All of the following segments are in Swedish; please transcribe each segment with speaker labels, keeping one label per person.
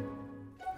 Speaker 1: All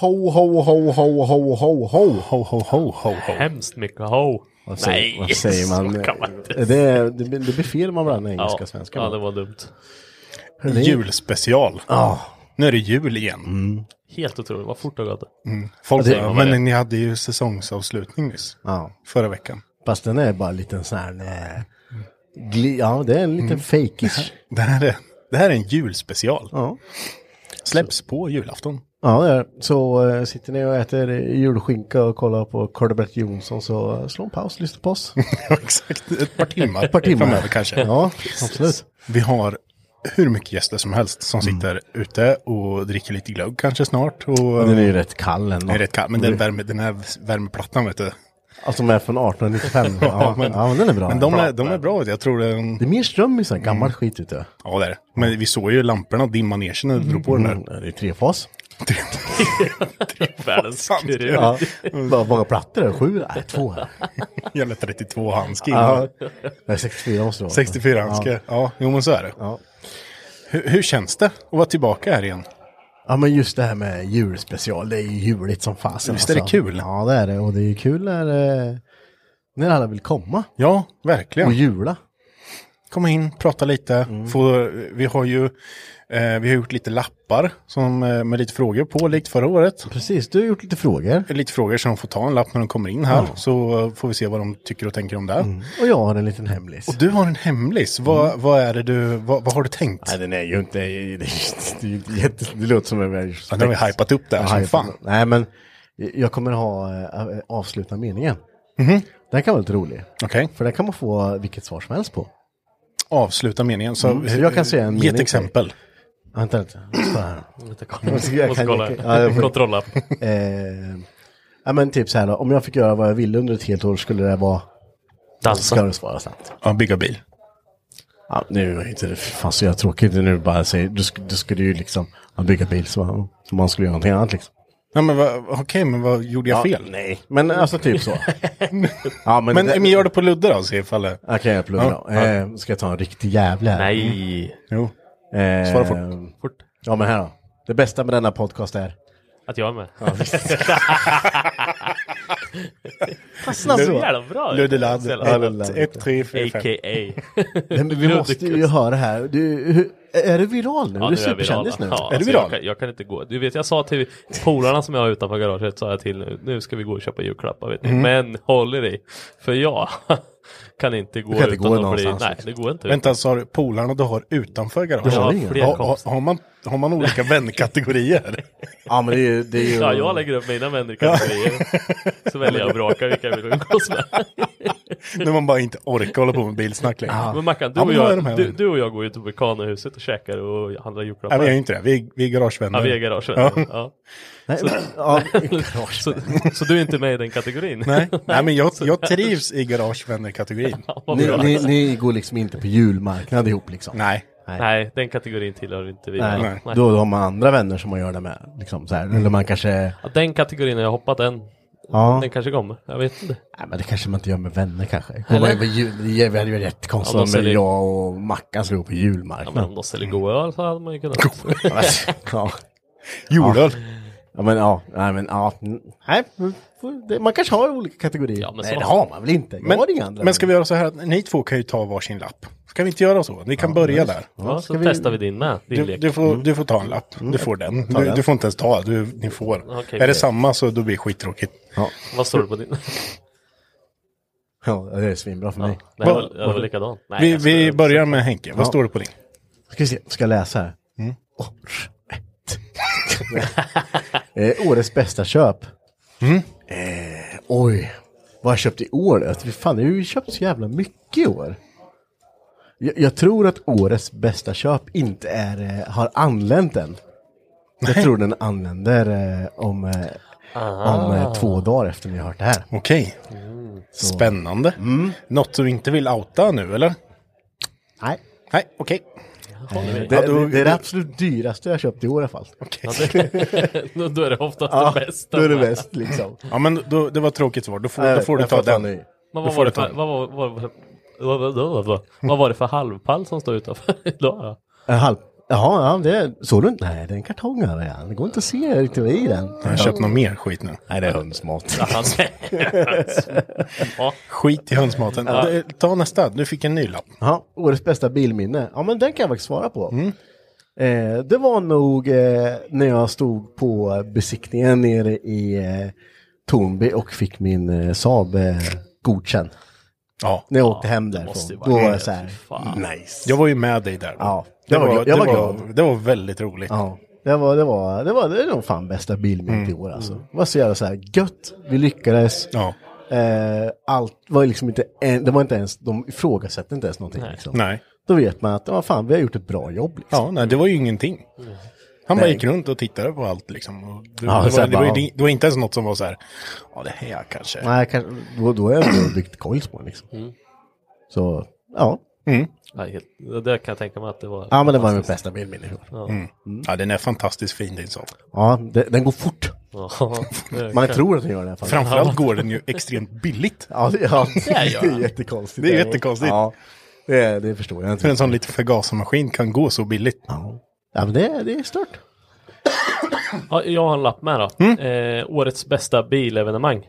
Speaker 2: Ho, ho, ho, ho, ho, ho, ho.
Speaker 3: Ho, ho, ho, ho, ho.
Speaker 4: Hemskt mycket ho.
Speaker 2: Vad säger,
Speaker 4: Nej,
Speaker 2: vad säger man?
Speaker 4: så kan man inte
Speaker 2: det, är- det, blir- det blir fel om man blandar engelska
Speaker 4: Ja,
Speaker 2: och svenska.
Speaker 4: ja, det var dumt.
Speaker 2: Hörrni.
Speaker 3: Julspecial.
Speaker 2: Ja.
Speaker 3: Nu är det jul igen.
Speaker 4: Helt otroligt, vad fort det har gått.
Speaker 2: Mm.
Speaker 3: Mm. Folk
Speaker 2: Ja, det-
Speaker 3: säger, men ni hade ju säsongsavslutning nyss.
Speaker 2: Ja.
Speaker 3: Förra veckan.
Speaker 2: Fast den är bara en liten sån här... eh, Gli, ja, det är en
Speaker 3: Mm.
Speaker 2: liten fejkish.
Speaker 3: Det här är, det här är en julspecial.
Speaker 2: Ja.
Speaker 3: Släpps på julafton.
Speaker 2: ja, det är. Så eh, sitter ni och äter julskinka och kollar på Carl-Bert Jonsson så eh, slå en paus, lyssna på oss.
Speaker 3: Ja, Exakt, ett par timmar.
Speaker 2: Ett par timmar.
Speaker 3: Framöver kanske.
Speaker 2: Ja, absolut. Mm.
Speaker 3: Vi har hur mycket gäster som helst som sitter ute och dricker lite glögg kanske snart. Och,
Speaker 2: Den är ju rätt kall ändå. Mm.
Speaker 3: Det är rätt kallt, men den, värme, den här värmeplattan vet du.
Speaker 2: Alltså de är från 1895. Ja, men, ja, men den är bra.
Speaker 3: Men de är, de är Mm. bra, jag tror den...
Speaker 2: Det är mer ström i sån här gammal skit ute.
Speaker 3: Ja, det är det. Men vi såg ju lamporna dimma ner sig när du drog på den där.
Speaker 2: Mm, Det är trefas.
Speaker 4: Världens
Speaker 3: sant.
Speaker 4: kuré.
Speaker 2: Ja. Bara många plattor är det? Sju? Nej, två.
Speaker 3: Jävla 32 handske.
Speaker 2: Ja. Nej, 64 måste det vara.
Speaker 3: 64 handske. Ja. jo men så är det.
Speaker 2: Ja.
Speaker 3: Hur, hur känns det att vara tillbaka här igen?
Speaker 2: Ja men just det här med julspecial, det är ju juligt som fasen.
Speaker 3: Visst är det kul?
Speaker 2: Alltså, Ja det är det och det är ju kul när, eh, när alla vill komma
Speaker 3: Ja,
Speaker 2: och
Speaker 3: verkligen.
Speaker 2: jula. Mm.
Speaker 3: Komma in, prata lite. Få, vi har ju eh, vi har gjort lite lappar som, eh, med lite frågor på, likt förra året.
Speaker 2: Precis, du har gjort lite frågor
Speaker 3: Lite frågor som får ta en lapp när de kommer in här. Så eh, får vi se vad de tycker och tänker om det.
Speaker 2: Mm. och jag har en liten hemlis. Mm.
Speaker 3: Du har en hemlis. Vad, vad är det du, vad, vad har du tänkt?
Speaker 2: Nej den är ju inte, det, är, det, är ju inte jätte, det låter som en väldigt...
Speaker 3: Ja, nu har vi hypat upp det här som fan.
Speaker 2: Nej men jag kommer ha eh, avsluta meningen. Den kan vara lite rolig.
Speaker 3: Okej,
Speaker 2: För den kan man få vilket svar som helst på.
Speaker 3: avsluta meningen. Så,
Speaker 2: Mm, så jag kan säga en
Speaker 3: Ge ett
Speaker 2: mening.
Speaker 3: exempel.
Speaker 2: Vänta lite. Så här.
Speaker 4: Vänta, kolla.
Speaker 2: Jag
Speaker 4: Måste
Speaker 2: kan-
Speaker 4: kolla.
Speaker 2: ja, jag får-
Speaker 4: Kontrolla.
Speaker 2: Eh, ja men typ så här då, om jag fick göra vad jag ville under ett helt år skulle det vara... Ska
Speaker 4: Dansa.
Speaker 2: du svara snabbt?
Speaker 3: Ja, bygga bil.
Speaker 2: Ja, nu är det inte det fan så jag tråkigt nu bara säger, du, sk- du skulle ju liksom ja, bygga bil som man, som man skulle göra någonting annat liksom.
Speaker 3: Ja, men vad- okej, men vad gjorde jag fel?
Speaker 2: nej. Men alltså typ så. ja, men,
Speaker 3: Men,
Speaker 2: det,
Speaker 3: men gör det på Ludde då, se ifall det...
Speaker 2: Okej, jag pluggar
Speaker 3: Ja,
Speaker 2: då. Eh, ska jag ta en riktig jävla här?
Speaker 4: Nej.
Speaker 3: Jo.
Speaker 2: Eh,
Speaker 3: svara fort.
Speaker 4: Fort.
Speaker 2: Ja, men här då. Det bästa med denna podcast är?
Speaker 4: Att jag är med.
Speaker 2: Fastna
Speaker 4: Så jävla bra.
Speaker 3: Ludde Ladd,
Speaker 4: Sällan.
Speaker 2: Ladd.
Speaker 3: 1, 3, 4, 5.
Speaker 4: A.k.a.
Speaker 2: Men vi måste ju höra det här. Du, hur, är du viral nu?
Speaker 4: Ja,
Speaker 2: är du
Speaker 4: nu är jag viral.
Speaker 2: superkändis nu?
Speaker 4: Ja,
Speaker 3: Är du
Speaker 4: alltså,
Speaker 3: viral?
Speaker 4: Jag kan, jag kan inte gå. Du vet, jag sa till polarna som jag har utanför garaget, sa jag till nu, nu ska vi gå och köpa julklappar vet ni.
Speaker 2: Mm.
Speaker 4: Men håll er i, för jag kan inte gå
Speaker 2: kan inte
Speaker 4: utan
Speaker 2: gå
Speaker 4: att bli...
Speaker 2: någonstans,
Speaker 4: Nej,
Speaker 2: liksom.
Speaker 4: det går inte.
Speaker 3: Vänta, sa du polarna du har utanför garaget?
Speaker 4: Jag har
Speaker 2: ingen.
Speaker 4: fler
Speaker 3: har, har,
Speaker 4: kompisar.
Speaker 3: har, man, har man olika vänkategorier?
Speaker 2: Ja, men det är ju... Det är ju...
Speaker 4: Ja, jag lägger upp mina vänner i kategorier. Så väljer jag och brakar vilka jag vill umgås med.
Speaker 3: När man bara inte orkar hålla på med bilsnack längre.
Speaker 4: Men Mackan, du,
Speaker 3: Ja,
Speaker 4: och
Speaker 3: men då är de
Speaker 4: jag,
Speaker 3: här
Speaker 4: du,
Speaker 3: vännerna.
Speaker 4: du och jag går ju till Vulkanhuset och käkar och handlar julklappar.
Speaker 3: Nej, vi är ju inte det. Vi är, vi är garagevänner.
Speaker 4: Ja, vi är
Speaker 3: Ja.
Speaker 4: garagevänner. Ja.
Speaker 2: Nej, men, ja, garage.
Speaker 4: Så, så du är inte med i den kategorin?
Speaker 3: Nej, nej men jag, jag trivs i garagevänner-kategorin.
Speaker 4: Vad alltså.
Speaker 2: ni,
Speaker 4: bra.
Speaker 2: ni, ni går liksom inte på julmarknad ihop liksom?
Speaker 3: Nej.
Speaker 4: Nej, den kategorin tillhör inte vi.
Speaker 2: Nej.
Speaker 3: Nej.
Speaker 2: Då har man andra vänner som man gör det med. Liksom, så här. Eller man kanske...
Speaker 4: Ja, Den kategorin har jag hoppat än.
Speaker 2: Ja.
Speaker 4: Den kanske kommer. Jag vet inte.
Speaker 2: Nej, men det kanske man inte gör med vänner kanske. Går man ju på jul, det hade ju varit jättekonstigt
Speaker 4: Ja, de
Speaker 2: om
Speaker 4: säljer-
Speaker 2: jag och Mackan slog på
Speaker 4: Ja, men
Speaker 2: julmarknaden.
Speaker 4: om de säljer god öl så hade man ju kunnat.
Speaker 2: Ja, ja.
Speaker 3: Julöl.
Speaker 2: ja, men ja. Nej, men ja. Mm. Nej, men får- det- man kanske har olika kategorier.
Speaker 4: Ja, men
Speaker 2: Nej,
Speaker 4: så-
Speaker 2: det har man väl inte? Jag
Speaker 3: Men,
Speaker 2: har inga andra.
Speaker 3: men ska vi göra så här att ni två kan ju ta varsin lapp. Ska vi inte göra så? Ni kan börja där.
Speaker 4: Ja, så
Speaker 2: ska vi- Mm.
Speaker 4: testar vi din med. Din
Speaker 3: Du,
Speaker 4: lek. Mm.
Speaker 3: du, får, du får ta en lapp. Du får den. Du, du får inte ens ta. Du, ni får.
Speaker 4: Okej,
Speaker 3: är det
Speaker 4: okej.
Speaker 3: samma så då blir det skittråkigt.
Speaker 2: Ja,
Speaker 4: Vad står det på din?
Speaker 2: ja, det är svinbra för mig.
Speaker 4: Det här var, det här var likadant. Nej,
Speaker 3: Vi,
Speaker 4: jag skojar.
Speaker 3: vi börjar med Henke. Vad står det på din? Mm.
Speaker 2: Ska vi se, ska jag läsa här? Åh, ett. eh, årets bästa köp.
Speaker 3: Mm.
Speaker 2: Eh, oj, vad har jag köpt i år? Alltså, fy Fan, jag har ju köpt så jävla mycket i år. Jag, jag tror att årets bästa köp inte är, eh, har anlänt än. Jag tror den anländer eh, om, eh, om eh, två dagar efter ni har hört det här.
Speaker 3: Okej.
Speaker 4: Mm.
Speaker 3: Mm. Spännande.
Speaker 2: Mm.
Speaker 3: Något du inte vill outa nu eller?
Speaker 2: Nej,
Speaker 3: Nej, okej.
Speaker 2: det,
Speaker 3: Ja,
Speaker 2: det,
Speaker 3: då-
Speaker 2: det är det absolut dyraste jag köpt i år i alla fall.
Speaker 3: Okej.
Speaker 4: Då- Då är det oftast det bästa.
Speaker 2: då är det bäst liksom.
Speaker 3: Ja, men då, det var ett tråkigt svar. Då får, då får du
Speaker 2: Jag
Speaker 3: ta
Speaker 2: fattar
Speaker 3: den.
Speaker 2: nu.
Speaker 4: Men
Speaker 3: Då
Speaker 4: vad
Speaker 3: får
Speaker 4: var
Speaker 3: du
Speaker 4: det
Speaker 3: ta
Speaker 4: för,
Speaker 3: den.
Speaker 4: vad var, vad, var, det- vad, vad, vad, vad, vad var det för halvpall som stod utanför idag då?
Speaker 2: En Eh, halv... Jaha, ja, det såg du inte? Nej, det är en kartong här. Ja. Det går inte att se riktigt vad i den.
Speaker 3: Jag har köpt någon mer skit nu.
Speaker 2: Nej, det är hundsmat.
Speaker 4: Han Ja,
Speaker 3: Skit i hönsmaten. Eh, Ta nästa. Du fick en ny lapp.
Speaker 2: Ja, årets bästa bilminne. Ja, men den kan jag faktiskt svara på.
Speaker 3: Mm.
Speaker 2: Eh, det var nog eh, när jag stod på besiktningen nere i eh, Tornby och fick min eh, Saab eh, godkänd.
Speaker 3: Ja.
Speaker 2: När jag åkte hem
Speaker 4: måste ju
Speaker 2: därifrån.
Speaker 4: vara
Speaker 2: Då var
Speaker 4: det,
Speaker 2: jag så här,
Speaker 4: fy fan.
Speaker 2: nice.
Speaker 3: Jag var ju med dig där.
Speaker 2: Ja,
Speaker 3: det,
Speaker 2: jag var
Speaker 3: var,
Speaker 2: glad-
Speaker 3: det,
Speaker 2: jag var
Speaker 3: var,
Speaker 2: glad.
Speaker 3: det var väldigt roligt.
Speaker 2: Ja, det var, det var, det var, det är nog fan bästa bilminnet
Speaker 3: Mm.
Speaker 2: i år alltså. Det var så jävla så här gött, vi lyckades.
Speaker 3: Ja.
Speaker 2: Eh, allt var ju liksom inte, en, det var inte ens, de ifrågasatte inte ens någonting. Liksom.
Speaker 3: Nej.
Speaker 2: Då vet man att, ja fan, vi har gjort ett bra jobb. Liksom.
Speaker 3: Ja, nej, det var ju ingenting.
Speaker 4: Mm.
Speaker 3: Han bara
Speaker 2: Nej.
Speaker 3: gick runt och tittade på allt liksom. Och det,
Speaker 2: Ja,
Speaker 3: det,
Speaker 2: så
Speaker 3: var,
Speaker 2: här
Speaker 3: det, var,
Speaker 2: bara,
Speaker 3: ju-
Speaker 2: ja.
Speaker 3: det var inte ens något som var så här, ja det här kanske.
Speaker 2: Nej, kanske, då, då har jag ändå byggt koils på den, liksom.
Speaker 3: Mm.
Speaker 2: Så, ja.
Speaker 4: Nej, helt- Det kan jag tänka mig att det var.
Speaker 2: Ja, men det var min bästa Mm. bilminne i år.
Speaker 3: Mm. Ja, den är fantastiskt fin din sak.
Speaker 2: Ja, det, den går fort.
Speaker 4: Ja, det-
Speaker 2: Man tror att den gör det i alla fall.
Speaker 3: Framförallt går den ju extremt billigt.
Speaker 2: Ja, det, ja, det
Speaker 4: gör
Speaker 2: är
Speaker 4: den.
Speaker 2: jättekonstigt.
Speaker 3: Det är jättekonstigt.
Speaker 2: Ja, det, det förstår jag
Speaker 3: För
Speaker 2: inte.
Speaker 3: en sån liten förgasarmaskin kan gå så billigt.
Speaker 2: Ja, ja men det, det är stört.
Speaker 4: Ja, jag har en lapp med då.
Speaker 2: Mm.
Speaker 4: Eh, årets bästa bilevenemang.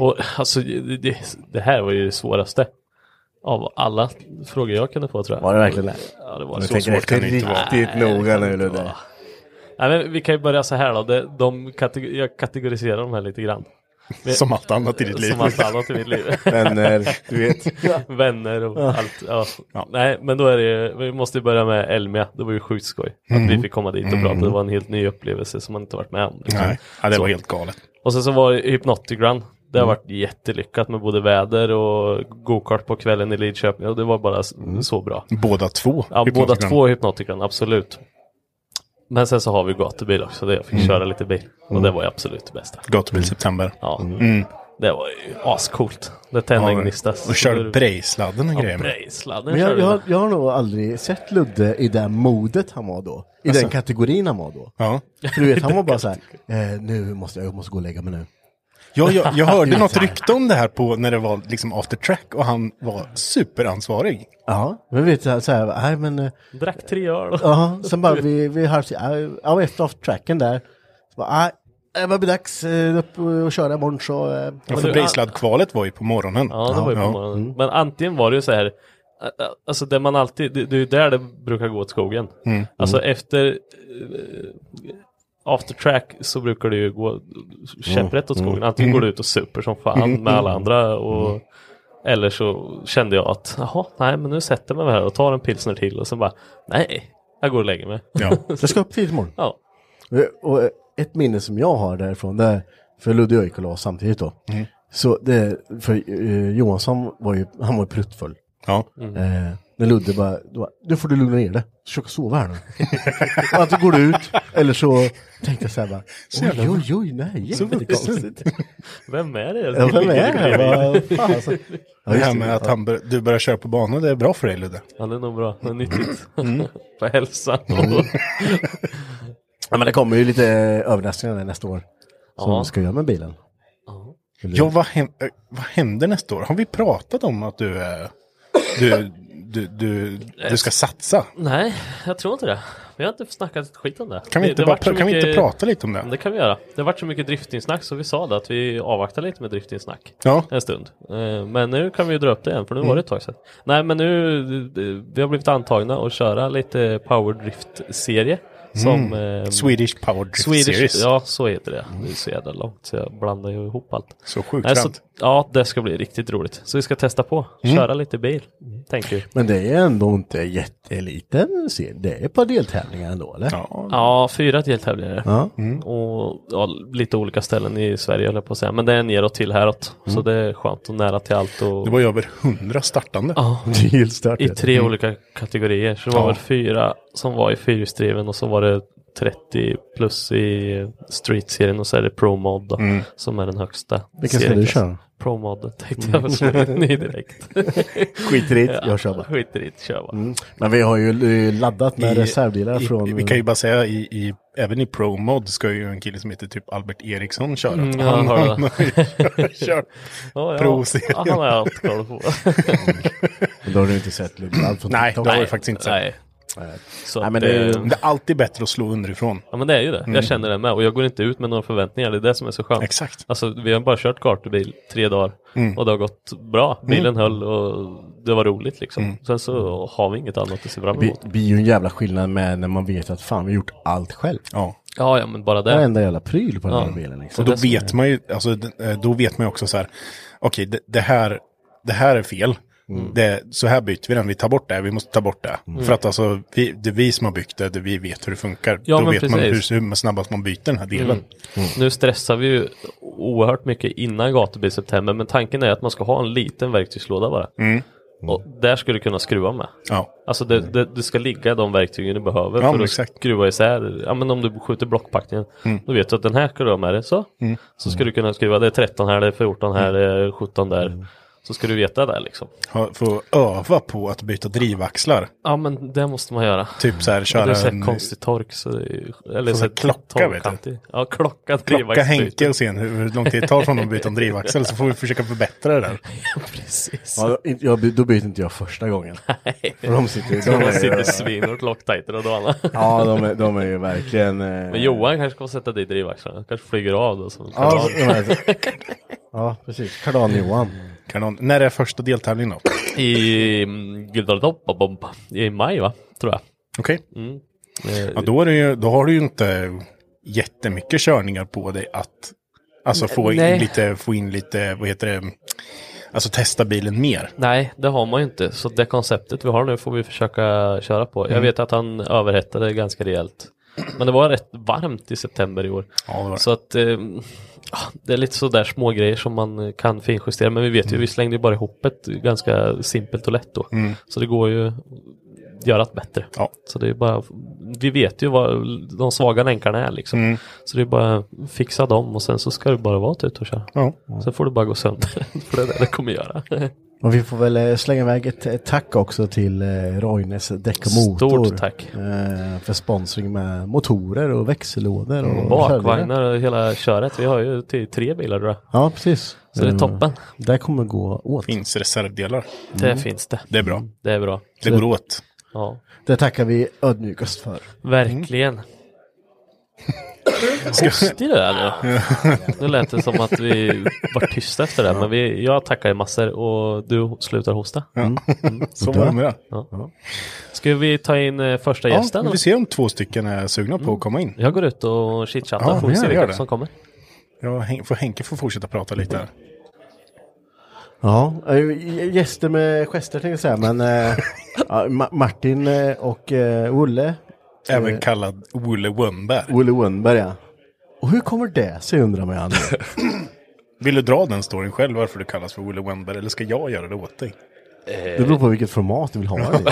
Speaker 4: Och alltså, det, det- det här var ju det svåraste. Av alla frågor jag kunde få tror jag.
Speaker 2: Var det verkligen det?
Speaker 4: Ja, det var
Speaker 2: Jag
Speaker 4: så
Speaker 2: tänker
Speaker 4: svårt.
Speaker 2: efter
Speaker 3: det inte vara.
Speaker 2: riktigt noga nu Ludde.
Speaker 4: Nej, men vi kan ju börja så här då. De, de kategor- jag kategoriserar de här lite grann.
Speaker 3: Som allt annat i ditt liv.
Speaker 4: Som allt annat i mitt liv.
Speaker 2: Vänner, du vet.
Speaker 4: Vänner och allt. Ja. Nej, men då är det ju, vi måste ju börja med Elmia. Det var ju sjukt skoj. Att
Speaker 3: Mm.
Speaker 4: vi fick komma dit och prata. Det var en helt ny upplevelse som man inte varit med om. Liksom.
Speaker 3: Nej, ja, det var
Speaker 4: Så.
Speaker 3: helt galet. Mm.
Speaker 4: Och sen så var det Hypnotigrun. Det har varit jättelyckat med både väder och gokart på kvällen i Lidköping. Och det var bara s- så bra.
Speaker 3: Mm. Båda två.
Speaker 4: Ja,
Speaker 3: i
Speaker 4: båda
Speaker 3: Portugal.
Speaker 4: två Hypnotigrun, absolut. Men sen så har vi gatubil också. Det jag fick köra lite bil. Och det var ju absolut det bästa.
Speaker 3: Mm. Gatubil September. Mm.
Speaker 4: Ja.
Speaker 2: Mm.
Speaker 4: Det var ju ascoolt. Det tände en gnista.
Speaker 3: Och körde brejsladden och grejer.
Speaker 4: Ja,
Speaker 3: med.
Speaker 4: brejsladden
Speaker 2: Men jag,
Speaker 4: körde
Speaker 2: jag,
Speaker 4: vi.
Speaker 2: har- jag har nog aldrig sett Ludde i det modet han var då. I den kategorin han var då.
Speaker 3: Ja.
Speaker 2: För du vet, han var bara så här, eh, nu måste jag, jag måste gå och lägga mig nu.
Speaker 3: Jag, jag, jag hörde något rykte om det här på när det var liksom after track och han var superansvarig.
Speaker 2: Ja, men vet du, så här, nej men, eh,
Speaker 4: Drack tre öl.
Speaker 2: ja, sen bara vi, vi har, ja, och efter off-tracken där, så bara, nej, det börjar bli dags, eh, upp och köra imorgon så, eh,
Speaker 3: Ja,
Speaker 4: du,
Speaker 3: för
Speaker 4: an-
Speaker 3: brejsladdkvalet var ju på morgonen.
Speaker 4: Ja, det var ju på morgonen. Men antingen var det ju så här, ä- ä- alltså det man alltid, det, det är ju där det brukar gå åt skogen. Alltså efter eh, after track så brukar det ju gå käpprätt åt skogen. Antingen går du ut och super som fan med alla andra och eller så kände jag att, jaha, nej men nu sätter man mig här och tar en pilsner till och så bara, nej, jag går och lägger mig.
Speaker 3: Ja.
Speaker 2: jag ska upp tidigt imorgon.
Speaker 4: Ja.
Speaker 2: Och eh, ett minne som jag har därifrån, det är, för Ludde och jag gick och la oss samtidigt då. Så det, för eh, Johansson var ju, han var ju pruttfull. Mm.
Speaker 3: Ja.
Speaker 2: Eh, när Ludde bara, då bara, nu får du lugna ner dig, försök att sova här nu. och att du går ut, Eller så tänkte jag så här bara,
Speaker 3: Så
Speaker 2: oj,
Speaker 3: jävla-
Speaker 2: oj, oj, nej,
Speaker 3: Så
Speaker 2: jättekonstigt.
Speaker 4: Vem är det?
Speaker 2: Ja, vem är det? Vad fan, alltså. Ja,
Speaker 3: det
Speaker 2: just
Speaker 3: här med att han, bör- du börjar köra på banor, det är bra för dig Ludde.
Speaker 4: Ja, det är nog bra. Det är nyttigt. För hälsan.
Speaker 2: Ja, men det kommer ju lite överraskningar där nästa år. Som
Speaker 4: Ja.
Speaker 2: de ska göra med bilen.
Speaker 3: Ja, vad, hem, eh, vad händer nästa år? Har vi pratat om att du, eh, du, du, du, du ska satsa?
Speaker 4: Nej, jag tror inte det. Vi har inte snackat ett skit om det.
Speaker 3: Kan vi
Speaker 4: Det-
Speaker 3: inte,
Speaker 4: det
Speaker 3: bara,
Speaker 4: vart så
Speaker 3: pra- kan vi inte
Speaker 4: mycket-
Speaker 3: prata lite om
Speaker 4: Men
Speaker 3: det?
Speaker 4: Det kan vi göra. Det har varit så mycket driftingsnack så vi sa det att vi avvaktar lite med driftingsnack.
Speaker 3: Ja.
Speaker 4: En stund. Eh, Men nu kan vi ju dra upp det igen för nu var det ett tag sedan. Nej men nu, eh, vi har blivit antagna att köra lite powerdrift-serie. Som eh,
Speaker 3: Mm. Swedish Power Drift
Speaker 4: Swedish,
Speaker 3: Series.
Speaker 4: ja så heter det. Det är så jävla långt så jag blandar ju ihop allt.
Speaker 3: Så sjukt
Speaker 4: Nej, så,
Speaker 3: sant.
Speaker 4: ja, det ska bli riktigt roligt. Så vi ska testa på,
Speaker 3: Mm.
Speaker 4: köra lite bil, tänker vi.
Speaker 2: Men det är ändå inte jätteliten serie. Det är ett par deltävlingar ändå, eller?
Speaker 3: Ja,
Speaker 4: Ja, fyra deltävlingar är det.
Speaker 2: Ja.
Speaker 4: och ja, lite olika ställen i Sverige höll jag på att säga. Men det är neråt till häråt. Så
Speaker 2: Mm.
Speaker 4: det är skönt och nära till allt. Och...
Speaker 3: det var ju över hundra startande.
Speaker 4: Ja,
Speaker 2: Det är helt stört. Mm.
Speaker 4: I tre olika kategorier. Så det var
Speaker 3: Ja.
Speaker 4: väl fyra som var i fyrhjulsdriven och så var det 30 plus i street-serien och så är det ProMod då,
Speaker 2: Mm.
Speaker 4: som är den högsta.
Speaker 2: Vilken ska du
Speaker 4: serieklassen.
Speaker 2: köra?
Speaker 4: ProMod tänkte
Speaker 5: Mm.
Speaker 4: jag väl slå in i direkt.
Speaker 2: Skit i det,
Speaker 4: Ja,
Speaker 2: jag kör bara.
Speaker 4: Skit i det, kör bara.
Speaker 2: Men vi har ju eh, laddat med
Speaker 3: I-
Speaker 2: reservdelar
Speaker 3: i,
Speaker 2: från...
Speaker 3: Vi kan ju bara säga, i, i, även i Pro Mod ska ju en kille som heter typ Albert Eriksson köra.
Speaker 4: Mm, jag
Speaker 3: han,
Speaker 4: hörde
Speaker 3: han har ju kört- kört
Speaker 4: Ja, ja.
Speaker 3: Pro-serien.
Speaker 4: Ja, han har jag allt koll på.
Speaker 2: Men Då har du inte sett Lundblad från
Speaker 3: Nej,
Speaker 2: TikTok.
Speaker 3: det har vi faktiskt inte sett.
Speaker 4: Nej. Så
Speaker 2: Nej,
Speaker 4: att,
Speaker 2: men det är ju-
Speaker 4: eh,
Speaker 3: Det är alltid bättre att slå underifrån.
Speaker 4: Ja men det är ju det. Jag känner det med och jag går inte ut med några förväntningar. Det är det som är så skönt.
Speaker 3: Exakt.
Speaker 4: Alltså vi har bara kört kartbil tre dagar och det har gått bra. Bilen höll och det var roligt liksom. Sen så har vi inget annat att se fram
Speaker 2: Det
Speaker 4: emot.
Speaker 2: blir ju en jävla skillnad med när man vet att fan, vi har gjort allt själv.
Speaker 3: Ja.
Speaker 4: Ja, ja men bara det.
Speaker 2: Varenda jävla pryl på den här
Speaker 4: Ja.
Speaker 2: bilen liksom.
Speaker 3: Och då vet man ju, alltså, d- eh, då vet man ju också så här, okej, det, det, här, det här är fel.
Speaker 2: Mm.
Speaker 3: Det, så här byter vi den, vi tar bort det, vi måste ta bort det. För att alltså, vi, det är vi som har byggt det, det är vi vet hur det funkar.
Speaker 4: Ja,
Speaker 3: då
Speaker 4: men
Speaker 3: vet man
Speaker 4: precis. Mm.
Speaker 3: hur, hur snabbast man byter den här delen.
Speaker 4: Nu stressar vi ju oerhört mycket innan gatubil i september men tanken är att man ska ha en liten verktygslåda bara. Och där ska du kunna skruva med.
Speaker 3: Mm. Ja.
Speaker 4: Alltså det, det, det ska ligga de verktygen du behöver
Speaker 3: Ja, men
Speaker 4: för att
Speaker 3: exakt. Mm.
Speaker 4: skruva isär. Ja, men om du skjuter blockpackningen, då vet du att den här ska du ha med dig. Så, så ska du kunna skruva, det är 13 här, det är 14 här, det är 17 där.
Speaker 3: Mm.
Speaker 4: Så ska du veta det liksom.
Speaker 3: Ha, få öva på att byta drivaxlar.
Speaker 4: Ja men det måste man göra.
Speaker 3: Typ så här,
Speaker 4: Det är
Speaker 3: köra
Speaker 4: så här
Speaker 3: en
Speaker 4: konstig tork. Så det är, ju- eller
Speaker 3: Får
Speaker 4: så här
Speaker 3: en klocka, vet du.
Speaker 4: torkkantig. Ja, klocka.
Speaker 3: Klocka
Speaker 4: drivvagnsbyte.
Speaker 3: Henke och se hur hur lång tid det tar från att byta en drivaxel så får vi försöka förbättra det där.
Speaker 4: Precis.
Speaker 2: Ja, då- inte- jag, by- då byter inte jag första gången. För de sitter, de
Speaker 4: De
Speaker 2: är,
Speaker 4: sitter
Speaker 2: ju-
Speaker 4: svinhårt locktajtare och dana.
Speaker 2: ja, de är, de är ju verkligen... eh,
Speaker 4: Men Johan kanske ska sätta dit drivaxlarna. Kanske flyger av då. Som
Speaker 2: Ja, de är, ja precis. Kardan-Johan.
Speaker 3: Kan någon, Mm. när är första deltävlingen då?
Speaker 4: I mm, Guldaltoppabomba. I maj va? Tror jag.
Speaker 3: Okej.
Speaker 4: Eh,
Speaker 3: Ja, då, är det ju, då har du ju inte jättemycket körningar på dig att alltså, få, in
Speaker 4: nej.
Speaker 3: lite, få in lite, vad heter det, alltså testa bilen mer.
Speaker 4: Nej, det har man ju inte. Så det konceptet vi har nu får vi försöka köra på.
Speaker 3: Mm.
Speaker 4: Jag vet att han överhettade ganska rejält. Men det var rätt varmt i september i år.
Speaker 3: Ja, det var det.
Speaker 4: Så att eh, ja, det är lite sådär små grejer som man eh, kan finjustera. Men vi vet
Speaker 3: Mm.
Speaker 4: ju, vi slängde ju bara ihop ett ganska simpelt och lätt då. Så det går ju att göra ett bättre.
Speaker 3: Ja.
Speaker 4: Så det är bara, vi vet ju vad de svaga länkarna är liksom.
Speaker 3: Mm.
Speaker 4: Så det är bara att fixa dem och sen så ska du bara vara ute och köra.
Speaker 3: Ja.
Speaker 4: Sen får du bara gå sönder. För det är det det kommer göra.
Speaker 2: Och vi får väl eh, slänga iväg ett eh, tack också till eh, Roines Däck och Motor.
Speaker 4: Stort tack.
Speaker 2: eh, För sponsring med motorer och växellådor.
Speaker 4: Mm.
Speaker 2: Och reservdelar.
Speaker 4: Bakvagnar och hela köret. Vi har ju till tre bilar tror jag.
Speaker 2: Ja, precis.
Speaker 4: Så det är
Speaker 2: Eh,
Speaker 4: toppen.
Speaker 2: Det kommer gå åt. Mm.
Speaker 3: Finns reservdelar.
Speaker 4: Det finns det.
Speaker 3: Det är bra.
Speaker 4: Det är bra.
Speaker 3: Det går åt.
Speaker 4: Ja,
Speaker 2: Det tackar vi ödmjukast för.
Speaker 4: verkligen.
Speaker 3: Mm.
Speaker 4: Hostig du är nu. Nu lät det som att vi var tysta efter det. här, Men vi, jag tackar ju massor och du slutar hosta.
Speaker 2: Mm.
Speaker 4: Mm.
Speaker 3: Så var det med det.
Speaker 4: Ska vi ta in eh, första
Speaker 3: Ja,
Speaker 4: gästen?
Speaker 3: vi
Speaker 4: då?
Speaker 3: får se om två stycken är sugna på att komma in.
Speaker 4: Jag går ut och chitchattar.
Speaker 3: Ja,
Speaker 4: får vi
Speaker 3: gör
Speaker 4: se
Speaker 3: det,
Speaker 4: vilka
Speaker 3: gör det.
Speaker 4: som kommer.
Speaker 3: Ja, Hen- får Henke får fortsätta prata lite
Speaker 2: Mm.
Speaker 3: här.
Speaker 2: Ja, eh, gäster med gester tänkte jag säga, men eh, ja, Ma- Martin eh, och eh, Olle,
Speaker 3: Även kallad Olle Wönnberg.
Speaker 2: Olle Wönberg ja. Eh, Och hur kommer det sig undrar man ju ändå.
Speaker 3: Vill du dra den storyn själv varför du kallas för Olle Wönnberg eller ska jag göra det åt dig?
Speaker 2: Det beror på vilket format du vill ha det i.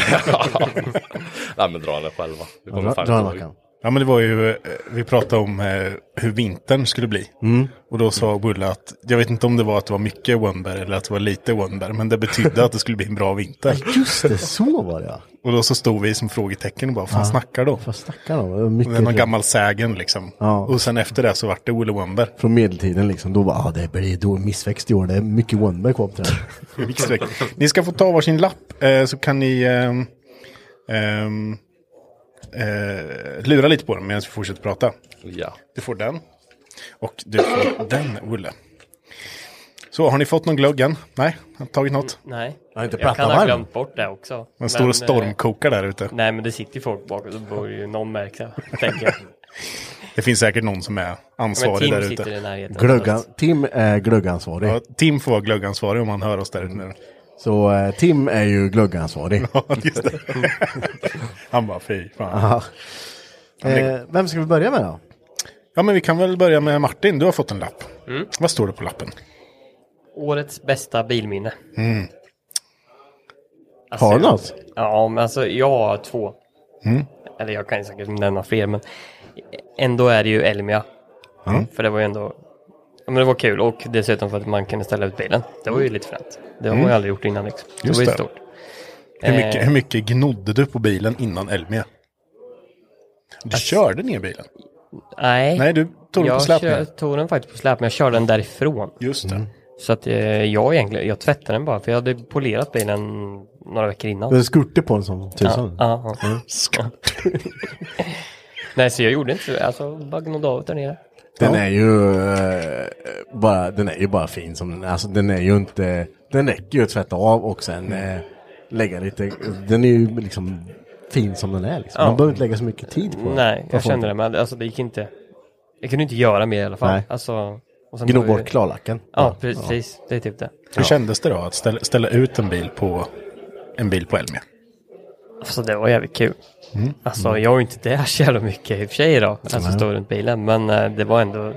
Speaker 6: Nej men dra den själva. Du kommer
Speaker 2: Dra-
Speaker 6: fan
Speaker 2: Dra
Speaker 6: inte
Speaker 2: en
Speaker 6: ihåg.
Speaker 2: mackan.
Speaker 3: Ja, men det var ju, eh, vi pratade om eh, hur vintern skulle bli.
Speaker 2: Mm.
Speaker 3: Och då sa Bulle att, jag vet inte om det var att det var mycket Wonberg eller att det var lite Wonberg, men det betydde att det skulle bli en bra vinter.
Speaker 2: Just det, så var det ja.
Speaker 3: Och då så stod vi som frågetecken och bara, fan snackar de?
Speaker 2: Vad snackar de om? Det var Mycket
Speaker 3: Det är någon gammal sägen liksom.
Speaker 2: Ja.
Speaker 3: Och sen efter det så vart det Olle Wonberg.
Speaker 2: Från medeltiden liksom. Då var ah, det blir då missväxt i år. Det är mycket Wonberg kvar på det här.
Speaker 3: Mixväg. ni ska få ta varsin lapp eh, så kan ni ehm, ehm, eh, lura lite på dem medan vi fortsätter prata.
Speaker 7: Ja.
Speaker 3: Du får den. Och du får den, Olle. Så, har ni fått någon glögg än? Nej, har inte tagit något?
Speaker 5: Mm, Nej.
Speaker 2: har inte
Speaker 5: jag
Speaker 2: plattan
Speaker 5: kan ha
Speaker 2: varm.
Speaker 5: glömt bort det också.
Speaker 3: Den står och
Speaker 5: eh,
Speaker 3: stormkokar där ute.
Speaker 5: Nej, men det sitter ju folk bakom. Då borde ju någon märka, tänker jag.
Speaker 3: Det finns säkert någon som är
Speaker 5: Men
Speaker 3: ansvarig
Speaker 5: Tim
Speaker 3: där
Speaker 5: sitter
Speaker 3: ute.
Speaker 5: i närheten.
Speaker 2: Glöggan, Tim är glöggansvarig.
Speaker 3: Ja, Tim får vara glöggansvarig om han hör oss där ute nu.
Speaker 2: Så eh, Tim är ju glöggansvarig.
Speaker 3: Ja, just det. Han bara, fy fan.
Speaker 2: Aha. Eh, vem ska vi börja med då?
Speaker 3: Ja, men vi kan väl börja med Martin. Du har fått en lapp.
Speaker 5: Mm.
Speaker 3: Vad står det på lappen?
Speaker 5: Årets bästa bilminne. Alltså,
Speaker 2: Har du något?
Speaker 5: Ja, men alltså jag har två. Eller jag kan ju säkert nämna fler, men ändå är det ju Elmia. För det var ju ändå... Ja, men det var kul och dessutom för att man kunde ställa ut bilen. Det var ju lite fränt. Det har man ju aldrig gjort innan liksom. Det
Speaker 3: Just
Speaker 5: var ju
Speaker 3: det.
Speaker 5: stort.
Speaker 3: Hur mycket,
Speaker 5: Eh.
Speaker 3: hur mycket gnodde du på bilen innan Elmia? Du körde ner bilen.
Speaker 5: Nej,
Speaker 3: Nej, du tog den på
Speaker 5: jag
Speaker 3: släp
Speaker 5: kör-
Speaker 3: ner.
Speaker 5: tog den faktiskt på släp, men jag körde den därifrån.
Speaker 3: Just
Speaker 2: Mm.
Speaker 3: det.
Speaker 5: Så att eh, jag egentligen, jag tvättade den bara för jag hade polerat bilen några veckor innan.
Speaker 2: Du skurte på en som tusan. Mm.
Speaker 5: Ja, ja. Nej, så jag gjorde inte så. Alltså, bara gnodde av där nere.
Speaker 2: Den är ju eh, bara, den är ju bara fin som den är. Alltså den är ju inte, den räcker ju att tvätta av och sen eh, lägga lite, den är ju liksom fin som den är liksom. Man behöver inte lägga så mycket tid på den.
Speaker 5: Nej,
Speaker 2: Man
Speaker 5: jag
Speaker 2: får
Speaker 5: kände det, men alltså det gick inte. Jag kunde inte göra mer i alla fall.
Speaker 2: Nej.
Speaker 5: Alltså, och sen
Speaker 2: Gno
Speaker 5: var ju-
Speaker 2: bort klarlacken.
Speaker 5: Ja, precis. Det är typ det.
Speaker 3: Hur kändes det då att ställa, ställa ut en bil på, en bil på Elmia?
Speaker 5: Alltså det var jävligt kul.
Speaker 3: Mm.
Speaker 5: Alltså jag är ju inte där så jävla mycket i och för sig idag. Alltså stå runt bilen. Men eh, det var ändå,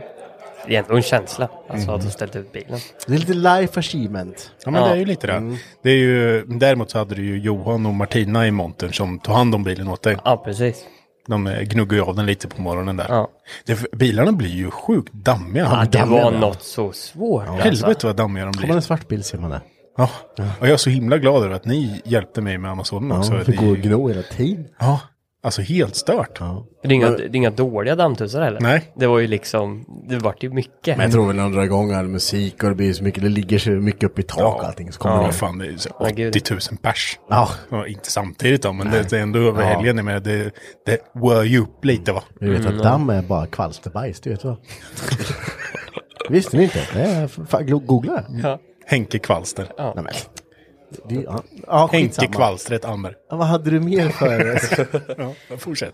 Speaker 5: det är ändå en känsla. Alltså
Speaker 3: Mm.
Speaker 5: att ha ställt ut bilen.
Speaker 2: Det är lite life achievement. Mm.
Speaker 3: Ja, men
Speaker 5: Ja. Mm.
Speaker 3: det är ju lite det. det är ju, däremot så hade du ju Johan och Martina i montern som tog hand om bilen åt dig.
Speaker 5: Ja, precis.
Speaker 3: De eh, gnuggade ju av den lite på morgonen där.
Speaker 5: Ja.
Speaker 3: Det, bilarna blir ju sjukt dammiga.
Speaker 2: Ja,
Speaker 5: Det
Speaker 2: Dammiga,
Speaker 5: var
Speaker 2: ja.
Speaker 5: något så svårt alltså.
Speaker 3: Helvete vad dammiga de
Speaker 2: Har man
Speaker 3: blir.
Speaker 2: en svart bil ser man det.
Speaker 3: Ja. Och jag är så himla glad över att ni hjälpte mig med Amazonen
Speaker 2: Ja,
Speaker 3: också.
Speaker 2: man fick
Speaker 3: Ni-
Speaker 2: gå och gno hela tiden.
Speaker 3: Ja, alltså helt stört.
Speaker 5: Det är, inga, det är inga dåliga dammtussar heller.
Speaker 3: Nej.
Speaker 5: Det var ju liksom, det vart ju mycket.
Speaker 2: Men jag tror väl när de drar igång all musik och det blir så mycket, det ligger så mycket upp i tak och allting. Så kommer
Speaker 3: Ja,
Speaker 2: det.
Speaker 3: fan, det är så
Speaker 5: Ja, gud.
Speaker 3: 80 000 pers.
Speaker 2: Ja,
Speaker 3: Ja, inte samtidigt då, men det, det är ändå över helgen. Jag menar, det, det were ju upp lite va?
Speaker 2: vi vet
Speaker 5: Mm,
Speaker 3: Mm.
Speaker 2: att damm är bara kvalsterbajs, det vet du va? Visste ni inte? Det är, fan, glo- googla det.
Speaker 5: Ja.
Speaker 3: Henke Kvalster.
Speaker 2: Nej, men. Det, ja, ja
Speaker 3: Henke
Speaker 2: skitsamma.
Speaker 3: Kvalstret Ammer.
Speaker 2: Ja, vad hade du mer för?
Speaker 3: Ja, fortsätt.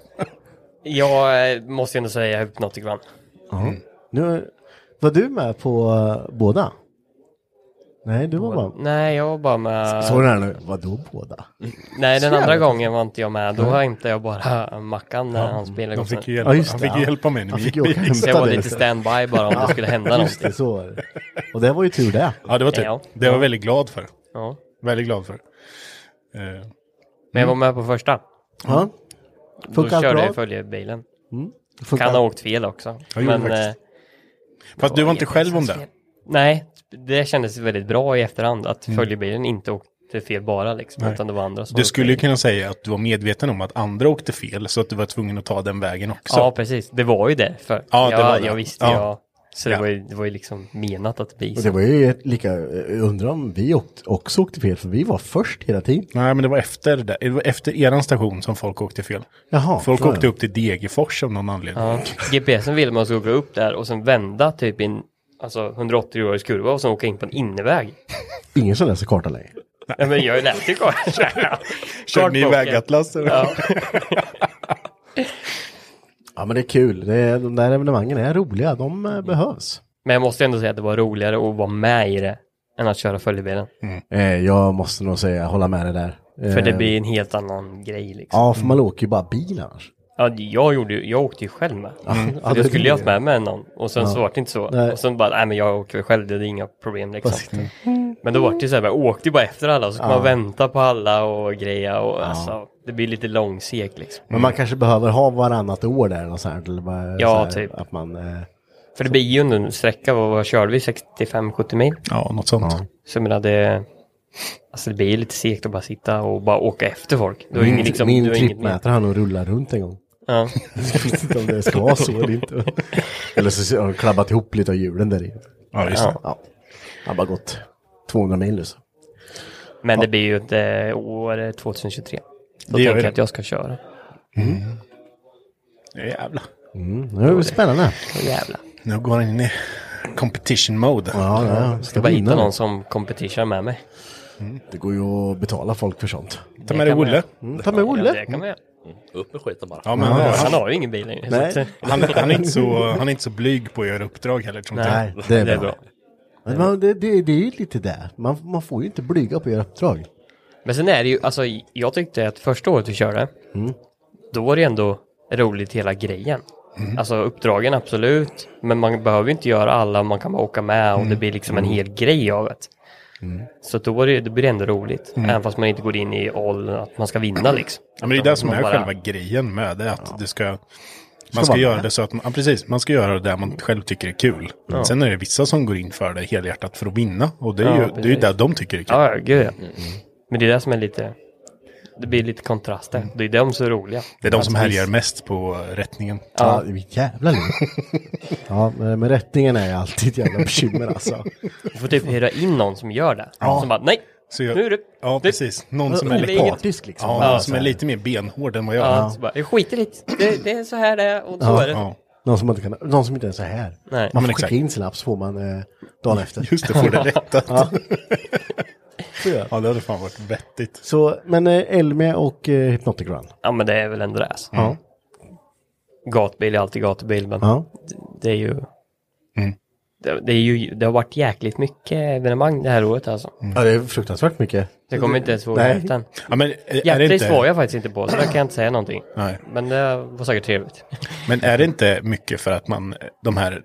Speaker 5: Jag eh, måste ju ändå säga Hypnotic Run.
Speaker 2: nu, var du med på eh, båda? Nej, du var bara...
Speaker 5: Nej, jag var bara med...
Speaker 2: Såg du den här nu? Vadå båda?
Speaker 5: Nej, den
Speaker 2: Så
Speaker 5: andra
Speaker 2: jävla
Speaker 5: gången var inte jag med. Då hämtade jag bara Mackan när han spelade
Speaker 3: De
Speaker 5: igång.
Speaker 3: fick ju
Speaker 2: Ja,
Speaker 3: hjälpa,
Speaker 2: just
Speaker 3: han
Speaker 2: det,
Speaker 3: fick ju
Speaker 2: ja.
Speaker 3: hjälpa mig när
Speaker 2: Han
Speaker 3: vi
Speaker 2: fick
Speaker 3: gick
Speaker 2: ju åka
Speaker 3: bil.
Speaker 2: hem.
Speaker 5: Så jag var
Speaker 2: det
Speaker 5: lite
Speaker 2: lite.
Speaker 5: standby bara om det skulle hända
Speaker 2: Just
Speaker 5: någonting.
Speaker 2: det, så var det. Och det var ju tur det.
Speaker 3: Ja, det var typ.
Speaker 5: Ja.
Speaker 3: Det var jag väldigt glad för.
Speaker 5: Ja.
Speaker 3: Väldigt glad för. Eh, Mm.
Speaker 5: Men jag var med på första.
Speaker 2: Ja.
Speaker 5: Då
Speaker 2: Funkar
Speaker 5: körde
Speaker 2: bra? Mm.
Speaker 5: jag i följebilen.
Speaker 2: Funkar-
Speaker 5: Kan ha åkt fel också.
Speaker 3: Jag gjorde
Speaker 5: Men
Speaker 3: faktiskt.
Speaker 5: eh,
Speaker 3: Fast du var inte
Speaker 5: jävligt
Speaker 3: själv om
Speaker 5: fel.
Speaker 3: det.
Speaker 5: nej, det kändes väldigt bra i efterhand att följebilen inte åkte fel bara liksom. Utan det var andra som
Speaker 3: Mm. Du
Speaker 5: åkte
Speaker 3: skulle ju
Speaker 5: fel.
Speaker 3: kunna säga att du var medveten om att andra åkte fel så att du var tvungen att ta den vägen också.
Speaker 5: Ja, precis. Det var ju det. För
Speaker 3: Ja,
Speaker 5: ja,
Speaker 3: det
Speaker 5: jag,
Speaker 3: var det.
Speaker 5: jag visste
Speaker 3: Ja.
Speaker 5: jag. Så det,
Speaker 3: Ja.
Speaker 5: var ju, det var ju liksom menat att bli
Speaker 2: Och
Speaker 5: så.
Speaker 2: det var ju ett lika, eh, jag undrar om vi åkt, också åkte fel, för vi var först hela tiden.
Speaker 3: Nej, men det var efter, det. Det var efter eran station som folk åkte fel.
Speaker 2: Jaha.
Speaker 3: Folk
Speaker 2: så är
Speaker 3: åkte
Speaker 2: det.
Speaker 3: upp till Degerfors av någon anledning.
Speaker 5: Ja, GPSen ville man skulle gå upp där och sen vända typ i en alltså 180 graders kurva och sen åka in på en inneväg.
Speaker 2: Ingen som läser kartan längre.
Speaker 5: Nej men jag lät ju kvar.
Speaker 3: Körde ni vägatlas?
Speaker 5: Ja.
Speaker 2: Ja men det är kul, det är, de där evenemangen är roliga, de eh, behövs.
Speaker 5: Men jag måste ändå säga att det var roligare att vara med i det än att köra följebilen.
Speaker 2: Eh, jag måste nog säga, hålla med dig där. Eh,
Speaker 5: För det blir en helt annan grej liksom.
Speaker 2: Ja, för man åker ju bara bil annars.
Speaker 5: Ja, jag, gjorde, ju- jag åkte ju själv med.
Speaker 2: Mm.
Speaker 5: För då skulle jag haft med mig någon och sen så var det inte så.
Speaker 2: Nej.
Speaker 5: Och sen bara, nej men jag åker väl själv, det är inga problem liksom. Men då var det ju så här, jag åkte ju bara efter alla och så kan man vänta på alla och greja och alltså. Det blir lite långsek liksom.
Speaker 2: Men man kanske behöver ha varannat år där något sånt, eller bara,
Speaker 5: Ja,
Speaker 2: så här,
Speaker 5: typ.
Speaker 2: Att man, eh,
Speaker 5: För det blir ju ändå en sträcka, vad, vad körde vi? 65-70 mil?
Speaker 3: Ja, något sånt.
Speaker 5: Så jag menar det... Alltså det blir ju lite segt att bara sitta och bara åka efter folk. Du har ju ingen liksom...
Speaker 2: min
Speaker 5: du har inget med.
Speaker 2: trippmätare har nog rullat runt en gång.
Speaker 5: Ja.
Speaker 2: Jag vet inte om det ska vara så eller inte. Eller så har de klabbat ihop lite av hjulen där i.
Speaker 3: Ja, just det.
Speaker 2: Ja. Han har bara gått 200 mil nu så.
Speaker 5: Men det blir ju eh, inte år 2023. Då
Speaker 3: Det gör
Speaker 5: tänker jag
Speaker 3: det.
Speaker 5: att jag ska köra.
Speaker 3: Jävlar.
Speaker 2: Mm, nu är det spännande.
Speaker 5: Åh jävlar.
Speaker 3: Nu går han in i competition mode.
Speaker 2: Ja, ja.
Speaker 5: Ska bara hitta någon som competition med mig.
Speaker 2: Mm. Det går ju att betala folk för sånt.
Speaker 3: Ta med dig
Speaker 5: kan man
Speaker 3: Olle.
Speaker 6: Mm.
Speaker 2: Ta med
Speaker 5: Ja, det
Speaker 2: Olle.
Speaker 5: kan man göra.
Speaker 6: Upp med skiten bara.
Speaker 3: Ja, men
Speaker 5: Han har ju ingen bil längre. så
Speaker 2: Nej.
Speaker 5: att, eh,
Speaker 3: Han, han, är inte så, han är inte så blyg på att göra uppdrag heller. Tror inte.
Speaker 2: Nej, det är bra. Men man, det, det, det är ju lite där. Man, man får ju inte blyga på era uppdrag.
Speaker 5: Men sen är det ju, alltså jag tyckte att första året vi körde,
Speaker 3: Mm.
Speaker 5: då var det ändå roligt hela grejen.
Speaker 3: Mm.
Speaker 5: Alltså uppdragen absolut, men man behöver ju inte göra alla, man kan bara åka med
Speaker 3: Mm.
Speaker 5: och det blir liksom en hel grej av det. Så då, var det, då blir det ändå roligt, även fast man inte går in i all, att man ska vinna liksom.
Speaker 3: Mm. Ja, men det är det som
Speaker 5: Man
Speaker 3: är
Speaker 5: bara-
Speaker 3: själva grejen med det. Att du ska, man ska
Speaker 2: vara
Speaker 3: göra
Speaker 2: med.
Speaker 3: det så att man, ja, precis, man ska göra det man själv tycker är kul. Sen är det vissa som går in för det helhjärtat för att vinna. Och det är
Speaker 5: Ja,
Speaker 3: ju det, är ju
Speaker 5: precis.
Speaker 3: det de tycker är kul. Mm.
Speaker 5: Ja, ja, gud ja. Men det är det som är lite, det blir lite kontraster. Det är de som är roliga.
Speaker 3: Mm. Det är de som
Speaker 5: Att vi-
Speaker 3: härjar mest på eh, rättningen.
Speaker 2: Ja, det är ett jävla liv. Ja, men men rättningen är alltid ett jävla bekymmer alltså.
Speaker 5: Vi får typ hyra in någon som gör det. Som bara, nej,
Speaker 3: Så jag-
Speaker 5: nu är det. typ-"
Speaker 3: Ja, precis. Någon som är
Speaker 5: det är
Speaker 3: lite,
Speaker 5: inget-
Speaker 2: Partisk liksom.
Speaker 3: ja,
Speaker 2: Ja,
Speaker 3: som
Speaker 2: så
Speaker 3: är
Speaker 2: här.
Speaker 3: lite mer benhård än vad jag
Speaker 5: Ja,
Speaker 3: är.
Speaker 5: Så bara, jag skiter i det. det. Det är så här det är och så är det.
Speaker 3: Ja.
Speaker 2: Någon som inte, kan, någon som inte är så här.
Speaker 5: Nej.
Speaker 2: Man får
Speaker 3: men
Speaker 2: skicka
Speaker 3: exakt.
Speaker 2: in sin app så får man eh, dagen efter.
Speaker 3: Just det, får det rättat. Ja.
Speaker 2: Så gör.
Speaker 3: det hade fan varit vettigt.
Speaker 2: Så, men eh, Elmia och eh, Hypnotic Run.
Speaker 5: Ja, men det är väl ändå det. Alltså.
Speaker 2: Ja.
Speaker 5: Gatbil är alltid gatubil, men
Speaker 2: Ja.
Speaker 5: det är ju...
Speaker 3: Mm.
Speaker 5: Det, det, är ju, det har varit jäkligt mycket evenemang det här året alltså.
Speaker 2: ja, det är fruktansvärt mycket.
Speaker 5: Det kommer inte ens våga
Speaker 2: Nej.
Speaker 5: hälften.
Speaker 3: Mm. Ja, men, är, är det
Speaker 5: Hjärtris var
Speaker 3: inte,
Speaker 5: jag faktiskt inte på, så där kan jag inte säga någonting.
Speaker 3: Nej.
Speaker 5: Men det var säkert trevligt.
Speaker 3: men är det inte mycket för att man eh, de här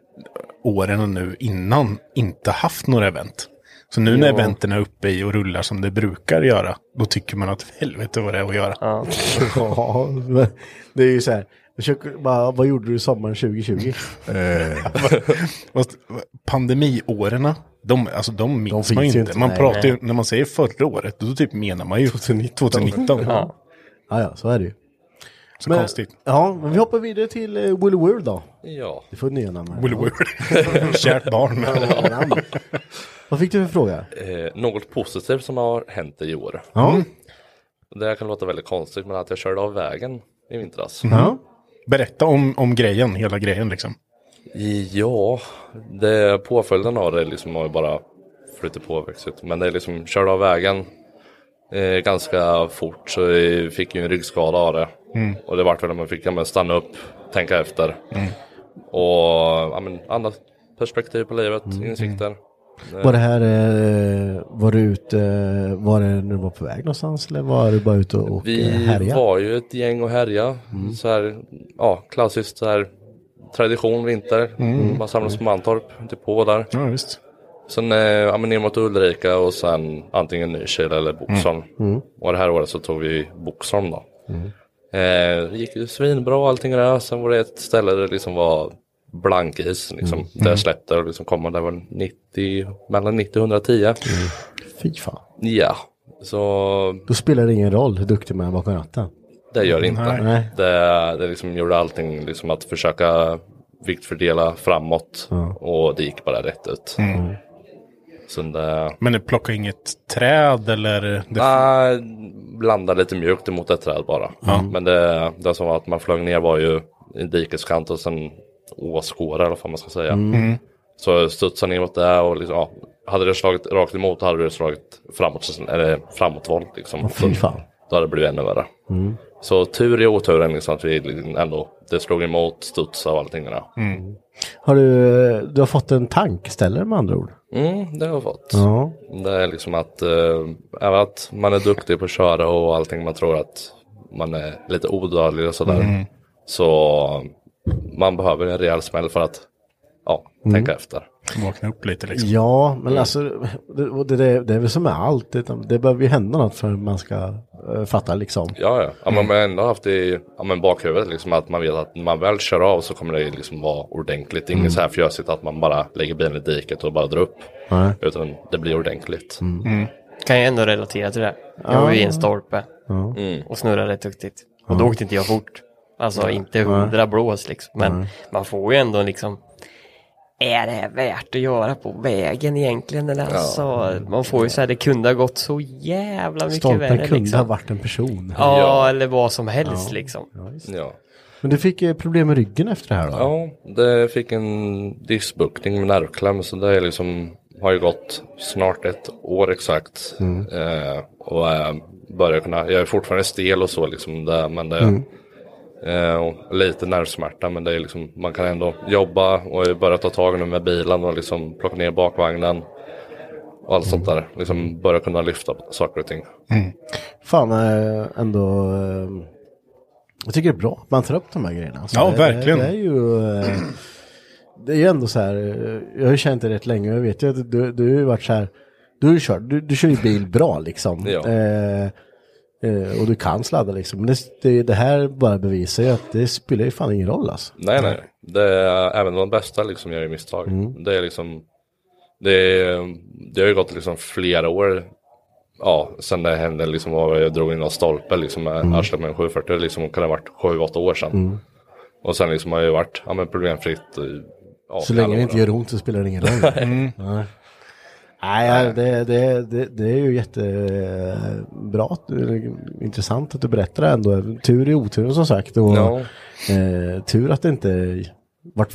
Speaker 3: åren nu innan inte haft några event? Så nu när
Speaker 5: Jo.
Speaker 3: eventen är uppe i och rullar som det brukar göra, då tycker man att helvete vad det är att göra.
Speaker 5: Ja.
Speaker 2: Ja, men det är ju så här. jag försöker bara, vad gjorde du sommaren 2020?
Speaker 3: Eh. Fast pandemiåren, de, alltså, de minns
Speaker 2: finns
Speaker 3: man ju
Speaker 2: ju
Speaker 3: inte.
Speaker 2: inte,
Speaker 3: Man
Speaker 2: nej.
Speaker 3: pratar ju, när man säger förra året, då typ menar man ju 2019.
Speaker 5: Ja.
Speaker 2: ja, ja, så är det ju.
Speaker 3: Så konstigt.
Speaker 2: Ja, men vi hoppar vidare till eh, Willy World då.
Speaker 6: Ja.
Speaker 2: Du får nya namn. här.
Speaker 3: Will Word. Kärt barn. Men.
Speaker 2: Ja, namn. Vad fick du för fråga?
Speaker 6: Eh, något positivt som har hänt i år.
Speaker 2: Ja.
Speaker 3: Mm.
Speaker 6: Det här kan låta väldigt konstigt men att jag körde av vägen i vintras.
Speaker 2: ja.
Speaker 3: Mm. Berätta om, om grejen, hela grejen liksom.
Speaker 6: Ja, det, påföljden av det liksom har ju bara flutit på och växt ut. Men det är liksom, körde av vägen eh, ganska fort så jag fick ju en ryggskada av det.
Speaker 2: Mm.
Speaker 6: Och det vart väl att man fick ja, men, stanna upp, tänka efter. Och ja, men, annat perspektiv på livet, insikter.
Speaker 2: Mm, Var det här, eh, var du ute, eh, var det när du var på väg någonstans eller var du bara ute och
Speaker 6: Vi
Speaker 2: eh, Mm. härjade?
Speaker 6: var ju ett gäng och härja. Så här, ja, klassiskt så här, tradition, vinter.
Speaker 2: Mm.
Speaker 6: Man samlas på Mantorp, typ på där.
Speaker 3: Ja, visst.
Speaker 6: Sen eh, ja, men ner mot Ulrika och sen antingen Nykil eller
Speaker 2: Mm.
Speaker 6: Boxholm. Och det här året så tog vi Boxholm då.
Speaker 2: Mm.
Speaker 6: Eh, det gick ju svinbra allting där. Sen var det ett ställe där det liksom var blankis. Liksom,
Speaker 2: Mm.
Speaker 6: Där jag släppte och liksom kom man där var 90, mellan 90 och 110.
Speaker 2: Mm. Fy fan.
Speaker 6: Ja, så
Speaker 2: Då spelar det ingen roll hur duktig man är bakom ratten.
Speaker 6: det gör det inte.
Speaker 2: Nej.
Speaker 6: Det, det liksom gjorde allting liksom att försöka viktfördela framåt. Och det gick bara rätt ut.
Speaker 3: Mm.
Speaker 6: Sen eh, det,
Speaker 3: Men det plockar inget träd eller? Det,
Speaker 6: Nej, landade lite mjukt emot ett träd bara. Men det, det som var att man flög ner var ju en dikeskant och sen åskåra eller vad man ska säga.
Speaker 2: Mm.
Speaker 6: Så jag studsade ner mot det och liksom, ja, hade det slagit rakt emot hade det slagit framåt, eller framåtvolt liksom. Så
Speaker 2: Fy fan. Mm.
Speaker 6: då hade det blivit ännu värre. Så tur i oturen liksom att vi liksom ändå, det slog emot, studsade och allting där.
Speaker 3: Mm.
Speaker 2: Har du, eh, du har fått en tankställare med andra ord?
Speaker 6: Mm, det har jag fått.
Speaker 2: Ja.
Speaker 6: Det är liksom att, eh, även att man är duktig på att köra och allting, man tror att man är lite odödlig och sådär.
Speaker 3: Mm.
Speaker 6: Så man behöver en rejäl smäll för att ja, tänka efter.
Speaker 3: Mm. Vakna upp lite liksom.
Speaker 6: Mm.
Speaker 2: alltså, Ja, men alltså det, och det, det, det är väl som med allt. Det, det behöver ju hända något för att man ska eh, fattar liksom.
Speaker 6: Ja, ja. ja
Speaker 3: Mm.
Speaker 6: men man har ändå haft i ja, men bakhuvudet liksom att man vet att när man väl kör av så kommer det liksom vara ordentligt.
Speaker 3: Mm.
Speaker 6: Inget så här fjösigt att man bara lägger bilen i diket och bara drar upp.
Speaker 2: Nej.
Speaker 6: Utan det blir ordentligt.
Speaker 3: Mm.
Speaker 8: Kan jag ändå relatera till det. Jag var ju i en stolpe
Speaker 3: Mm.
Speaker 8: och snurrade rätt duktigt. Och då åkte inte jag fort. Alltså inte hundra blås liksom. Men man får ju ändå liksom. Är det här värt att göra på vägen egentligen? Eller alltså, man får ju så här, det kunde ha gått så jävla mycket
Speaker 2: Stolpen
Speaker 8: värre.
Speaker 2: kunde ha
Speaker 8: Liksom.
Speaker 2: varit en person.
Speaker 8: Ja,
Speaker 6: Ja.
Speaker 8: eller vad som helst liksom.
Speaker 6: Ja.
Speaker 2: Men du fick eh, problem med ryggen efter det här då?
Speaker 6: ja, det fick en diskbuktning med nervkläm så det är liksom har ju gått snart ett år exakt. Eh, och eh, börjar kunna, jag är fortfarande stel och så liksom det, men det eh, och lite nervsmärta men det är liksom, man kan ändå jobba och jag börjar ta tag nu med bilen och liksom plocka ner bakvagnen. Och allt sånt där, liksom börja kunna lyfta saker och ting.
Speaker 3: Mm.
Speaker 2: Fan, eh, ändå. eh, Jag tycker det är bra att man tar upp de här grejerna. Alltså,
Speaker 3: Ja,
Speaker 2: det,
Speaker 3: verkligen.
Speaker 2: Det, det är ju... eh, Det är ju ändå så här, eh, jag har ju känt dig rätt länge och jag vet ju att du, du har ju varit så här, du, har ju kört, du, du kör ju bil bra liksom.
Speaker 6: Ja.
Speaker 2: Eh, eh, och du kan sladda liksom. Men det, det, det här bara bevisar ju att det spelar ju fan ingen roll alltså.
Speaker 6: Nej, nej. Det är, även de bästa liksom gör ju misstag.
Speaker 2: Mm.
Speaker 6: Det är liksom, det, är, det har ju gått liksom flera år, ja, sen det hände liksom, och jag drog in någon stolpe liksom med
Speaker 2: Mm.
Speaker 6: arslet med en 740, liksom, kan det ha varit 7-8 år sedan. Och sen liksom har jag ju varit, ja men problemfritt. i- Ja,
Speaker 2: Så
Speaker 6: i alla
Speaker 2: länge det inte
Speaker 6: år.
Speaker 2: gör ont så spelar det ingen roll. Nej. Nej, ja, det, det, det, det är ju jättebra, att du- eller intressant att du berättar det ändå. Tur i oturen som sagt. Och,
Speaker 6: Ja.
Speaker 2: eh, tur att det inte vart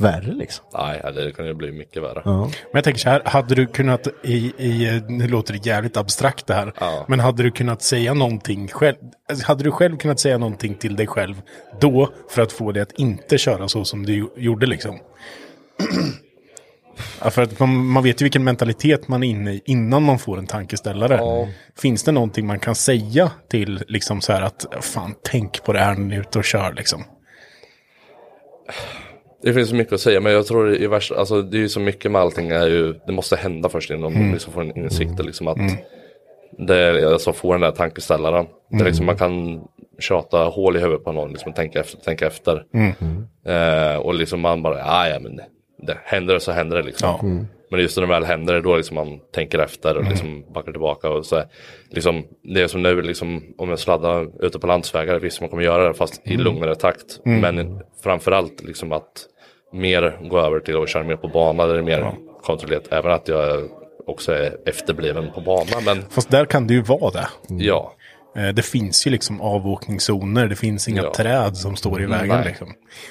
Speaker 2: värre liksom.
Speaker 6: Nej, det kan ju bli mycket värre.
Speaker 3: Men jag tänker så här, hade du kunnat, i, i, nu låter det jävligt abstrakt det här, men hade du kunnat säga någonting själv, alltså, hade du själv kunnat säga någonting till dig själv då för att få dig att inte köra så som du gjo- gjorde liksom? ja, för att man, man vet ju vilken mentalitet man är inne i innan man får en tankeställare. Finns det någonting man kan säga till liksom så här att fan tänk på det här när ni är ute och kör liksom?
Speaker 6: Det finns så mycket att säga men jag tror i värsta, alltså det är ju så mycket med allting är ju, det måste hända först innan man liksom får en insikt liksom att det, alltså få den där tankeställaren. Det är liksom man kan tjata hål i huvudet på någon liksom och tänka efter, tänka efter. Eh, och liksom man bara, "Ah, ja men det, händer det så händer det liksom.
Speaker 3: Ja.
Speaker 6: Men just när det väl händer det då liksom man tänker efter och liksom backar tillbaka och så här, liksom det är som nu liksom om jag sladdar ute på landsvägar visst man kommer göra det fast i lugnare takt men framförallt liksom att mer gå över till att köra mer på bana där det är mer kontrollerat även att jag också är efterbliven på bana men
Speaker 3: Fast där kan det ju vara det.
Speaker 6: ja
Speaker 3: Eh, Det finns ju liksom avåkningszoner, det finns inga
Speaker 6: Ja. Mm,
Speaker 3: träd som står i vägen.
Speaker 6: nej.
Speaker 3: Liksom.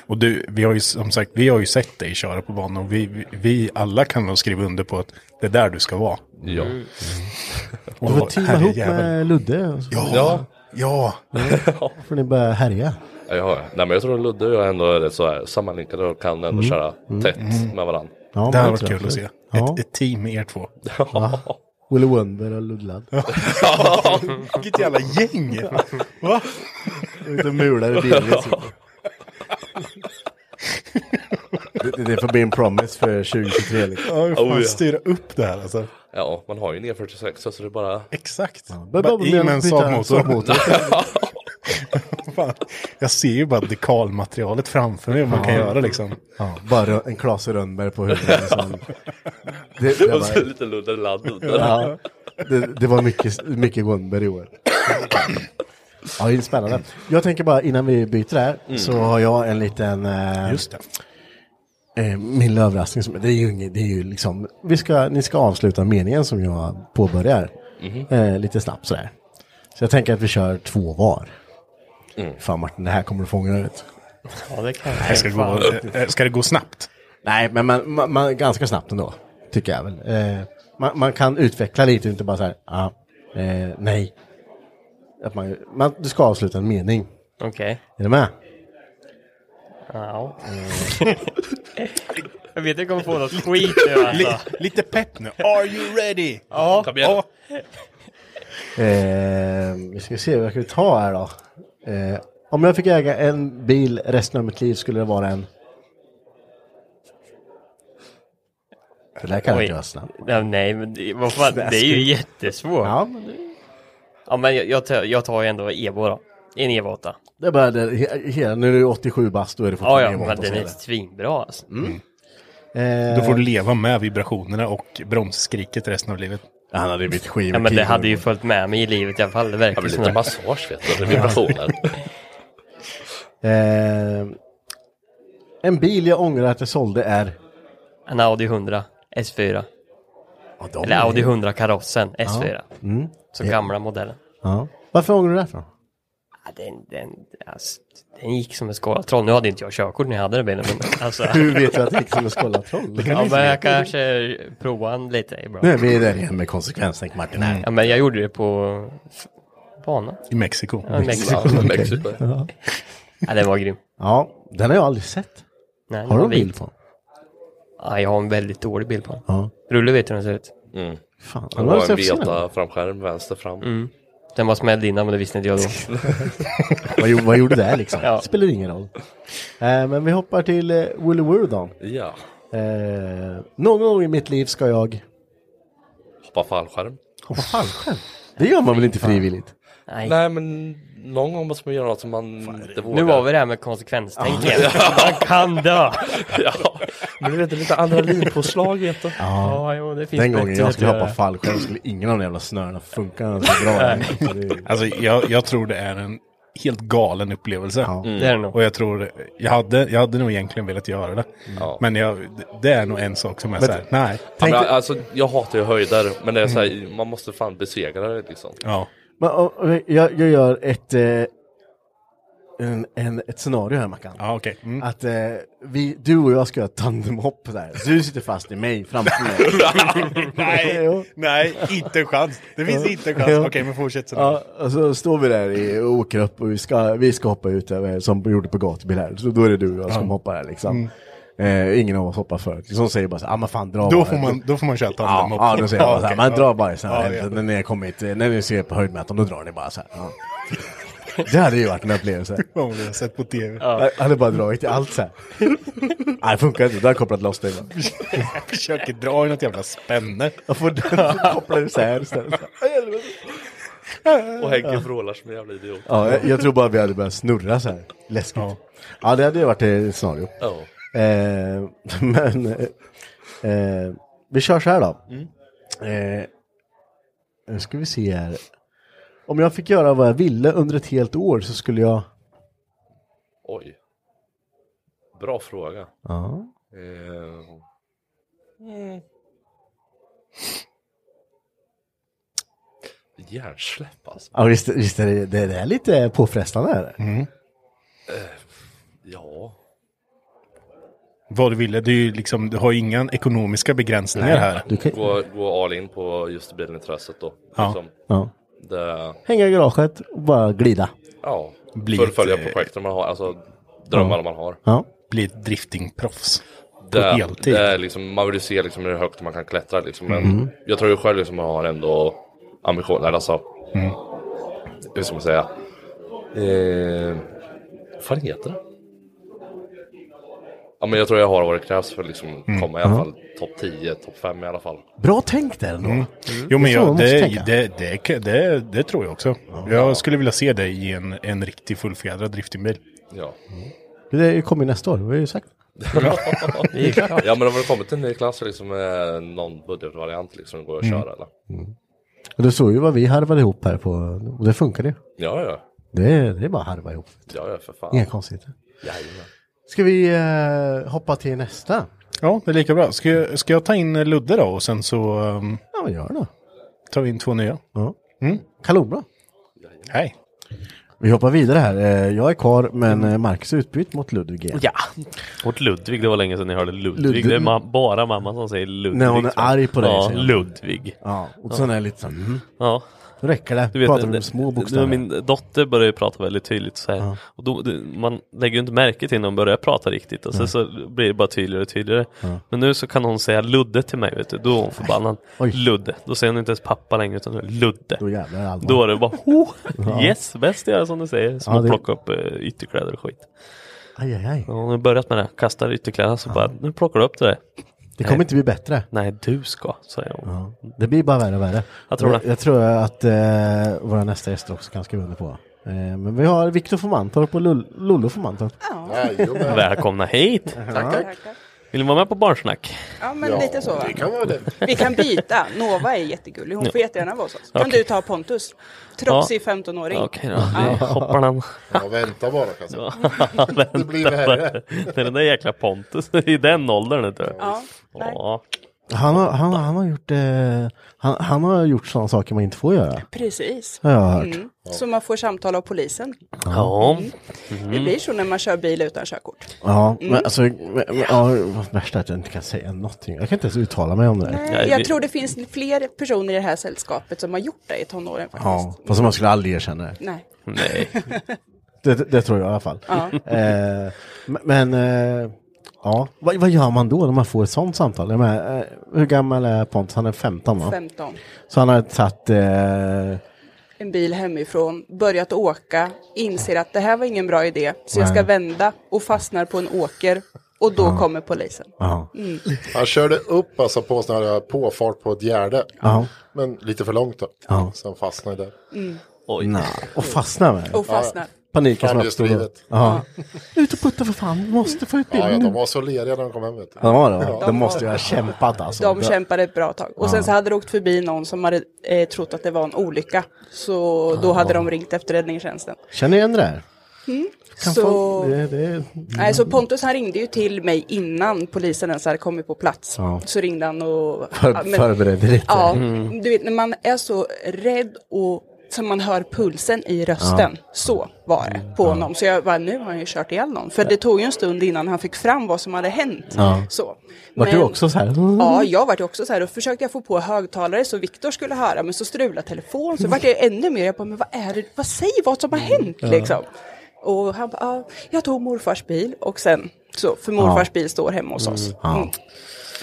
Speaker 3: Och du, vi har ju som sagt, vi har ju sett dig köra på banan och vi, vi- vi alla kan väl skriva under på att det är där du ska vara.
Speaker 6: ja
Speaker 2: Mm.
Speaker 3: Och
Speaker 2: Du får teama ihop
Speaker 3: herrejävel.
Speaker 2: med Ludde. Så
Speaker 3: Ja, ja.
Speaker 6: Ja.
Speaker 2: får ni börja härja.
Speaker 6: ja, ja. Nej, men jag tror Ludde och jag ändå är rätt så här sammanlänkade och kan ändå köra tätt med varandra
Speaker 3: det
Speaker 2: Ja,
Speaker 3: här
Speaker 2: men
Speaker 3: har varit
Speaker 2: tror jag.
Speaker 3: kul att se.
Speaker 2: Ja.
Speaker 3: Ett, ett team med er två.
Speaker 2: Willy Wonder och Ludlad.
Speaker 3: Vilket jävla gäng! Va?
Speaker 2: Ut och mular i bilen. det, det får bli en promise för 2023 liksom.
Speaker 3: Ja, hur fan
Speaker 6: Oh, ja.
Speaker 3: styra upp det här alltså.
Speaker 6: ja man har ju en E46 så det är bara
Speaker 3: Exakt.
Speaker 2: Bara- bara-
Speaker 3: Bara I med en
Speaker 2: byta
Speaker 3: Saab-motor.
Speaker 2: Saab-motor.
Speaker 3: Fan. Jag ser ju bara dekalmaterialet framför mig vad man kan göra liksom.
Speaker 2: Ja, bara en Klase Rönnberg på huvudet. Liksom. Det, det,
Speaker 6: Och så
Speaker 2: var,
Speaker 6: lite Ludde laddad
Speaker 2: ja, det, det var mycket, mycket Rönnberg i år. Ja, det är spännande. Jag tänker bara innan vi byter här så har jag en liten eh,
Speaker 3: Just det.
Speaker 2: eh, min lilla överraskning. Som, det, är ju, inget- det är ju liksom, vi ska, ni ska avsluta meningen som jag påbörjar. Eh, lite snabbt sådär. Så jag tänker att vi kör två var. Fan Martin, det här kommer du fånga ut.
Speaker 8: Ja, det kan
Speaker 3: Här Ska det, gå, eh, ska det gå snabbt?
Speaker 2: Nej, men man, man, man, ganska snabbt ändå, tycker jag väl. Eh, man, man kan utveckla lite, inte bara så här, ah, eh, nej. Att man, man, du ska avsluta en mening.
Speaker 8: Okej.
Speaker 2: Är du med?
Speaker 8: Ja.
Speaker 2: Eh.
Speaker 8: jag vet jag kommer få något skit nu alltså.
Speaker 3: Lite pepp nu. Are you ready? Ja.
Speaker 6: Kom igen.
Speaker 3: Ja.
Speaker 2: Eh, vi ska se, vad ska vi ta här då? Eh, om jag fick äga en bil resten av mitt liv skulle det vara en... Det där kan jag
Speaker 8: Oj.
Speaker 2: inte göra snabbt.
Speaker 8: Ja, nej, men det, vad fan, det är ju jättesvårt.
Speaker 2: Ja, men det...
Speaker 5: Ja, men jag, jag, tar, jag tar ju ändå Evo då. En Evo 8.
Speaker 2: Det är bara det, he, he, nu är du 87 bast, då är det
Speaker 5: Ja,
Speaker 2: fortfarande
Speaker 5: ja,
Speaker 2: Evo
Speaker 5: men
Speaker 2: 8
Speaker 5: den
Speaker 2: som
Speaker 5: är
Speaker 2: gäller.
Speaker 5: svinbra alltså.
Speaker 2: Eh,
Speaker 3: Då får du leva med vibrationerna och bromsskriket resten av livet.
Speaker 2: Han hade ju blivit skiv.
Speaker 5: Ja, men det hade ju följt med mig i livet i alla fall. Det
Speaker 6: Jag
Speaker 5: verkar
Speaker 6: vill
Speaker 5: som
Speaker 6: lite
Speaker 5: det.
Speaker 6: massage vet du, med vibrationer.
Speaker 2: Eh, en bil jag ångrar att jag sålde är...
Speaker 5: En Audi 100 S4.
Speaker 2: Ja, de
Speaker 5: Eller
Speaker 2: är-
Speaker 5: Audi 100 karossen S4.
Speaker 2: Mm.
Speaker 5: Så gamla modellen.
Speaker 2: Ja. Varför ångrar du det här för?
Speaker 5: Ja, den, den, alltså, den gick som en skålad troll. Nu hade inte jag körkort när jag hade den bilen. Men, alltså,
Speaker 2: Hur vet du att det gick som en skållad troll?
Speaker 5: ja, men jag kanske provar den lite ibland.
Speaker 2: Nu är vi där igen med konsekvenstänk Martin. här.
Speaker 5: Ja, men jag gjorde det på f- banan.
Speaker 3: I Mexiko.
Speaker 5: Ja, i Mexiko.
Speaker 6: Ja, Mexiko.
Speaker 5: Ja, den var grym.
Speaker 2: Ja, den har jag aldrig sett.
Speaker 5: Nej, den
Speaker 2: Har du
Speaker 5: var
Speaker 2: en bild
Speaker 5: vit.
Speaker 2: på?
Speaker 5: Ja, jag har en väldigt dålig bild på den.
Speaker 2: Ja.
Speaker 5: Rulle vet hur den ser ut.
Speaker 2: Fan, den har
Speaker 6: Det
Speaker 2: jag
Speaker 6: Mm. var en
Speaker 2: sett på scenen.
Speaker 6: beta framskärm vänster fram.
Speaker 5: Mm. Den var smälld innan, men det visste inte jag då.
Speaker 2: vad, gjorde- vad gjorde det liksom?
Speaker 5: Ja.
Speaker 2: Spelar ingen roll. Eh, men vi hoppar till eh, Willy Wurdon.
Speaker 6: Ja,
Speaker 2: Eh, någon gång i mitt liv ska jag...
Speaker 6: hoppa fallskärm.
Speaker 2: Hoppa fallskärm? Det gör man väl inte frivilligt?
Speaker 5: Nej.
Speaker 6: Nej men någon gång måste man göra något som man inte vågar.
Speaker 5: Nu var vi det här med konsekvenstänk igen. Man kan dö!
Speaker 6: ja. Men du vet, det är lite adrenalinpåslag vet du.
Speaker 5: Ja, jo, det finns
Speaker 2: Den gången
Speaker 5: bättre
Speaker 2: jag skulle
Speaker 5: att göra.
Speaker 2: hoppa fallskärm skulle ingen av
Speaker 3: Mm.
Speaker 2: de jävla snörena funka så bra. Så det-
Speaker 3: Alltså jag, jag tror det är en helt galen upplevelse.
Speaker 2: Ja.
Speaker 5: Mm. Det är det nog.
Speaker 3: Och jag tror, jag hade, jag hade nog egentligen velat göra det.
Speaker 5: Mm.
Speaker 6: Ja.
Speaker 3: Men jag, det är nog en sak som är så här, nej.
Speaker 6: Men,
Speaker 2: Tänk,
Speaker 6: alltså, jag hatar ju höjder, men det är så här, man måste fan besegra det liksom.
Speaker 3: Ja.
Speaker 2: men, och, och, jag, jag gör ett, eh, en, en, ett scenario här Mackan.
Speaker 3: Ja, okej. Mm.
Speaker 2: Att eh, vi, du och jag ska göra ett tandemhopp där. Så du sitter fast i mig framför mig. Jo.
Speaker 3: nej, nej, inte en chans. Det finns inte en chans.
Speaker 2: Jo.
Speaker 3: Okej, men fortsätt. Ja.
Speaker 2: Ja, och så står vi där i- och åker upp och vi ska, vi ska hoppa ut över, som vi gjorde på gatubil här. Så då är det du och jag som hoppar där liksom. Eh, ingen av oss hoppar förut. Liksom säger bara så här, ah, men fan dra
Speaker 3: Mm. Då
Speaker 2: bara."
Speaker 3: får man, då får man köra
Speaker 2: Ja,
Speaker 3: tandem
Speaker 2: ja, då säger jag bara så här,
Speaker 3: okej.
Speaker 2: man drar bara så
Speaker 3: Ja,
Speaker 2: här.
Speaker 3: jag vet.
Speaker 2: när ni har kommit, eh, när ni ser på höjdmätaren, då drar ni bara så här. Ja. Det hade ju varit en upplevelse.
Speaker 3: Vad har jag sett på tv.
Speaker 2: Jag hade bara dragit i allt så här. Nej, det funkar inte. Då har jag kopplat loss det. bara.
Speaker 3: Försöker dra i något jävla spänne.
Speaker 2: Jag får den koppla isär istället.
Speaker 6: Och Henke vrålar som en jävla idiot.
Speaker 2: Ja, jag, jag tror bara vi hade börjat snurra så här. Läskigt. Ja,
Speaker 3: Ja.
Speaker 2: det hade ju varit ett scenario.
Speaker 6: Ja.
Speaker 2: Eh, men eh, eh, vi kör så här då. Eh, nu ska vi se här. Om jag fick göra vad jag ville under ett helt år så skulle jag...
Speaker 6: Oj. Bra fråga.
Speaker 2: Ja.
Speaker 6: Eh, Hjärnsläpp alltså.
Speaker 2: Ja, visst, visst är det, det det är lite påfrestande. Är det?
Speaker 3: Mm.
Speaker 6: Ja.
Speaker 3: Vad du ville, det är ju liksom, du har ju inga ekonomiska begränsningar här.
Speaker 2: Du kan,
Speaker 6: Gå, gå all in på just bilintresset då.
Speaker 3: Ja.
Speaker 6: Liksom.
Speaker 2: ja.
Speaker 6: Det,
Speaker 2: Hänga i garaget och bara glida.
Speaker 6: ja.
Speaker 3: Bli
Speaker 6: Fullfölja
Speaker 3: ett, eh,
Speaker 6: projekten man har, alltså drömmar man har.
Speaker 2: Ja.
Speaker 3: Bli ett driftingproffs.
Speaker 6: det,
Speaker 3: heltid.
Speaker 6: det är liksom, man vill ju se liksom hur högt man kan klättra. Liksom. Men
Speaker 2: Mm.
Speaker 6: jag tror ju själv liksom man har ändå ambitioner. Alltså, Hur ska man säga? Eh, vad fan heter det? Ja, men jag tror jag har vad det krävs för att liksom
Speaker 9: Mm.
Speaker 6: komma i alla fall topp 10, topp 5 i alla fall.
Speaker 2: Bra tänkt där ändå.
Speaker 3: Mm. Jo men
Speaker 2: Det är så man
Speaker 3: jag,
Speaker 2: måste
Speaker 3: det,
Speaker 2: tänka.
Speaker 3: det, det, det, det, tror jag också. Jag skulle vilja se dig i en, en riktig fullfjädrad driftingbil.
Speaker 6: Ja,
Speaker 2: Det kommer ju nästa år, vi har ju sagt.
Speaker 6: ja men om det kommer till en ny klass liksom, eh, någon budgetvariant liksom går att
Speaker 9: Mm.
Speaker 6: köra eller?
Speaker 2: Och Du såg ju vad vi harvade ihop här på, och det funkar ju.
Speaker 6: Ja, ja,
Speaker 2: Det, är- det är bara att harva ihop,
Speaker 6: ja, ja för fan.
Speaker 2: inga konstigheter.
Speaker 6: Jajamän.
Speaker 2: Ska vi eh, hoppa till nästa?
Speaker 3: Ja, det är lika bra. Ska, jag- ska jag ta in Ludde då och sen så um,
Speaker 2: Ja, men gör det.
Speaker 3: tar vi in två nya?
Speaker 2: Ja. Kanonbra.
Speaker 3: Mm. Hej!
Speaker 2: Vi hoppar vidare här. Eh, Jag är kvar, men eh, Marcus är utbytt mot Ludvig igen.
Speaker 4: Ja. Vårt Ludvig, det var länge sedan ni hörde Ludvig.
Speaker 2: Ludvig.
Speaker 4: Det är ma- bara mamma som säger Ludvig.
Speaker 2: När hon är arg på dig,
Speaker 4: Ja,
Speaker 2: säger hon.
Speaker 4: Ludvig.
Speaker 2: Ja, och sen är det lite så här,
Speaker 4: Mm-hmm.
Speaker 2: mm,
Speaker 4: Ja,
Speaker 2: då räcker det.
Speaker 4: du vet,
Speaker 2: Pratar du
Speaker 4: det-
Speaker 2: med små
Speaker 4: det var
Speaker 2: bokstäver.
Speaker 4: Min dotter börjar ju prata väldigt tydligt så här. Och då, det, man lägger ju inte märke till när hon börjar prata riktigt och sen så blir det bara tydligare och tydligare. Men nu så kan hon säga Ludde till mig, vet du. då är hon förbannad.
Speaker 2: Oj.
Speaker 4: Ludde, då säger hon inte ens pappa längre utan då är det Ludde.
Speaker 2: Då jävlar är det allvar.
Speaker 4: Då är det bara oh, yes, bäst att göra som du säger. Som
Speaker 2: Ja,
Speaker 4: att
Speaker 2: det-
Speaker 4: plocka upp eh, ytterkläder och skit.
Speaker 2: Aj, aj, aj.
Speaker 4: Ja, Hon har börjat med det, kastar ytterkläderna så bara, nu plockar du upp det där.
Speaker 2: Det kommer inte bli bättre.
Speaker 4: Nej, du ska, säger hon.
Speaker 2: Ja. Det blir bara värre och värre.
Speaker 4: Jag tror det.
Speaker 2: Jag tror att eh, våra nästa gäster också kan skriva under på. Eh, men vi har Viktor från Mantorp och Lull- Lollo från Mantorp.
Speaker 4: Välkomna hit!
Speaker 10: Tack, tack.
Speaker 4: Vill ni vara med på Barnsnack?
Speaker 10: Ja, men lite så. Det kan vara det. Vi kan byta. Nova är jättegullig. Hon får jättegärna vara hos oss. Kan
Speaker 4: Okej.
Speaker 10: du ta Pontus? Trotsig 15-åring.
Speaker 4: Okej då, vi hoppar den. Ja, vänta bara kanske. det blir värre. Det är den där jäkla Pontus i den åldern. Inte?
Speaker 10: Ja, nej.
Speaker 4: Ja.
Speaker 2: Han har, han, han har gjort, eh, han, han har gjort sådana saker man inte får göra.
Speaker 10: Precis.
Speaker 2: Har jag hört.
Speaker 10: Mm. Så man får samtal av polisen. Mm.
Speaker 4: ja. Mm.
Speaker 10: Det blir så när man kör bil utan körkort.
Speaker 2: Ja,
Speaker 10: Mm.
Speaker 2: men alltså, men, men, ja, det värsta är att jag inte kan säga någonting. Jag kan inte ens uttala mig om det. där.
Speaker 10: Nej,
Speaker 4: vi-
Speaker 10: jag tror det finns fler personer i det här sällskapet som har gjort det i tonåren
Speaker 2: Ja,
Speaker 10: faktiskt.
Speaker 2: fast man skulle aldrig erkänna det.
Speaker 10: Nej.
Speaker 4: Nej.
Speaker 2: Det, det, det tror jag i alla fall. Eh, men- men, eh, ja, vad, vad gör man då när man får ett sånt samtal? Jag menar, eh, hur gammal är Pontus? Han är 15 va?
Speaker 10: 15.
Speaker 2: Så han har tagit, eh,
Speaker 10: En bil hemifrån, börjat åka, inser att det här var ingen bra idé, så jag ska vända och fastnar på en åker och då kommer polisen.
Speaker 2: ja,
Speaker 11: Han körde upp alltså på sån här påfart på ett gärde.
Speaker 2: ja,
Speaker 11: Men lite för långt då.
Speaker 2: Ja.
Speaker 11: Så han fastnade där.
Speaker 2: nej. och fastnar med
Speaker 10: Och fastnar.
Speaker 2: paniken som
Speaker 11: Fan,
Speaker 2: uppstod.
Speaker 11: just
Speaker 2: då.
Speaker 11: livet.
Speaker 2: Ja. Ut och putta för fan, vi måste få ut
Speaker 11: Ja, ja,
Speaker 2: bilen
Speaker 11: de
Speaker 2: nu.
Speaker 11: var så leriga när de kom hem. Vet du.
Speaker 2: Ja, de var det va?
Speaker 11: Ja.
Speaker 2: De måste ju ha kämpat alltså.
Speaker 10: De kämpade ett bra tag. Och sen så hade det åkt förbi någon som hade eh, trott att det var en olycka. Så då hade de ringt efter räddningstjänsten.
Speaker 2: Känner ni igen det där? Kan
Speaker 10: Så,
Speaker 2: få- det, det,
Speaker 10: nej, så Pontus han ringde ju till mig innan polisen ens hade kommit på plats.
Speaker 2: Ja.
Speaker 10: Så ringde han och...
Speaker 2: för,
Speaker 10: ja, men-
Speaker 2: förberedde lite. Mm.
Speaker 10: Ja, du vet när man är så rädd och så man hör pulsen i rösten. Så var det på honom. Så jag bara, nu har han ju kört ihjäl någon. För det tog ju en stund innan han fick fram vad som hade hänt.
Speaker 2: Ja.
Speaker 10: Så.
Speaker 2: Var du
Speaker 10: Men-
Speaker 2: också så här?
Speaker 10: Ja, jag vart ju också så här, och försökte jag få på högtalare så Viktor skulle höra, men så strulade telefon, så vart jag ännu mer, jag bara, men vad är det, vad säger vad som har hänt liksom? Och han bara, ah, jag tog morfars bil och sen, så, för morfars bil står hemma hos oss. Mm.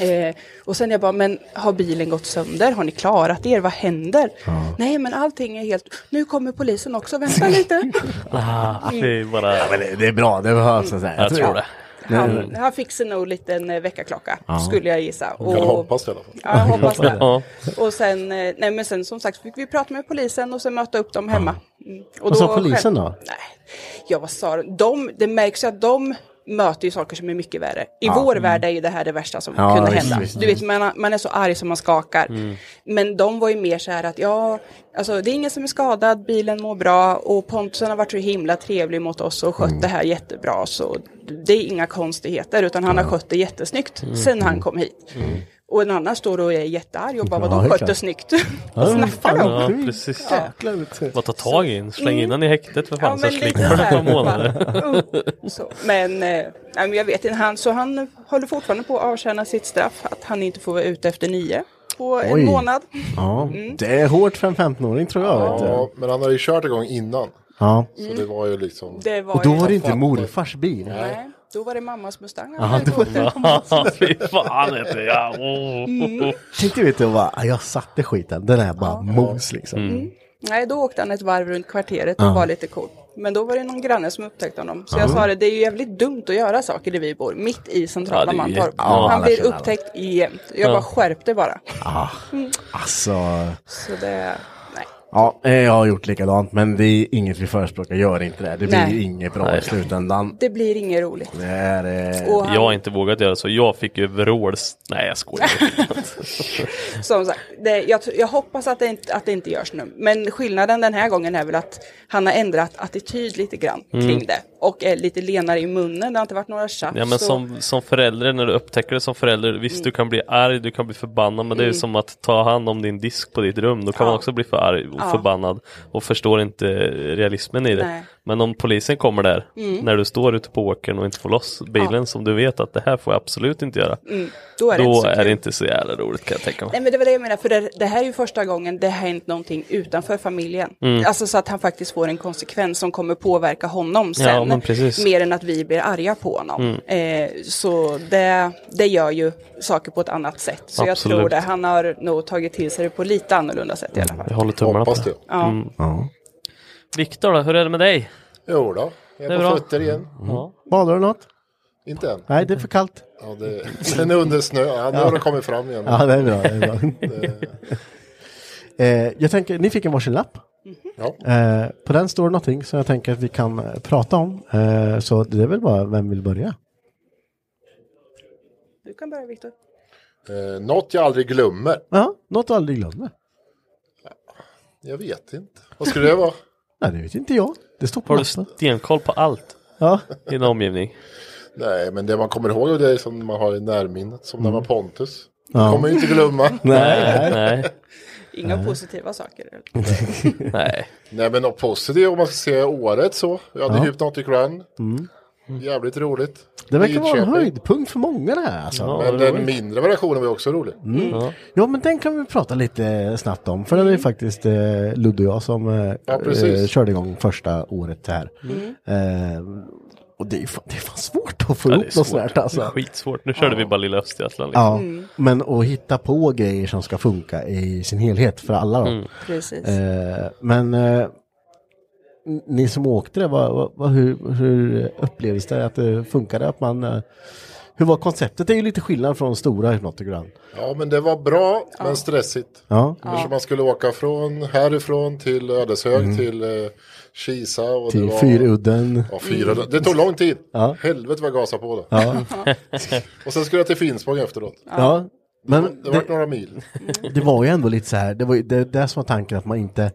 Speaker 10: Eh, och sen jag bara, men har bilen gått sönder? Har ni klarat er? Vad händer? Nej, men allting är helt... Nu kommer polisen också, vänta lite.
Speaker 4: Ah, det är bara...
Speaker 2: Ja, men det, det är bra, det behövs. Så här.
Speaker 4: Jag tror det.
Speaker 2: Mm.
Speaker 10: Han, han fick sig nog en liten eh, väckarklocka, skulle jag gissa.
Speaker 11: Kan
Speaker 10: Och,
Speaker 11: hoppas det i alla fall.
Speaker 10: ja, jag hoppas det.
Speaker 4: Ja.
Speaker 10: Och sen, eh, nej men sen som sagt fick vi prata med polisen och sen möta upp dem hemma. Mm. Och
Speaker 2: Vad sa polisen då?
Speaker 10: Nej, ja vad sa de? de? Det märks ju att de möter ju saker som är mycket värre. I vår värld är ju det här det värsta som
Speaker 2: Mm. Ja,
Speaker 10: kunde
Speaker 2: visst,
Speaker 10: hända.
Speaker 2: visst,
Speaker 10: du vet, Typ, man, man är så arg som man skakar. Men de var ju mer så här att ja, alltså det är ingen som är skadad, bilen mår bra och Pontusen har varit så himla trevlig mot oss och skött det här jättebra. Så det är inga konstigheter, utan han har skött det jättesnyggt sen han kom hit.
Speaker 1: Mm.
Speaker 10: Och en annan står och är jättearg och bara,
Speaker 2: Ja,
Speaker 10: vadå
Speaker 2: det är
Speaker 10: skötte
Speaker 2: klart.
Speaker 10: snyggt? Vad snackar de om?
Speaker 4: Ja, precis.
Speaker 2: Jäklar, vet du.
Speaker 4: Vad ta tag i? Släng in den i häktet för fan så
Speaker 10: Mm. lite
Speaker 4: slipper
Speaker 10: så
Speaker 4: du ett
Speaker 10: här,
Speaker 4: par månader.
Speaker 10: bara, uh, så. Men, eh, nej, men jag vet inte, han, så han håller fortfarande på att avtjäna sitt straff, att han inte får vara ute efter nio på
Speaker 2: Oj.
Speaker 10: en månad. Mm.
Speaker 2: Ja, det är hårt för en 15-åring tror jag. Vet du.
Speaker 11: Ja, men han hade ju kört igång innan.
Speaker 2: Ja.
Speaker 11: Så det var ju liksom.
Speaker 10: Det var
Speaker 2: Och då
Speaker 10: ju-
Speaker 2: var det inte morfars bil.
Speaker 10: Nej, då var det mammas Mustang.
Speaker 2: Ja, det var det.
Speaker 4: Ja, Fy fan heter jag.
Speaker 10: Mm.
Speaker 4: Oh.
Speaker 2: Tänkte vet du, bara, "Ah, jag satte skiten, den är bara mos liksom.
Speaker 4: Mm.
Speaker 10: Mm. Nej, då åkte han ett varv runt kvarteret och var lite cool. Men då var det någon granne som upptäckte honom. Så jag sa det, det är ju jävligt dumt att göra saker där vi bor, mitt i centrala
Speaker 4: Ja, det är ju
Speaker 10: Mantorp.
Speaker 4: jätte-
Speaker 2: Ja,
Speaker 10: Han
Speaker 2: alla
Speaker 10: blir
Speaker 2: känner alla.
Speaker 10: upptäckt jämt. Jag bara skärpte bara.
Speaker 2: Ah,
Speaker 10: Mm.
Speaker 2: Alltså,
Speaker 10: Så det, nej.
Speaker 2: ja, eh, jag har gjort likadant men det är inget vi förespråkar, gör inte det. Det blir
Speaker 10: Nej.
Speaker 2: inget bra i slutändan.
Speaker 10: Det blir inget roligt.
Speaker 2: Det är, eh,
Speaker 10: Och
Speaker 4: Jag har inte vågat göra så. Jag fick ju vråls... Nej, jag skojar.
Speaker 10: Som sagt, det, jag, tr- jag hoppas att det, inte, att det inte görs nu. Men skillnaden den här gången är väl att han har ändrat attityd lite grann kring det. Och är lite lenare i munnen, det har inte varit några tjafs.
Speaker 4: Mm. Ja men
Speaker 10: så- Mm.
Speaker 4: som, som förälder, när du upptäcker det som förälder, visst du kan bli arg, du kan bli förbannad, men det är ju som att ta hand om din disk på ditt rum, då kan man också bli för arg och förbannad och förstår inte realismen i det.
Speaker 10: Nej. Mm.
Speaker 4: Men om polisen kommer där, när du står ute på åkern och inte får loss bilen som du vet att det här får jag absolut inte göra,
Speaker 10: Mm. då är det,
Speaker 4: då
Speaker 10: inte så
Speaker 4: är
Speaker 10: kul.
Speaker 4: det inte så jävla roligt kan jag tänka mig.
Speaker 10: Nej men det var det jag menade, för det, det här är ju första gången det har hänt någonting utanför familjen.
Speaker 4: Mm.
Speaker 10: Alltså så att han faktiskt får en konsekvens som kommer påverka honom
Speaker 4: Ja,
Speaker 10: sen.
Speaker 4: men precis. Mm.
Speaker 10: mer än att vi blir arga på honom. Eh, så det, det gör ju saker på ett annat sätt. Så
Speaker 4: Absolut.
Speaker 10: jag tror det, han har nog tagit till sig det på lite annorlunda sätt i alla fall.
Speaker 4: Jag håller tummarna på
Speaker 11: Hoppas
Speaker 4: det. Mm.
Speaker 11: det.
Speaker 4: Viktor då, hur är det med dig?
Speaker 11: Jo då. Jag
Speaker 4: Det
Speaker 11: är
Speaker 4: är bra.
Speaker 11: på fötter igen.
Speaker 4: Ja.
Speaker 2: Badar du något?
Speaker 11: Inte än?
Speaker 2: Mm. Nej, det är för kallt.
Speaker 11: Ja, det, den är under snö. Ja, nu har den kommit fram igen.
Speaker 2: Ja, det är bra. Det är bra. eh, jag tänker, ni fick en varsin lapp.
Speaker 11: Ja.
Speaker 2: Eh, på den står någonting som jag tänker att vi kan eh, prata om. Eh, så det är väl bara, vem vill börja?
Speaker 10: Du kan börja Viktor.
Speaker 11: Eh, något jag aldrig glömmer.
Speaker 2: Ja, något du aldrig glömmer.
Speaker 11: Jag vet inte. Vad skulle det vara?
Speaker 2: Nej, det vet inte jag. Det står på
Speaker 4: Har du
Speaker 2: lappen.
Speaker 4: stenkoll på allt
Speaker 2: Ja,
Speaker 4: i din omgivning?
Speaker 11: Nej, men det man kommer ihåg är det som man har i närminnet. Som när man var Pontus. Det
Speaker 2: Mm. Ja.
Speaker 11: kommer jag inte glömma.
Speaker 4: Nej, nej,
Speaker 10: Inga positiva saker.
Speaker 4: nej.
Speaker 11: Nej, men något positivt om man ska se året så. Jag hade
Speaker 2: Ja. Mm.
Speaker 11: Hypnotic Run. Jävligt roligt.
Speaker 2: det verkar vara en
Speaker 11: Lidköping.
Speaker 2: höjdpunkt för många det här alltså.
Speaker 4: Ja,
Speaker 11: Men
Speaker 4: det
Speaker 11: den
Speaker 4: var- Mm.
Speaker 11: mindre versionen var ju också rolig.
Speaker 2: Mm.
Speaker 4: ja.
Speaker 2: Ja, men den kan vi prata lite snabbt om. För det är
Speaker 4: Mm.
Speaker 2: ju faktiskt eh, Ludde och jag som eh,
Speaker 11: Ja, precis.
Speaker 2: eh, körde igång första året här. Eh, och det är, ju fan, det är fan svårt att få
Speaker 4: Mm. Ja, det
Speaker 2: ihop något
Speaker 4: är
Speaker 2: sånt
Speaker 4: svårt. Mm.
Speaker 2: här, alltså.
Speaker 4: Skitsvårt. Nu körde vi bara Lilla Östergötland. Liksom.
Speaker 2: Ja,
Speaker 10: Mm.
Speaker 2: men att hitta på grejer som ska funka i sin helhet för alla då.
Speaker 4: Mm.
Speaker 10: Precis.
Speaker 2: Eh, men eh, n- ni som åkte det, vad, vad, vad, hur, hur upplevdes det att det funkade? Att man, eh, hur var konceptet? Det är ju lite skillnad från stora Hypnotic Run.
Speaker 11: Ja, men det var bra, men stressigt.
Speaker 2: Ja,
Speaker 11: Eftersom man skulle åka från härifrån till Ödeshög till eh, Kisa. Och det
Speaker 2: Mm. till
Speaker 11: var,
Speaker 2: Fyrudden.
Speaker 11: Ja, fyra. Det tog lång tid. Helvete vad jag gasade på då.
Speaker 2: Ja.
Speaker 11: Och sen skulle jag till Finspång efteråt.
Speaker 2: Ja, men
Speaker 11: Det var
Speaker 2: det, Mm.
Speaker 11: några mil.
Speaker 2: det var ju ändå lite så här, det var ju det, det som var tanken att man inte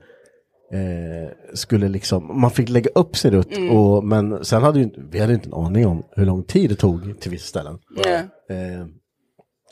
Speaker 2: eh, skulle liksom, man fick lägga upp sin rutt, och, men sen hade ju inte, vi hade ju inte en aning om hur lång tid det tog till vissa ställen.
Speaker 10: Nej.
Speaker 2: Eh,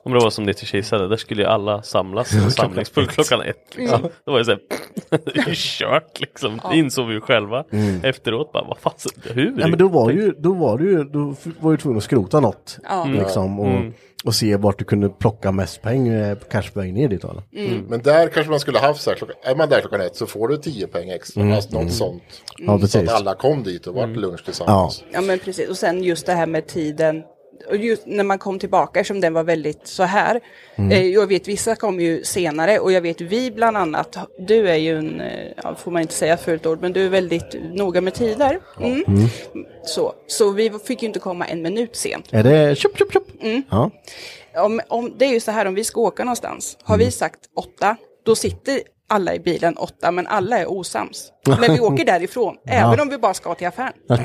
Speaker 4: Om det var som det till Kisade, där skulle ju alla samlas som samlingspunkt klockan ett. Liksom.
Speaker 10: Mm.
Speaker 4: Då var det så här, det är ju kört liksom. Det insåg vi ju själva efteråt. Bara, vad fan, så- hur?
Speaker 2: Nej, Mm. men då var ju, då var du ju, då f- var du tvungen att skrota något. Liksom, och,
Speaker 11: Mm.
Speaker 2: och se vart du kunde plocka mest poäng, eh, kanske på väg ner dit. Eller?
Speaker 10: Mm.
Speaker 11: Men där kanske man skulle haft så här, klockan, är man där klockan ett så får du 10 poäng extra. Alltså något sånt.
Speaker 2: Mm. Ja,
Speaker 11: Så att
Speaker 2: precis.
Speaker 11: alla kom dit och vart
Speaker 4: Mm.
Speaker 11: lunch tillsammans.
Speaker 10: Ja men precis, och sen just det här med tiden. Och just när man kom tillbaka, som den var väldigt så här. Eh, jag vet vissa kom ju senare och jag vet vi bland annat, du är ju en, eh, ja, får man inte säga fult ord, men du är väldigt noga med tider. Mm. Så, så vi fick ju inte komma en minut sent.
Speaker 2: Är det tjopp, tjopp, tjopp? Ja.
Speaker 10: Mm. Om, om, det är ju så här om vi ska åka någonstans, har vi sagt åtta, då sitter alla i bilen åtta, men alla är osams. Men vi åker därifrån, även om vi bara ska till affären. Ja,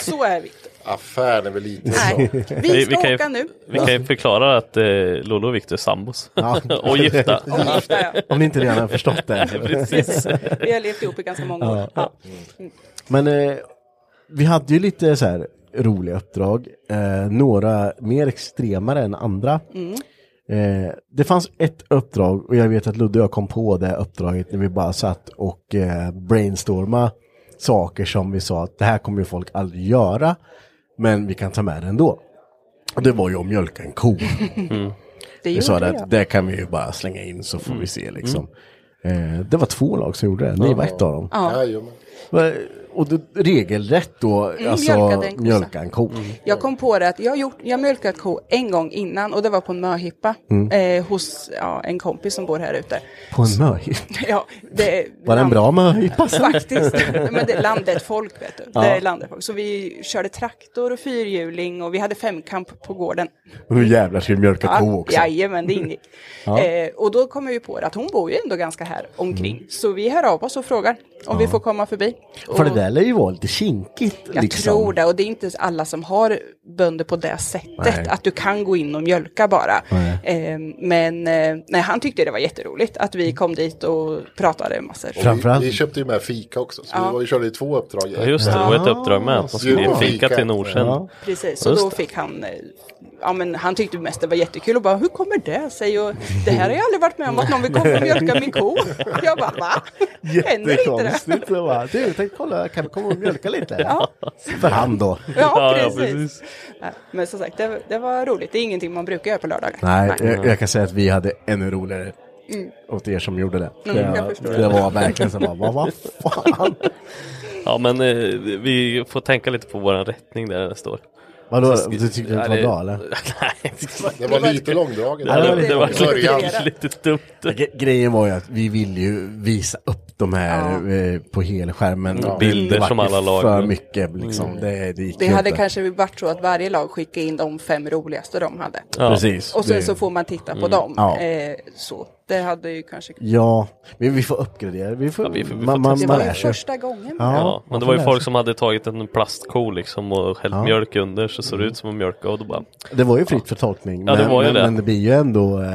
Speaker 10: så är vi.
Speaker 11: Affären är väl lite så.
Speaker 10: Nej, vi ska
Speaker 4: kan ju,
Speaker 10: åka nu.
Speaker 4: Vi kan ju förklara att eh, Lolo och Victor är sambos. och gifta.
Speaker 10: Ja, ja.
Speaker 2: Om ni inte redan har förstått det.
Speaker 4: Precis.
Speaker 10: Vi har levt ihop i ganska många år. Ja.
Speaker 2: Men eh, vi hade ju lite så här roliga uppdrag. Eh, några mer extremare än andra.
Speaker 10: Mm.
Speaker 2: Eh, det fanns ett uppdrag och jag vet att Ludde och jag kom på det uppdraget när vi bara satt och eh, brainstorma saker som vi sa att det här kommer ju folk aldrig göra. Men vi kan ta med det ändå. Och det var ju att mjölka en ko.
Speaker 10: Mm. Det
Speaker 2: Vi sa
Speaker 10: gjorde Mm.
Speaker 2: det
Speaker 10: jag.
Speaker 2: att det kan vi ju bara slänga in så får vi se liksom. Eh, det var två lag som gjorde det, ni var ett av dem.
Speaker 10: Ja.
Speaker 11: Jajamän.
Speaker 2: Va- Och då, regelrätt då, alltså
Speaker 10: mjölkade en Mm, kossa.
Speaker 2: mjölka en ko.
Speaker 10: Jag kom på det att jag har gjort, jag har mjölkat ko en gång innan och det var på en möhippa eh, hos ja, en kompis som bor här ute.
Speaker 2: Mm. På en möhippa.
Speaker 10: Ja, det,
Speaker 2: Var det en bra möhippa?
Speaker 10: Faktiskt. Men det är landet folk, vet du. Det är landet folk. Så vi körde traktor och fyrhjuling och vi hade femkamp på gården.
Speaker 2: Och nu jävlar ska vi mjölka ko också.
Speaker 10: Jajamän, det ingick. eh, och då kom vi på det att hon bor ju ändå ganska här omkring.
Speaker 2: Mm.
Speaker 10: Så vi hör av oss och frågar om vi får komma förbi.
Speaker 2: För det
Speaker 10: Och-
Speaker 2: där lär ju vara lite kinkigt.
Speaker 10: Jag
Speaker 2: liksom.
Speaker 10: tror det, och det är inte alla som har bönder på det sättet,
Speaker 2: Nej.
Speaker 10: att du kan gå in och mjölka bara.
Speaker 2: Nej.
Speaker 10: Eh, men eh, nej, han tyckte det var jätteroligt att vi kom dit och pratade massor.
Speaker 11: Och
Speaker 2: Framförallt-
Speaker 11: Vi, vi köpte ju med fika också. Så vi var ju körde ju två uppdrag.
Speaker 4: Ja, just det, det var ett uppdrag med att de skulle ge fika till Norsen.
Speaker 2: Ja.
Speaker 10: Precis, och då fick han, eh, ja men han tyckte mest det var jättekul och bara, hur kommer det sig? Och det här har jag aldrig varit med om, att någon vill komma och mjölka min ko. Jag bara, va? Händer inte det?
Speaker 2: Jättekonstigt. Jag bara, Du, tänk kolla, kan vi komma och mjölka lite? För hand då.
Speaker 10: Ja,
Speaker 4: Ja, ja,
Speaker 10: precis. Ja, Men som sagt, det, det var roligt. Det är ingenting man brukar göra på lördagar.
Speaker 2: Nej, jag, jag kan säga att vi hade ännu roligare åt er som gjorde det.
Speaker 10: Mm, jag
Speaker 2: det,
Speaker 10: förstår.
Speaker 2: det var verkligen så bara, vad, vad fan?
Speaker 4: Ja, men eh, vi får tänka lite på våran rättning där det står.
Speaker 2: Vadå,
Speaker 12: Så sk-
Speaker 2: du tyckte det inte var
Speaker 12: Ja,
Speaker 2: bra eller?
Speaker 12: Nej.
Speaker 13: Det var lite långdraget.
Speaker 12: Det här var-
Speaker 13: i
Speaker 12: det var
Speaker 13: början.
Speaker 12: lite, lite dumt.
Speaker 2: Gre- Grejen var ju att vi ville ju visa upp de här eh, på helskärmen.
Speaker 12: Ja.
Speaker 2: Det
Speaker 12: Bilder
Speaker 2: vart
Speaker 12: som
Speaker 2: ju
Speaker 12: alla lag. Mm.
Speaker 2: För mycket liksom. Det, det gick
Speaker 10: Det
Speaker 2: ju
Speaker 10: hade
Speaker 2: inte.
Speaker 10: kanske varit så att varje lag skickade in de fem roligaste de hade.
Speaker 12: Ja.
Speaker 2: Precis.
Speaker 10: Och sen
Speaker 2: det-
Speaker 10: så får man titta på dem.
Speaker 2: Ja.
Speaker 10: Eh, så. Det hade ju kanske...
Speaker 2: Ja, men vi får uppgradera. Vi får,
Speaker 12: Ja, vi får- vi får
Speaker 2: man, man,
Speaker 10: Det
Speaker 2: man
Speaker 10: var ju
Speaker 2: lär sig.
Speaker 10: första gången.
Speaker 2: Ja,
Speaker 12: Ja, men
Speaker 2: man
Speaker 12: det
Speaker 2: får
Speaker 12: var ju
Speaker 2: lära
Speaker 12: folk
Speaker 2: sig.
Speaker 12: som hade tagit en plastko liksom och hällt
Speaker 2: Ja. Mm.
Speaker 12: mjölk under så såg det ut som en mjölk och då bara
Speaker 2: Det var ju fritt för tolkning.
Speaker 12: Ja, det
Speaker 2: men,
Speaker 12: var ju
Speaker 2: men,
Speaker 12: det.
Speaker 2: men det blir ju ändå eh,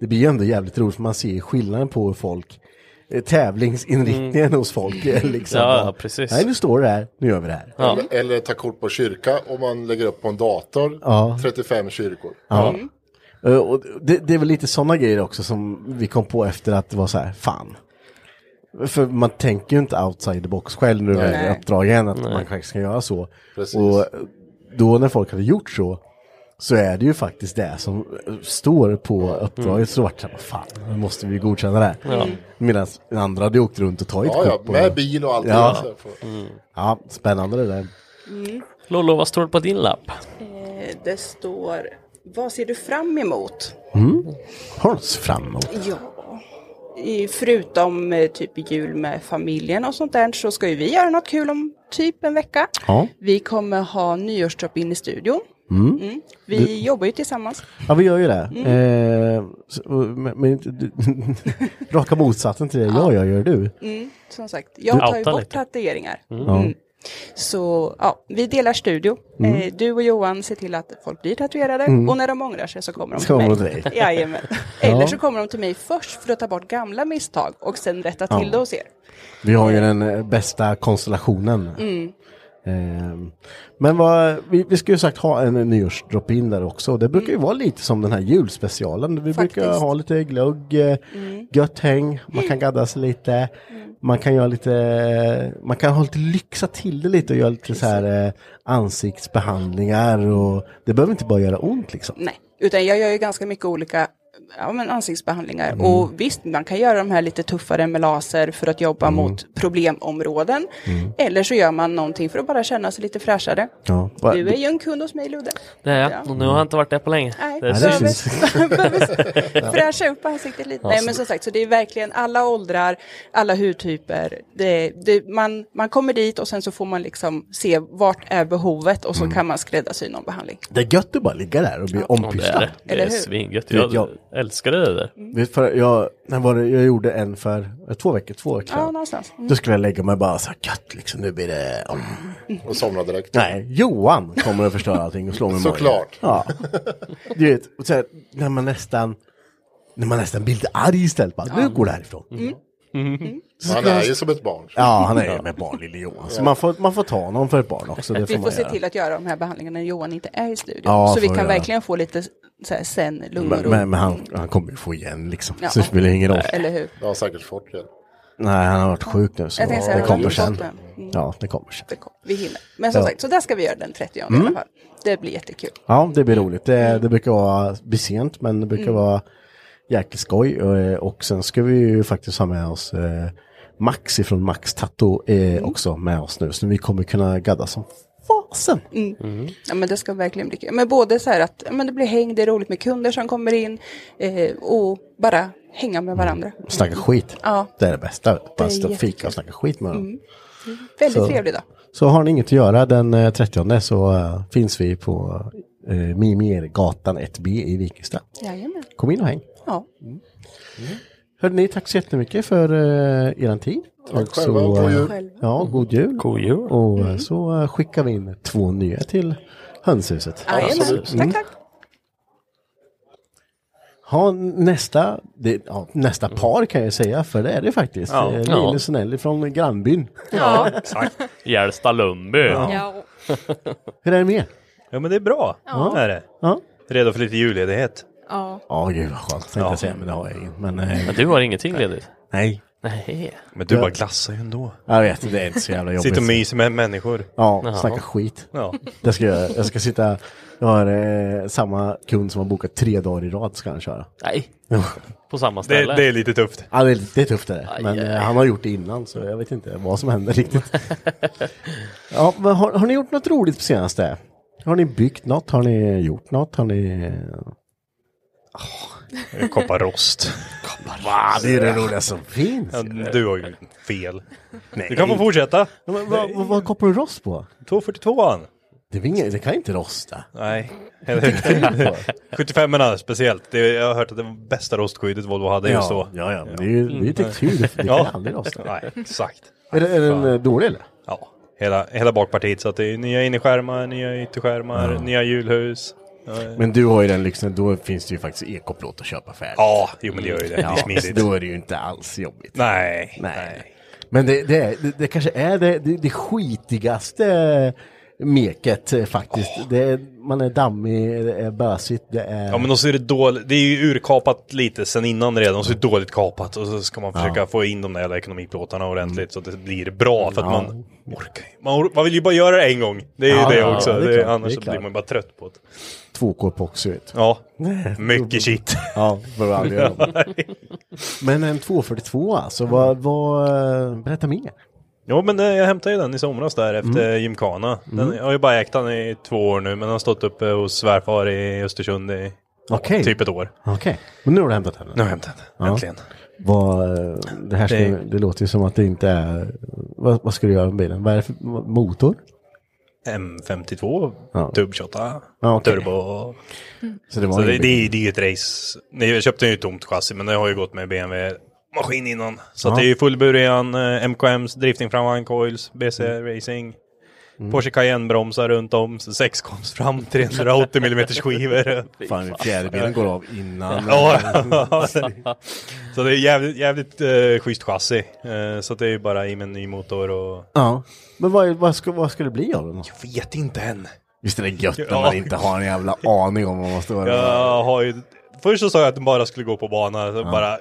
Speaker 2: Det blir ju ändå jävligt roligt för man ser skillnaden på hur folk eh, tävlingsinriktningen hos folk. eh, Liksom.
Speaker 12: Mm. Ja, ja, precis.
Speaker 2: Nej, nu står det här, nu gör vi det här.
Speaker 12: Ja.
Speaker 13: Eller, eller ta kort på kyrka om man lägger upp på en dator.
Speaker 2: Ja.
Speaker 13: 35 kyrkor.
Speaker 10: Mm.
Speaker 2: Eh, Och det, det är väl lite sådana grejer också som vi kom på efter att det var så här, fan. För man tänker ju inte outside the box själv nu
Speaker 10: Nej.
Speaker 2: med uppdragen att man kanske ska göra så.
Speaker 13: Precis.
Speaker 2: Och då när folk hade gjort så, så är det ju faktiskt det som eh, står på
Speaker 13: Mm.
Speaker 2: uppdraget. Så vart det så här, "Vad fan, nu måste vi godkänna det här. Mm. Medan andra hade åkt runt och tagit
Speaker 13: Ja,
Speaker 2: kort
Speaker 13: ja,
Speaker 2: på
Speaker 13: med
Speaker 2: det.
Speaker 13: bil och allt.
Speaker 2: Ja. Mm.
Speaker 13: Så här får-
Speaker 2: Ja, spännande det där.
Speaker 12: Lollo, vad står det på din lapp?
Speaker 10: Mm. Eh, det står... Vad ser du fram emot?
Speaker 2: Mm. Hålls fram emot.
Speaker 10: Ja. I- Förutom eh, typ jul med familjen och sånt där så ska ju vi göra något kul om typ en vecka.
Speaker 2: Ja.
Speaker 10: Vi kommer ha nyårstrap in i studion. Mm. Vi jobbar ju tillsammans.
Speaker 2: Ja, vi gör ju det. Eh, så- och- men, men, inte- du, raka motsatsen till det jag gör, gör du.
Speaker 10: Mm. Som sagt, jag tar ju
Speaker 12: outar
Speaker 10: bort
Speaker 12: lite. Mm.
Speaker 10: tatueringar. Mm.
Speaker 2: Ja. Mm.
Speaker 10: Så ja, vi delar studio. Eh, du och Johan ser till att folk blir tatuerade och när de ångrar sig så kommer de
Speaker 2: Så
Speaker 10: till
Speaker 2: Mm. kommer
Speaker 10: mig.
Speaker 2: de till dig.
Speaker 10: Jajamän. Eller så kommer de till mig först för att ta bort gamla misstag och sen rätta till det hos er.
Speaker 2: Vi har ju den eh, bästa konstellationen.
Speaker 10: Mm.
Speaker 2: Ehm, men vad, vi, vi skulle ju sagt ha en nyårsdrop-in där också. Det brukar ju vara lite som den här julspecialen. Vi brukar
Speaker 10: Faktiskt.
Speaker 2: ha lite glögg, eh, gött häng, man kan gadda sig lite. Man kan göra lite, eh, man kan ha lite lyxa till det lite och göra lite så här eh, ansiktsbehandlingar och det behöver inte bara göra ont liksom.
Speaker 10: Nej, utan jag gör ju ganska mycket olika ja, men ansiktsbehandlingar.
Speaker 2: Mm.
Speaker 10: Och visst, man kan göra de här lite tuffare med laser för att jobba
Speaker 2: Mm.
Speaker 10: mot problemområden. Eller så gör man någonting för att bara känna sig lite fräschare.
Speaker 2: Ja. Va-
Speaker 10: Du är ju en kund hos mig Ludde.
Speaker 12: Det är jag. Och nu har jag inte varit där på länge.
Speaker 10: Nej,
Speaker 12: Det är
Speaker 2: det
Speaker 12: synd.
Speaker 10: behöver,
Speaker 2: syns.
Speaker 10: behöver fräscha upp ansiktet lite. Nej, men som sagt, så det är verkligen alla åldrar, alla hudtyper. Det, det, man, man kommer dit och sen så får man liksom se vart är behovet och så
Speaker 2: Mm.
Speaker 10: kan man skräddarsy någon behandling.
Speaker 2: Det är gött att bara ligga där och bli
Speaker 12: Ja, det är
Speaker 2: ompysslad.
Speaker 12: det. Det
Speaker 10: Eller
Speaker 12: är
Speaker 10: hur?
Speaker 12: svingött.
Speaker 2: Vet
Speaker 12: Jag,
Speaker 2: jag.
Speaker 12: älskar det där.
Speaker 10: Mm.
Speaker 2: Vet, för jag, när var det, jag gjorde en för eh, två veckor, två veckor
Speaker 10: Ja,
Speaker 2: sedan.
Speaker 10: någonstans. Mm.
Speaker 2: Då skulle jag lägga mig bara så här gött liksom, nu blir det... mm.
Speaker 13: Och somna direkt.
Speaker 2: Nej, Johan kommer att förstöra allting och slå mig i magen.
Speaker 13: Såklart.
Speaker 2: Ja. Du vet, och så här, när man nästan... När man nästan blir lite arg istället, bara, nu går det härifrån.
Speaker 10: Mm.
Speaker 2: Mm-hmm.
Speaker 13: Han är ju som ett barn.
Speaker 2: Ja, han är ju med barn, lille Johan. Så man får, man får ta honom för ett barn också, det får
Speaker 10: Vi
Speaker 2: man
Speaker 10: får se
Speaker 2: göra.
Speaker 10: till att göra de här behandlingarna när Johan inte är i studion.
Speaker 2: Ja,
Speaker 10: så vi
Speaker 2: får
Speaker 10: kan
Speaker 2: vi göra.
Speaker 10: verkligen få lite så här, sen lugn och
Speaker 2: Men,
Speaker 10: ro.
Speaker 2: men, men han, han kommer ju få igen liksom,
Speaker 10: Ja.
Speaker 2: så det spelar ingen roll.
Speaker 10: Eller hur?
Speaker 13: Det har han säkert fått redan.
Speaker 2: Nej, han har varit sjuk nu, så
Speaker 10: Jag tänkte säga,
Speaker 2: det
Speaker 10: han
Speaker 2: kommer
Speaker 10: har fått
Speaker 2: sen.
Speaker 10: den. Mm.
Speaker 2: Ja, det kommer sen.
Speaker 10: Det kom- Vi hinner. Men som
Speaker 2: Ja. Mm.
Speaker 10: sagt, så där ska vi göra den 30 i alla fall. Det blir jättekul.
Speaker 2: Ja, det blir roligt.
Speaker 10: Mm.
Speaker 2: Det, det brukar vara bli sent, men det brukar vara jäkligt skoj. Och, eh, och sen ska vi ju faktiskt ha med oss eh, Max ifrån Max Tattoo eh,
Speaker 10: Mm.
Speaker 2: också med oss nu. Så vi kommer kunna gadda som fasen.
Speaker 10: Mm. Ja, men det ska verkligen bli kul. Men både så här att ja, men det blir häng, det är roligt med kunder som kommer in eh, och bara hänga med varandra.
Speaker 2: Mm. Snacka skit.
Speaker 10: Ja.
Speaker 2: Det är det bästa. Bara stå och fika
Speaker 10: jättekul. Mm.
Speaker 2: och snacka skit med dem.
Speaker 10: Väldigt
Speaker 2: Så.
Speaker 10: trevlig dag.
Speaker 2: Så har ni inget att göra den eh, 30 så eh, finns vi på eh, Mimiergatan 1B i Vikingstad.
Speaker 10: Jajamän.
Speaker 2: Kom in och häng.
Speaker 10: Ja.
Speaker 2: Hörde ni, tack så jättemycket för eh, er tid.
Speaker 13: Tack själva, och god
Speaker 2: eh,
Speaker 13: jul. Mm.
Speaker 10: Själva.
Speaker 2: Ja, god jul.
Speaker 12: God jul.
Speaker 2: Och eh, så eh, skickar vi in två nya till hönshuset. Mm.
Speaker 10: Jajamän. Tack, tack.
Speaker 2: Ha, nästa, det, ja, nästa par kan jag säga, för det är det faktiskt.
Speaker 12: Mm. Ja.
Speaker 2: Ja. Lille
Speaker 12: Ja.
Speaker 2: Sonelli från grannbyn.
Speaker 14: Ja.
Speaker 12: Hjälsta Lundby.
Speaker 14: ja.
Speaker 2: Hur är det med er?
Speaker 15: Ja men det är bra.
Speaker 14: Ja.
Speaker 15: Är det.
Speaker 2: Ja.
Speaker 15: Redo för lite julledighet.
Speaker 14: ja.
Speaker 2: Ja, gud vad skönt tänkte jag säga, men det har jag ingen. Men eh,
Speaker 12: Men du har ingenting ledigt?
Speaker 2: nej,
Speaker 12: Nej.
Speaker 15: Men du
Speaker 2: Ja.
Speaker 15: bara glassar ju ändå.
Speaker 2: jag
Speaker 12: Alltså,
Speaker 2: vet, det är inte så jävla jobbigt.
Speaker 15: Sitter och myser med människor.
Speaker 2: Ja, snacka skit.
Speaker 15: Ja.
Speaker 2: Det ska jag göra. Jag ska sitta, jag har eh, samma kund som har bokat tre dagar i rad ska han köra.
Speaker 12: Nej.
Speaker 2: Ja.
Speaker 12: På samma
Speaker 15: Det,
Speaker 12: ställe?
Speaker 15: det är lite tufft.
Speaker 2: Ja, det, är, det är tufft det där.
Speaker 12: Aj,
Speaker 2: Men
Speaker 12: aj.
Speaker 2: eh, han har gjort det innan så jag vet inte vad som händer riktigt. ja, men har, har ni gjort något roligt på senaste? Har ni byggt något? Har ni gjort något? Har ni...
Speaker 15: Kopparrost.
Speaker 2: Va, det är det roligaste som finns.
Speaker 15: Ja, du har ju fel.
Speaker 2: Nej.
Speaker 15: Du kan få fortsätta.
Speaker 2: Men vad- vad- Vad kopplar du rost på?
Speaker 15: 242an.
Speaker 2: Det, är inget, det kan inte rosta.
Speaker 15: Nej. 75orna speciellt. Det, jag har hört att det var bästa rostskyddet Volvo hade just då. Mm.
Speaker 2: ja, ja, ja. men Det är ju det är ju textur. Det, det
Speaker 15: Ja.
Speaker 2: kan aldrig rosta.
Speaker 15: Nej, exakt.
Speaker 2: Är, det- är den eh, dålig eller?
Speaker 15: Ja, hela, hela bakpartiet. Så att det är nya innerskärmar, nya ytterskärmar, nya hjulhus.
Speaker 2: Men du har ju den lyxen, då finns det ju faktiskt ekoplåt att köpa färdigt.
Speaker 15: Ja, jo men det gör ju det. Det
Speaker 2: Ja,
Speaker 15: är smidigt.
Speaker 2: Då är det ju inte alls jobbigt.
Speaker 15: Nej.
Speaker 2: Nej. Men det, det, är- det, det kanske är det, det, det skitigaste meket eh, faktiskt. Det är, man är dammig, det är bösigt, det är...
Speaker 15: Ja men då så är det dåligt, det är ju urkapat lite sen innan redan, så är det dåligt kapat och så ska man försöka få in de där jävla ekonomiplåtarna ordentligt så att det blir bra för att
Speaker 2: Ja.
Speaker 15: man orkar ju- man, or- man vill ju bara göra det en gång, det är ju
Speaker 2: Ja,
Speaker 15: det
Speaker 2: ja,
Speaker 15: också,
Speaker 2: ja, det är
Speaker 15: det är
Speaker 2: klart,
Speaker 15: annars
Speaker 2: det är
Speaker 15: så blir
Speaker 2: klart.
Speaker 15: man ju bara trött på det.
Speaker 2: 2K-epoxy vet du.
Speaker 15: Ja, mycket shit.
Speaker 2: Mm. Ja, för att aldrig göra om. Men en 242 alltså, vad, vad, eh, berätta mer.
Speaker 15: Jo men det, jag hämtade ju den i somras där efter
Speaker 2: Mm.
Speaker 15: gymkhana. Den, Jag har ju bara ägt den i två år nu men den har stått uppe hos svärfar i Östersund i
Speaker 2: Okej,
Speaker 15: typ ett år.
Speaker 2: okej. Men nu har du hämtat henne.
Speaker 15: Nu har jag hämtat den,
Speaker 2: Ja.
Speaker 15: äntligen.
Speaker 2: Vad, eh, det, här ska,
Speaker 15: Det-
Speaker 2: det... låter ju som att det inte är... Vad, vad ska du göra med bilen? Vad är det för motor?
Speaker 15: M52,
Speaker 2: Ja.
Speaker 15: Tub 28,
Speaker 2: Ja, okej.
Speaker 15: turbo.
Speaker 2: Så det var
Speaker 15: Så det,
Speaker 2: ingen bil.
Speaker 15: det, är- det är ju ett race. Nej, jag köpte ju ett tomt chassi, men det har ju gått med BMW-maskin innan. Så att
Speaker 2: Ja.
Speaker 15: det är ju fullburian, eh, MKMs, drifting framvagn, coils, BC
Speaker 9: Mm.
Speaker 15: Racing.
Speaker 2: Mm.
Speaker 15: Porsche Cayenne-bromsar runt om, så sex koms fram, 380 mm skivor.
Speaker 2: Fan, fjärrbilen går av innan.
Speaker 15: Ja, så det är jävligt, jävligt eh, schysst chassi. Eh, så att det är ju bara i med en ny motor och...
Speaker 2: Ja. Men vad, vad, ska, vad ska det bli av den?
Speaker 15: Vet inte än.
Speaker 2: Visst är det gött när
Speaker 15: Ja.
Speaker 2: man inte har en jävla aning om vad man står ja.
Speaker 15: Jag har ju... Först så sa jag att den bara skulle gå på bana, så bara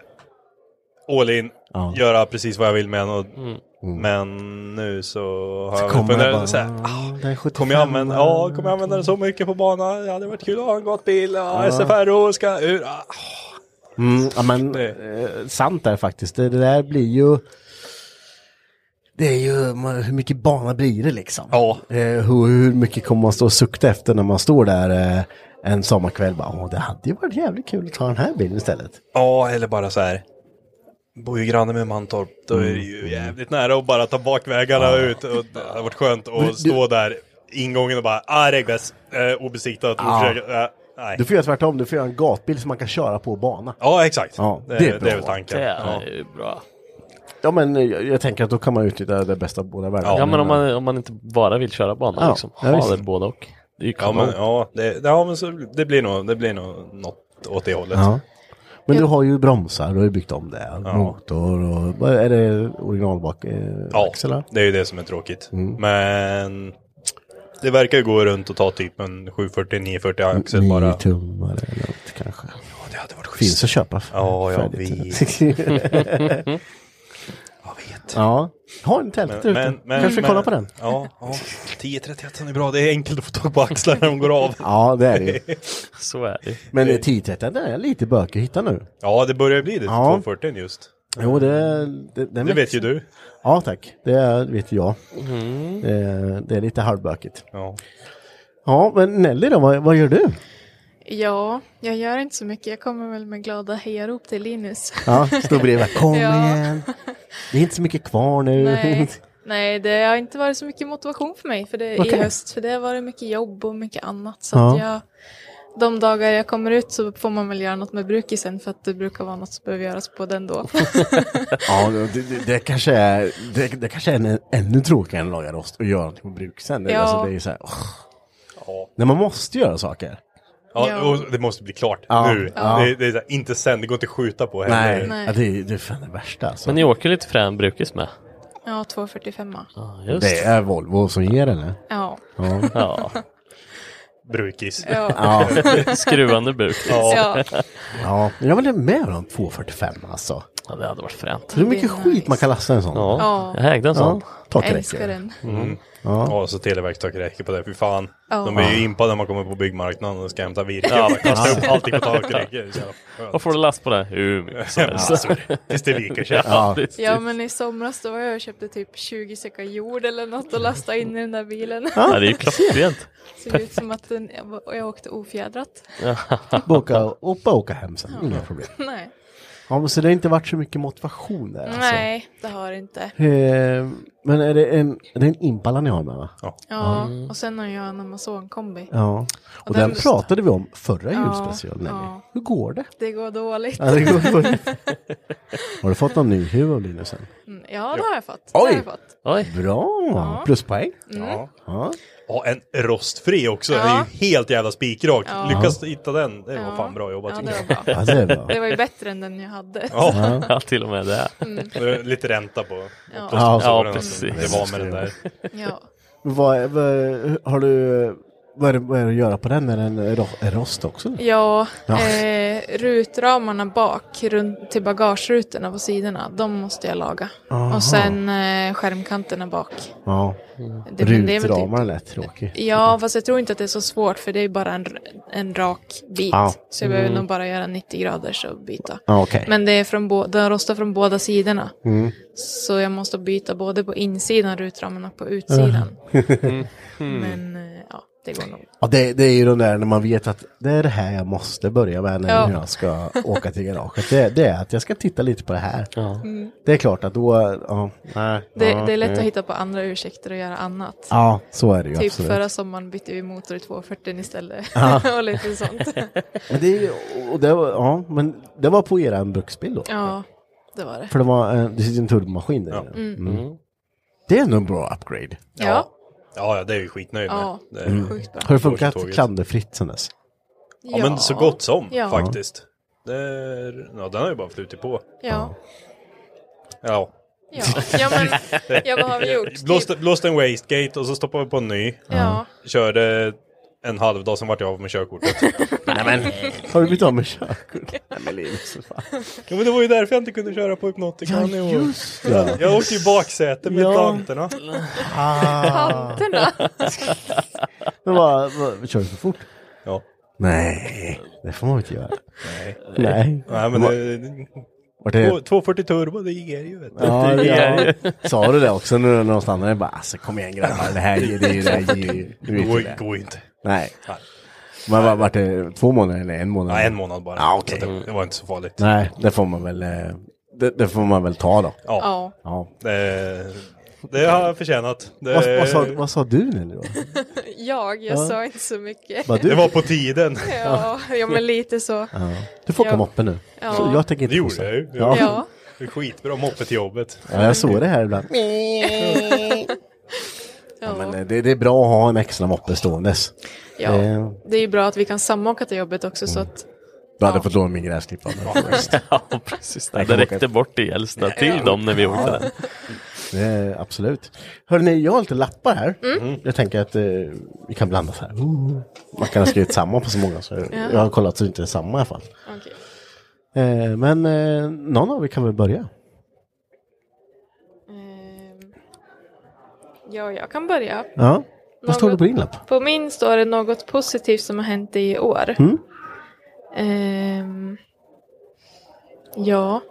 Speaker 15: all in,
Speaker 2: Ja. Mm.
Speaker 15: göra precis vad jag vill med den. Och, Men nu så har jag väl funderat så här, ah,
Speaker 2: den 75
Speaker 15: Kommer jag, använda,
Speaker 9: eh,
Speaker 15: ja, kommer jag använda den så mycket på banan? Ja, det varit kul att ha en gott bil. Ah, Ja, SFRO ska ur. Ah,
Speaker 2: Mm, ja, men eh, sant är faktiskt. Det, det där blir ju... Det är ju, man, hur mycket bana blir det liksom?
Speaker 15: Ja.
Speaker 2: Eh, hur, hur mycket kommer man stå och sukta efter när man står där eh, en sommarkväll? Bara, Åh, det hade ju varit jävligt kul att ta den här bilen istället.
Speaker 15: Ja, eller bara så här. Bor ju granne med Mantorp, då är det
Speaker 2: Mm.
Speaker 15: ju jävligt nära att bara ta bakvägarna ut. Och det hade varit skönt att stå där ingången och bara, ah, regbäs, eh, obesiktat. och
Speaker 2: Ja.
Speaker 15: försöka, eh, nej.
Speaker 2: Du får göra tvärtom, du får göra en gatbil som man kan köra på bana.
Speaker 15: Ja, exakt.
Speaker 2: Ja,
Speaker 15: det,
Speaker 2: det
Speaker 15: det,
Speaker 2: är
Speaker 15: är
Speaker 2: bra.
Speaker 15: väl tanken.
Speaker 12: Det är
Speaker 15: Ja.
Speaker 12: ju bra.
Speaker 2: Ja men eh, jag, jag tänker att då kan man utnyttja det bästa av båda världar.
Speaker 12: Ja men om man, om man inte bara vill köra banan
Speaker 2: Ja,
Speaker 12: liksom.
Speaker 2: ja,
Speaker 12: Ha
Speaker 2: visst.
Speaker 12: det både och. Det är ju
Speaker 15: Ja,
Speaker 12: kanon.
Speaker 15: men, ja, det, ja, men så, det, blir nog, det blir nog något åt det hållet.
Speaker 2: Ja. Men du har ju bromsar, du har ju byggt om det. Motor och... vad Är det originalbak? Eh,
Speaker 15: Ja,
Speaker 2: axlar?
Speaker 15: det är ju det som är tråkigt.
Speaker 2: Mm.
Speaker 15: Men det verkar ju gå runt och ta typ en 740-940 axel bara.
Speaker 2: Nio tummar eller något kanske.
Speaker 15: Ja, det hade varit schysst.
Speaker 2: Finns att köpa. f-
Speaker 15: Ja, jag
Speaker 2: färdigt.
Speaker 15: Jag vet.
Speaker 2: ja. Ha en tält ute. Kanske vi kollar på den.
Speaker 15: Ja, ja. 1031 är bra. Det är enkelt att få tag på axlar när de går av.
Speaker 2: Ja, det är det ju.
Speaker 12: Så är det.
Speaker 2: Men 1030 den är lite bökig att hitta nu.
Speaker 15: Ja, det börjar bli det.
Speaker 2: Ja.
Speaker 15: 240 just.
Speaker 2: Jo, det... Det, den
Speaker 15: Det vet
Speaker 2: växer.
Speaker 15: ju du.
Speaker 2: Ja, tack. Det vet jag.
Speaker 14: Mm.
Speaker 2: Eh, det är lite halvbökigt.
Speaker 15: Ja.
Speaker 2: Ja, men Nelly då, vad, vad gör du?
Speaker 14: Ja, jag gör inte så mycket. Jag kommer väl med glada hejarop till Linus.
Speaker 2: Ja, står bredvid. Kom
Speaker 14: Ja.
Speaker 2: igen. Det är inte så mycket kvar nu.
Speaker 14: Nej, nej, det har inte varit så mycket motivation för mig för det,
Speaker 2: Okej.
Speaker 14: i höst. För det har varit mycket jobb och mycket annat. Så
Speaker 2: Ja.
Speaker 14: att jag, de dagar jag kommer ut så får man väl göra något med brukisen för att det brukar vara något som behöver göras på den då.
Speaker 2: Ja, det, det, det kanske är, det, det kanske är en, ännu tråkigare än att laga rost och göra någonting på bruk sen. Det,
Speaker 14: Ja.
Speaker 2: alltså, det är ju så här, åh.
Speaker 15: Ja.
Speaker 2: När man måste göra saker.
Speaker 15: Ja,
Speaker 14: Ja.
Speaker 15: och det måste bli klart
Speaker 2: Ja.
Speaker 15: nu.
Speaker 2: Ja.
Speaker 15: Det, det är så här, inte sen, det går inte att skjuta på heller.
Speaker 2: Nej,
Speaker 14: Nej.
Speaker 2: Ja, det, är- det är fan det värsta alltså.
Speaker 12: Men ni åker lite frän brukis med?
Speaker 14: Ja, 245.
Speaker 12: Ja, just
Speaker 2: Det
Speaker 12: det.
Speaker 2: är Volvo som ger eller?
Speaker 14: Ja,
Speaker 2: Ja.
Speaker 12: Ja,
Speaker 15: Brukis.
Speaker 14: ja,
Speaker 2: Ja,
Speaker 12: skruvande brukis. Ja.
Speaker 14: ja.
Speaker 2: ja. Jag vill med om 245 alltså.
Speaker 12: det hade varit fränt.
Speaker 2: Det är mycket skit man kan lasta en sån.
Speaker 12: Ja,
Speaker 14: Ja.
Speaker 12: jag ägde en sån.
Speaker 2: takräcke.
Speaker 14: Älskar den.
Speaker 15: Mm.
Speaker 2: Ja.
Speaker 15: Ja. så Televerkets tak räcker på det, fy fan.
Speaker 14: Ja.
Speaker 15: De är
Speaker 14: Ja.
Speaker 15: ju impade när man kommer på byggmarknaden och ska hämta virke.
Speaker 12: Ja,
Speaker 15: Ja, kasta upp
Speaker 12: ja.
Speaker 15: allting på takräcket.
Speaker 12: Vad får du last på det? Hur mycket som
Speaker 15: Ja,
Speaker 12: helst.
Speaker 15: alltså, tills det viker sig.
Speaker 12: Ja, precis.
Speaker 14: Ja
Speaker 2: Typ.
Speaker 14: men i somras då var jag och köpte typ 20 säckar jord eller något och lastade in i den där bilen.
Speaker 12: Ja, det är ju klockrent.
Speaker 14: Såg ut som att den, jag, var- och jag åkte ofjädrat.
Speaker 2: Boka, och bara åka hem sen, inga problem.
Speaker 14: Nej.
Speaker 2: Ja, men så det har inte varit så mycket motivation där alltså.
Speaker 14: Nej, det har det inte.
Speaker 2: Eh, men är det en, det är en Impala ni har med va?
Speaker 15: Ja.
Speaker 14: Ja, och sen har jag en Amazon-kombi.
Speaker 2: Mm. ja. Och, den, pratade vi om förra julspecialen. nämligen. Hur går det?
Speaker 14: Det går dåligt.
Speaker 2: Ja, det går dåligt. Har du fått någon ny huv av Linus än?
Speaker 14: Mm, Ja, det har jag fått. Det har
Speaker 2: Oj!
Speaker 14: jag fått.
Speaker 2: Bra! Pluspoäng.
Speaker 14: Mm.
Speaker 15: Ja.
Speaker 2: Ja.
Speaker 15: Ja, en rostfri också. Den
Speaker 14: Ja.
Speaker 15: är ju helt jävla spikrak.
Speaker 14: Ja.
Speaker 15: Lyckas hitta den, det var
Speaker 14: Ja.
Speaker 15: fan bra jobbat
Speaker 14: Ja,
Speaker 15: tycker
Speaker 14: det
Speaker 15: jag.
Speaker 14: var
Speaker 2: Ja,
Speaker 14: bra.
Speaker 2: det är bra.
Speaker 14: Det var ju bättre än den jag hade.
Speaker 15: Ja.
Speaker 12: Ja, till och med det.
Speaker 14: Mm.
Speaker 15: Lite ränta på
Speaker 14: Ja.
Speaker 15: på
Speaker 2: Ja,
Speaker 15: sponsorerna
Speaker 2: precis.
Speaker 15: som Det var med den där.
Speaker 14: Ja.
Speaker 2: Vad, är- vad, är- har du, vad är, det, vad är det att göra på den? Är den ro- är rost också?
Speaker 14: Ja,
Speaker 2: Ja.
Speaker 14: Eh, rutramarna bak runt till bagagerutorna på sidorna, de måste jag laga.
Speaker 2: Aha.
Speaker 14: Och sen eh, skärmkanterna bak.
Speaker 2: Ja.
Speaker 14: Det- men det är väl typ-
Speaker 2: Rutramar lät tråkig.
Speaker 14: Ja, fast jag tror inte att det är så svårt för det är bara en, en rak bit.
Speaker 2: Ja.
Speaker 14: Så jag behöver
Speaker 2: Mm.
Speaker 14: nog bara göra 90 graders och byta.
Speaker 2: Ja, okej.
Speaker 14: Men det är från bo- den rostar från båda sidorna.
Speaker 2: Mm.
Speaker 14: Så jag måste byta både på insidan rutramen och på utsidan.
Speaker 2: Mm.
Speaker 14: Men eh, ja, det går nog.
Speaker 2: Ja, det, det är ju de där när man vet att det är det här jag måste börja med när
Speaker 14: Ja.
Speaker 2: jag ska åka till garaget. Det, det är att jag ska titta lite på det här.
Speaker 14: Mm.
Speaker 2: Det är klart att då, ja.
Speaker 14: Det,
Speaker 2: ja,
Speaker 14: det är lätt
Speaker 2: nej.
Speaker 14: att hitta på andra ursäkter och göra annat.
Speaker 2: Ja, så är det ju
Speaker 14: Typ
Speaker 2: absolut.
Speaker 14: förra sommaren bytte vi motor i 240 istället.
Speaker 2: Ja.
Speaker 14: och lite sånt.
Speaker 2: Men det, är ju- och det var, ja, men det var på eran bruksbil då?
Speaker 14: ja, det var det.
Speaker 2: För det var, en- det sitter en turbomaskin där inne.
Speaker 14: Mm.
Speaker 2: Mm. Det är nog en bra upgrade.
Speaker 14: Ja.
Speaker 15: Ja, ja, det är ju skitnöjd med.
Speaker 14: Ja,
Speaker 15: Det är
Speaker 2: Mm.
Speaker 14: sjukt bra.
Speaker 2: Har det funkat
Speaker 15: Tåget.
Speaker 2: klanderfritt sen dess?
Speaker 15: Ja, men så gott som
Speaker 14: Ja.
Speaker 15: faktiskt. Det är... Ja, den har ju bara flutit på.
Speaker 14: Ja.
Speaker 15: Ja.
Speaker 14: Ja, ja men ja, vad har vi gjort?
Speaker 15: Blåste, blåste en wastegate och så stoppade vi på en ny.
Speaker 14: Ja.
Speaker 15: Körde en halv dag, sen vart jag av med körkortet.
Speaker 2: Nej, men. Har du blivit av med körkort? Nej, men Linus, för fan.
Speaker 15: Ja, men det var ju därför jag inte kunde köra på Hypnotican
Speaker 2: Ja,
Speaker 15: i år.
Speaker 2: just det.
Speaker 15: Jag åkte ju baksäte med
Speaker 2: Ja. Ah.
Speaker 15: tanterna.
Speaker 14: Tanterna?
Speaker 2: Men vad, vad, kör du för fort?
Speaker 15: Ja.
Speaker 2: Nej, det får man inte göra.
Speaker 15: Nej.
Speaker 2: Nej.
Speaker 15: Nej, men
Speaker 2: Var-
Speaker 15: det...
Speaker 2: Var det-
Speaker 15: Två- 240 turbo, det ger ju vet du.
Speaker 2: Ja,
Speaker 15: Det ger
Speaker 2: ja.
Speaker 15: ju.
Speaker 2: Sa du det också nu när de stannade? Bara, alltså kom igen grabbar, det här ger det, ju- det här ger ju. Du vet ju
Speaker 15: Går-
Speaker 2: det.
Speaker 15: går inte.
Speaker 2: Nej. Men var, var det två månader eller en månad?
Speaker 15: Ja, en månad bara.
Speaker 2: Ja, okej.
Speaker 15: Så det, det var inte så farligt.
Speaker 2: Nej, det får man väl, eh, det, det får man väl ta då.
Speaker 15: Ja.
Speaker 14: Ja.
Speaker 2: Ja.
Speaker 15: Det, det har jag förtjänat. Det,
Speaker 2: Vad, vad, sa, vad sa du nu då?
Speaker 14: Jag, jag
Speaker 2: Ja.
Speaker 14: sa inte så mycket.
Speaker 2: Vad du-
Speaker 15: det var på tiden.
Speaker 14: Ja, ja men lite så.
Speaker 2: Ja. Du får åka
Speaker 14: Ja.
Speaker 2: moppe nu.
Speaker 14: Ja.
Speaker 2: Så jag tänker inte
Speaker 15: Det gjorde
Speaker 2: pussa.
Speaker 15: jag ju.
Speaker 2: Ja.
Speaker 14: Ja.
Speaker 15: Det är skitbra moppe till jobbet.
Speaker 2: Ja, jag såg det här ibland. Ja, men eh, det, det är bra att ha en extra moppe ståendes.
Speaker 14: Ja.
Speaker 2: Eh,
Speaker 14: Det är ju bra att vi kan samåka till jobbet också så att
Speaker 2: Du hade fått låna min gräsklippa.
Speaker 12: Ja, precis. Det räckte bort i Gällstad till dem när vi åkte den.
Speaker 2: Eh, absolut. Hörrni, jag har lite lappar här.
Speaker 14: Mm.
Speaker 2: Jag tänker att eh, vi kan blanda så här. Ooh. Man kan ha skrivit samma på så många. Så
Speaker 14: Ja.
Speaker 2: Jag har kollat så det inte är samma i alla fall.
Speaker 14: Okej.
Speaker 2: Eh, men eh, någon av er kan väl börja?
Speaker 14: ehm, Ja, jag kan börja.
Speaker 2: Ja. Vad står det
Speaker 14: Något-
Speaker 2: på din lapp?
Speaker 14: På min står det något positivt som har hänt i år.
Speaker 2: Mm.
Speaker 14: Ehm, ja.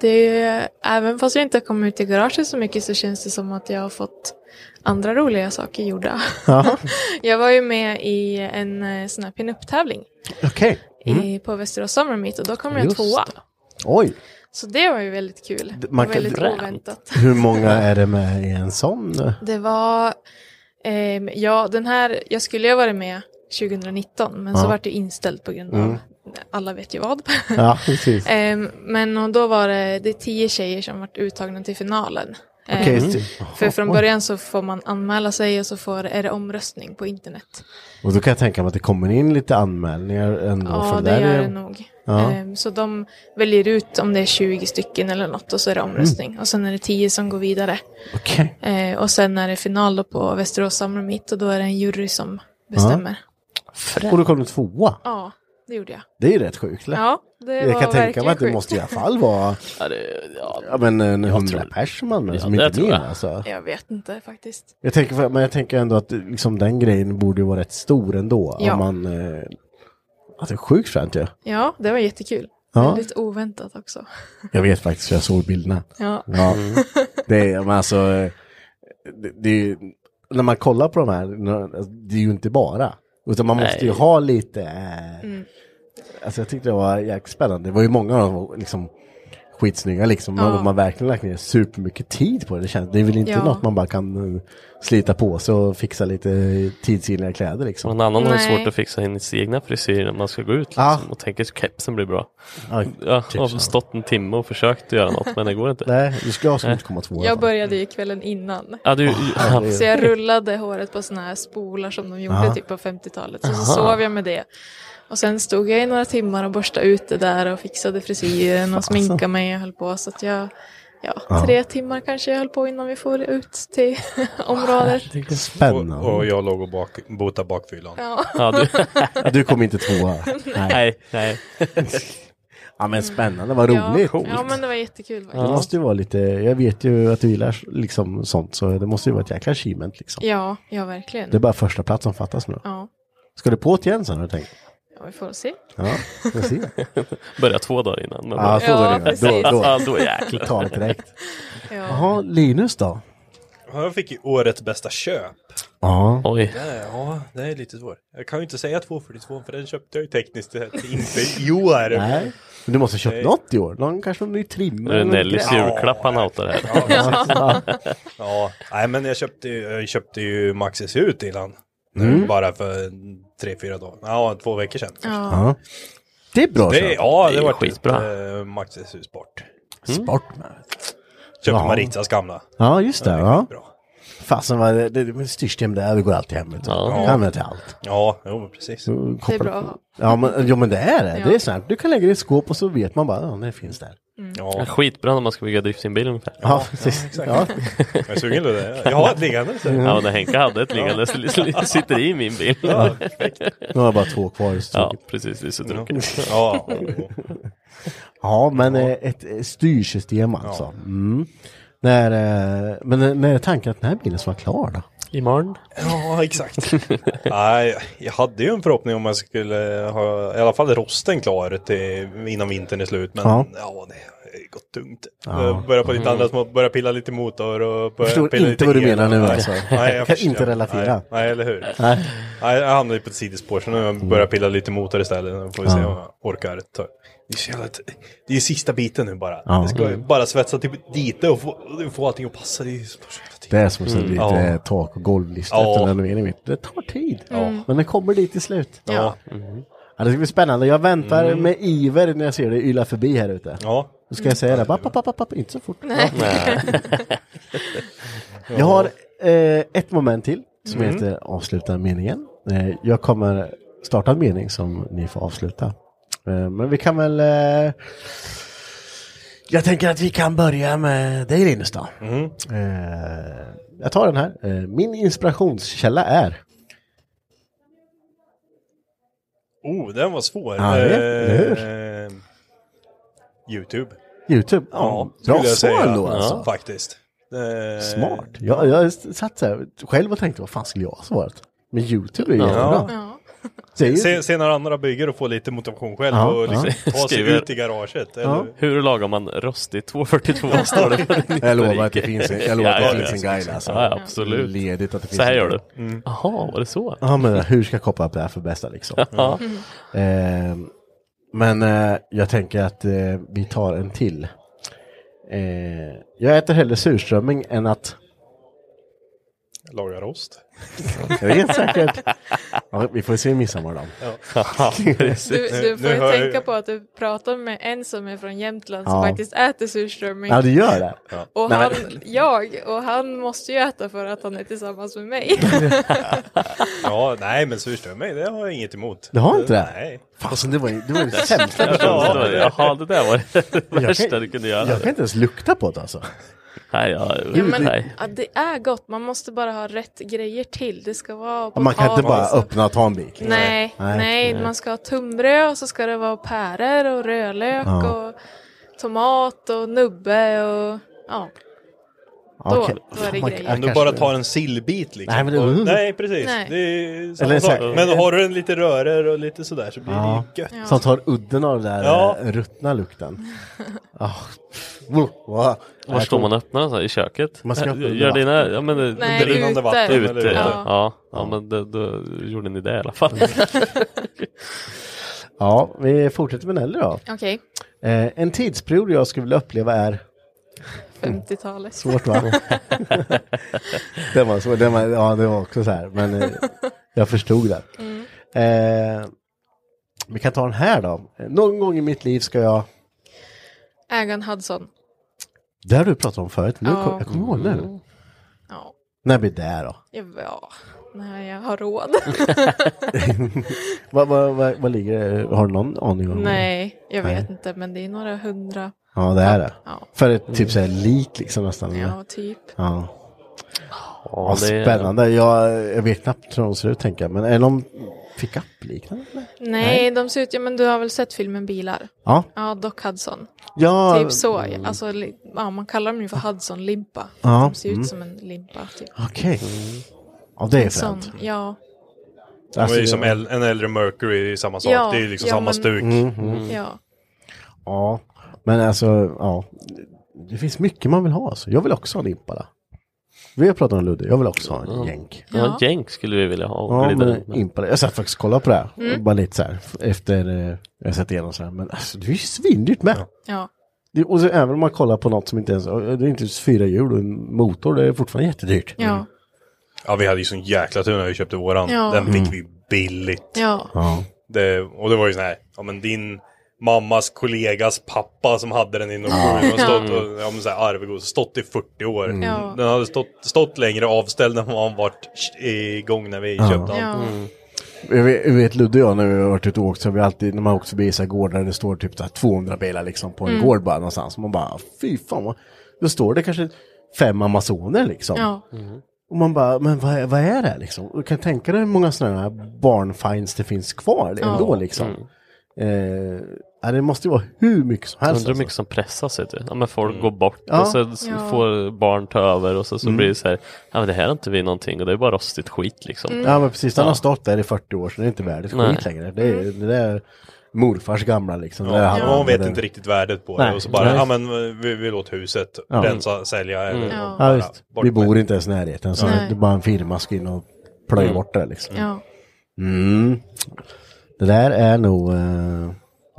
Speaker 14: Det är, även fast jag inte har kommit ut i garaget så mycket så känns det som att jag har fått andra roliga saker gjorda.
Speaker 2: Ja.
Speaker 14: jag var ju med i en eh, sån här pinup-tävling
Speaker 2: Okej. Mm.
Speaker 14: i- på Västerås Summer Meet och då kom jag
Speaker 2: Just
Speaker 14: tvåa.
Speaker 2: Oj.
Speaker 14: Så det var ju väldigt kul.
Speaker 2: D- man
Speaker 14: och
Speaker 2: kan-
Speaker 14: väldigt
Speaker 2: Fränt.
Speaker 14: oväntat.
Speaker 2: Hur många är det med i en sån?
Speaker 14: Det var, ehm, ja den här, jag skulle ju ha varit med 2019 men så
Speaker 2: Ja.
Speaker 14: vart det inställt på grund av,
Speaker 2: Mm.
Speaker 14: alla vet ju vad.
Speaker 2: Ja, precis.
Speaker 14: Ehm, men och då var det, det är tio tjejer som vart uttagna till finalen. Ehm,
Speaker 2: Okej, så-
Speaker 14: För från
Speaker 2: Oj.
Speaker 14: början så får man anmäla sig och så får, är det omröstning på internet.
Speaker 2: Och då kan jag tänka mig att det kommer in lite anmälningar ändå.
Speaker 14: Ja,
Speaker 2: för
Speaker 14: det
Speaker 2: där
Speaker 14: gör
Speaker 2: är-
Speaker 14: det nog.
Speaker 2: Ja.
Speaker 14: Ehm, Så de väljer ut om det är 20 stycken eller något och så är det omröstning. Och sen är det 10 som går vidare.
Speaker 2: Mm. Okej.
Speaker 14: Eh, Och sen är det final då på Västerås Summer Meet och då är det en jury som bestämmer.
Speaker 2: Och då kom du tvåa.
Speaker 14: Ja, det gjorde jag.
Speaker 2: Det är ju rätt sjukt. eller?
Speaker 14: Ja, det
Speaker 2: jag
Speaker 14: var
Speaker 2: kan tänka mig
Speaker 14: verkligen
Speaker 2: att det
Speaker 14: sjukt.
Speaker 2: måste i alla fall vara
Speaker 12: Ja, det, ja,
Speaker 2: Ja, men eh, en
Speaker 14: Jag
Speaker 2: hundra
Speaker 14: tror-
Speaker 2: pers som anmäler
Speaker 14: Ja,
Speaker 2: som
Speaker 14: det
Speaker 2: inte
Speaker 14: tror
Speaker 2: min
Speaker 14: jag.
Speaker 2: alltså.
Speaker 14: Jag vet inte faktiskt.
Speaker 2: Jag tänker, för- men jag tänker ändå att liksom, den grejen borde ju vara rätt stor ändå.
Speaker 14: Ja.
Speaker 2: Om man, eh, att det är sjukt fränt ju.
Speaker 14: Ja, det var jättekul.
Speaker 2: Ja.
Speaker 14: Väldigt oväntat också.
Speaker 2: Jag vet faktiskt, för jag såg bilderna.
Speaker 14: Ja. Mm.
Speaker 2: Det är, men alltså, eh, det, det är ju, när man kollar på de här, alltså, det är ju inte bara. Utan man måste
Speaker 14: Nej.
Speaker 2: ju ha lite, eh,
Speaker 10: Mm.
Speaker 2: alltså jag tyckte det var jäkligt spännande. Det var ju många av dem liksom skitsnygga liksom.
Speaker 14: Ja.
Speaker 2: Man, man verkligen lagt ner supermycket tid på det. Det, känns, det är väl inte
Speaker 14: Ja.
Speaker 2: något man bara kan eh, slita på sig och fixa lite tidsenliga kläder liksom.
Speaker 12: Någon annan har ju
Speaker 14: Nej.
Speaker 12: svårt att fixa in i sina egna frisyr när man ska gå ut liksom, och tänker att kepsen blir bra.
Speaker 2: Ja,
Speaker 12: Ja, jag har stått en timme och försökt att göra något men det går inte.
Speaker 2: Nej, du ska ha som
Speaker 12: Nej.
Speaker 2: 8,2
Speaker 14: Jag började ju kvällen innan.
Speaker 12: Ja,
Speaker 2: Ah,
Speaker 12: du- ja.
Speaker 14: Så jag rullade håret på såna här spolar som de gjorde
Speaker 2: Ah.
Speaker 12: Aha.
Speaker 14: typ på 50-talet. Så, så
Speaker 12: Aha.
Speaker 14: sov jag med det. Och sen stod jag i några timmar och borstade ut det där och fixade frisyren och sminkade mig och höll på. Så att jag, ja,
Speaker 2: Alltså. Ja.
Speaker 14: tre timmar kanske jag höll på innan vi får ut till området.
Speaker 2: Spännande.
Speaker 15: Och, och jag låg och bak, botade bakfyllan.
Speaker 14: Ja.
Speaker 2: Ja, du- Ja, du kom inte tvåa. Nej.
Speaker 12: Nej, nej.
Speaker 2: Ja men spännande, vad roligt.
Speaker 14: Ja, ja, men det var jättekul faktiskt.
Speaker 2: Det måste ju vara lite, jag vet ju att du gillar liksom sånt så det måste ju vara ett jäkla achievement liksom.
Speaker 14: Ja, ja verkligen.
Speaker 2: Det är bara första plats som fattas nu.
Speaker 14: Ja.
Speaker 2: Ska du på ett igen sen har du tänkt?
Speaker 14: ja, vi får se.
Speaker 2: Ja, får se.
Speaker 12: Börja två dagar innan. men-
Speaker 2: Ja, två dagar innan. Då, då.
Speaker 12: Ja, då jäklar.
Speaker 2: Totalt direkt.
Speaker 14: Ja.
Speaker 2: Jaha, Linus då?
Speaker 15: Jag fick ju årets bästa köp.
Speaker 2: Ja.
Speaker 12: Oj.
Speaker 15: Det, ja, det är lite svårt. Jag kan ju inte säga 242 för den köpte jag ju tekniskt sett inte i år.
Speaker 2: Nej. Men du måste ha köpt
Speaker 15: Nej.
Speaker 2: något i år. Någon, kanske någon ny trimmer.
Speaker 12: Det är
Speaker 2: eller något
Speaker 12: Nellys
Speaker 2: grej.
Speaker 12: julklapp han outar här.
Speaker 15: Ja, ja. Nej, men jag köpte, ju- jag köpte ju Maxis ut innan.
Speaker 2: Mm.
Speaker 15: Bara för tre, fyra dagar. Ja, två veckor sedan. kanske.
Speaker 2: Ja. Det är bra
Speaker 15: det,
Speaker 2: köp.
Speaker 15: Ja, det,
Speaker 2: Det är
Speaker 15: var skitbra.
Speaker 2: skitbra.
Speaker 15: Äh, Maxis hus bort.
Speaker 2: Mm. Sport med.
Speaker 15: Köpte
Speaker 2: Ja.
Speaker 15: Maritas gamla.
Speaker 2: Ja, just det. Ja. Fasen vad det, det, det styrsystem där, det går alltid hem. vet du. Det använder till allt.
Speaker 15: Ja, jo, precis.
Speaker 2: Så
Speaker 15: Det är
Speaker 2: kopplar-
Speaker 15: bra att ha.
Speaker 2: Ja men, jo, men det är det.
Speaker 15: Ja.
Speaker 2: Det är sant. Du kan lägga det i ett skåp och så vet man bara, ja, det finns där.
Speaker 12: Ja. Skitbra när man ska bygga driftingbil ungefär.
Speaker 2: Ja, precis. Ja.
Speaker 15: Jag är sugen på det. Jag har ett liggande. så-
Speaker 12: Ja, men Henke hade ett liggande. så det Sitter i min bil.
Speaker 15: Ja, perfekt.
Speaker 2: Nu har jag bara två kvar. Så
Speaker 12: Ja, precis. Det är så tråkigt.
Speaker 15: Ja.
Speaker 2: Ja, men eh, ett eh, styrsystem alltså. Mm. När, eh, men eh, när är tanken att den här bilen ska vara klar då?
Speaker 12: Imorgon.
Speaker 15: Ja, exakt. Nej, jag hade ju en förhoppning om jag skulle ha i alla fall rosten klar till, innan vintern är slut. Men
Speaker 2: Ja.
Speaker 15: ja, det har gått tungt.
Speaker 2: Ja.
Speaker 15: Jag börjar på lite
Speaker 2: Mm.
Speaker 15: andra små, börjar pilla lite motor och
Speaker 2: Jag
Speaker 15: börjar
Speaker 2: förstår
Speaker 15: pilla
Speaker 2: inte
Speaker 15: lite
Speaker 2: vad du
Speaker 15: el.
Speaker 2: menar nu,
Speaker 15: Nej.
Speaker 2: alltså.
Speaker 15: Nej,
Speaker 2: Jag kan
Speaker 15: förstår.
Speaker 2: inte relatera.
Speaker 15: Nej, nej eller hur.
Speaker 2: Nej. Mm.
Speaker 15: Nej. jag hamnade ju på ett sidospår så nu har jag börjat pilla lite motor istället. Nu får vi se
Speaker 2: Ja.
Speaker 15: om jag orkar. Ta. Det är, så jävla, det är sista biten nu bara.
Speaker 2: Ja.
Speaker 15: Jag ska ju
Speaker 2: Mm.
Speaker 15: bara svetsa till lite och få, få allting att passa. Det är ju så
Speaker 2: Det är som att sätta
Speaker 15: Mm.
Speaker 2: lite
Speaker 15: Ja.
Speaker 2: eh, tak och golvlista
Speaker 15: Ja.
Speaker 2: efter renoveringen. vet du. Det tar tid.
Speaker 15: Ja. Mm.
Speaker 2: Men det kommer dit till slut. Mm.
Speaker 15: Ja.
Speaker 2: Ja, det ska bli spännande. Jag väntar
Speaker 15: Mm.
Speaker 2: med iver när jag ser dig yla förbi här ute.
Speaker 15: Ja. Mm.
Speaker 2: Då ska jag säga det. Papp, papp, papp, papp. Inte så fort.
Speaker 15: Nej.
Speaker 2: Ja.
Speaker 15: Ja.
Speaker 2: jag har eh, ett moment till som
Speaker 15: Mm.
Speaker 2: heter avsluta meningen. Eh, jag kommer starta en mening som ni får avsluta. Eh, men vi kan väl... Eh, jag tänker att vi kan börja med dig Linus då.
Speaker 15: Mm.
Speaker 2: Eh, jag tar den här. Eh, min inspirationskälla är...
Speaker 15: Oh, den var svår.
Speaker 2: Ja, det- det
Speaker 15: Eh, Youtube.
Speaker 2: YouTube?
Speaker 15: Ja,
Speaker 2: Bra
Speaker 15: skulle jag
Speaker 2: svar
Speaker 15: säga.
Speaker 2: ändå, alltså.
Speaker 15: Ja. Faktiskt. Eh,
Speaker 2: Smart. Jag, jag satt så här själv och tänkte vad fan skulle jag ha svarat? Men YouTube är ju jättebra. Det är ju-
Speaker 15: Se, se när andra bygger och få lite motivation själv
Speaker 2: Ja,
Speaker 15: och liksom
Speaker 2: ja.
Speaker 15: ta sig
Speaker 12: Skriver-
Speaker 15: ut i garaget.
Speaker 12: Ja.
Speaker 15: Eller?
Speaker 12: Hur lagar man rostigt 242? Står det på din
Speaker 2: Jag lovar
Speaker 12: historik.
Speaker 2: att det finns en- jag lovar att det finns en
Speaker 12: visst.
Speaker 2: guide, alltså.
Speaker 12: Ja, ja, absolut.
Speaker 2: Ledigt att det finns
Speaker 12: så här
Speaker 2: en
Speaker 12: gör du.
Speaker 2: guide.
Speaker 15: Mm.
Speaker 12: Jaha, var det så?
Speaker 2: Ja men hur ska jag koppla upp det här för bästa liksom?
Speaker 12: Ja.
Speaker 2: Ehm, men eh, jag tänker att eh, vi tar en till. Eh, jag äter hellre surströmming än att
Speaker 15: Laga rost.
Speaker 2: Jag vet säkert. Ja, vi får se i midsommar då.
Speaker 12: Ja, precis.
Speaker 14: Du, du får ju
Speaker 15: hör jag-
Speaker 14: tänka på att du pratar med en som är från Jämtland som
Speaker 2: Ja.
Speaker 14: faktiskt äter surströmming.
Speaker 2: Ja, du gör det.
Speaker 15: Ja.
Speaker 14: Och
Speaker 2: Nej,
Speaker 14: han,
Speaker 2: men-
Speaker 14: jag, och han måste ju äta för att han är tillsammans med mig.
Speaker 15: ja, nej men surströmming det har jag inget emot.
Speaker 2: Du har inte det?
Speaker 15: Nej.
Speaker 2: Fasen, alltså, det var ju det, var ju det sämsta jag
Speaker 12: Ja, det var
Speaker 2: förstod.
Speaker 12: det. Jaha, det där var det
Speaker 2: Jag
Speaker 12: värsta
Speaker 2: kan-
Speaker 12: du kunde göra.
Speaker 2: Jag kan inte ens lukta på det alltså.
Speaker 12: Nej, ja,
Speaker 14: ja, men,
Speaker 12: nej.
Speaker 14: ja, det är gott, man måste bara ha rätt grejer till. Det ska vara
Speaker 2: Ja, Man kan inte
Speaker 14: potatis
Speaker 2: bara
Speaker 14: och-
Speaker 2: öppna och ta en bit. liksom.
Speaker 14: Nej, nej, man ska ha tunnbröd och så ska det vara päror och rödlök
Speaker 2: Ja.
Speaker 14: och tomat och nubbe och ja. Då,
Speaker 2: Okej.
Speaker 14: då är det
Speaker 2: Fan, man-
Speaker 14: grejer.
Speaker 2: jag
Speaker 15: Om du
Speaker 2: kanske
Speaker 15: bara
Speaker 2: vill-
Speaker 15: tar en sillbit liksom.
Speaker 2: Nej, men det-
Speaker 15: och, nej precis.
Speaker 14: Nej.
Speaker 15: Det är
Speaker 2: Eller
Speaker 15: samma
Speaker 2: så
Speaker 15: sak.
Speaker 2: här-
Speaker 15: Men har du en lite rörer och lite sådär så blir
Speaker 2: Ja.
Speaker 15: det ju gött.
Speaker 2: Som tar udden av den där
Speaker 15: Ja.
Speaker 2: eh, ruttna lukten. Ah, pff, wow. Var
Speaker 4: Var står man och öppnar den så här? I köket?
Speaker 2: Man ska öppna under
Speaker 4: Gör dina, ja, men, det-
Speaker 14: Nej,
Speaker 4: det-
Speaker 14: ute. vatten
Speaker 4: Ute,
Speaker 14: eller-
Speaker 4: ja.
Speaker 14: Ja.
Speaker 4: Ja, men det, då gjorde ni det i alla
Speaker 2: Mm.
Speaker 4: fall.
Speaker 2: Ja, vi fortsätter med Nelly då.
Speaker 14: Okej.
Speaker 2: Eh, en tidsperiod jag skulle vilja uppleva är Mm.
Speaker 14: 50-talet.
Speaker 2: Svårt va? det var svårt, det var, ja det var också så här, men eh, jag förstod det.
Speaker 14: Mm.
Speaker 2: Eh, vi kan ta den här då. Någon gång i mitt liv ska jag,
Speaker 14: Ägan Hudson.
Speaker 2: det har du pratat om förut, nu
Speaker 14: Ja.
Speaker 2: kom, jag kommer ihåg nu.
Speaker 14: Ja.
Speaker 2: När blir det då?
Speaker 14: Ja, när jag har råd.
Speaker 2: vad, vad, vad, vad ligger det, har du någon aning om? det?
Speaker 14: Nej, jag vet
Speaker 2: Nej.
Speaker 14: inte men det är några hundra.
Speaker 2: Ja det är det.
Speaker 14: Ja.
Speaker 2: För ett typ så här lik liksom nästan.
Speaker 14: Ja, typ.
Speaker 2: Ja.
Speaker 4: Ja,
Speaker 2: Ja,
Speaker 4: det är-
Speaker 2: spännande, jag, jag vet knappt hur de ser ut tänker jag, men är de pickup-liknande? eller?
Speaker 14: Nej, de ser ut, ja men du har väl sett filmen Bilar?
Speaker 2: Ja.
Speaker 14: Ja, Doc Hudson.
Speaker 2: Ja.
Speaker 14: Typ så,
Speaker 2: Mm. Ah.
Speaker 14: alltså, li- ja, man kallar dem ju för Hudson-limpa.
Speaker 2: Ja,
Speaker 14: De ser ut
Speaker 2: mm.
Speaker 14: som en limpa. Typ.
Speaker 2: Okej. Ja det är
Speaker 14: En
Speaker 2: fränt. Alltså,
Speaker 14: sån, Ja,
Speaker 15: det är ju
Speaker 2: det-
Speaker 15: som äl- en äldre Mercury, det är ju samma sak.
Speaker 14: Ja,
Speaker 15: det är ju liksom
Speaker 14: ja,
Speaker 15: samma
Speaker 14: men-
Speaker 15: stuk.
Speaker 2: Mm, mm.
Speaker 14: ja.
Speaker 2: Ja, men alltså, ja. Det finns mycket man vill ha. Alltså. Jag vill också ha en impala. Vi har pratat om Ludde, jag vill också ha en jänk.
Speaker 4: Ja, en jänk skulle vi vilja ha. och
Speaker 2: Ja,
Speaker 4: glida runt
Speaker 2: men
Speaker 4: med.
Speaker 2: impala. Jag satt faktiskt och kollade på det här.
Speaker 14: Mm.
Speaker 2: Bara lite så här. Efter eh, jag sett igenom så här. Men alltså, det är ju svindyrt med.
Speaker 14: ja.
Speaker 2: Det, och så, även om man kollar på något som inte ens, det är inte ens fyra hjul och en motor, det är fortfarande jättedyrt.
Speaker 14: Ja,
Speaker 3: Mm.
Speaker 15: Ja, vi hade ju sån jäkla tur när vi köpte våran.
Speaker 14: Ja.
Speaker 15: Den
Speaker 14: Mm.
Speaker 15: fick vi billigt.
Speaker 14: Ja.
Speaker 2: Ja.
Speaker 15: Det, och det var ju sån här, ja men din mammas kollegas pappa som hade den i Nordsjön och stått och, ja, men så här, arvegods, stått i 40 år.
Speaker 14: Mm. Ja.
Speaker 15: Den hade stått, stått längre avställd än vad han vart igång när vi
Speaker 2: Ja. Mm.
Speaker 15: köpte den.
Speaker 14: Ja.
Speaker 2: Jag vet, jag vet Ludde och jag när vi har varit ute och åkt så har vi alltid, när man har åkt förbi så här gårdar där det står typ så här 200 bilar liksom på en
Speaker 14: Mm.
Speaker 2: gård bara någonstans. Man bara, "Ah, fy fan vad... Då står det kanske fem amazoner liksom.
Speaker 14: Ja.
Speaker 2: Och man bara, men vad, är- vad är det här liksom? Och kan tänka dig hur många sådana här barnfinds det finns kvar
Speaker 14: Ja.
Speaker 2: ändå liksom. Eh, ja, det måste ju vara hur mycket som helst.
Speaker 4: Undrar hur mycket som pressas vet du. Ja, men folk går bort
Speaker 2: Mm. Ja.
Speaker 4: och sen s-
Speaker 14: Ja.
Speaker 4: får barn ta över och så, så
Speaker 2: Mm.
Speaker 4: blir det så här. Ja men det här är inte vi någonting och det är bara rostigt skit liksom.
Speaker 14: Mm.
Speaker 2: Alltså. Ja men precis, den har stått där i 40 år så det är inte värdigt
Speaker 4: Nej.
Speaker 2: skit längre. Det är, det där är morfars gamla liksom. Det där
Speaker 15: Ja,
Speaker 2: hade
Speaker 15: Man
Speaker 2: han,
Speaker 15: vet
Speaker 2: det-
Speaker 15: inte riktigt värdet på det
Speaker 2: Nej.
Speaker 15: och så bara,
Speaker 2: Nej.
Speaker 15: ja men vi, vi låter huset
Speaker 2: Ja.
Speaker 15: rensa, sälja eller
Speaker 4: Mm.
Speaker 14: Ja.
Speaker 2: Ja,
Speaker 15: bara
Speaker 2: visst.
Speaker 15: bort
Speaker 2: Vi
Speaker 15: med.
Speaker 2: bor inte ens i närheten så
Speaker 14: Nej.
Speaker 2: det är bara en firma ska in och plöja bort det liksom.
Speaker 14: ja.
Speaker 2: Mm. Det där är nog, eh,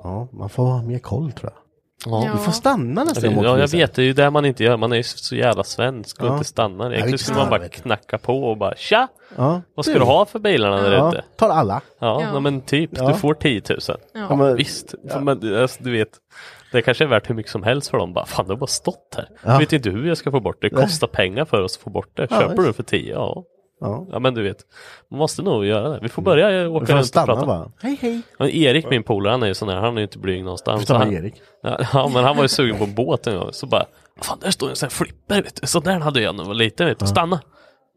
Speaker 2: ja man får ha mer koll tror jag.
Speaker 4: Ja.
Speaker 2: Vi får stanna nästa gång.
Speaker 4: Ja, jag
Speaker 2: också, Lisa.
Speaker 4: vet, det är ju det man inte gör. Man är ju så jävla svensk och
Speaker 2: Ja.
Speaker 4: inte stannar.
Speaker 2: vilket
Speaker 4: Egentligen skulle man bara
Speaker 2: helvete.
Speaker 4: knacka på och bara tja!
Speaker 2: Ja.
Speaker 4: Vad ska du ha för bilarna där
Speaker 2: Ja,
Speaker 4: ute?
Speaker 2: tar alla.
Speaker 4: Ja,
Speaker 14: Ja.
Speaker 4: nej, men typ.
Speaker 2: Ja.
Speaker 4: Du får 10 000.
Speaker 2: Ja, men-
Speaker 4: Visst. För Man, alltså, du vet, det kanske är värt hur mycket som helst för dem. Bara, Fan, det har bara stått här.
Speaker 2: Ja.
Speaker 4: Jag vet inte hur jag ska få bort det. Det kostar pengar för oss att få bort det.
Speaker 2: Ja,
Speaker 4: Köper du
Speaker 2: visst.
Speaker 4: det för 10? Ja.
Speaker 2: Ja.
Speaker 4: Ja men du vet, man måste nog göra det. Vi får börja eh,
Speaker 2: Vi
Speaker 4: åka
Speaker 2: får
Speaker 4: runt och
Speaker 2: stanna
Speaker 4: prata.
Speaker 2: bara. Hej hej.
Speaker 4: Men Erik min polare han är ju sån här, han är ju inte blyg någonstans.
Speaker 2: Vi tar
Speaker 4: Han-
Speaker 2: Erik.
Speaker 4: Ja, ja men han var ju sugen på en båt en gång. Så bara, "Ah, fan där står en sån här flipper vet du. Så där hade jag när jag var liten vet du. Stanna.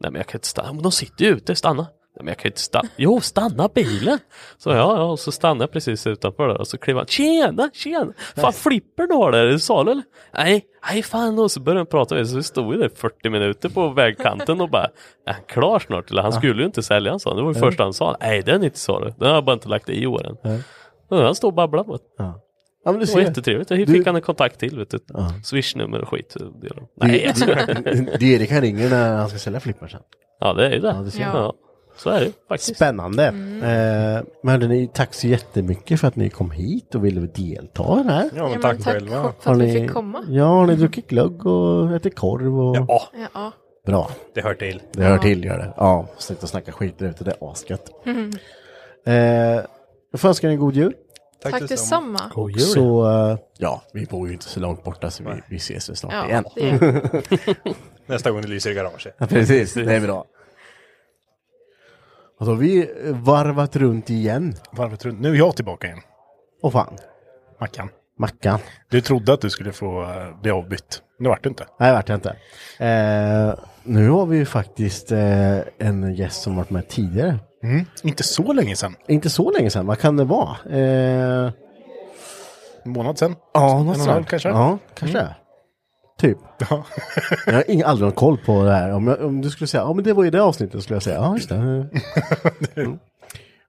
Speaker 4: Nej men jag kan inte stanna. Men de sitter ju ute, stanna. Nej men jag kan inte stanna. Jo stanna bilen. Så ja, ja och så stannar jag precis utanför där och så kliver han. Tjena, tjena. Fan flipper du har där, är det salu eller? Nej, nej fan. Och så började de prata med mig. Så vi stod ju där 40 minuter på vägkanten och bara, är han klar snart? Eller han skulle ju inte sälja en sån. Det var ju första han sa. Nej den är inte salu. Den har jag bara inte lagt i åren. Och han står och babblar på det.
Speaker 2: Ja, men du
Speaker 4: Det var
Speaker 2: ser.
Speaker 4: jättetrevligt. Jag fick
Speaker 2: Du-
Speaker 4: han en kontakt till. Vet du. Swishnummer och skit. Det är de. Nej, jag skojar.
Speaker 2: Det är Erik han ringer när han ska sälja flippar sen.
Speaker 4: Ja, det är ju det.
Speaker 2: Ja, det ser
Speaker 4: ja.
Speaker 2: jag.
Speaker 4: Så är det faktiskt.
Speaker 2: Spännande.
Speaker 14: Mm.
Speaker 2: Eh, men hörde ni, tack så jättemycket för att ni kom hit och ville delta i det här.
Speaker 15: Ja, men
Speaker 14: men
Speaker 15: tack,
Speaker 14: tack
Speaker 15: själva.
Speaker 14: för att
Speaker 2: Har
Speaker 14: vi
Speaker 2: ni-
Speaker 14: fick komma.
Speaker 2: Ja, har ni druckit glögg och ätit korv och...
Speaker 15: Ja,
Speaker 14: Ja.
Speaker 2: Bra.
Speaker 15: det hör till.
Speaker 2: Det hör till, gör det. Ja, sluta snacka skit där ute, det är asgött.
Speaker 14: Mm.
Speaker 2: Eh, jag får önska er en god jul.
Speaker 14: Tack detsamma.
Speaker 2: Och så, eh, ja, vi bor ju inte så långt borta så vi, vi ses väl snart
Speaker 14: Ja,
Speaker 2: igen.
Speaker 14: det är
Speaker 15: Nästa gång det lyser i garaget.
Speaker 2: Ja, precis, det är bra. Och då har vi eh, varvat runt igen.
Speaker 3: Varvet runt. Nu är jag tillbaka igen.
Speaker 2: Åh fan,
Speaker 3: Mackan.
Speaker 2: Mackan.
Speaker 3: Du trodde att du skulle få eh, bli avbytt. Nu vart du inte.
Speaker 2: Nej, vart jag inte. Eh, nu har vi ju faktiskt eh, en gäst som varit med tidigare.
Speaker 3: Inte Mm. så länge sedan.
Speaker 2: Inte så länge sedan, vad kan det vara? Eh,
Speaker 3: månad sedan.
Speaker 2: Ja,
Speaker 3: en och
Speaker 2: något
Speaker 3: en halv
Speaker 2: sånt.
Speaker 3: kanske.
Speaker 2: Ja, kanske. Typ. jag har ing, aldrig någon koll på det här. Om, jag, om du skulle säga, ja men det var ju det avsnittet skulle jag säga, ja just det. Mm.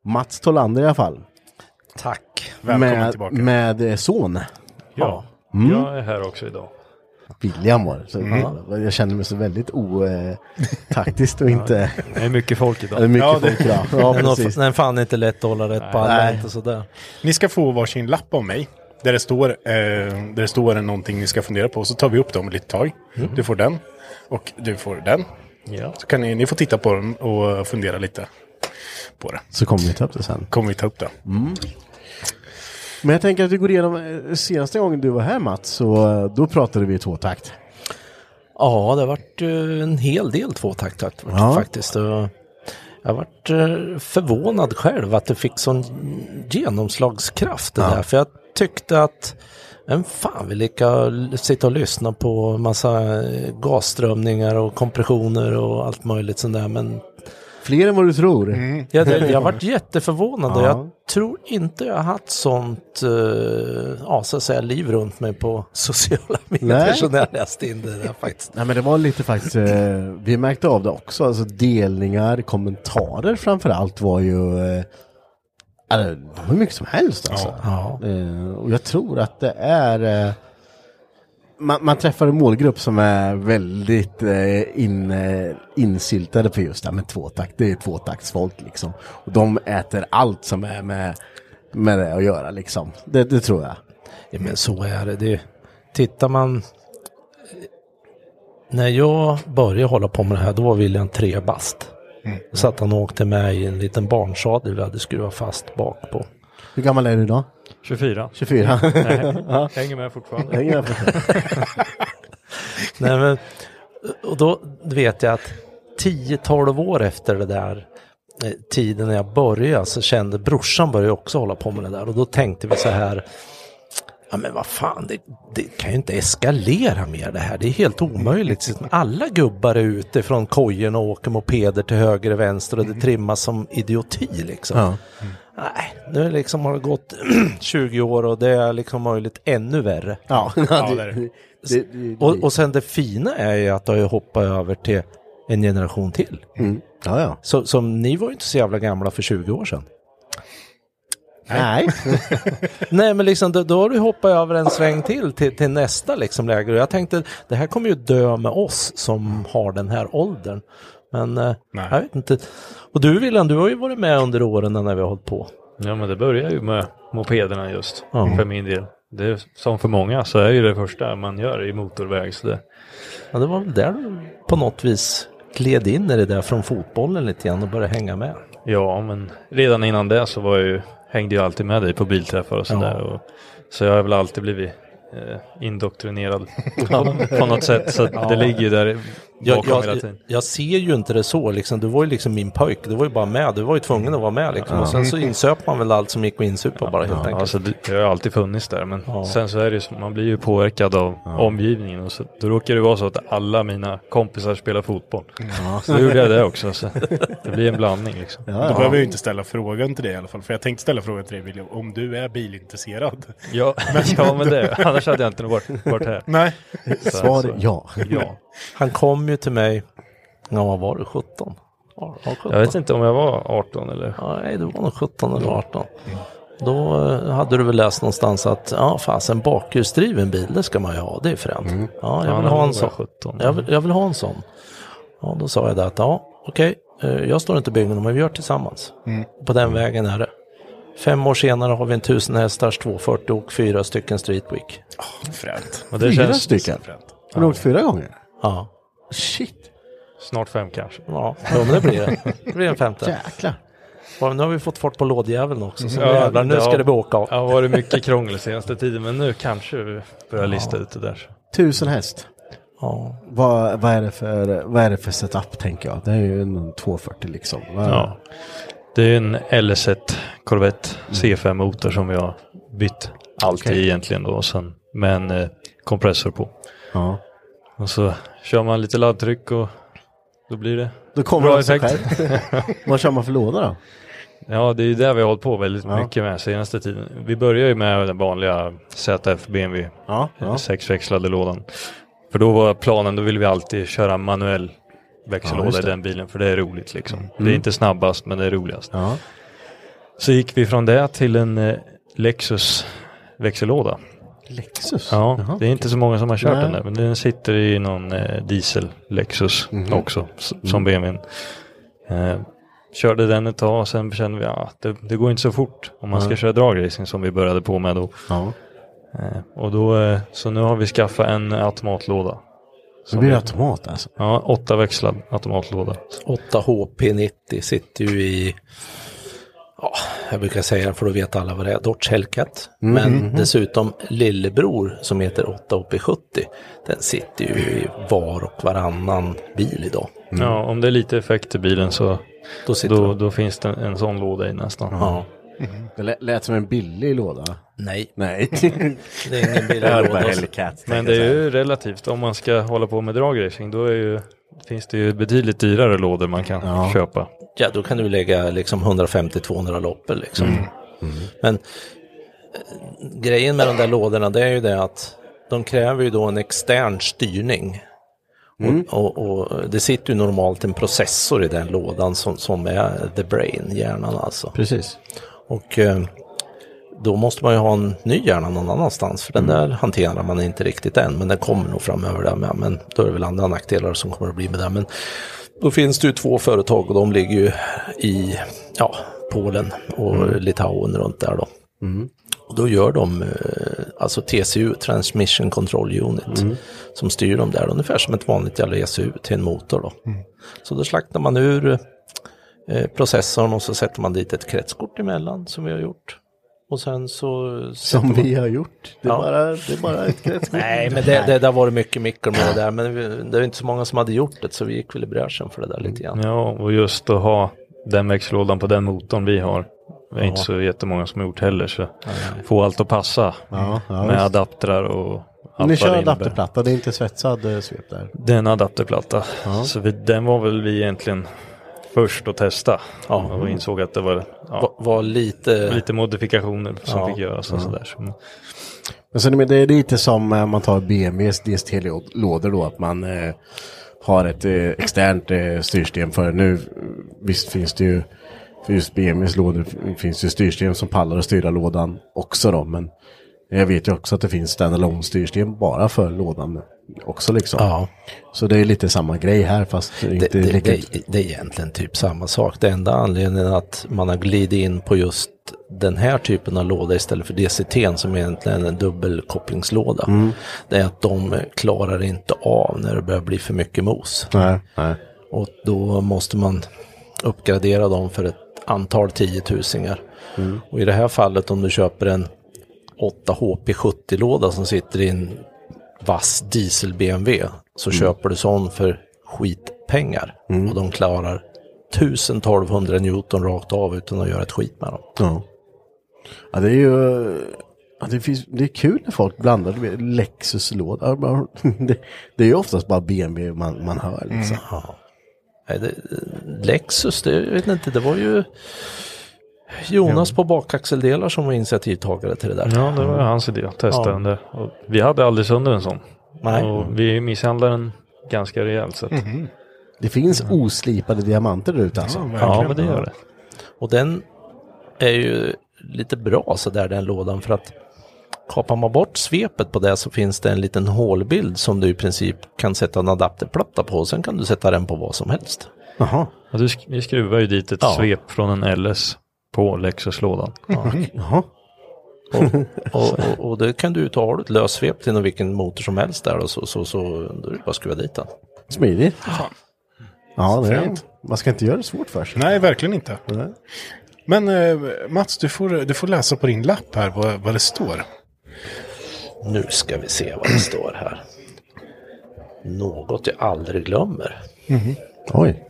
Speaker 2: Mats Tolander i alla fall.
Speaker 9: Tack.
Speaker 12: Välkommen
Speaker 2: med,
Speaker 12: tillbaka.
Speaker 2: Med eh, son.
Speaker 12: Ja,
Speaker 2: Mm.
Speaker 12: jag är här också idag.
Speaker 2: William var det. så,
Speaker 12: Mm.
Speaker 2: ja, Jag känner mig så väldigt otaktiskt och inte...
Speaker 12: Det är mycket folk idag.
Speaker 2: Det är mycket
Speaker 3: Ja, det-
Speaker 2: folk idag. Ja,
Speaker 9: Den har-
Speaker 2: precis.
Speaker 9: den är fan inte lätt att hålla rätt på alla.
Speaker 3: Nej.
Speaker 9: Inte sådär.
Speaker 3: Ni ska få varsin lapp av mig. Där det, står, eh, där det står någonting ni ska fundera på. Så tar vi upp dem lite tag.
Speaker 9: Mm.
Speaker 3: Du får den. Och du får den.
Speaker 9: Ja.
Speaker 3: Så kan ni, ni får titta på dem och fundera lite på det.
Speaker 2: Så kommer vi ta upp det sen.
Speaker 3: Kommer vi ta upp det.
Speaker 2: Mm. Men jag tänker att vi går igenom, eh, senaste gången du var här Mats, så eh, då pratade vi i tvåtakt.
Speaker 9: Ja, det har varit eh, en hel del tvåtakt fakt-
Speaker 2: Ja.
Speaker 9: faktiskt. Och Jag har varit eh, förvånad själv att det fick sån genomslagskraft det
Speaker 2: Ja.
Speaker 9: där. För jag tyckte att en fan vill lika l- sitta och lyssna på massa eh, gasströmningar och kompressioner och allt möjligt sånt där. Men
Speaker 2: Fler än vad du tror.
Speaker 3: Mm.
Speaker 9: jag, jag har varit jätteförvånad och
Speaker 2: Ja.
Speaker 9: jag tror inte jag har haft sånt eh, ja, så att säga, liv runt mig på sociala medier
Speaker 2: Nej.
Speaker 9: som när jag läste in det där faktiskt.
Speaker 2: Nej men det var lite faktiskt, eh, vi märkte av det också, alltså delningar, kommentarer framför allt var ju, eh, alltså, det var mycket som helst alltså. Eh, och jag tror att det är, eh, man, man träffar en målgrupp som är väldigt eh, in, eh, insyltade på just det här med tvåtakt, det är tvåtaktsfolk liksom. Och de äter allt som är med, med det att göra liksom, det, det tror jag.
Speaker 9: Ja, men så är det. det tittar man... När jag började hålla på med det här, då var William tre bast.
Speaker 2: Mm.
Speaker 9: Så att han åkte med i en liten barnsadel vi hade skruvat fast bak på.
Speaker 2: Hur gammal är du idag?
Speaker 12: 24.
Speaker 2: 24.
Speaker 12: Nej,
Speaker 2: Ja.
Speaker 12: hänger med fortfarande.
Speaker 2: Hänger med fortfarande.
Speaker 9: Nej, men, och då vet jag att 10-12 år efter det där eh, tiden när jag började så kände brorsan började också hålla på med det där och då tänkte vi så här Ja men vad fan, det, det kan ju inte eskalera mer det här. Det är helt omöjligt. Så Alla gubbar är ute från kojorna och åker mopeder till höger och vänster och det trimmas som idioti liksom.
Speaker 2: Mm. Ja.
Speaker 9: Nej, nu liksom har det gått 20 år och det är liksom möjligt ännu värre.
Speaker 2: Ja,
Speaker 9: Ja,
Speaker 2: det är det. Det- det- det-
Speaker 9: och, och sen det fina är ju att det har ju hoppat över till en generation till.
Speaker 2: Mm. Ja, ja.
Speaker 9: Så, som ni var ju inte så jävla gamla för 20 år sedan.
Speaker 2: Nej.
Speaker 9: Nej men liksom då, då har du hoppat över en sväng till till, till nästa liksom läger. Och jag tänkte det här kommer ju dö med oss som har den här åldern. Men eh, jag vet inte. Och du Willan, du har ju varit med under åren när vi har hållit på.
Speaker 12: Ja, men det börjar ju med mopederna just,
Speaker 9: Ja.
Speaker 12: för min del. Det är, som för många så är ju det första man gör i motorväg. Så det,
Speaker 9: Ja, det var väl där du på något vis gled in i det där från fotbollen lite grann och började hänga med.
Speaker 12: ja, men redan innan det så var jag ju, hängde jag alltid med dig på bilträffar och sådär.
Speaker 9: Ja.
Speaker 12: och Så jag har väl alltid blivit eh, indoktrinerad på, på något sätt. Så att det ligger ju där
Speaker 9: jag,
Speaker 12: bakom hela
Speaker 9: jag,
Speaker 12: tiden.
Speaker 9: jag ser ju inte det så liksom. Du var ju liksom min pojk. Du var ju bara med. Du var ju tvungen att vara med liksom.
Speaker 12: Ja.
Speaker 9: Och sen så insöp man väl allt som gick att insupa bara helt
Speaker 12: Ja,
Speaker 9: enkelt.
Speaker 12: alltså det, det har ju alltid funnits där men
Speaker 9: Ja.
Speaker 12: sen så är det ju så, man blir ju påverkad av omgivningen och så, då råkar det vara så att alla mina kompisar spelar fotboll.
Speaker 3: Ja.
Speaker 12: Så då gjorde jag det också så det blir en blandning liksom.
Speaker 3: Då behöver jag ju inte ställa frågan till dig i alla fall. För jag tänkte ställa frågan till dig William, om du är bilintresserad.
Speaker 12: Ja, ja, men det- annars hade jag inte varit- varit här.
Speaker 3: Nej.
Speaker 12: Så- Svar så- ja. ja.
Speaker 9: Han kom ju till mig, ja vad var det, 17?
Speaker 12: Jag vet inte om jag var 18 eller?
Speaker 9: Nej, du var nog 17 eller 18. Då eh, hade du väl läst någonstans att ja, fasen bakhjulsdriven bil, det ska man ju ha, det är fränt. Ja,
Speaker 12: Mm. Ja,
Speaker 9: jag vill
Speaker 12: men då
Speaker 9: ha
Speaker 12: var
Speaker 9: en
Speaker 12: jag
Speaker 9: sån.
Speaker 12: 17.
Speaker 9: Jag vill, jag vill ha en sån. Ja, då sa jag det att ja, okej, eh, jag står inte i byggnaden, men vi gör tillsammans.
Speaker 3: Mm.
Speaker 9: På den vägen är det. Fem år senare har vi en 1000 hästars 240 och fyra stycken Streetweek.
Speaker 12: Ah,
Speaker 9: Oh,
Speaker 3: fränt.
Speaker 12: Men det
Speaker 2: fyra
Speaker 12: känns-
Speaker 2: stycken? Har du åkt fyra gånger?
Speaker 9: Ja.
Speaker 2: Shit.
Speaker 12: Snart fem kanske.
Speaker 9: Ja, ja men det blir det. Det blir en femte.
Speaker 2: Jäklar.
Speaker 9: Ja, men nu har vi fått fart på lådjäveln också. Så nu jävlar, Mm-hmm. nu ska det bli åka av.
Speaker 12: Ja, var det mycket krångel senaste tiden men nu kanske vi börjar lista ut det där.
Speaker 2: Tusen häst.
Speaker 9: Ja.
Speaker 2: Vad, vad, är det för, vad är det för setup tänker jag? Det är ju en 240 liksom. Vad-
Speaker 12: Ja. Det är en LS1 Corvette C5-motor som vi har bytt allt i
Speaker 2: Mm. Okej.
Speaker 12: egentligen då och sen med en eh, kompressor på.
Speaker 2: Ja.
Speaker 12: Och så kör man lite laddtryck och då blir det
Speaker 2: Då kommer
Speaker 12: bra
Speaker 2: det av sig
Speaker 12: effekt.
Speaker 2: själv. Vad kör man för låda då?
Speaker 12: Ja, det är ju det vi har hållit på väldigt
Speaker 15: Ja.
Speaker 12: mycket med senaste tiden. Vi börjar ju med den vanliga ZF BMW,
Speaker 15: Ja, ja.
Speaker 12: eh, sexväxlade lådan. För då var planen, då ville vi alltid köra manuell
Speaker 15: Ja,
Speaker 12: växellåda
Speaker 15: just
Speaker 12: i
Speaker 15: det.
Speaker 12: den bilen, för det är roligt liksom. Det
Speaker 15: Mm.
Speaker 12: är inte snabbast, men det är roligast. Så gick vi från det till en eh, Lexus växellåda.
Speaker 2: Lexus?
Speaker 12: Ja,
Speaker 2: Jaha,
Speaker 12: det är inte så många som har kört
Speaker 2: Nej.
Speaker 12: den där, men den sitter i någon eh, diesel Lexus
Speaker 2: Mhm.
Speaker 12: också, s-
Speaker 2: Mm.
Speaker 12: som BMWn. Eh, körde den ett tag och sen kände vi att ja, det, det går inte så fort om man ska
Speaker 15: Nej.
Speaker 12: köra dragracing som vi började på med då. Eh, och då eh, så nu har vi skaffat en automatlåda. Som
Speaker 2: blir
Speaker 12: är-
Speaker 2: automat, alltså?
Speaker 12: Ja, åtta växlad automatlåda.
Speaker 9: 8 HP90 sitter ju i, ja, jag brukar säga det för då vet alla vad det är, Dodge Hellcat.
Speaker 2: Mhm,
Speaker 9: Men
Speaker 2: mhm.
Speaker 9: dessutom lillebror som heter 8 HP70, den sitter ju i var och varannan bil idag.
Speaker 2: Mm.
Speaker 12: Ja, om det är lite effekt i bilen så
Speaker 9: då,
Speaker 12: då, finns det en, en sån låda i nästan.
Speaker 9: Ja.
Speaker 2: Det lät, lät som en billig låda.
Speaker 9: Nej.
Speaker 2: Nej.
Speaker 9: Det är ingen billig
Speaker 2: Jag hörde
Speaker 9: låda.
Speaker 2: bara Hellcat,
Speaker 12: Men
Speaker 2: tänkte
Speaker 12: det är
Speaker 2: jag
Speaker 12: ju relativt. Om man ska hålla på med dragracing då är ju, finns det ju betydligt dyrare lådor man kan köpa.
Speaker 9: Ja, då kan du lägga liksom 150-200 loppor liksom.
Speaker 12: Mm.
Speaker 9: Men eh, grejen med de där lådorna det är ju det att de kräver ju då en extern styrning.
Speaker 2: Mm.
Speaker 9: Och, och, och det sitter ju normalt en processor i den lådan som, som är the brain, hjärnan alltså.
Speaker 2: Precis.
Speaker 9: Och eh, då måste man ju ha en ny hjärna någon annanstans för den
Speaker 2: Mm.
Speaker 9: där hanterar man inte riktigt än men den kommer nog framöver där med. Men då är det väl andra nackdelar som kommer att bli med det. Men då finns det ju två företag och de ligger ju i ja, Polen och Litauen runt där då.
Speaker 2: Mm.
Speaker 9: Och då gör de eh, alltså TCU, Transmission Control Unit, som styr dem där ungefär som ett vanligt jävla ECU till en motor då. Så då slaktar man ur eh, processorn och så sätter man dit ett kretskort emellan som vi har gjort. Och sen så...
Speaker 2: Som vi har gjort. Det är,
Speaker 9: Ja.
Speaker 2: bara, det är bara ett kretskort.
Speaker 9: Nej, men det, det, det har varit mycket mickel med det där, men vi, det är inte så många som hade gjort det, så vi gick väl i bräschen för det där lite grann.
Speaker 12: Ja, och just att ha den växellådan på den motorn vi har. Det är
Speaker 9: Ja.
Speaker 12: inte så jättemånga som har gjort heller. Så få allt att passa
Speaker 2: Ja, ja,
Speaker 12: med
Speaker 2: visst.
Speaker 12: adaptrar och allt
Speaker 2: Ni
Speaker 12: vad
Speaker 2: kör
Speaker 12: det innebär.
Speaker 2: adapterplatta, det är inte svetsad eh, svep där.
Speaker 12: Det är en adapterplatta. Så vi, den var väl vi egentligen först att testa. Och insåg att det var, ja,
Speaker 9: var, lite...
Speaker 12: lite modifikationer som
Speaker 2: Ja.
Speaker 12: fick göras. Och
Speaker 2: Ja.
Speaker 12: sådär. Så-
Speaker 2: Men sen, men det är lite som eh, man tar BMWs DST-lådor då, att man eh, har ett eh, externt eh, styrsystem för nu. eh, Visst finns det ju, för just BMWs lådor f- finns ju styrsystem som pallar att styra lådan också då, men jag vet ju också att det finns standalone styrsystem bara för lådan också liksom.
Speaker 9: Ja.
Speaker 2: Så det är lite samma grej här fast
Speaker 9: Det,
Speaker 2: inte
Speaker 9: det,
Speaker 2: lika...
Speaker 9: det, det är egentligen typ samma sak. Det enda anledningen att man har glidit in på just den här typen av låda istället för DCT som egentligen är en dubbelkopplingslåda.
Speaker 2: Mm.
Speaker 9: Det är att de klarar inte av när det börjar bli för mycket mos.
Speaker 2: Nej, nej.
Speaker 9: Och då måste man uppgradera dem för ett antal tiotusingar.
Speaker 2: Mm.
Speaker 9: Och i det här fallet om du köper en 8 HP70-låda som sitter i en vass diesel-BMW så
Speaker 2: Mm.
Speaker 9: köper du sån för skitpengar. Och de klarar 1200 Newton rakt av utan att göra ett skit med dem.
Speaker 2: Ja. Ja, det är ju... Ja, det, finns, det är kul när folk blandar det med Lexus-låda. Det, det är ju oftast bara BMW man, man hör. Liksom.
Speaker 9: Mm. Nej, det, Lexus, det, jag vet inte, det var ju Jonas på bakaxeldelar som var initiativtagare till det där.
Speaker 12: Ja, det var hans idé att testa
Speaker 9: Ja.
Speaker 12: den där. Och vi hade aldrig sönder en sån.
Speaker 9: Nej.
Speaker 12: Och vi misshandlade den ganska rejält sett.
Speaker 4: Mm.
Speaker 2: Det finns oslipade diamanter där ute alltså.
Speaker 12: Ja, men det gör det.
Speaker 9: Och den är ju lite bra så där den lådan för att kapar man bort svepet på det så finns det en liten hålbild som du i princip kan sätta en adapterplatta på och sen kan du sätta den på vad som helst.
Speaker 2: Jaha.
Speaker 12: Ja, du sk- vi skruvar ju dit ett
Speaker 9: Ja.
Speaker 12: svep från en LS på Lexus-lådan.
Speaker 2: Jaha.
Speaker 9: Och, och, och, och det kan du ju ta, har du ett lössvep till någon vilken motor som helst där och så, så, så då är det bara att skruva dit den.
Speaker 2: Smidigt. Ja, det är,
Speaker 3: Fränt.
Speaker 2: man ska inte göra det svårt för sig.
Speaker 3: Nej, verkligen inte. Men eh, Mats, du får, du får läsa på din lapp här vad, vad det står.
Speaker 9: Nu ska vi se vad det står här. Något jag aldrig glömmer.
Speaker 2: Oj.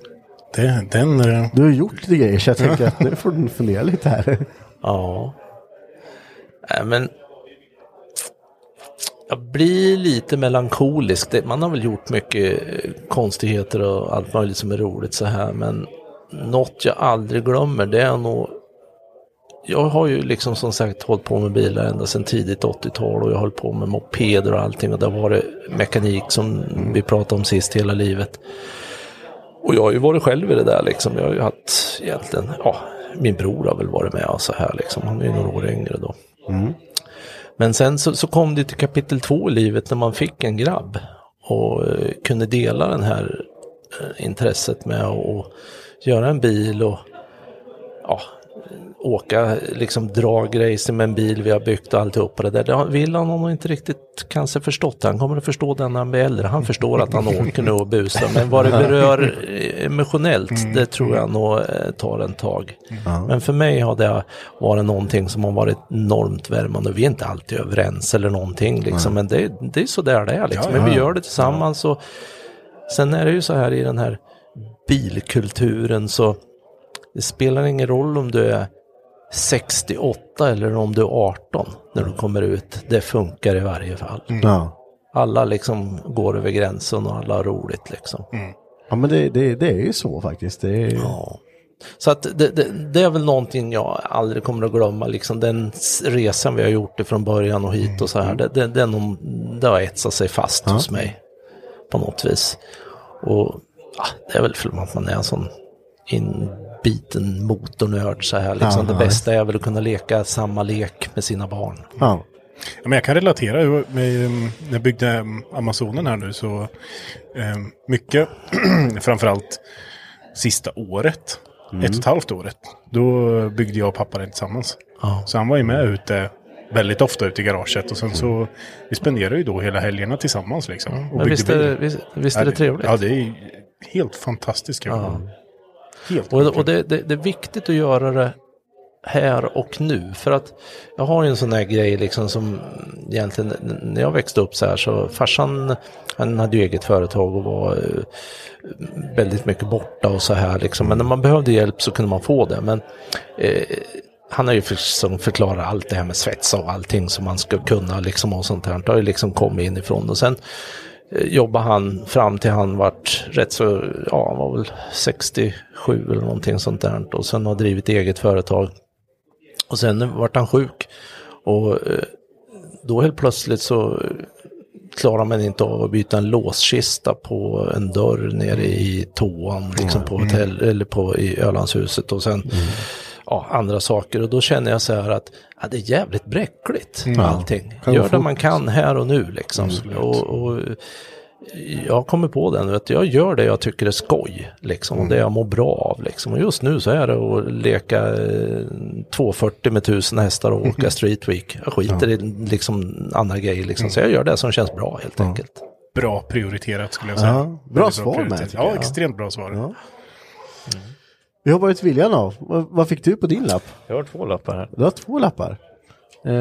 Speaker 3: Det, den,
Speaker 9: eh,
Speaker 2: Du har gjort lite grejer så jag tänker att nu får du fundera lite här.
Speaker 9: Ja. Nej, men jag blir lite melankolisk. Det- Man har väl gjort mycket eh, konstigheter och allt möjligt som är roligt så här. Men något jag aldrig glömmer det är nog jag har ju liksom som sagt hållit på med bilar ända sedan tidigt 80-tal och jag har hållit på med mopeder och allting och det har varit mekanik som vi pratade om sist hela livet. Och jag har ju varit själv i det där liksom. Jag har ju haft egentligen, ja, min bror har väl varit med och så här liksom. Han är ju några år yngre då. Men sen så, så kom det till kapitel två i livet när man fick en grabb och eh, kunde dela den här eh, intresset med att göra en bil och ja, åka, liksom dra grejer med en bil vi har byggt och alltihopa det där. Det har- vill han nog inte riktigt kanske förstått. Han kommer att förstå den när han blir äldre. Han förstår att han åker nu och busar. Men vad det berör eh, emotionellt, det tror jag nog eh, tar en tag.
Speaker 16: Mm. Ja.
Speaker 9: Men för mig har det varit någonting som har varit enormt värmande. Vi är inte alltid överens eller någonting liksom. Men det, det är så där det är liksom.
Speaker 16: Ja, ja.
Speaker 9: Men vi gör det tillsammans. Och sen är det ju så här i den här bilkulturen så det spelar ingen roll om du är 68 eller om du är 18 när du kommer ut. Det funkar i varje fall.
Speaker 2: Mm. Ja.
Speaker 9: Alla liksom går över gränsen och alla har roligt liksom.
Speaker 2: Ja men det, det, det är ju så faktiskt. Det är...
Speaker 9: Ja. Så att det, det, det är väl någonting jag aldrig kommer att glömma, liksom den s- resan vi har gjort ifrån början och hit och så
Speaker 3: Mm.
Speaker 9: här. Det, det, det, är nog, det har etsat sig fast hos mig på något vis. Och ja, det är väl för att man är en sån inbiten motornörd så här. Liksom.
Speaker 3: Ja,
Speaker 9: det
Speaker 3: ja.
Speaker 9: bästa är väl att kunna leka samma lek med sina barn.
Speaker 3: Ja. men jag kan relatera. Jag- med, um, När jag byggde um, Amazonen här nu så um, mycket, framförallt sista året,
Speaker 16: Mm.
Speaker 3: ett och ett halvt året, då byggde jag och pappa det tillsammans. Så han var ju med ute väldigt ofta ute i garaget och sen så
Speaker 2: Mm.
Speaker 3: vi spenderade ju då hela helgerna tillsammans liksom. och
Speaker 9: men
Speaker 3: byggde
Speaker 9: visst är det-
Speaker 3: bil.
Speaker 9: visst- visst är
Speaker 3: Ja,
Speaker 9: det trevligt?
Speaker 3: Ja, det är ju helt fantastiskt kul. Helt
Speaker 9: och och det, det, det är viktigt att göra det här och nu. För att jag har ju en sån här grej liksom som egentligen n- när jag växte upp så här så farsan han hade ju eget företag och var eh, väldigt mycket borta och så här liksom. Men när man behövde hjälp så kunde man få det. Men eh, han har ju för, som förklarar allt det här med svetsa och allting som man ska kunna liksom och sånt här. Det har ju liksom kommit inifrån och sen eh, jobbade han fram till han vart rätt så, ja han var väl 67 eller någonting sånt där. Och sen har drivit eget företag. Och sen vart han sjuk. Och eh, då helt plötsligt så eh, klarar man inte av att byta en låskista på en dörr nere i toan liksom på
Speaker 16: Mm.
Speaker 9: hotell eller på i Ölandshuset och sen ja, andra saker och då känner jag så här att ja, det är jävligt bräckligt
Speaker 16: Mm.
Speaker 9: allting.
Speaker 16: Ja, kan gå
Speaker 9: Gör det
Speaker 16: fort. Mm.
Speaker 9: man kan här och nu liksom. Och, och jag kommer på den, vet du, jag gör det jag tycker är skoj liksom
Speaker 2: Mm.
Speaker 9: och det jag mår bra av liksom. Och just nu så är det att leka eh, 240 med 1000 hästar och åka street week. Jag skiter i liksom andra grejer liksom,
Speaker 2: Mm.
Speaker 9: så jag gör det som känns bra helt enkelt.
Speaker 3: Bra prioriterat skulle jag säga.
Speaker 2: Ja,
Speaker 3: Väldigt
Speaker 2: bra svar med,
Speaker 3: prioriterat.
Speaker 2: tycker
Speaker 3: Ja,
Speaker 2: jag.
Speaker 3: extremt bra svar.
Speaker 2: Vi har varit William då. Vad, vad fick du på din lapp?
Speaker 12: Jag har två lappar här.
Speaker 2: Du har två lappar. Eh,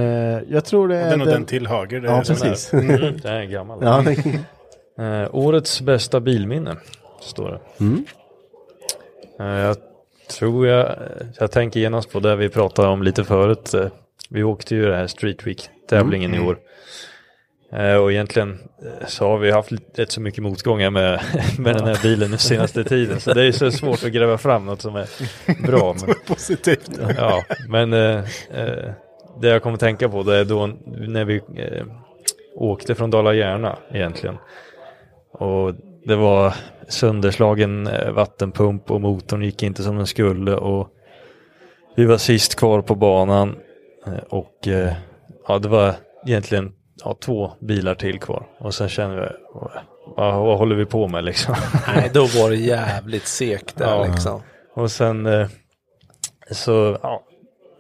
Speaker 2: jag tror det
Speaker 3: Och
Speaker 2: är
Speaker 3: den och den till höger, det
Speaker 2: ja,
Speaker 3: är den
Speaker 2: precis.
Speaker 3: där. Mm.
Speaker 12: Det här är en gammal.
Speaker 2: Ja, det-
Speaker 12: Eh, årets bästa bilminne, står det.
Speaker 2: Mm.
Speaker 12: Eh, jag tror jag, eh, jag tänker genast på det vi pratade om lite förut. Eh, vi åkte ju det här Street Week-tävlingen
Speaker 16: Mm.
Speaker 12: i år. Eh, och egentligen eh, så har vi haft lite- rätt så mycket motgångar med, med den här bilen den senaste tiden. Så det är så svårt att gräva fram något som är bra.
Speaker 3: Som är positivt.
Speaker 12: Ja, men eh, eh, det jag kommer att tänka på det är då när vi eh, åkte från Dala-Järna egentligen. Och det var sönderslagen eh, vattenpump och motorn gick inte som den skulle och vi var sist kvar på banan eh, och eh, ja, det var egentligen ja, två bilar till kvar och sen kände vi vad, vad håller vi på med liksom?
Speaker 9: Nej, då var det jävligt segt där liksom.
Speaker 12: Och sen eh, så ja,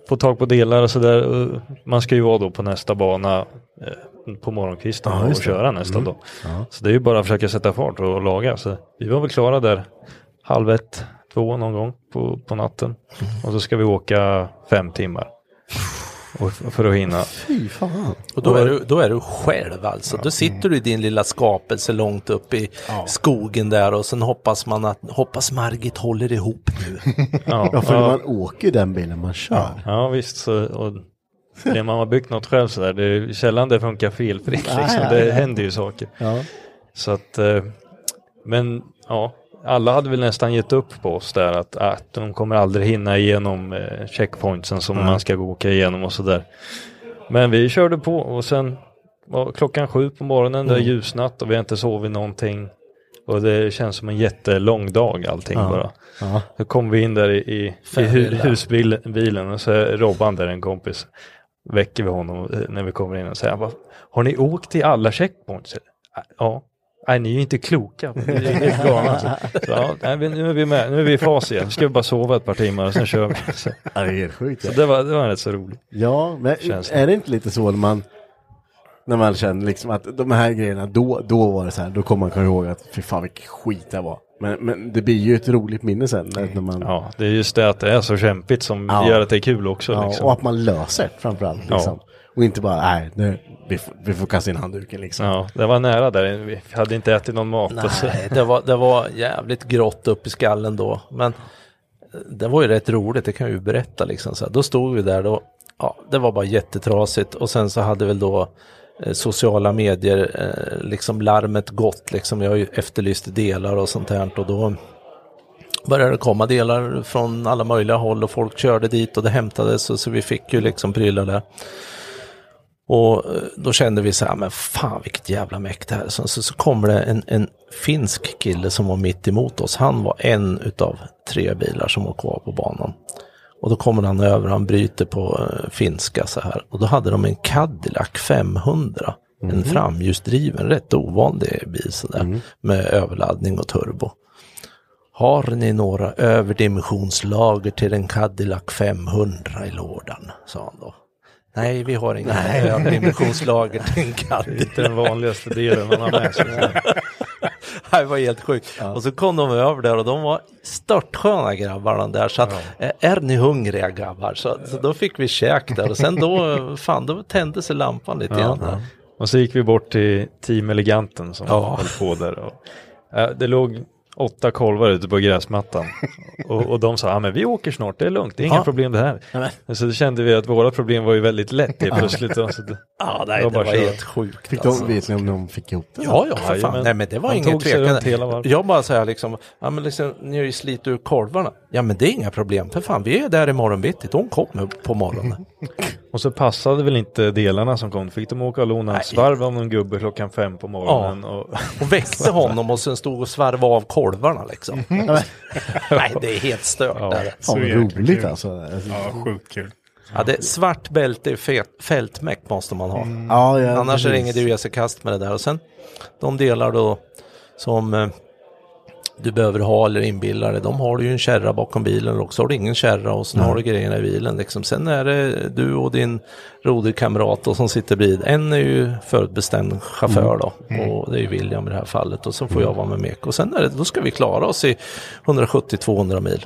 Speaker 12: få tag på delar och sådär. Och Man ska ju vara då på nästa bana eh, på morgonkvisten
Speaker 16: Ja,
Speaker 12: och
Speaker 16: just det.
Speaker 12: köra nästa
Speaker 16: Mm.
Speaker 12: dag.
Speaker 16: Ja.
Speaker 12: Så det är ju bara att försöka sätta fart och laga. Så vi var väl klara där halv ett, två någon gång på, på natten.
Speaker 16: Mm.
Speaker 12: Och så ska vi åka fem timmar. Och f- för att hinna.
Speaker 2: Fy fan.
Speaker 9: Och då är, du, då är du själv alltså. Då sitter du i din lilla skapelse långt upp i skogen där och sen hoppas man att hoppas Margit håller ihop nu.
Speaker 2: Ja, för man åker ju den bilen man kör.
Speaker 12: Ja visst, så, och det man har byggt något själv sådär, det är ju sällan det funkar felfritt
Speaker 2: Nej,
Speaker 12: liksom.
Speaker 2: nej,
Speaker 12: Det
Speaker 2: nej.
Speaker 12: händer ju saker.
Speaker 2: Ja.
Speaker 12: Så att, eh, men ja, alla hade väl nästan gett upp på oss där att, att de kommer aldrig hinna igenom eh, checkpointsen som
Speaker 4: Nej.
Speaker 12: man ska gå åka igenom och sådär. Men vi körde på och sen var klockan sju på morgonen, det har
Speaker 4: Mm.
Speaker 12: ljusnat och vi har inte sovit någonting. Och det känns som en jättelång dag allting
Speaker 4: Ja.
Speaker 12: bara.
Speaker 4: Ja.
Speaker 12: Då kom vi in där i, i, i hu-
Speaker 4: Färdiga.
Speaker 12: husbilen och så är Robban där, en kompis. Väcker vi honom eh, när vi kommer in och säger, han bara, har ni åkt till alla checkpoints? Ja. Nej, ni är ju inte kloka. Ni är ju helt galna. alltså. Så, ja, nej, vi- nu är vi med, nu är vi i fas igen. Nu ska vi bara sova ett par timmar och sen kör vi. Så,
Speaker 2: Ja, det är helt sjukt.
Speaker 12: så det, var, det var rätt så roligt.
Speaker 2: Ja, men
Speaker 12: Känslan.
Speaker 2: är det inte lite så när man när man känner liksom att de här grejerna, då, då var det så här, då kommer man komma ihåg att fy fan vilken skit det var. Men, men det blir ju ett roligt minne sen. När, när man,
Speaker 12: Ja, det är just det att det är så kämpigt som
Speaker 2: Ja.
Speaker 12: gör att det är kul också.
Speaker 2: Ja,
Speaker 12: liksom.
Speaker 2: Och att man löser det framförallt.
Speaker 12: Ja.
Speaker 2: Liksom. Och inte bara, nej, nu, vi, får, vi får kasta in handduken liksom.
Speaker 12: Ja, det var nära där. Vi hade inte ätit någon mat. och så.
Speaker 9: Nej, det var, det var jävligt grått upp i skallen då. Men eh, det var ju rätt roligt, det kan jag ju berätta liksom. Så här, då stod vi där då, ja, det var bara jättetrasigt. Och sen så hade väl då eh, sociala medier, eh, liksom larmet gått liksom. Jag har ju efterlyst delar och sånt här och då började det komma delar från alla möjliga håll och folk körde dit och det hämtades och så vi fick ju liksom prylar där. Och eh, då kände vi så här, men fan vilket jävla mäkt det här. Så, så, så kommer det en, en finsk kille som var mitt emot oss. Han var en utav tre bilar som var kvar på banan. Och då kommer han över och han bryter på eh, finska så här. Och då hade de en Cadillac 500. En
Speaker 4: Mhm.
Speaker 9: framhjulsdriven, rätt ovanlig bil sådär. Med överladdning och turbo. Har ni några överdimensionslager till en Cadillac 500 i lådan? Sa han då. Nej, vi har inga
Speaker 12: Nej.
Speaker 9: överdimensionslager till en Cadillac.
Speaker 12: Det är inte den vanligaste delen man har med sig.
Speaker 9: Nej, det var helt sjukt. Och så kom de över där och de var störtsköna grabbarna där. Så att, eh, är ni hungriga grabbar? Så, så då fick vi käk där och sen då, eh, fan, då tände sig lampan lite grann. där.
Speaker 12: Och så gick vi bort till Team Eleganten som
Speaker 9: Ja.
Speaker 12: höll på där. Och, eh, det låg åtta kolvar ute på gräsmattan. och, och de sa, ja men vi åker snart, det är lugnt, det är inga
Speaker 9: Ja.
Speaker 12: problem det här. Så då kände vi att våra problem var ju väldigt lätt helt
Speaker 9: Ja.
Speaker 12: plötsligt. Och så det-
Speaker 9: Ja, nej, det
Speaker 12: bara
Speaker 9: var
Speaker 12: att köra.
Speaker 9: helt sjukt. alltså.
Speaker 2: Fick de, Vet ni om de fick ihop det?
Speaker 9: Ja, ja, för fan. Nej, men det var inget tvekan. Jag bara säger liksom, ja men liksom, ni har ju slitit ur kolvarna. Ja, men det är inga problem, för fan, vi är där imorgon bitti. De kommer på morgonen.
Speaker 12: Och så passade väl inte delarna som kom. Fick de åka och låna en svarv av någon gubbe klockan fem på morgonen.
Speaker 9: Ja.
Speaker 12: Och...
Speaker 9: och väckte honom och sen stod och svarvade av kolvarna liksom. Nej, det är helt stört.
Speaker 12: Ja.
Speaker 9: är det.
Speaker 2: Fan, vad roligt alltså.
Speaker 17: Ja, sjukt kul.
Speaker 9: Ja, det svart bälte i fe- fältmäck måste man ha.
Speaker 2: Mm. Ja, ja,
Speaker 9: Annars är det
Speaker 2: precis.
Speaker 9: ingen idé att ge sig i kast med det där. Och sen de delar då som eh, du behöver ha eller inbillar dig, de har du ju en kärra bakom bilen och så har du ingen kärra och sen har du grejerna i bilen. Liksom. Sen är det du och din roderkamrat då som sitter bredvid. En är ju förutbestämd chaufför då
Speaker 4: Mm.
Speaker 9: och det är ju William i det här fallet och så får jag vara med Mek och sen är det, då ska vi klara oss i 170-200 mil.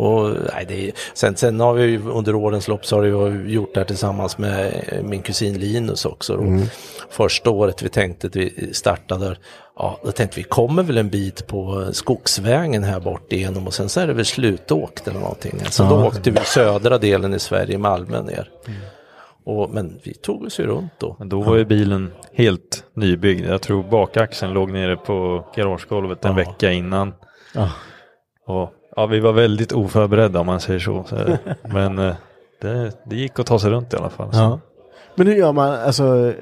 Speaker 9: Och, nej, det är, sen, sen har vi ju under årens lopp så har vi ju gjort det här tillsammans med eh, min kusin Linus också. Då.
Speaker 4: Mm.
Speaker 9: Första året vi tänkte att vi startade, ja, då tänkte vi kommer väl en bit på eh, skogsvägen här bort igenom och sen så är det väl slutåkt eller någonting. Så
Speaker 4: Ja.
Speaker 9: då åkte vi södra delen i Sverige, Malmö ner. Och, men vi tog oss ju runt då.
Speaker 12: Mm. Men då var ju bilen helt nybyggd. Jag tror bakaxeln låg nere på garagegolvet en vecka innan.
Speaker 2: Ja.
Speaker 12: Och, ja, vi var väldigt oförberedda om man säger så. Så- Men eh, det, det gick att ta sig runt i alla fall.
Speaker 2: Ja. Men hur gör man, alltså, eh,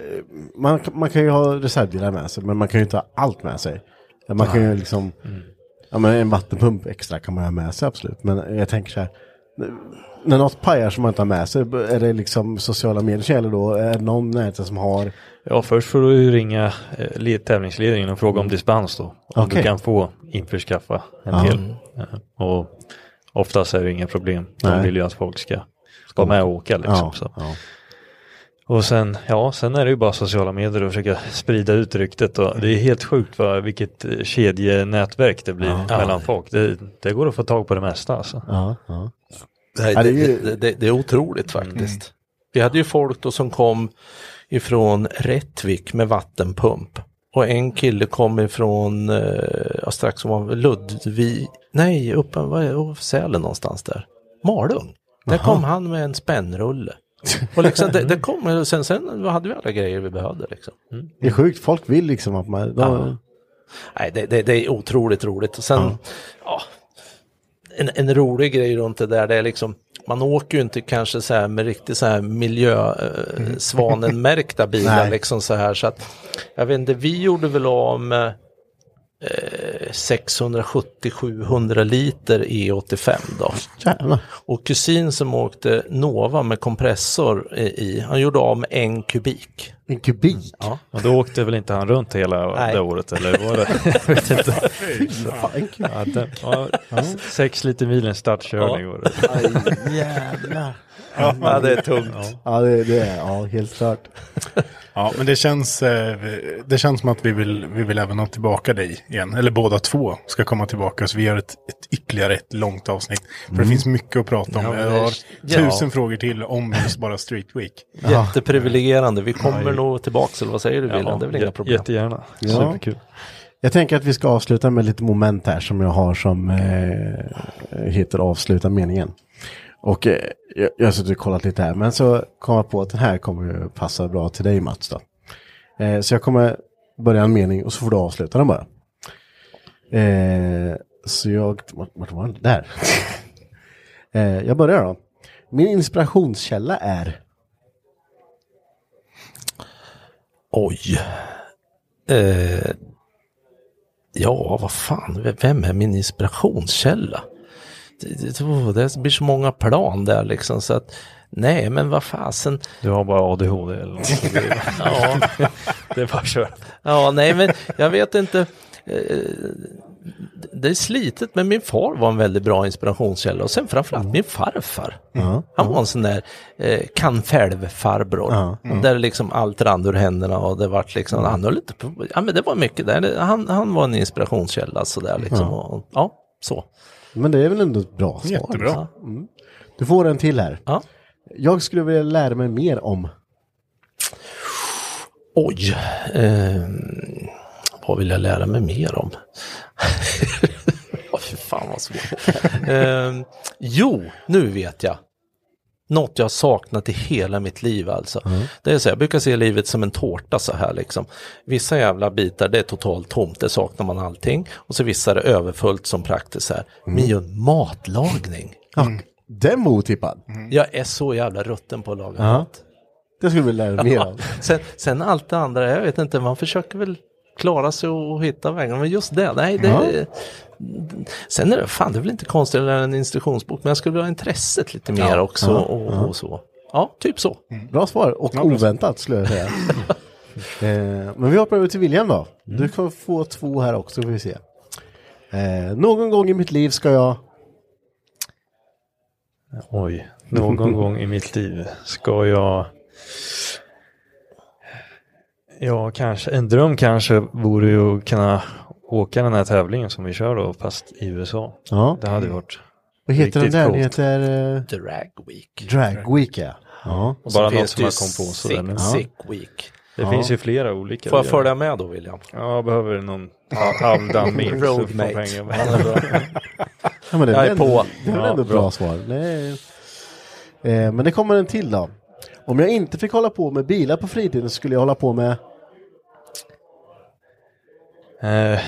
Speaker 2: man, man kan ju ha reservdelar med sig, men man kan ju inte ha allt med sig. Man kan ju
Speaker 4: Nej.
Speaker 2: liksom, ja men en vattenpump extra kan man ha med sig absolut, men jag tänker så här, när något pajar som man inte har med sig, är det liksom sociala medier som gäller då? Är det någon i närheten som har?
Speaker 12: Ja, först får du ju ringa eh, le- tävlingsledningen och fråga om dispens då. Om
Speaker 2: Mm. Okej.
Speaker 12: du kan få införskaffa en
Speaker 2: Ja.
Speaker 12: del. Eh, Och oftast är det inga problem. De
Speaker 2: Nej.
Speaker 12: vill ju att folk ska vara med och åka liksom.
Speaker 2: Ja,
Speaker 12: så. Och sen, ja, sen är det ju bara sociala medier och försöka sprida ut ryktet. Och det är helt sjukt vad, vilket eh, kedjenätverk det blir
Speaker 9: Ja.
Speaker 12: mellan folk. Det, det går att få tag på det mesta alltså.
Speaker 2: Ja, ja.
Speaker 9: Nej,
Speaker 12: Ja,
Speaker 9: det,
Speaker 12: det är
Speaker 9: det,
Speaker 12: ju- Mm.
Speaker 9: det, det är otroligt faktiskt. Vi hade ju folk då som kom ifrån Rättvik med vattenpump. Och en kille kom ifrån, eh, ja, strax om Ludvig, nej, uppe vad är, oh, Sälen någonstans där. Malung. Där kom han med en spännrulle. Och liksom, det, det kom,
Speaker 12: Mm.
Speaker 9: och sen, sen hade vi alla grejer vi behövde liksom.
Speaker 2: Det är sjukt, folk vill liksom att man, de,
Speaker 9: Ja. Nej, det, det, det är otroligt roligt. Och sen, ja, en, en rolig grej runt det där, det är liksom, man åker ju inte kanske så här med riktigt så här
Speaker 6: Mm.
Speaker 9: miljösvanen-märkta bilar
Speaker 6: Nej.
Speaker 9: liksom så här. Så att, jag vet inte, vi gjorde väl av med eh, 670-700 liter E85 då.
Speaker 2: Jävlar.
Speaker 9: Och kusin som åkte Nova med kompressor i- i, han gjorde av med en kubik.
Speaker 2: En kubik?
Speaker 9: Ja.
Speaker 12: Och då åkte väl inte han runt hela det året eller var det? Jag vet inte. ja, det, ja, s- sex liter milen startkörning
Speaker 9: Ja.
Speaker 12: var det.
Speaker 2: Aj, jävlar.
Speaker 9: Ja, det är tungt.
Speaker 2: Ja, det, det är ja, helt klart.
Speaker 3: Ja, men det känns, eh, det känns som att vi vill, vi vill även ha tillbaka dig igen. Eller båda två ska komma tillbaka. Så vi gör ett, ett ytterligare ett långt avsnitt. För det
Speaker 9: Mm.
Speaker 3: finns mycket att prata om.
Speaker 9: Ja, men
Speaker 3: Jag
Speaker 9: det-
Speaker 3: har
Speaker 9: ja.
Speaker 3: tusen frågor till
Speaker 9: Mm.
Speaker 3: om just bara Street Week.
Speaker 9: Jätteprivilegierande. Vi kommer
Speaker 3: Ja.
Speaker 9: nog tillbaka, eller vad säger du
Speaker 3: Ja,
Speaker 9: Wilhelm? Det är väl inga
Speaker 12: jä-
Speaker 9: problem?
Speaker 12: jättegärna.
Speaker 2: Jag tänker att vi ska avsluta med lite moment här som jag har som eh, heter avsluta meningen. Och eh, jag, jag har suttit och kollat lite här men så kom jag på att den här kommer ju passa bra till dig Mats då. Eh, så jag kommer börja en mening och så får du avsluta den bara. Eh, så jag, vart- vart var den? Där. eh, jag börjar då. Min inspirationskälla är
Speaker 9: Oj. Eh, ja, vad fan, v- vem är min inspirationskälla? Det, det, åh, det blir så många plan där liksom så att nej, men vad fasen.
Speaker 12: Du har bara ADHD eller något. Det är-
Speaker 9: ja.
Speaker 12: Det är bara att köra.
Speaker 9: ja, nej, men jag vet inte. Eh, Det är slitet, men min far var en väldigt bra inspirationskälla och sen framförallt min farfar.
Speaker 2: Ja.
Speaker 9: Han var en sån där eh, kan farbror.
Speaker 2: Ja. Mm.
Speaker 9: Där liksom allt rann ur händerna och det vart liksom, han höll inte på, ja men det var mycket där, Det- han, han var en inspirationskälla sådär liksom.
Speaker 2: Ja.
Speaker 9: Ja. Och, ja, så.
Speaker 2: Men det är väl ändå ett bra svar?
Speaker 9: Jättebra.
Speaker 2: liksom. Mm. Du får en till här. Jag skulle vilja lära mig mer om.
Speaker 9: Oj, eh, vad vill jag lära mig mer om? Åh, fy fan vad svårt. Eh, jo, nu vet jag. Något jag har saknat i hela mitt liv alltså. Det är så, jag brukar se livet som en tårta så här liksom. Vissa jävla bitar, det är totalt tomt, det saknar man allting. Och så vissa är det överfullt som praktiskt så här. Men ju en matlagning.
Speaker 2: Mm. Den var otippad.
Speaker 9: Jag är så jävla rutten på att laga
Speaker 2: Ja.
Speaker 9: mat.
Speaker 2: Det skulle vi lära mig mer
Speaker 9: Ja.
Speaker 2: om.
Speaker 9: Sen, sen allt det andra, jag vet inte, man försöker väl klara sig och, och hitta vägarna. Men just det, nej det... Sen är det, fan det är väl inte konstigt att lära en instruktionsbok, men jag skulle vilja ha intresset lite mer
Speaker 2: Ja.
Speaker 9: också
Speaker 2: Ja.
Speaker 9: Och,
Speaker 2: Ja. Mm.
Speaker 9: och så. Ja, typ så.
Speaker 2: Bra svar och
Speaker 9: Ja, bra.
Speaker 2: oväntat skulle jag säga. eh, men vi hoppar över till William då. Du kan få två här också får vi se. Eh, någon gång i mitt liv ska jag...
Speaker 12: Oj, någon gång i mitt liv ska jag... Ja, kanske. En dröm kanske vore ju att kunna åka den här tävlingen som vi kör då, fast i USA.
Speaker 2: Ja.
Speaker 12: Det hade ju varit
Speaker 2: Vad heter den
Speaker 12: riktigt
Speaker 2: där? Den
Speaker 12: coolt.
Speaker 2: heter... Eh...
Speaker 9: Drag Week.
Speaker 2: Drag Week ja. ja.
Speaker 9: Och sen
Speaker 12: Bara något
Speaker 9: finns det
Speaker 12: som jag
Speaker 9: ju
Speaker 12: kom på
Speaker 9: sick-
Speaker 12: sådär nu.
Speaker 9: sick week.
Speaker 12: Det
Speaker 9: Ja.
Speaker 12: finns ju flera olika.
Speaker 9: Får jag följa med då William?
Speaker 12: Ja, jag behöver någon hamndammin.
Speaker 9: Roadmate. Ja, det är bra.
Speaker 2: Ja, men det
Speaker 9: Jag är
Speaker 2: ändå-
Speaker 9: på.
Speaker 2: Det var
Speaker 9: Ja,
Speaker 2: ändå bra,
Speaker 9: bra.
Speaker 2: svar. Det är- Eh, men det kommer en till då. Om jag inte fick hålla på med bilar på fritiden så skulle jag hålla på med...
Speaker 12: Eh,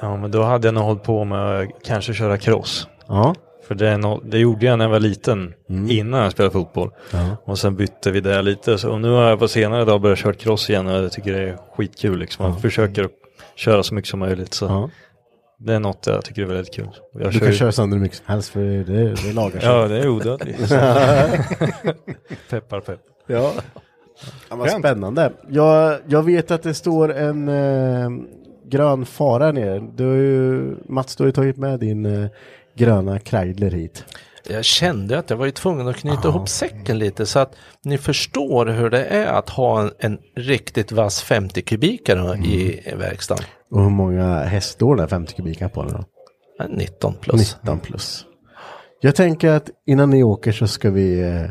Speaker 12: ja, men då hade jag nog hållit på med att kanske köra cross.
Speaker 2: Ja.
Speaker 12: För det, är nå- det gjorde jag när jag var liten,
Speaker 2: Mm.
Speaker 12: innan jag spelade fotboll.
Speaker 2: Ja.
Speaker 12: Och sen bytte vi det lite. Så, och nu har jag på senare dag börjat köra cross igen och jag tycker det är skitkul. Liksom. Man
Speaker 2: Ja.
Speaker 12: försöker att köra så mycket som möjligt. Så
Speaker 2: Ja.
Speaker 12: Det är något jag tycker är väldigt kul. Jag
Speaker 2: du
Speaker 12: kör
Speaker 2: kan
Speaker 12: ju-
Speaker 2: köra sönder hur mycket som helst för det, det, det lagar sig.
Speaker 12: Ja, det är odödligt. Peppar pepp.
Speaker 2: Ja. ja vad spännande. Jag, jag vet att det står en eh, grön fara nere. Du har ju, Mats, du har ju tagit med din eh, gröna Kreidler hit.
Speaker 9: Jag kände att jag var ju tvungen att knyta ihop säcken lite så att ni förstår hur det är att ha en, en riktigt vass 50 kubikare i
Speaker 2: Mm.
Speaker 9: verkstaden.
Speaker 2: Och hur många hästår den här 50 kubiken på den då?
Speaker 9: 19 plus.
Speaker 2: 19 plus. Jag tänker att innan ni åker så ska vi eh,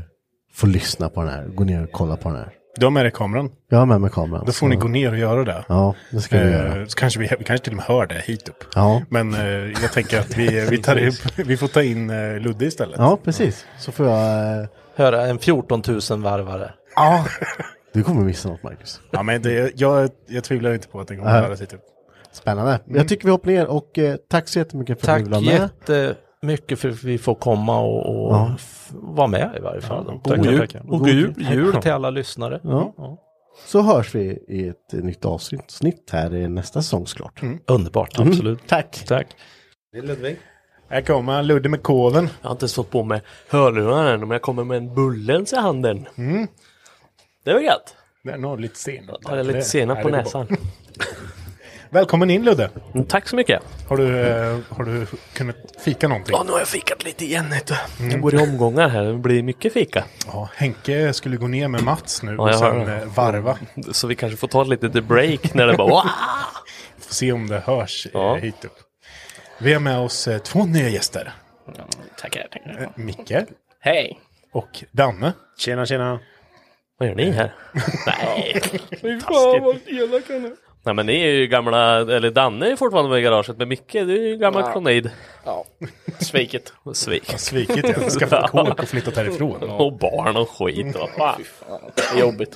Speaker 2: få lyssna på den här. Gå ner och kolla på den här.
Speaker 3: Du har med dig kameran.
Speaker 2: Jag har med mig kameran.
Speaker 3: Då får ni
Speaker 2: så-
Speaker 3: gå ner och göra det. Eh,
Speaker 2: Ja, det ska vi göra.
Speaker 3: Så kanske vi, vi kanske till och med hör det hit upp.
Speaker 2: Ja.
Speaker 3: Men eh, jag tänker att vi, vi, tar upp, vi får ta in eh, Ludde istället.
Speaker 2: Ja, precis. Så får jag... eh,
Speaker 9: Höra en 14 000 varvare.
Speaker 2: Ja. Du kommer missa något, Marcus.
Speaker 3: Ja, men det, jag, jag tvivlar inte på att den kommer
Speaker 2: Nej.
Speaker 3: att höra sig typ.
Speaker 2: Spännande. Jag tycker vi hoppar ner och eh, tack så jättemycket för
Speaker 9: Tack
Speaker 2: att du var med.
Speaker 9: jättemycket för att vi får komma och, och
Speaker 2: Ja.
Speaker 9: f- vara med i varje fall.
Speaker 2: Ja,
Speaker 9: god,
Speaker 2: tackar,
Speaker 9: jul.
Speaker 2: tackar.
Speaker 9: och god jul, jul
Speaker 2: Ja.
Speaker 9: till alla lyssnare.
Speaker 2: Ja. Så hörs vi i ett nytt avsnitt snitt här i nästa säsong såklart.
Speaker 9: Underbart.
Speaker 2: Mm.
Speaker 9: Absolut.
Speaker 2: Tack.
Speaker 9: Tack.
Speaker 3: Ludvig. Här kommer han, Ludde med koven.
Speaker 4: Jag har inte ens fått på mig hörlurarna än, men jag kommer med en bullens i handen. Det var gött.
Speaker 3: Mm. Den har lite senap.
Speaker 4: Har jag lite
Speaker 3: Det-
Speaker 4: senap på
Speaker 3: Nej, det går
Speaker 4: näsan. Mm,
Speaker 3: bra. Välkommen in Ludde.
Speaker 4: Tack så mycket.
Speaker 3: Har du, eh, har du kunnat fika någonting?
Speaker 4: Ja, nu har jag fikat lite igen. Vet du.
Speaker 3: Mm.
Speaker 4: Jag går i omgångar här, det blir mycket fika.
Speaker 3: Ja, Henke skulle gå ner med Mats nu
Speaker 4: Ja,
Speaker 3: och
Speaker 4: jag
Speaker 3: sen
Speaker 4: hör.
Speaker 3: eh, varva.
Speaker 4: Så vi kanske får ta ett litet break när det bara... "Wah!"
Speaker 3: Får se om det hörs ja. hit upp. Vi har med oss eh, två nya gäster.
Speaker 18: Tackar, tackar.
Speaker 3: Eh, Micke
Speaker 18: Hej!
Speaker 3: och Danne.
Speaker 18: Tjena, tjena.
Speaker 4: Vad gör ni här? Nej.
Speaker 18: Fy fan vad elak han är.
Speaker 4: Nej men ni är ju gamla, eller Danne är fortfarande med i garaget men Micke du är ju gammal
Speaker 18: Ja.
Speaker 4: kronid.
Speaker 18: Ja, sviket.
Speaker 4: Svik.
Speaker 18: sviket, ja. Skaffat kåk och flyttat härifrån.
Speaker 4: Och barn och skit. Och fan.
Speaker 18: Jobbigt.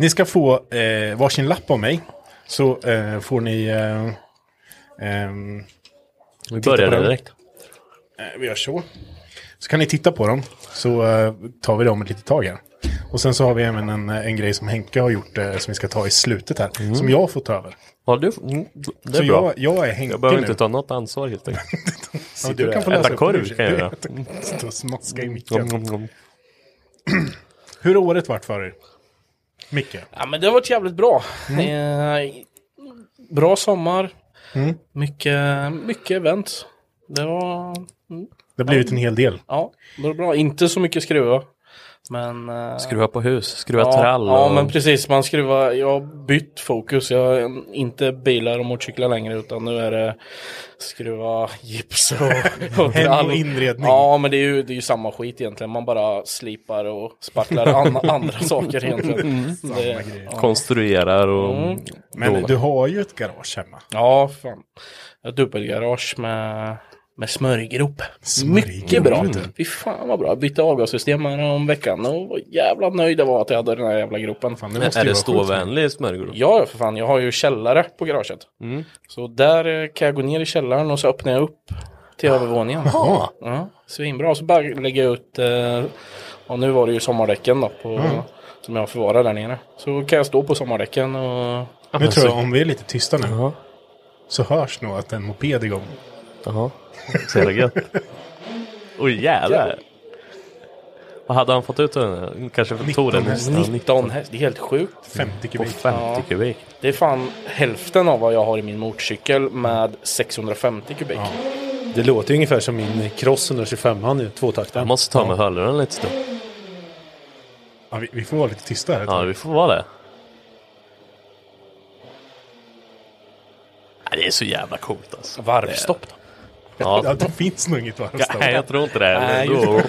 Speaker 3: Ni ska få eh, varsin lapp av mig. Så eh, får ni... Eh, ehm,
Speaker 4: Vi
Speaker 3: titta
Speaker 4: börjar
Speaker 3: på den.
Speaker 4: direkt.
Speaker 3: Eh, Vi gör så. Så kan ni titta på dem. Så eh, tar vi dem ett litet tag här. Och sen så har vi även en, eh, en grej som Henke har gjort eh, som vi ska ta i slutet här. Som jag har fått ta över.
Speaker 4: Mm. Ja, du, mm, det är
Speaker 3: Så
Speaker 4: bra.
Speaker 3: jag- jag är Henke
Speaker 4: Jag behöver
Speaker 3: nu.
Speaker 4: inte ta något ansvar helt enkelt.
Speaker 3: Ja, du kan få läsa
Speaker 4: Äta
Speaker 3: upp
Speaker 4: korv
Speaker 3: den.
Speaker 4: kan jag
Speaker 3: Du-
Speaker 4: göra.
Speaker 3: Sitta och smaska i
Speaker 4: Mm,
Speaker 3: micken.
Speaker 4: mm, mm.
Speaker 3: Hur har året varit för er? Micke?
Speaker 18: Ja, men det har varit jävligt bra. Eh, bra sommar.
Speaker 3: Mm.
Speaker 18: Mycket, mycket event. Det var... Mm.
Speaker 3: Det har blivit en hel del.
Speaker 18: Ja, det var bra. Inte så mycket skruva. Men... Eh,
Speaker 4: Skruva på hus, skruva
Speaker 18: ja,
Speaker 4: trall.
Speaker 18: Ja,
Speaker 4: och-
Speaker 18: men precis. Man skruvar... Jag har bytt fokus. Jag har en- inte bilar och motorcyklar längre utan nu är det skruva gips och, och
Speaker 3: Hem
Speaker 18: trall.
Speaker 3: och inredning.
Speaker 18: Ja, men det är, ju, det är ju samma skit egentligen. Man bara slipar och spacklar an, andra saker egentligen.
Speaker 4: Mm.
Speaker 18: Det- ja.
Speaker 4: Konstruerar och...
Speaker 18: Mm.
Speaker 3: Men
Speaker 4: då-
Speaker 3: du har ju ett garage hemma.
Speaker 18: Ja, fan. Jag har dubbelgarage med, Eh, med smörjgrop. Mycket bra.
Speaker 3: Mm.
Speaker 18: Fy fan vad bra. Bytte avgassystem här om veckan och vad jävla nöjd jag var att jag hade den här jävla gropen. Fan,
Speaker 4: Men är det ståvänlig smörgård?
Speaker 18: Ja, för fan. Jag har ju källare på garaget.
Speaker 4: Mm.
Speaker 18: Så där eh, kan jag gå ner i källaren och så öppnar jag upp till övervåningen.
Speaker 4: Jaha.
Speaker 18: Ja, svinbra. Så bara lägga ut, eh, och nu var det ju sommardäcken då, på,
Speaker 3: Mm.
Speaker 18: som jag förvarar där nere. Så kan jag stå på sommardäcken och...
Speaker 3: Nu tror jag om vi är lite tysta nu. Så hörs nog att en moped är igång.
Speaker 4: Jaha. Så jävla gött. Oj jävlar. Vad hade han fått ut av den? Kanske tog den
Speaker 18: 19 häst. Det är helt sjukt.
Speaker 3: 50
Speaker 4: kubik. På 50 kubik.
Speaker 18: Det är fan hälften av vad jag har i min motorcykel med 650 kubik.
Speaker 19: Det låter ju ungefär som min Cross 125 han nu, tvåtaktaren.
Speaker 4: Jag måste ta med hörlurarna lite stund.
Speaker 3: Ja, vi, vi får vara lite tysta här.
Speaker 4: Ja, vi får vara det. Ja, Det är så jävla coolt alltså.
Speaker 18: Varvstopp
Speaker 4: då?
Speaker 3: Ja.
Speaker 4: Ja.
Speaker 3: det finns nog inget varvstopp.
Speaker 4: Nej, jag tror inte det.
Speaker 3: Nej,
Speaker 4: Men då-
Speaker 3: just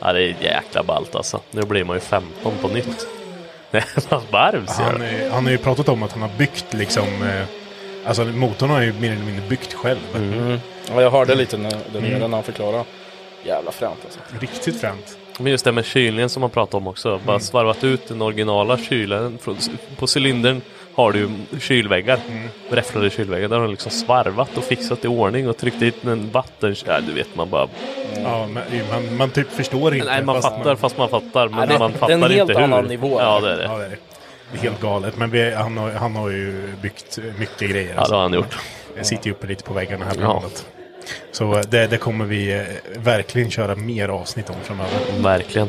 Speaker 4: Ja, det är jäkla ballt alltså. Nu blir man ju 15 på nytt. Nej, man varvs
Speaker 3: Han,
Speaker 4: gör.
Speaker 3: eh, han har ju pratat om att han har byggt liksom... eh, Alltså motorn har han ju mer eller mindre byggt själv.
Speaker 18: Ja, jag hörde lite när, där nere
Speaker 3: Mm.
Speaker 18: när han förklarade. Jävla fränt alltså.
Speaker 3: Riktigt fränt.
Speaker 4: Men just det med kylningen som man pratade om också. Bara
Speaker 3: Mm.
Speaker 4: svarvat ut den originala kylen. från- På cylindern har du ju kylväggar. Räfflade kylväggar. Där har de liksom svarvat och fixat i ordning och tryckt dit en vatten... Ja, du vet man bara...
Speaker 3: Ja, men, man, man typ förstår inte.
Speaker 4: Nej, man
Speaker 3: fast
Speaker 4: fattar fast man fattar. Men
Speaker 3: Nej, det-
Speaker 4: man
Speaker 3: det är
Speaker 4: fattar
Speaker 3: en helt
Speaker 4: inte hur.
Speaker 3: annan nivå.
Speaker 4: Ja, det är
Speaker 3: Ja,
Speaker 4: det.
Speaker 3: det är det. Det är helt galet. Men vi, han, har, han har ju byggt mycket grejer. alltså.
Speaker 4: Ja, det har han gjort.
Speaker 3: Det sitter ju uppe lite på väggarna här på
Speaker 4: Ja.
Speaker 3: landet. Så eh, det, det kommer vi eh, verkligen köra mer avsnitt om framöver.
Speaker 4: Verkligen.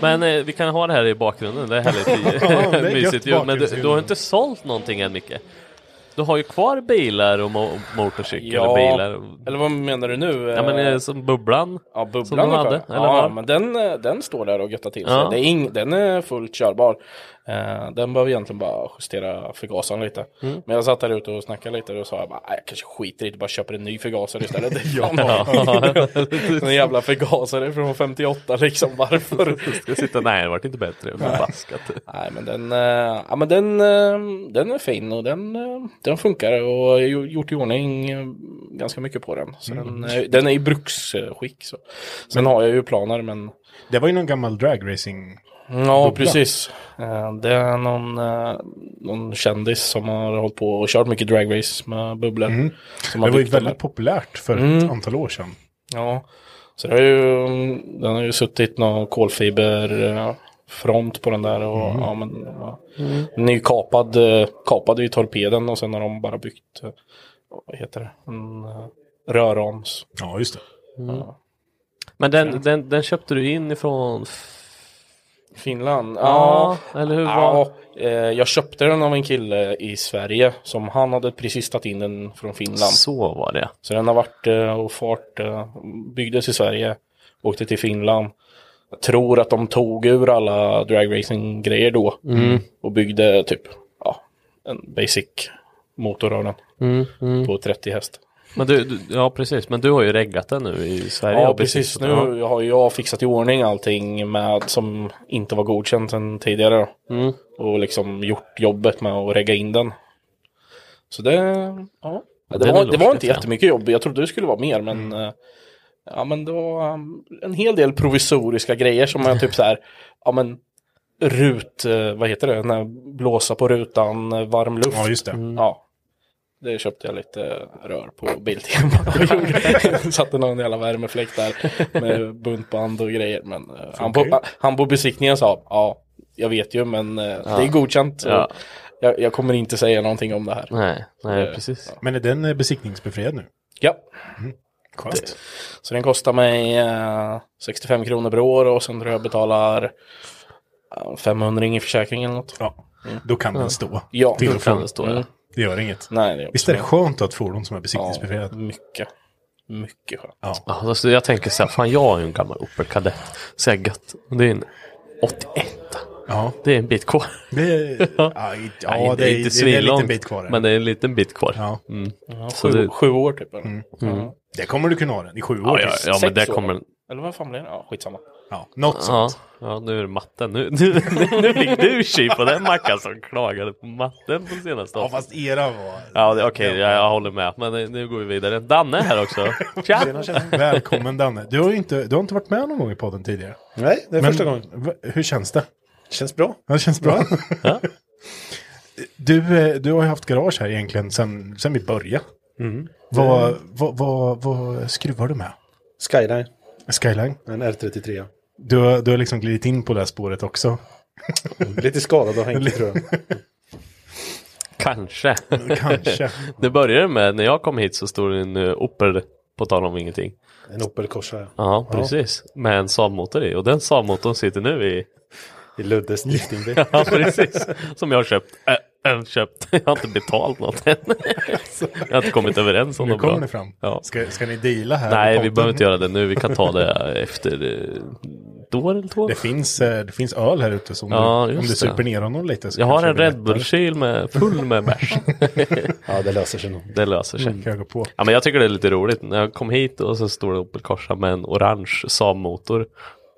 Speaker 4: Men eh, vi kan ha det här i bakgrunden. Det är
Speaker 3: Ja, det är
Speaker 4: härligt.
Speaker 3: gött
Speaker 4: Mysigt ju. Men du,
Speaker 3: bakgrundsljud.
Speaker 4: du har inte sålt någonting än Micke. Du har ju kvar bilar och mo- motorcyklar och bilar.
Speaker 18: eller vad menar du nu?
Speaker 4: Ja men eh,
Speaker 18: Eh,
Speaker 4: som Bubblan.
Speaker 18: Ja, bubblan
Speaker 4: Som de
Speaker 18: är
Speaker 4: hade.
Speaker 18: skön.
Speaker 4: Eller
Speaker 18: ja,
Speaker 4: vad?
Speaker 18: men den, eh, den står där och göttar till sig.
Speaker 4: Ja.
Speaker 18: Det är ing, den är fullt körbar. Eh, den behöver egentligen bara justera förgasaren lite.
Speaker 4: Mm.
Speaker 18: Men jag satt där ute och snackade lite och då sa jag bara, "Nej, jag kanske skiter i det, bara köper en ny förgasare istället.
Speaker 4: Ja.
Speaker 18: en jävla förgasare från 58 liksom, varför?
Speaker 4: Ska sitta, nej det vart inte bättre. Förbaskat.
Speaker 18: Nej men den, eh, ja, men den, eh, den är fin och den, eh, den funkar och jag har ju- gjort i ordning eh, ganska mycket på den. Så
Speaker 3: Mm.
Speaker 18: den, eh, den är i bruksskick. Så. Sen har jag ju planer men
Speaker 3: Det var ju någon gammal dragracing
Speaker 18: Ja,
Speaker 20: Bubbla.
Speaker 18: precis. Eh, Det är någon, eh, någon kändis som har hållit på och kört mycket dragrace med bubblor.
Speaker 3: Mm. Det
Speaker 18: Som har
Speaker 3: var ju
Speaker 18: byggt den här.
Speaker 3: väldigt populärt för ett
Speaker 18: Mm.
Speaker 3: antal år sedan.
Speaker 18: Ja, så det har ju, mm, den har ju suttit någon kolfiberfront på den där. Och,
Speaker 3: Mm.
Speaker 18: ja, men, ja.
Speaker 3: Mm.
Speaker 18: Nykapad, eh, kapade ju torpeden och sen har de bara byggt, eh, vad heter det, en eh, rörrams.
Speaker 3: Ja, just det.
Speaker 18: Mm.
Speaker 4: Men den, den, den köpte du in ifrån...
Speaker 18: Finland?
Speaker 4: Ja, eller hur?
Speaker 18: Ja,
Speaker 4: Var...
Speaker 18: eh, jag köpte den av en kille i Sverige som han hade precis tagit in den från Finland.
Speaker 4: Så var det.
Speaker 18: Så den har varit eh, och fart, eh, byggdes i Sverige, åkte till Finland. Jag tror att de tog ur alla dragracing-grejer då
Speaker 4: Mm.
Speaker 18: och byggde typ ja, en basic motor av den
Speaker 4: Mm, mm.
Speaker 18: på 30 häst.
Speaker 4: Men du, du, ja precis, men du har ju reggat den nu i Sverige.
Speaker 18: Ja,
Speaker 4: och
Speaker 18: precis.
Speaker 4: besikt- ja.
Speaker 18: Nu har ju jag fixat i ordning allting med, som inte var godkänt sedan tidigare. Då.
Speaker 4: Mm.
Speaker 18: Och liksom gjort jobbet med att regga in den. Så det, ja.
Speaker 4: Ja,
Speaker 18: det,
Speaker 4: den
Speaker 18: var,
Speaker 4: är
Speaker 18: det var inte
Speaker 4: lite, ja.
Speaker 18: jättemycket jobb. Jag trodde det skulle vara mer, men
Speaker 4: Mm.
Speaker 18: eh, Ja men det var um, en hel del provisoriska grejer som jag typ så här, ja men rut, eh, vad heter det, när blåsa på rutan, eh, varm luft.
Speaker 3: Ja, just det.
Speaker 18: Ja. Det köpte jag lite rör på Biltema och gjorde. Satte någon jävla värmefläkt där med buntband och grejer. Men eh, han, på, han på besiktningen sa, ja jag vet ju men eh, det är godkänt. så
Speaker 3: Ja.
Speaker 18: Jag, jag kommer inte säga någonting om det här. Eh,
Speaker 3: Men är den eh, besiktningsbefriad nu?
Speaker 18: Ja.
Speaker 3: Mm.
Speaker 18: Det- Så den kostar mig eh, 65 kronor per år och sen tror jag jag betalar eh, 500 i försäkring eller något. Mm.
Speaker 3: Ja, då kan den stå.
Speaker 18: Ja,
Speaker 3: Till
Speaker 18: då
Speaker 3: och
Speaker 18: kan
Speaker 3: från.
Speaker 18: den stå. Ja.
Speaker 3: Mm. Det gör inget.
Speaker 18: Nej, det är
Speaker 3: Visst är det
Speaker 18: absolut.
Speaker 3: skönt att ha ett fordon som är besiktningsbefriad?
Speaker 18: Ja, mycket. Mycket skönt.
Speaker 4: Ja, alltså, jag tänker så här, fan jag är ju en gammal Opel Kadett. Så jag gött. Och det är en 81.
Speaker 3: Ja.
Speaker 4: Det är en bit kvar.
Speaker 3: Det är- ja, i- ja,
Speaker 4: Nej,
Speaker 3: det är- det är en
Speaker 4: svinlångt,
Speaker 3: liten bit kvar, ja.
Speaker 4: Men det är en liten bit kvar.
Speaker 3: Ja.
Speaker 4: Mm.
Speaker 18: Ja,
Speaker 4: Så
Speaker 18: sju-
Speaker 4: det-
Speaker 18: sju år typ, eller?
Speaker 4: Mm.
Speaker 18: Ja.
Speaker 4: Mm.
Speaker 3: Det kommer du kunna ha den i sju
Speaker 4: Ja,
Speaker 3: år
Speaker 4: ja,
Speaker 3: tills.
Speaker 4: ja, men det
Speaker 18: Sex år,
Speaker 4: kommer...
Speaker 18: va? Eller vad fan blir det? Ja, skitsamma.
Speaker 3: Ja, något
Speaker 4: ja.
Speaker 3: sånt.
Speaker 4: Ja, nu är det matten. Nu, nu, nu fick du tji på den Mackan som klagade på matten på senaste
Speaker 3: Ja, fast era var...
Speaker 4: Ja, det- okej, jag, jag håller med. Men eh, nu går vi vidare. Danne är här också. Tja!
Speaker 3: Välkommen Danne. Du har ju inte, du har inte varit med någon gång i podden tidigare.
Speaker 19: Nej, det är
Speaker 3: Men
Speaker 19: första gången.
Speaker 3: v- Hur känns det?
Speaker 19: Känns bra.
Speaker 3: Ja, det känns bra.
Speaker 19: Ja.
Speaker 3: Du, eh, du har ju haft garage här egentligen sen, sen vi började.
Speaker 19: Mm.
Speaker 3: Vad, vad, vad, vad skruvar du med?
Speaker 19: Skyline.
Speaker 3: Skyline?
Speaker 19: En R33.
Speaker 3: Du, har- du har liksom glidit in på det här spåret också.
Speaker 19: Lite skadad av Henke tror jag.
Speaker 4: Kanske.
Speaker 3: Kanske.
Speaker 4: det började med när jag kom hit så stod det en eh, Opel, på tal om ingenting.
Speaker 19: En Opel Corsa. ja.
Speaker 4: Ja, precis. Med en Saab-motor i. Och den Saab-motorn sitter nu i...
Speaker 19: I Luddes driftingbil.
Speaker 4: ja, precis. Som jag har köpt. Äh, äh, köpt. Jag har inte betalt något än. jag har inte kommit överens om
Speaker 3: Nu
Speaker 4: något
Speaker 3: kommer
Speaker 4: bra.
Speaker 3: ni fram.
Speaker 4: Ja.
Speaker 3: Ska, ska ni deala här?
Speaker 4: Nej,
Speaker 3: på
Speaker 4: vi
Speaker 3: podden?
Speaker 4: behöver inte göra det nu. Vi kan ta det efter eh, ett år eller två.
Speaker 3: Det finns, eh, det finns öl här ute som
Speaker 4: Ja,
Speaker 3: du, om
Speaker 4: just
Speaker 3: du
Speaker 4: det.
Speaker 3: super ner honom lite. så
Speaker 4: Jag har
Speaker 3: kanske
Speaker 4: en
Speaker 3: det blir
Speaker 4: Red Bull-kyl med, full med bärs.
Speaker 19: ja, det löser sig nog.
Speaker 4: Det löser sig.
Speaker 3: Mm. Kan jag gå på.
Speaker 4: Ja, men jag tycker det är lite roligt. När jag kom hit och så stod det Opel Corsa med en orange Saab-motor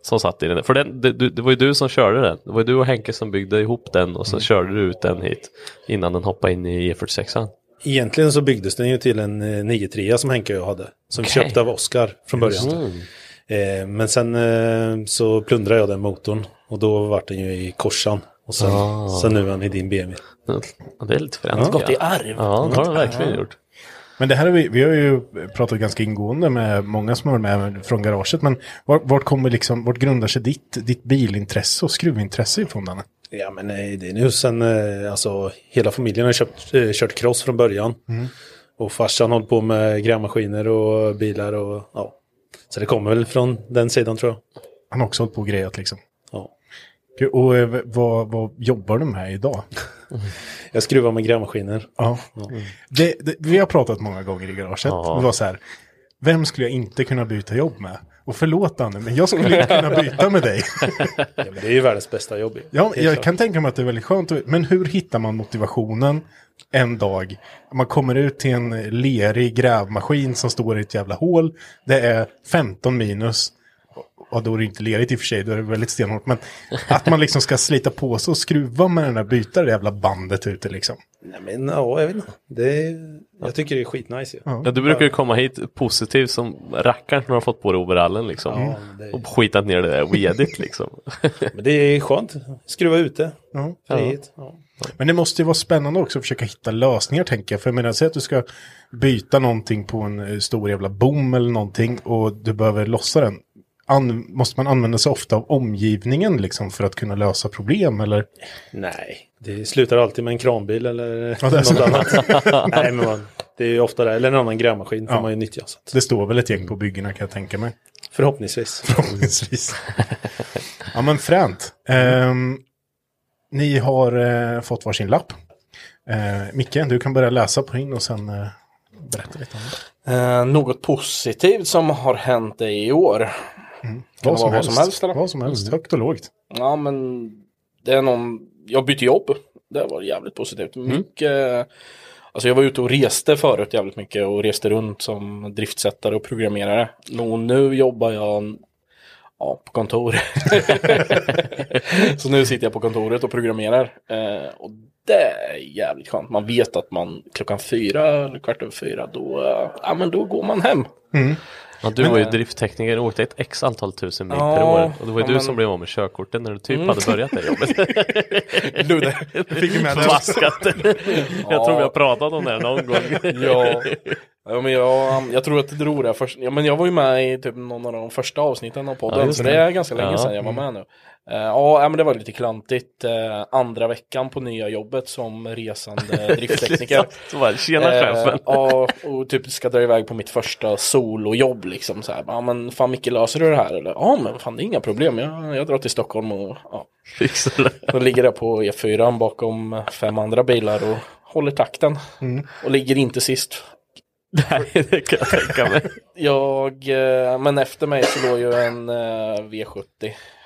Speaker 4: som satt i den. För den, det, du- det var ju du som körde den. Det var ju du och Henke som byggde ihop den
Speaker 3: Mm.
Speaker 4: och så körde du ut den hit innan den hoppade in i E46.
Speaker 19: Egentligen så byggdes den ju till en eh, 93 som Henke och jag hade. Som vi
Speaker 4: Okej. Mm.
Speaker 19: köpte av Oskar från början.
Speaker 4: Just
Speaker 19: Eh, men sen eh, så plundrade jag den motorn. Och då var den ju i korsan. Och sen,
Speaker 4: Ah.
Speaker 19: sen nu är han i din BMW.
Speaker 4: Ja, det är lite
Speaker 19: fränt.
Speaker 3: Gått i arv.
Speaker 4: Ja, det har den verkligen
Speaker 3: Ja.
Speaker 4: gjort.
Speaker 3: Men det här har vi, vi har ju pratat ganska ingående med många som har varit med från garaget. Men vart, vart kommer liksom, vart grundar sig ditt, ditt bilintresse och skruvintresse ifrån Danne?
Speaker 19: Ja men eh, det är nu sen, eh, alltså hela familjen har köpt, eh, kört cross från början.
Speaker 3: Mm.
Speaker 19: Och farsan håller på med grävmaskiner och bilar och ja. Så det kommer väl från den sidan tror jag.
Speaker 3: Han har också hållit på och grejat liksom.
Speaker 19: Ja.
Speaker 3: Gud, Och eh, vad, vad jobbar du med idag?
Speaker 19: Jag skruvar med grävmaskiner.
Speaker 3: Ja. Mm. Det, det, vi har pratat många gånger i garaget.
Speaker 19: Ja.
Speaker 3: Det var så här, vem skulle jag inte kunna byta jobb med? Och förlåt Danne, men jag skulle ju kunna byta med dig.
Speaker 19: ja, men det är ju världens bästa jobb.
Speaker 3: Ja,
Speaker 19: Helt
Speaker 3: jag
Speaker 19: klart.
Speaker 3: kan tänka mig att det är väldigt skönt. att- Men hur hittar man motivationen en dag? Man kommer ut till en lerig grävmaskin som står i ett jävla hål. Det är 15 minus. ja då är det inte lerigt i och för sig, då är det väldigt stenhårt. Men att man liksom ska slita på sig och skruva med den där, byta det jävla bandet ute liksom.
Speaker 19: Nej, men ja, jag vet inte. Det är, jag tycker det är skitnice ju.
Speaker 4: Ja, du brukar ju komma hit positiv som rackaren som har fått på dig overallen liksom.
Speaker 19: Ja, det
Speaker 4: Och skitat ner det där wedigt liksom.
Speaker 19: Men det är skönt. Skruva ute.
Speaker 3: Ja.
Speaker 19: Frihet. Ja.
Speaker 3: Men det måste ju vara spännande också att försöka hitta lösningar tänker jag. För jag menar, säg att du ska byta någonting på en eh, stor jävla bom eller någonting och du behöver lossa den. An måste man använda sig ofta av omgivningen liksom för att kunna lösa problem eller?
Speaker 19: Nej, det slutar alltid med en kranbil eller
Speaker 3: Ja, det är
Speaker 19: något
Speaker 3: så.
Speaker 19: annat. Nej, men man, det är ju ofta det. Eller en annan grävmaskin får
Speaker 3: Ja.
Speaker 19: man ju nyttja. Så.
Speaker 3: Det står väl ett gäng på byggena kan jag tänka mig.
Speaker 19: Förhoppningsvis.
Speaker 3: Förhoppningsvis. ja men fränt. Ehm, ni har eh, fått varsin lapp. Uh, Micke, du kan börja läsa på din och sen eh, berätta lite om det.
Speaker 18: Eh, något positivt som har hänt dig i år? Kan
Speaker 3: Mm. Vad
Speaker 18: det
Speaker 3: som,
Speaker 18: vara
Speaker 3: helst.
Speaker 18: vad som helst eller? Mm.
Speaker 3: Vad som helst, högt och lågt.
Speaker 18: Ja, men det är någon... Jag bytte jobb. Det var jävligt positivt. Mycket... Alltså jag var ute och reste förut jävligt mycket och reste runt som driftsättare och programmerare. Nå, nu jobbar jag ja, på kontor. så nu sitter jag på kontoret och programmerar. Eh, och det är jävligt skönt. Man vet att man klockan fyra eller kvart över fyra, då, eh, ja, men då går man hem.
Speaker 4: Ja,
Speaker 18: Mm.
Speaker 4: du
Speaker 18: Men-
Speaker 4: var ju drifttekniker och åkte ett x antal tusen mil
Speaker 18: Ja,
Speaker 4: liksom per år. Och det var ju
Speaker 18: ja,
Speaker 4: du
Speaker 18: men-
Speaker 4: som blev av med körkorten när du typ
Speaker 18: Mm.
Speaker 4: hade börjat det jobbet.
Speaker 18: Ludde, jag fick ju med det.
Speaker 4: Vaskat. Jag tror vi har pratat om det här någon gång.
Speaker 18: ja. ja, men jag, jag tror att det drog det här först. Ja, men jag var ju med i typ någon av de första avsnitten av podden,
Speaker 4: Ja, just
Speaker 18: så
Speaker 4: det.
Speaker 18: det är ganska länge
Speaker 4: Ja.
Speaker 18: sedan jag var med nu.
Speaker 4: Mm.
Speaker 18: Eh, ja, ja, men det var lite klantigt. Eh, andra veckan på nya jobbet som resande eh, drifttekniker. Eh,
Speaker 4: Så bara, "Tjena, chefen."
Speaker 18: Ja, och typ ska dra iväg på mitt första solojobb liksom så här. Ja, men fan Micke, löser du det här eller? Ja, men fan det är inga problem. Jag, jag drar till Stockholm och ja.
Speaker 4: Fixar det.
Speaker 18: Då ligger jag på E4 bakom fem andra bilar och håller takten.
Speaker 4: Mm.
Speaker 18: Och ligger inte sist.
Speaker 4: Nej, det kan jag tänka mig.
Speaker 18: Jag, eh, men efter mig så låg ju en eh, V70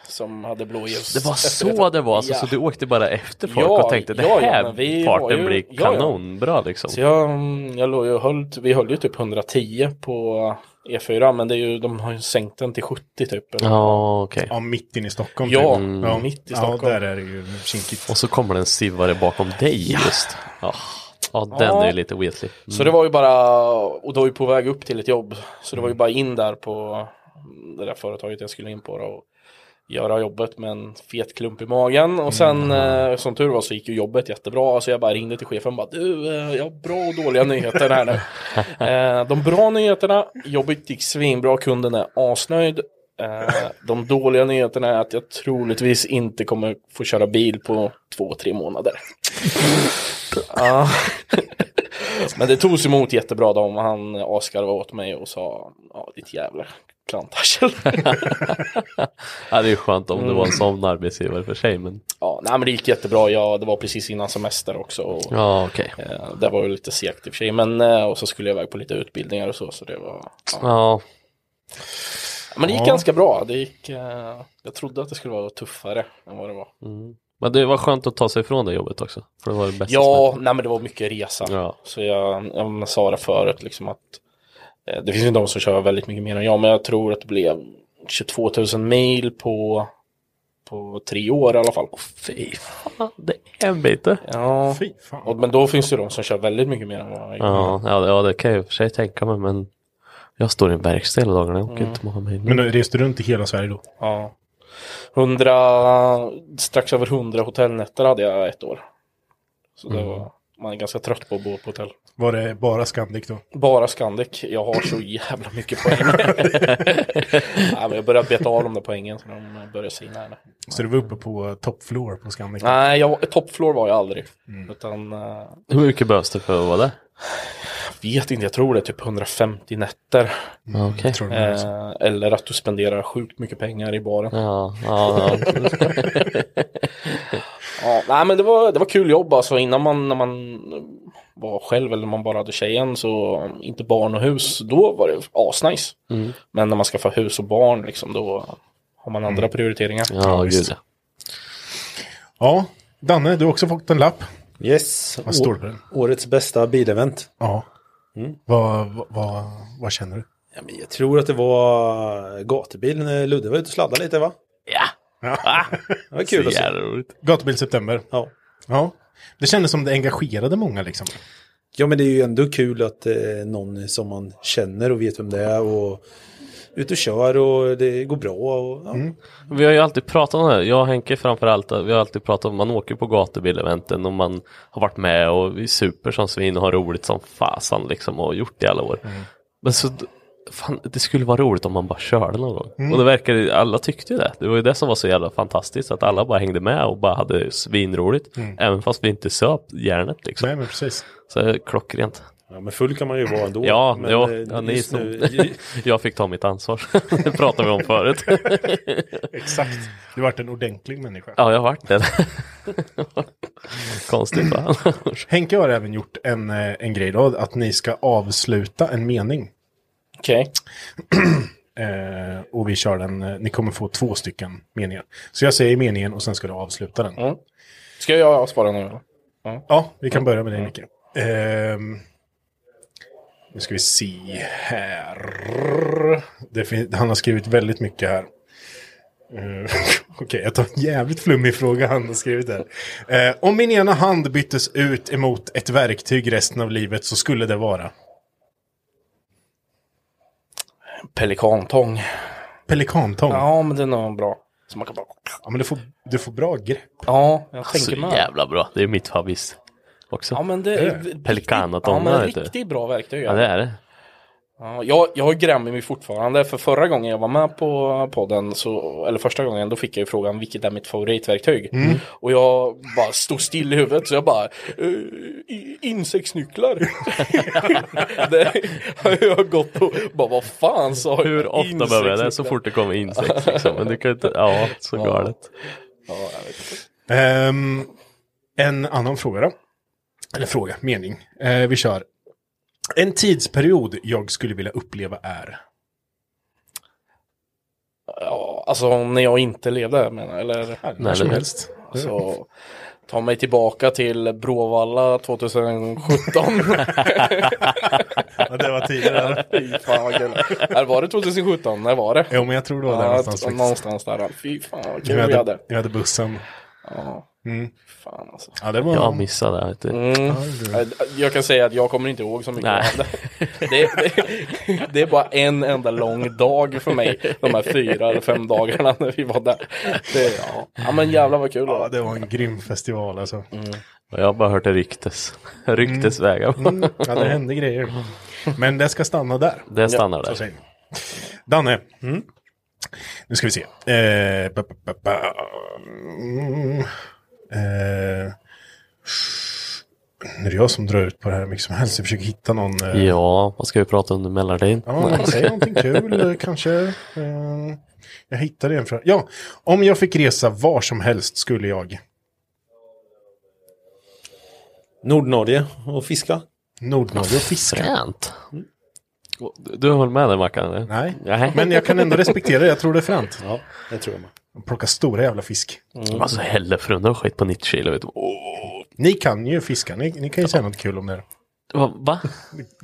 Speaker 18: som hade blåljus.
Speaker 4: Det var så
Speaker 18: efterrätten.
Speaker 4: det var alltså,
Speaker 18: Ja.
Speaker 4: så du åkte bara efter folk
Speaker 18: Ja,
Speaker 4: och tänkte det
Speaker 18: ja, ja,
Speaker 4: här
Speaker 18: men vi var
Speaker 4: farten
Speaker 18: ju-
Speaker 4: blir
Speaker 18: ja, ja.
Speaker 4: kanonbra liksom.
Speaker 18: Så jag, mm, jag låg ju och höll, vi höll ju typ 110 på E4 men det är ju, de har ju sänkt den till 70 typ. eller?
Speaker 4: Ja, okej.
Speaker 3: Ja, mitt inne i Stockholm.
Speaker 18: Ja,
Speaker 3: typ.
Speaker 18: mm. mitt i
Speaker 3: Ja,
Speaker 18: Stockholm.
Speaker 3: där är det ju kinkigt.
Speaker 4: Och så kommer det en sivare bakom dig just. Ja, ja den
Speaker 18: Ja.
Speaker 4: är ju lite wetley. Mm.
Speaker 18: Så det var ju bara, och då var ju på väg upp till ett jobb. Så det var ju
Speaker 4: Mm.
Speaker 18: bara in där på det där företaget jag skulle in på då och göra jobbet med en fet klump i magen. Och sen
Speaker 4: Mm.
Speaker 18: eh, som tur var så gick ju jobbet jättebra. Så jag bara ringde till chefen och bara du, eh, jag har bra och dåliga nyheter här nu. Eh, de bra nyheterna, jobbet gick svinbra, kunden är asnöjd. Eh, de dåliga nyheterna är att jag troligtvis inte kommer få köra bil på två, tre månader. Ja. Men det togs emot jättebra då. Han asgarvade åt mig och sa ja ditt jävla klantarsel.
Speaker 4: Ja, det är ju skönt om det var en
Speaker 18: Mm.
Speaker 4: sån arbetsgivare för sig. Men...
Speaker 18: ja, nej men det gick jättebra. Ja, det var precis innan semester också. Och,
Speaker 4: Ja, okej.
Speaker 18: eh, det var ju lite segt i och för sig. Men eh, och så skulle jag iväg på lite utbildningar och så. Så det var.
Speaker 4: Ja.
Speaker 18: Men det gick
Speaker 4: Ja.
Speaker 18: ganska bra. Det gick. Eh, jag trodde att det skulle vara tuffare än vad det var.
Speaker 4: Mm, Men det var skönt att ta sig ifrån det jobbet också. För det var det bästa som
Speaker 18: Ja,
Speaker 4: hände.
Speaker 18: nej men det var mycket resa.
Speaker 4: Ja.
Speaker 18: Så jag, jag sa det förut liksom att eh, det finns ju de som kör väldigt mycket mer än jag, men jag tror att det blev 22 000 mil på, på tre år i alla fall.
Speaker 4: Fy fan, det är en bit det.
Speaker 18: Ja, Och, men då finns det ju de som kör väldigt mycket mer än vad jag gör.
Speaker 4: Ja, ja, det- ja, det kan jag i och för sig tänka mig. Men jag står i en verkstad hela dagarna. Jag åker
Speaker 18: Mm.
Speaker 4: inte många mil.
Speaker 3: Men nu reste du runt i hela Sverige då?
Speaker 18: Ja. 100, strax över 100 hotellnätter hade jag ett år. Så det
Speaker 3: Mm.
Speaker 18: var, man är ganska trött på att bo på hotell.
Speaker 3: Var det bara Scandic då?
Speaker 18: Bara Scandic. Jag har så jävla mycket poäng. Nej, men jag börjar beta av de där poängen så de börjar sina. här nu.
Speaker 3: Så du var uppe på top floor på Scandic?
Speaker 18: Nej, jag, top floor var jag aldrig. Utan, eh,
Speaker 4: Hur mycket behövs det för att vara där?
Speaker 18: jag vet inte, jag tror det är typ 150 nätter.
Speaker 4: Ja, okej. Jag tror det är
Speaker 18: eh, eller att du spenderar sjukt mycket pengar i baren.
Speaker 4: Ja, ja, ja.
Speaker 18: ja, nej, men det var, det var kul jobb alltså. Innan man, när man var själv eller man bara hade tjejen så inte barn och hus, då var det asnice.
Speaker 4: Mm.
Speaker 18: Men när man skaffar hus och barn liksom, då har man andra prioriteringar.
Speaker 4: Mm. Ja, gud ja.
Speaker 3: Ja, Danne, du har också fått en lapp.
Speaker 19: Yes.
Speaker 3: Vad står det på den?
Speaker 19: Årets bästa bilevent. Mm.
Speaker 3: Ja. Vad, vad, vad, vad känner du?
Speaker 19: Ja, men jag tror att det var gatubil när Ludde var ute och sladdade lite va?
Speaker 3: Ja.
Speaker 4: Ah.
Speaker 19: Det var kul att se.
Speaker 3: Gatubil September.
Speaker 19: Ja.
Speaker 3: ja. Det kändes som det engagerade många liksom.
Speaker 19: Ja men det är ju ändå kul att eh, någon som man känner och vet vem det är och ut och kör och det går bra. Och, ja.
Speaker 3: Mm.
Speaker 4: Vi har ju alltid pratat om det här, jag och Henke framförallt, vi har alltid pratat om man åker på gatubileventen och man har varit med och vi super som svin och har roligt som fasan liksom och gjort det i alla år. Men så, fan, det skulle vara roligt om man bara körde någon gång.
Speaker 12: Mm.
Speaker 4: Och det verkar, alla tyckte ju det. Det var ju det som var så jävla fantastiskt, att alla bara hängde med och bara hade svinroligt.
Speaker 3: Mm.
Speaker 4: Även fast vi inte söp järnet liksom.
Speaker 3: Nej men precis.
Speaker 4: Så det är klockrent.
Speaker 19: Ja, men full kan man ju vara ändå.
Speaker 4: Ja,
Speaker 19: men,
Speaker 4: ja,
Speaker 19: eh,
Speaker 4: ja ni
Speaker 19: just
Speaker 4: som,
Speaker 19: nu-
Speaker 4: jag fick ta mitt ansvar. det pratade vi om förut.
Speaker 3: Exakt. Du vart en ordentlig människa.
Speaker 4: Ja, jag har varit det. Konstigt va?
Speaker 3: Henke har även gjort en, eh, en grej då, att ni ska avsluta en mening.
Speaker 18: Okej.
Speaker 3: eh, och vi kör den, eh, ni kommer få två stycken meningar. Så jag säger meningen och sen ska du avsluta den.
Speaker 18: Ska jag svara nu? eller? Ja.
Speaker 3: Ja, vi kan börja med dig Micke. Ehm, nu ska vi se här. Det fin- han har skrivit väldigt mycket här. Ehm, Okej, jag tar en jävligt flummig fråga han har skrivit här. Ehm, om min ena hand byttes ut emot ett verktyg resten av livet så skulle det vara?
Speaker 18: Pelikantång.
Speaker 3: Pelikantång?
Speaker 18: Ja, men den är bra. Så man kan bara...
Speaker 3: Ja, men du får, du får bra grepp.
Speaker 18: Ja, jag
Speaker 4: Så
Speaker 18: tänker med.
Speaker 4: jävla bra. Det är mitt favorit också.
Speaker 18: Ja, men det är- Ja,
Speaker 4: Pelikanatomma
Speaker 18: men
Speaker 4: heter det.
Speaker 18: riktigt bra verktyg.
Speaker 4: Ja, det är det.
Speaker 18: Ja, jag, jag grämmer mig fortfarande för förra gången jag var med på podden, så, eller första gången, då fick jag ju frågan vilket är mitt favoritverktyg?
Speaker 3: Mm.
Speaker 18: Och jag bara stod still i huvudet så jag bara "Eh, i- insektsnycklar. det har jag gått och bara vad fan sa jag?
Speaker 4: Hur ofta behöver jag det? Så fort det kommer insekt liksom. Men du kan inte, ja, så
Speaker 18: Ja.
Speaker 4: galet.
Speaker 18: Ja, jag vet inte.
Speaker 3: Ehm, en annan fråga då. Eller fråga, mening. Eh, vi kör. En tidsperiod jag skulle vilja uppleva är?
Speaker 18: Ja, alltså när jag inte levde menar jag, eller?
Speaker 3: när som helst.
Speaker 18: Så ta mig tillbaka till Bråvalla 2017.
Speaker 3: Ja, det var tidigare.
Speaker 18: Fy fan vad kul. Eller var det 2017? När var det?
Speaker 3: Jo, men jag tror det var där någonstans faktiskt.
Speaker 18: Någonstans där. Fy fan vad kul
Speaker 3: jag,
Speaker 18: vi hade.
Speaker 3: hade, jag hade bussen.
Speaker 18: Ja.
Speaker 3: Mm.
Speaker 18: Fan alltså.
Speaker 3: Ja, det var...
Speaker 4: Jag missade det. vet du.
Speaker 18: Mm. Jag kan säga att jag kommer inte ihåg så mycket
Speaker 4: Nej.
Speaker 18: av det. Det, det. det är bara en enda lång dag för mig. De här fyra eller fem dagarna när vi var där. Det, ja. ja men jävlar vad kul. Ja
Speaker 3: det var en grym festival alltså.
Speaker 18: Mm.
Speaker 4: Jag har bara hört det ryktes. Ryktesvägar.
Speaker 3: Mm. Ja, det hände grejer. Men det ska stanna där.
Speaker 4: Det stannar där.
Speaker 3: så säger vi. Danne. Mm. Nu ska vi se. Eh, ba, ba, ba, ba. Mm. Eh, nu är det jag som drar ut på det här hur mycket som helst. Jag försöker hitta någon. Eh,
Speaker 4: Ja, vad ska vi prata om under mellantiden?
Speaker 3: Ja, men säg någonting kul eh, kanske. Eh, jag hittade en fråga. Ja, om jag fick resa var som helst skulle jag.
Speaker 19: Nordnorge och fiska.
Speaker 3: Nordnorge och fiska.
Speaker 4: Fränt. Du håller med där Mackan? eller?
Speaker 3: Nej. Men jag kan ändå respektera det. Jag tror det är fränt.
Speaker 19: Ja, det tror jag med.
Speaker 3: De plockar stora jävla fisk.
Speaker 4: Mm. Alltså hällefrunda och skit på 90 kilo. Vet du. Åh,
Speaker 3: Ni kan ju fiska. Ni, ni kan ju säga något kul om det.
Speaker 4: Va? va?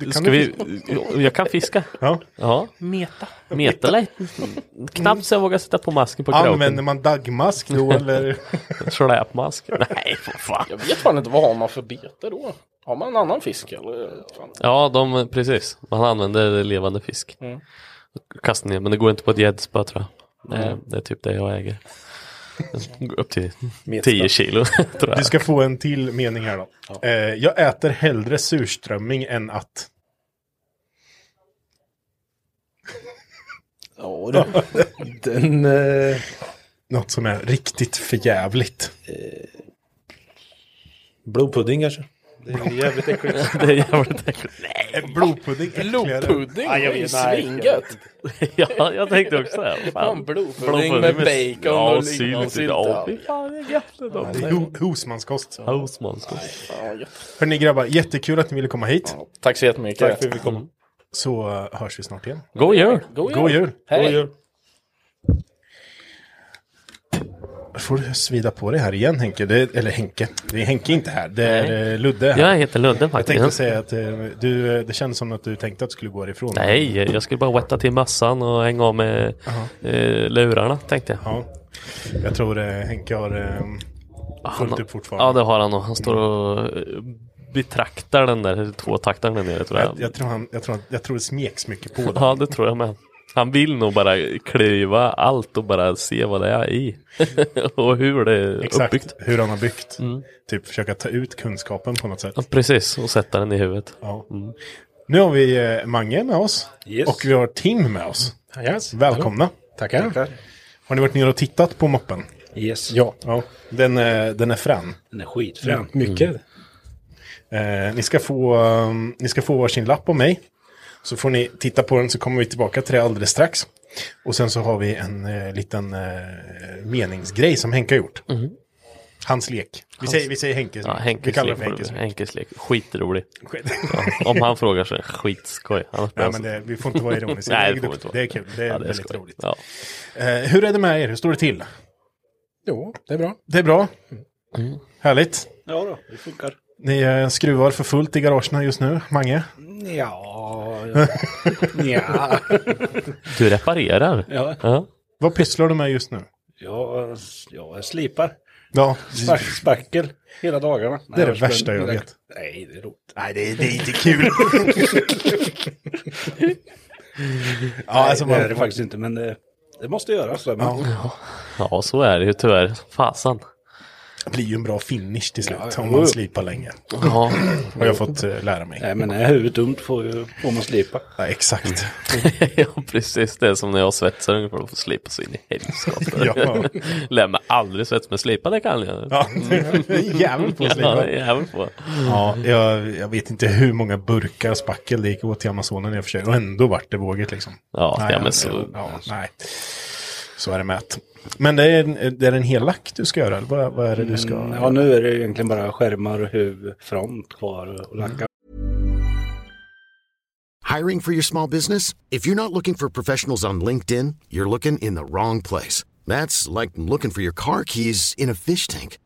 Speaker 3: kan
Speaker 4: Ska
Speaker 3: du
Speaker 4: vi... Jag kan fiska.
Speaker 3: Ja.
Speaker 4: ja.
Speaker 18: Meta.
Speaker 4: Meta lite. Knappt så jag vågar sätta på masken på kroken.
Speaker 3: Använder man dagmask då eller?
Speaker 4: Släpmask? Nej, för fan.
Speaker 18: Jag vet fan inte vad har man för bete då? Har man en annan fisk eller? Fan.
Speaker 4: Ja, de, precis. Man använder levande fisk.
Speaker 18: Mm.
Speaker 4: Kastar ner, men det går inte på ett gäddspö tror jag.
Speaker 18: Mm.
Speaker 4: Eh, Det är typ det jag äger. Går Upp till
Speaker 3: Metspö.
Speaker 4: 10 kilo tror jag.
Speaker 3: Du ska få en till mening här då. Eh, jag äter hellre surströmming än att.
Speaker 19: Ja, då. Den... Eh...
Speaker 3: Något som är riktigt förjävligt.
Speaker 19: Blodpudding kanske? Det är jävligt äckligt.
Speaker 4: det är jävligt äckligt.
Speaker 3: Nej. Blodpudding äckligare.
Speaker 18: Blodpudding
Speaker 3: Ja, jag
Speaker 18: är ju
Speaker 3: vet, nej,
Speaker 18: svingött.
Speaker 4: ja, jag tänkte också det.
Speaker 18: Fan, blodpudding med bacon och lingonsylt.
Speaker 4: Ja,
Speaker 18: Ja.
Speaker 4: fy fan, det är gött ändå.
Speaker 3: Ja, det är ho- husmanskost.
Speaker 4: Husmanskost.
Speaker 3: Hörni grabbar, jättekul att ni ville komma hit.
Speaker 18: Tack så jättemycket.
Speaker 3: Tack för att vi fick komma. Så eh, hörs vi snart igen.
Speaker 4: God jul!
Speaker 18: God jul.
Speaker 3: God jul!
Speaker 18: Hej. God jul.
Speaker 3: får du svida på det här igen Henke. Det, eller Henke, det är Henke inte här. Det är
Speaker 4: Nej.
Speaker 3: eh, Ludde här.
Speaker 4: Jag heter Ludde
Speaker 3: Jag
Speaker 4: faktiskt.
Speaker 3: tänkte säga att eh, du, eh, det känns som att du tänkte att du skulle gå härifrån.
Speaker 4: Nej, jag skulle bara wetta till mössan och hänga av med eh, lurarna tänkte jag.
Speaker 3: Ja. Jag tror eh, Henke har eh, fullt upp fortfarande.
Speaker 4: Ja, det Ah, har han nog. Han står och eh, betraktar den där tvåtaktaren där nere tror jag.
Speaker 3: Jag, jag, tror han, jag, tror, jag tror det smeks mycket på det.
Speaker 4: Ja, det tror jag med. Han vill nog bara klyva allt och bara se vad det är i. och hur det är
Speaker 3: Exakt
Speaker 4: eh, uppbyggt. Mm.
Speaker 3: hur han har byggt. Typ försöka ta ut kunskapen på något sätt.
Speaker 4: Ja, precis, och sätta den i huvudet.
Speaker 3: Ja. Nu har vi eh, Mange med oss. Och vi har Tim med oss.
Speaker 21: Yes.
Speaker 3: Välkomna.
Speaker 21: Tackar. Tackar.
Speaker 3: Har ni varit nere och tittat på moppen?
Speaker 21: Yes.
Speaker 3: Ja. Den, eh, den är frän.
Speaker 21: Den är skitfrän.
Speaker 3: Mm.
Speaker 21: Mycket.
Speaker 3: Eh, ni, ska få, eh, ni ska få varsin lapp av mig. Så får ni titta på den så kommer vi tillbaka till det alldeles strax. Och sen så har vi en eh, liten eh, meningsgrej som Henke har gjort.
Speaker 21: Mm.
Speaker 3: Hans lek. Vi,
Speaker 4: Hans-
Speaker 3: säger, vi säger Henkes
Speaker 4: Ja,
Speaker 3: lek.
Speaker 4: Henkes
Speaker 3: vi kallar
Speaker 4: lek
Speaker 3: det för
Speaker 4: får
Speaker 3: Henkes
Speaker 4: du-
Speaker 3: lek.
Speaker 4: Henkes lek. Skitrolig. Ja, om han frågar så är det skitskoj. Annars blir
Speaker 3: Nej,
Speaker 4: han
Speaker 3: men
Speaker 4: så-
Speaker 3: det, vi får inte vara ironiska.
Speaker 4: Nej,
Speaker 3: det,
Speaker 4: det
Speaker 3: är
Speaker 4: får
Speaker 3: dukt-
Speaker 4: vi inte vara.
Speaker 3: det är kul. Det är,
Speaker 4: Ja,
Speaker 3: väldigt
Speaker 4: skoj.
Speaker 3: roligt. Eh, hur är det med er? Hur står det till?
Speaker 21: Jo, det är bra.
Speaker 3: Det är bra. Härligt.
Speaker 21: Ja då, det funkar.
Speaker 3: Ni eh, skruvar för fullt i garagen just nu, Mange.
Speaker 21: Ja, ja.
Speaker 4: Du reparerar?
Speaker 21: Ja.
Speaker 3: Vad pysslar du med just nu?
Speaker 21: Jag, jag slipar.
Speaker 3: Ja.
Speaker 21: Spack, spackel hela dagarna.
Speaker 3: Det är det
Speaker 21: jag skulle-
Speaker 3: värsta jag vet.
Speaker 21: Nej, det är roligt.
Speaker 3: Nej, det är- det är inte kul.
Speaker 21: Nej,
Speaker 3: alltså, man-
Speaker 21: det är det faktiskt inte, men det, det måste göras. eh, så är man-
Speaker 4: Ja, så är det ju tyvärr. Fasan.
Speaker 3: Det blir ju en bra finish till slut
Speaker 21: ja.
Speaker 3: om man slipar länge.
Speaker 21: Ja.
Speaker 3: Har jag fått eh, lära mig.
Speaker 21: Nej, men är huvudet dumt får, ju- får man slipa. Mm.
Speaker 3: Ja, exakt.
Speaker 4: ja, precis. Det är som när jag svetsar ungefär. Då får slipa så in i helskotta.
Speaker 3: Ja.
Speaker 4: Lär mig aldrig svets med slipa, det kan jag.
Speaker 3: Ja, jävel på att slipa.
Speaker 4: Ja, det är jävel på.
Speaker 3: Ja, jag, jag vet inte hur många burkar spackel det gick åt till Amazonen i och för sig. Och ändå vart det vågigt liksom.
Speaker 4: Ja,
Speaker 3: nej,
Speaker 4: ja, men så-
Speaker 3: Ja, nej. Så är det med att- Men det är, en- det är en hellack du ska göra? Eller vad, vad är det du ska...
Speaker 21: Mm. Ja, nu är det ju egentligen bara skärmar och huvudfront kvar och
Speaker 3: Mm.
Speaker 21: lacka.
Speaker 22: Hiring for your small business? If you're not looking for professionals on LinkedIn, you're looking in the wrong place. That's like looking for your car keys in a fish tank.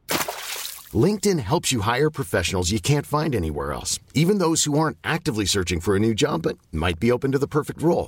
Speaker 22: LinkedIn helps you hire professionals you can't find anywhere else, even those who aren't actively searching for a new job but might be open to the perfect role.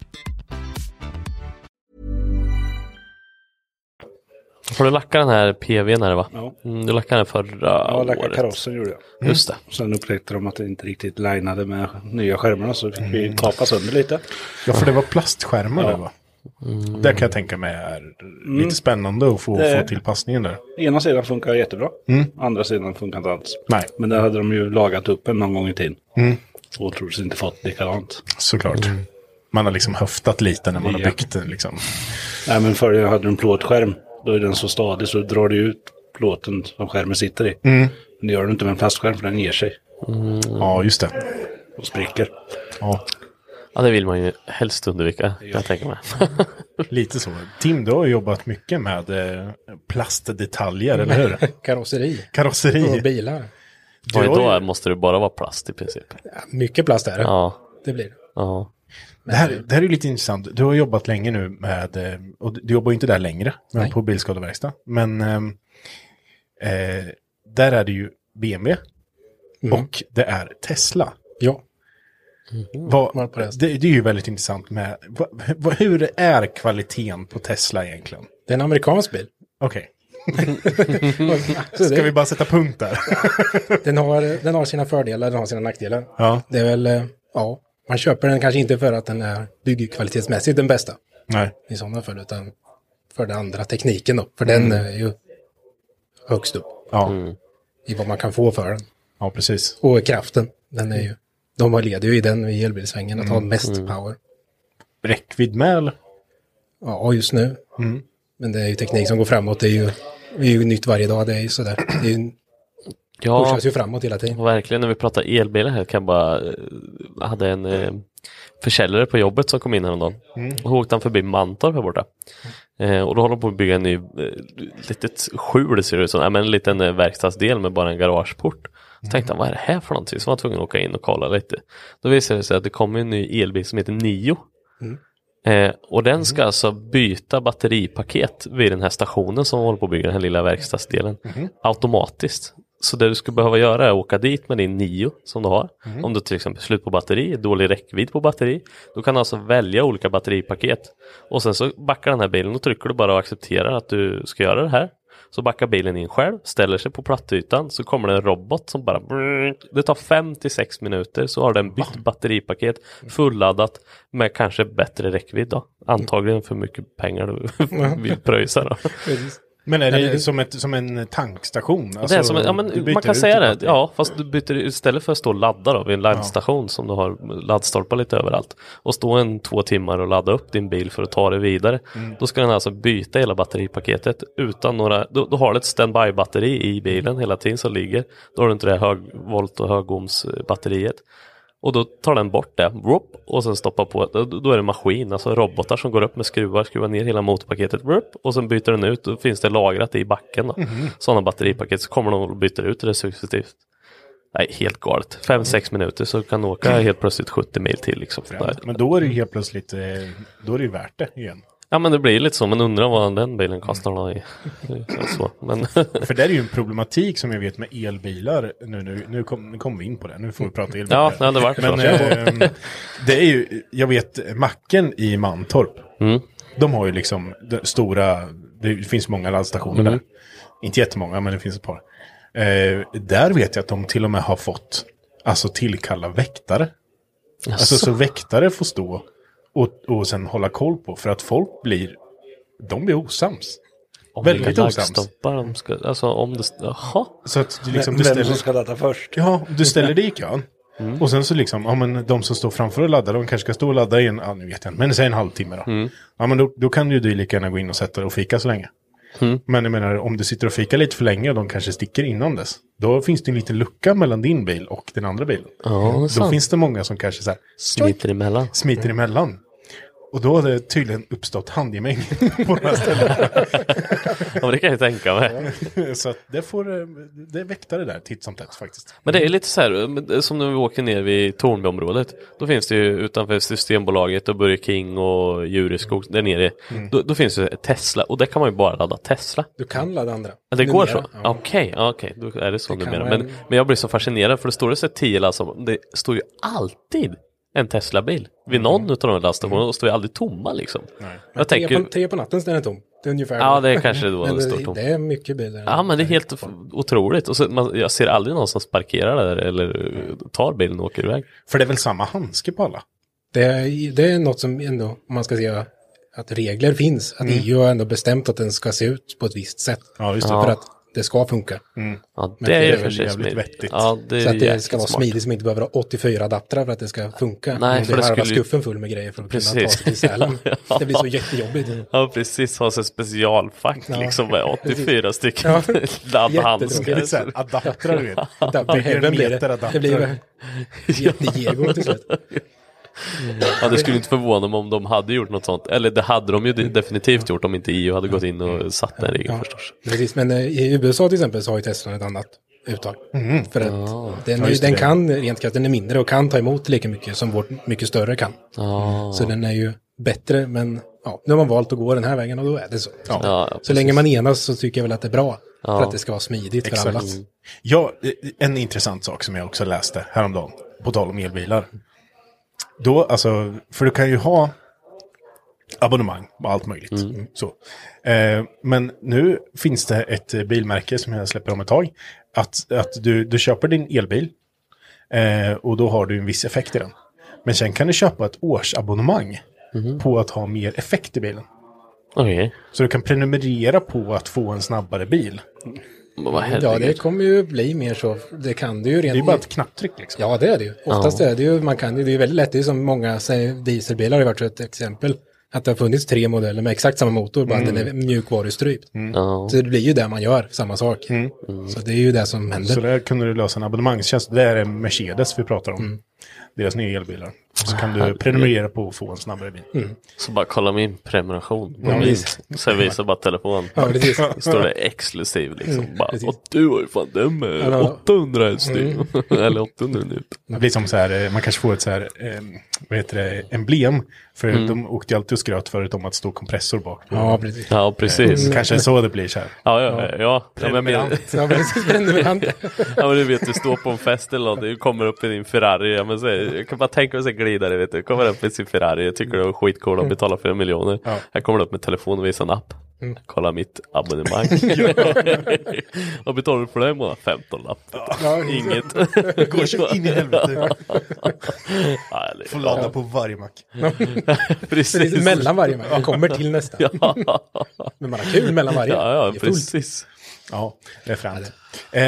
Speaker 4: Får du lacka den här PVn här va?
Speaker 21: Ja.
Speaker 4: Mm, du lackade den förra
Speaker 21: Ja, lacka
Speaker 4: året.
Speaker 21: karossen gjorde jag.
Speaker 4: Mm. Just det.
Speaker 21: Sen upptäckte de att det inte riktigt lineade med nya skärmarna så fick vi kapa sönder lite.
Speaker 3: Mm. Ja, för det var plastskärmar
Speaker 21: Ja.
Speaker 3: det var. Det kan jag tänka mig är
Speaker 21: Mm.
Speaker 3: lite spännande att få,
Speaker 21: Det-
Speaker 3: få till passningen där.
Speaker 21: Ena sidan funkar jättebra,
Speaker 3: Mm.
Speaker 21: andra sidan funkar inte alls.
Speaker 3: Nej.
Speaker 21: Men där hade de ju lagat upp en någon gång i tiden.
Speaker 3: Mm.
Speaker 21: Och troligtvis inte fått likadant.
Speaker 3: Såklart. Man har liksom höftat lite när man har
Speaker 21: Ja.
Speaker 3: byggt den liksom.
Speaker 21: Nej men förr hade de en plåtskärm. Då är den så stadig så drar du ut plåten som skärmen sitter i.
Speaker 3: Mm.
Speaker 21: Men det gör du inte med en plastskärm för den ger sig.
Speaker 4: Mm.
Speaker 3: Ja, just det.
Speaker 21: Och spricker.
Speaker 3: Ja.
Speaker 4: Ja, det vill man ju helst undvika. kan Jag tänker mig.
Speaker 3: Lite så. Tim, du har ju jobbat mycket med eh, plastdetaljer, eller hur?
Speaker 21: Karosseri.
Speaker 3: Karosseri.
Speaker 21: Och bilar.
Speaker 3: Du
Speaker 4: Och
Speaker 3: har ju-
Speaker 4: idag måste det bara vara plast i princip.
Speaker 21: Mycket plast är det.
Speaker 4: Ja.
Speaker 21: Det blir det.
Speaker 4: Ja.
Speaker 3: Det här, det här är ju lite intressant. Du har jobbat länge nu med, eh, och du jobbar ju inte där längre, men
Speaker 21: Nej.
Speaker 3: på bilskadeverkstad. Men ehm, eh, där är det ju BMW och det är Tesla.
Speaker 21: Mm. Ja.
Speaker 3: Vad, det, det är ju väldigt intressant med, vad, vad, hur är kvaliteten på Tesla egentligen?
Speaker 21: Det är en amerikansk bil.
Speaker 3: Okej.
Speaker 16: Mm-hmm.
Speaker 23: Så det-
Speaker 3: Ska vi bara sätta punkt där?
Speaker 23: den, har, den har sina fördelar, den har sina nackdelar.
Speaker 3: Ja.
Speaker 23: Det är väl, eh, ja, man köper den kanske inte för att den är byggkvalitetsmässigt den bästa
Speaker 3: Nej.
Speaker 23: i sådana fall, utan för den andra tekniken då, för
Speaker 3: Mm.
Speaker 23: den är ju högst upp.
Speaker 3: Ja.
Speaker 16: i vad man kan få för den.
Speaker 3: Ja, precis.
Speaker 16: Och kraften, den är ju, de har- leder ju i den i elbilsvängen att ha
Speaker 3: Mm.
Speaker 16: mest
Speaker 3: Mm.
Speaker 16: power.
Speaker 3: Räckvidd med eller?
Speaker 16: Ja, just nu.
Speaker 3: Mm.
Speaker 16: Men det är ju teknik som går framåt, det är ju, det är ju nytt varje dag, det är ju sådär. Det är ju,
Speaker 4: Ja.
Speaker 16: pushas ju framåt hela tiden.
Speaker 4: Och verkligen när vi pratar elbilar här kan jag bara, eh, jag hade en eh, försäljare på jobbet som kom in häromdagen.
Speaker 24: Mm.
Speaker 4: Och då åkte han förbi Mantorp här borta. Eh, och då håller de på att bygga en ny, eh, litet skjul ser det ut som, Nej, men en liten eh, verkstadsdel med bara en garageport. Så tänkte han, vad är det här för någonting? Så var han tvungen att åka in och kolla lite. Då visade det sig att det kommer en ny elbil som heter Nio.
Speaker 16: Mm.
Speaker 4: Eh, och den ska alltså byta batteripaket vid den här stationen som håller på att bygga den här lilla verkstadsdelen
Speaker 16: Mm.
Speaker 24: Mhm.
Speaker 4: automatiskt. Så det du skulle behöva göra är att åka dit med din 9 som du har.
Speaker 24: Mhm.
Speaker 4: Om du till exempel slut på batteri, dålig räckvidd på batteri. Då kan du alltså välja olika batteripaket. Och sen så backar den här bilen och trycker du bara och accepterar att du ska göra det här. Så backar bilen in själv, ställer sig på plattytan, så kommer det en robot som bara... Det tar 5 till 6 minuter så har den bytt batteripaket fulladdat med kanske bättre räckvidd då. Antagligen för mycket pengar du vill pröjsa då.
Speaker 3: Men är
Speaker 4: Ja, det är-
Speaker 3: det som, ett, som en tankstation? Alltså,
Speaker 4: det är som, en- ja,
Speaker 3: Mm, du
Speaker 4: men,
Speaker 3: byter
Speaker 4: man kan
Speaker 3: ut typ
Speaker 4: säga
Speaker 3: ett
Speaker 4: det,
Speaker 3: batteri.
Speaker 4: ja, fast du byter ut- istället för att stå och ladda då, vid en laddstation som du har laddstolpar lite överallt och stå en två timmar och ladda upp din bil för att ta det vidare.
Speaker 24: Mm.
Speaker 4: Då ska den alltså byta hela batteripaketet utan några, då, då har du ett standby-batteri i bilen hela tiden som ligger. Då har du inte det här högvolt och högohms-batteriet. Och då tar den bort det whoop, och sen stoppar på. Då, då är det maskin, alltså robotar som går upp med skruvar, skruvar ner hela motorpaketet whoop, och sen byter den ut. Då finns det lagrat i backen. Då.
Speaker 3: Mhm.
Speaker 4: Sådana batteripaket så kommer de och byter ut det successivt. Nej, helt galet.
Speaker 3: Mm.
Speaker 4: 5-6 minuter så kan du åka helt plötsligt 70 mil till. Liksom. Nej.
Speaker 3: Men då är det ju helt plötsligt, eh, då är det ju värt det igen.
Speaker 4: Ja men det blir lite så, men undrar vad den bilen kostar då i. i- Så,
Speaker 3: Mm.
Speaker 4: men
Speaker 3: För det är ju en problematik som jag vet med elbilar. Nu, nu, nu kom- nu kom vi in på det, nu får vi prata elbilar.
Speaker 4: Ja, det hade varit så.
Speaker 3: Men ehm, det är ju, jag vet, macken i Mantorp.
Speaker 4: Mm.
Speaker 3: De har ju liksom de stora, det finns många laddstationer
Speaker 4: Mm.
Speaker 3: där. Inte jättemånga, men det finns ett par. Eh, där vet jag att de till och med har fått, alltså tillkalla väktare. Alltså
Speaker 4: Jaså?
Speaker 3: så väktare får stå och, och sen hålla koll på, för att folk blir, de blir osams.
Speaker 4: om
Speaker 3: Väldigt
Speaker 4: det är
Speaker 3: osams.
Speaker 4: laddstolpar de ska, alltså om det, jaha.
Speaker 3: Så att du liksom,
Speaker 4: Vem
Speaker 3: du ställer,
Speaker 4: som ska Mm.
Speaker 3: ladda först. Ja, du ställer dig i kön. Och sen så liksom, ja men de som står framför och laddar, de kanske ska stå och ladda i en, ja nu vet jag inte, men säg en halvtimme
Speaker 4: Mm.
Speaker 3: då. Ja men då, då kan ju du lika gärna gå in och sätta dig och fika så länge.
Speaker 4: Mm.
Speaker 3: Men jag menar, om du sitter och fikar lite för länge och de kanske sticker innan dess, då finns det en liten lucka mellan din bil och den andra bilen.
Speaker 4: Ja, det är
Speaker 3: då
Speaker 4: sant.
Speaker 3: finns det många som kanske så här,
Speaker 4: Smiter emellan.
Speaker 3: Smiter emellan. Och då har det tydligen uppstått handgemäng på den här
Speaker 4: Ja, men det kan jag tänka mig.
Speaker 3: Så att det får, eh, det är väktare där titt som tätt faktiskt.
Speaker 4: Men det är lite så här, men som när vi åker ner vid Tornbyområdet. Då finns det ju utanför Systembolaget och Börje King och Jureskog där nere.
Speaker 16: Mm.
Speaker 4: Då, då finns det ett Tesla och där kan man ju bara ladda Tesla.
Speaker 16: Du kan ladda andra.
Speaker 4: Ja, det går så?
Speaker 16: Numera. Ja.
Speaker 4: Okej, ja, okej, då är det så
Speaker 16: Det kan
Speaker 4: numera.
Speaker 16: vara
Speaker 4: Men,
Speaker 16: en-
Speaker 4: men jag blir så fascinerad för det står det så här 10 lastbilar, det står ju alltid en Tesla-bil vid någon utav de här laststationerna och står ju aldrig tomma liksom.
Speaker 16: Mm. Men
Speaker 4: Jag
Speaker 16: tre,
Speaker 4: tänker,
Speaker 16: på, tre på natten så är den tom. Det är ungefär
Speaker 4: Ja, det är kanske då
Speaker 16: Men
Speaker 4: den står tom.
Speaker 16: Det är mycket bilar.
Speaker 4: Ja men det är helt f- otroligt. Och så, man, jag ser aldrig någon som sparkerar där eller eh, tar bilen och åker iväg.
Speaker 3: För det är väl samma handske på alla?
Speaker 16: Det är, det är något som ändå, om man ska säga att regler finns, att
Speaker 3: Mm.
Speaker 16: EU har ändå bestämt att den ska se ut på ett visst sätt.
Speaker 3: Ja,
Speaker 16: just
Speaker 4: det.
Speaker 16: För
Speaker 4: Ja.
Speaker 16: att det ska funka.
Speaker 3: Mm.
Speaker 4: Ja,
Speaker 16: Men
Speaker 4: det är ju
Speaker 16: väl
Speaker 4: för sig
Speaker 16: jävligt
Speaker 4: smidigt.
Speaker 16: vettigt.
Speaker 4: Ja, det är
Speaker 16: så att det
Speaker 4: jäkligt
Speaker 16: ska vara
Speaker 4: smart.
Speaker 16: smidigt som inte behöver ha 84 adaptrar för att det ska funka.
Speaker 4: Nej, för
Speaker 16: det
Speaker 4: det
Speaker 16: halva
Speaker 4: skulle ju-
Speaker 16: skuffen full med grejer för att kunna ta
Speaker 4: Precis.
Speaker 16: sig till Sälen.
Speaker 4: Ja.
Speaker 16: Det blir så jättejobbigt.
Speaker 4: Ja precis, ha sig specialfack
Speaker 16: Ja.
Speaker 4: liksom med 84 stycken
Speaker 16: Ja.
Speaker 4: laddhandskar.
Speaker 16: Jättetråkigt. Så här, adaptrar, du vet. Adapter,
Speaker 4: Bygger en
Speaker 16: heaven blir det.
Speaker 4: meter
Speaker 16: Det
Speaker 4: adapter.
Speaker 16: blir jätte-Diego till slut.
Speaker 4: Ja, det skulle inte förvåna mig om de hade gjort något sånt. Eller det hade de ju de- definitivt gjort om inte EU hade gått in och satt den regeln förstås.
Speaker 16: Precis, men eh, i USA till exempel så har ju Tesla ett annat uttag.
Speaker 4: Mm.
Speaker 16: För att
Speaker 4: Ja.
Speaker 16: den,
Speaker 4: Ja, just
Speaker 16: den
Speaker 4: det.
Speaker 16: kan, rent krasst, den är mindre och kan ta emot lika mycket som vårt mycket större kan.
Speaker 4: Ja.
Speaker 16: Så den är ju bättre, men ja, nu har man valt att gå den här vägen och då är det så.
Speaker 3: Ja, ja,
Speaker 16: så
Speaker 3: precis.
Speaker 16: länge man enas så tycker jag väl att det är bra.
Speaker 3: Ja.
Speaker 16: För att det ska vara smidigt för alla.
Speaker 3: Ja, eh, en intressant sak som jag också läste häromdagen, på tal om elbilar. Då, alltså, för du kan ju ha abonnemang och allt möjligt. Mm, Så. Eh, men nu finns det ett eh, bilmärke som jag släpper om ett tag. Att, att du, du köper din elbil eh, och då har du en viss effekt i den. Men sen kan du köpa ett årsabonnemang på att ha mer effekt i bilen.
Speaker 4: Okej.
Speaker 3: Så du kan prenumerera på att få en snabbare bil.
Speaker 4: Men vad
Speaker 16: Ja, det
Speaker 4: herregud.
Speaker 16: kommer ju bli mer så. Det kan det ju rent...
Speaker 4: Det är bara ett knapptryck
Speaker 16: liksom. Ja, det är det ju. Oftast
Speaker 4: Ja.
Speaker 16: är det ju, man kan ju, det är ju väldigt lätt, det är som många säg, dieselbilar har varit så ett exempel. Att det har funnits tre modeller med exakt samma motor, bara att
Speaker 4: Mm.
Speaker 16: den är mjukvarustrypt.
Speaker 4: Ja.
Speaker 16: Så det blir ju det man gör, samma sak.
Speaker 4: Mm.
Speaker 16: Så det är ju det som händer.
Speaker 3: Så där kunde du lösa en abonnemangstjänst. Det här är Mercedes vi pratar om.
Speaker 16: Mm.
Speaker 3: Deras nya elbilar. Så kan du
Speaker 4: Herregud.
Speaker 3: prenumerera på och få en snabbare bil.
Speaker 16: Mm.
Speaker 4: Så bara kolla min prenumeration.
Speaker 3: Ja,
Speaker 4: Vis.
Speaker 3: visst.
Speaker 4: Sen visar bara telefon.
Speaker 16: Ja, precis.
Speaker 4: Står det exklusiv liksom.
Speaker 3: Mm,
Speaker 4: Bara,
Speaker 3: precis.
Speaker 4: "Åh, du har ju fan den med
Speaker 3: Ja.
Speaker 4: 800 hästar.
Speaker 3: Mm.
Speaker 4: Eller 800 nu.
Speaker 3: Det blir som så här, eh, man kanske får ett så här, eh, vad heter det, emblem. För
Speaker 4: Mm.
Speaker 3: de åkte ju alltid och skröt förut om att stå kompressor bak. på.
Speaker 16: Ja, precis.
Speaker 4: Ja, precis.
Speaker 3: Eh, Kanske så det blir så här.
Speaker 4: Ja, ja, ja. ja. men jag menar-
Speaker 3: Prenumerant. Ja, precis, prenumerant.
Speaker 4: ja, men du vet, du står på en fest eller något, du kommer upp i din Ferrari. Ja, men så, jag kan bara tänka mig en glidare, vet du. Kommer upp i sin Ferrari, jag tycker det var skitcool och betalar 4 miljoner.
Speaker 16: Ja.
Speaker 4: Här kommer du upp med telefon och visar en app.
Speaker 16: Mm.
Speaker 4: Kolla mitt abonnemang. Vad betalar du för det i månaden? 15 lapp.
Speaker 3: Ja.
Speaker 4: Inget.
Speaker 3: Går så in i helvete.
Speaker 4: Ja, det är
Speaker 3: Får
Speaker 4: bra.
Speaker 3: ladda på varje mack.
Speaker 4: precis.
Speaker 16: Mellan varje mack. Jag kommer till nästa.
Speaker 4: Ja.
Speaker 16: Men man har kul mellan varje.
Speaker 3: Ja, ja
Speaker 16: Det är fullt.
Speaker 4: precis.
Speaker 3: Ja, det är fränt. Eh,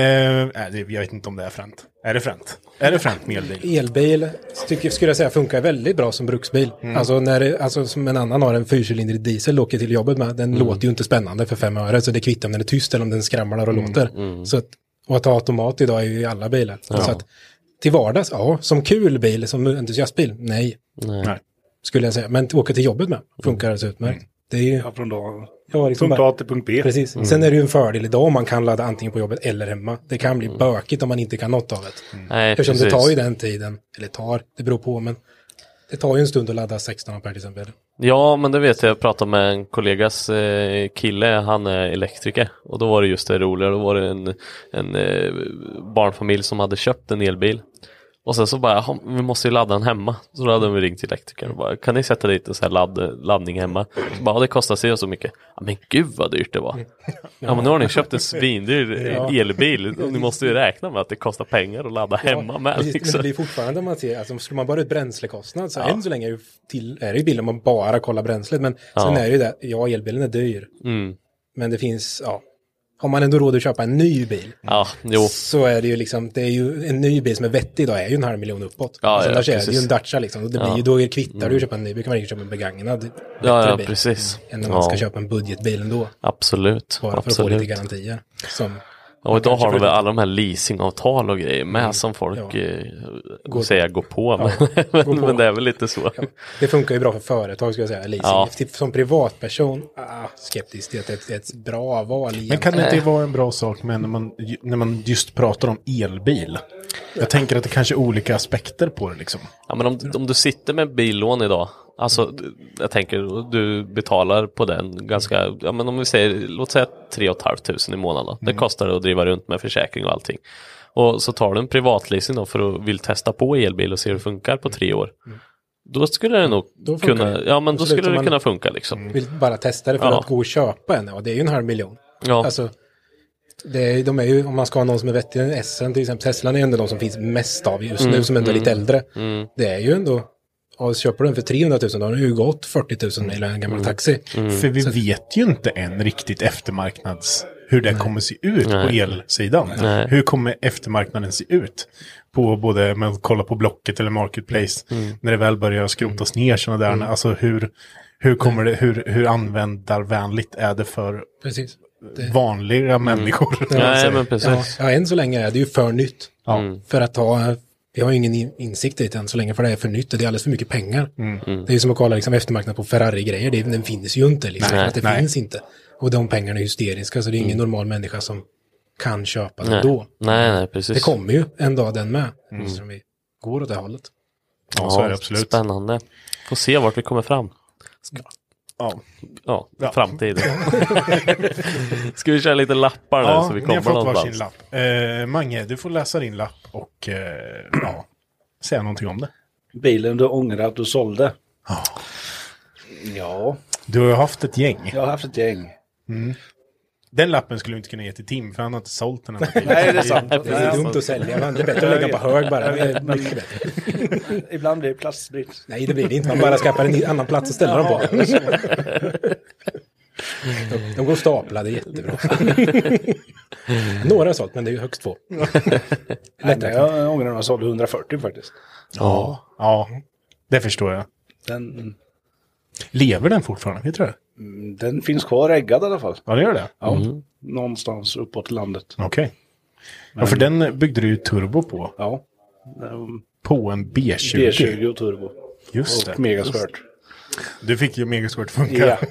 Speaker 3: nej, det- jag vet inte om det är fränt. Är det fränt? Är det fränt med elbil?
Speaker 16: Elbil tycker, skulle jag säga funkar väldigt bra som bruksbil.
Speaker 3: Mm.
Speaker 16: Alltså, när, det- alltså som en annan har en fyrcylindrig diesel och åker till jobbet med. Den
Speaker 3: Mm.
Speaker 16: låter ju inte spännande för fem öre så det kvittar om den är tyst eller om den skramlar
Speaker 3: Mm.
Speaker 16: och låter. Så att, och att ha automat idag är ju i alla bilar.
Speaker 4: Ja.
Speaker 16: Så att, till vardags, ja. Som kul bil, som entusiastbil, nej.
Speaker 4: Nej.
Speaker 16: Skulle jag säga. Men att åka till jobbet med funkar alldeles utmärkt.
Speaker 3: Mm.
Speaker 16: Det är ju... Ja,
Speaker 21: från dag.
Speaker 16: Ja, liksom
Speaker 21: punkt
Speaker 16: bara-
Speaker 21: A till punkt B.
Speaker 16: Precis.
Speaker 21: Mm.
Speaker 16: Sen är det ju en fördel idag om man kan ladda antingen på jobbet eller hemma. Det kan bli bökigt om man inte kan något av det.
Speaker 4: Mm. Nej,
Speaker 16: Eftersom det
Speaker 4: precis.
Speaker 16: tar ju den tiden, eller tar, det beror på, men det tar ju en stund att ladda 16 ampere till exempel.
Speaker 4: Ja, men det vet jag. Jag pratade med en kollegas eh, kille, han är elektriker. Och då var det just det roliga, då var det en, en eh, barnfamilj som hade köpt en elbil. Och sen så bara, "Jaha, vi måste ju ladda den hemma. Så då hade vi ringt till elektrikern och bara, kan ni sätta dit en sån här ladd, laddning hemma? Så bara, "Ja, det kostar sig och så mycket. Ja, men gud vad dyrt det var. Ja, men nu har ni köpt en svindyr eh,
Speaker 16: Ja.
Speaker 4: elbil och ni måste ju räkna med att det kostar pengar att ladda hemma med.
Speaker 16: Precis, Men det
Speaker 4: Liksom.
Speaker 16: blir fortfarande om man ser, alltså slår man bara ut bränslekostnad, så
Speaker 4: Ja.
Speaker 16: än så länge är, ju till, är det ju billigt om man bara kollar bränslet, men sen
Speaker 4: Ja.
Speaker 16: är det ju det, ja elbilen är dyr,
Speaker 4: Mm.
Speaker 16: men det finns, ja, har man ändå råd att köpa en ny bil,
Speaker 4: Ja, jo.
Speaker 16: så är det ju liksom, det är ju en ny bil som är vettig idag är ju en halv miljon uppåt.
Speaker 4: Ja,
Speaker 16: alltså,
Speaker 4: ja,
Speaker 16: annars är det ju
Speaker 4: precis.
Speaker 16: en Dacia liksom. Och det blir
Speaker 4: Ja.
Speaker 16: ju, då kvittar du
Speaker 4: Mm.
Speaker 16: att köpa en ny bil, kan man inte köpa en begagnad. bättre
Speaker 4: Ja, ja,
Speaker 16: bil,
Speaker 4: precis.
Speaker 16: Än när man
Speaker 4: Ja.
Speaker 16: ska köpa en budgetbil ändå.
Speaker 4: Absolut.
Speaker 16: Bara för att få
Speaker 4: absolut.
Speaker 16: lite garantier. Som
Speaker 4: Ja, och idag
Speaker 16: kanske
Speaker 4: har de
Speaker 16: får
Speaker 4: väl alla de här leasingavtal och grejer med som folk, eh,
Speaker 16: Går-
Speaker 4: säger jag, går på,
Speaker 16: Ja,
Speaker 4: men,
Speaker 16: går på.
Speaker 4: men det är väl lite så.
Speaker 16: Det funkar ju bra för företag skulle jag säga, leasing.
Speaker 4: Ja.
Speaker 16: Till- Som privatperson, ah, skeptisk till att det är ett bra val egentligen.
Speaker 3: Men kan det inte vara en bra sak med när man, när man just pratar om elbil? Jag tänker att det kanske är olika aspekter på det liksom.
Speaker 4: Ja, men om, om du sitter med billån idag, alltså
Speaker 16: Mm.
Speaker 4: du- jag tänker du betalar på den ganska, ja, men om vi säger, låt säga 3 500 i månaden. Då. Det
Speaker 3: Mm.
Speaker 4: kostar det att driva runt med försäkring och allting. Och så tar du en privatleasing då för att vill testa på elbil och se hur det funkar på tre år. Då skulle det nog
Speaker 16: Mm. Då funkar
Speaker 4: kunna,
Speaker 16: det.
Speaker 4: ja men då
Speaker 16: Absolut,
Speaker 4: skulle
Speaker 16: om
Speaker 4: det
Speaker 16: man Mm.
Speaker 4: kunna funka liksom.
Speaker 3: Mm.
Speaker 16: Vill bara testa det för
Speaker 4: Ja.
Speaker 16: att gå och köpa en, ja det är ju en halv miljon.
Speaker 4: Ja.
Speaker 16: Alltså, det är, de är ju, om man ska ha någon som är vettig, en Essen till exempel, Teslan är ju ändå de som finns mest av just
Speaker 4: Mm,
Speaker 16: nu, som ändå är
Speaker 4: mm,
Speaker 16: lite äldre.
Speaker 4: mm.
Speaker 16: Det är ju ändå, ja, köper du den för 300 000, då har den ju gått 40 000 mil i en gammal
Speaker 4: Mm.
Speaker 16: taxi.
Speaker 3: För vi vet ju inte än riktigt eftermarknads hur det kommer se ut på
Speaker 16: Nej.
Speaker 3: elsidan.
Speaker 16: Nej.
Speaker 3: Hur kommer eftermarknaden se ut? På både, men kolla på Blocket eller Marketplace,
Speaker 16: Mm.
Speaker 3: när det väl börjar skrotas ner sådana där,
Speaker 16: Mm.
Speaker 3: alltså hur, hur kommer det, hur, hur användarvänligt är det för
Speaker 16: Precis.
Speaker 3: vanliga människor? om man säger?
Speaker 16: Ja, ja, än så länge är det ju för nytt.
Speaker 3: Ja. Mm.
Speaker 16: För att ha, vi har ju ingen in- insikt i det än så länge, för det är för nytt och det är alldeles för mycket pengar.
Speaker 3: Mm.
Speaker 16: Det är ju som att kolla liksom, eftermarknad på Ferrari-grejer, det- den finns ju inte. Liksom,
Speaker 4: Nej,
Speaker 16: att det
Speaker 4: nej.
Speaker 16: finns inte. Och de pengarna är hysteriska, så det är ingen
Speaker 3: Mm.
Speaker 16: normal människa som kan köpa den
Speaker 4: Nej.
Speaker 16: då.
Speaker 4: Nej, nej, precis.
Speaker 16: Det kommer ju en dag den med,
Speaker 4: Mm.
Speaker 16: eftersom vi går åt det hållet.
Speaker 3: Ja, så är det absolut.
Speaker 4: Spännande. Får se vart vi kommer fram.
Speaker 3: Ja.
Speaker 4: Ja,
Speaker 3: Ja.
Speaker 4: framtiden. Ska vi köra lite lappar nu så vi
Speaker 3: ni
Speaker 4: kommer
Speaker 3: har fått varsin
Speaker 4: någonstans?
Speaker 3: lapp. Eh, Mange, du får läsa din lapp och eh, ja, säga någonting om det.
Speaker 21: Bilen du ångrar att du sålde. Ja.
Speaker 3: Du har ju haft ett gäng.
Speaker 21: Jag har haft ett gäng.
Speaker 3: Mm. Den lappen skulle du inte kunna ge till Tim, för han har inte sålt den än.
Speaker 21: Nej, det är sant.
Speaker 16: Det är dumt att sälja, men det är bättre att lägga på hög bara. Det är mycket
Speaker 21: bättre. Ibland blir det plastbrist.
Speaker 16: Nej, det blir det inte. Man bara skaffar en annan plats att ställa dem på.
Speaker 21: Jaha.
Speaker 16: De, de går staplade jättebra. Några har sålt, men det är ju högst få.
Speaker 21: Nej, men jag ångrar när jag sålde 140 faktiskt.
Speaker 3: Ja. ja, det förstår jag.
Speaker 21: Den,
Speaker 3: Lever den fortfarande? Vet du det?
Speaker 21: den finns kvar äggad i alla fall.
Speaker 3: Ja, det gör det.
Speaker 21: Ja,
Speaker 3: Mm.
Speaker 21: Någonstans uppåt landet.
Speaker 3: Okej. Ja, för den byggde du ju turbo på.
Speaker 21: Ja.
Speaker 3: På en B20.
Speaker 21: B20 och turbo.
Speaker 3: E Just
Speaker 21: och
Speaker 3: det.
Speaker 21: megasquirt.
Speaker 3: Du fick ju megasquirt funka.
Speaker 21: Ja.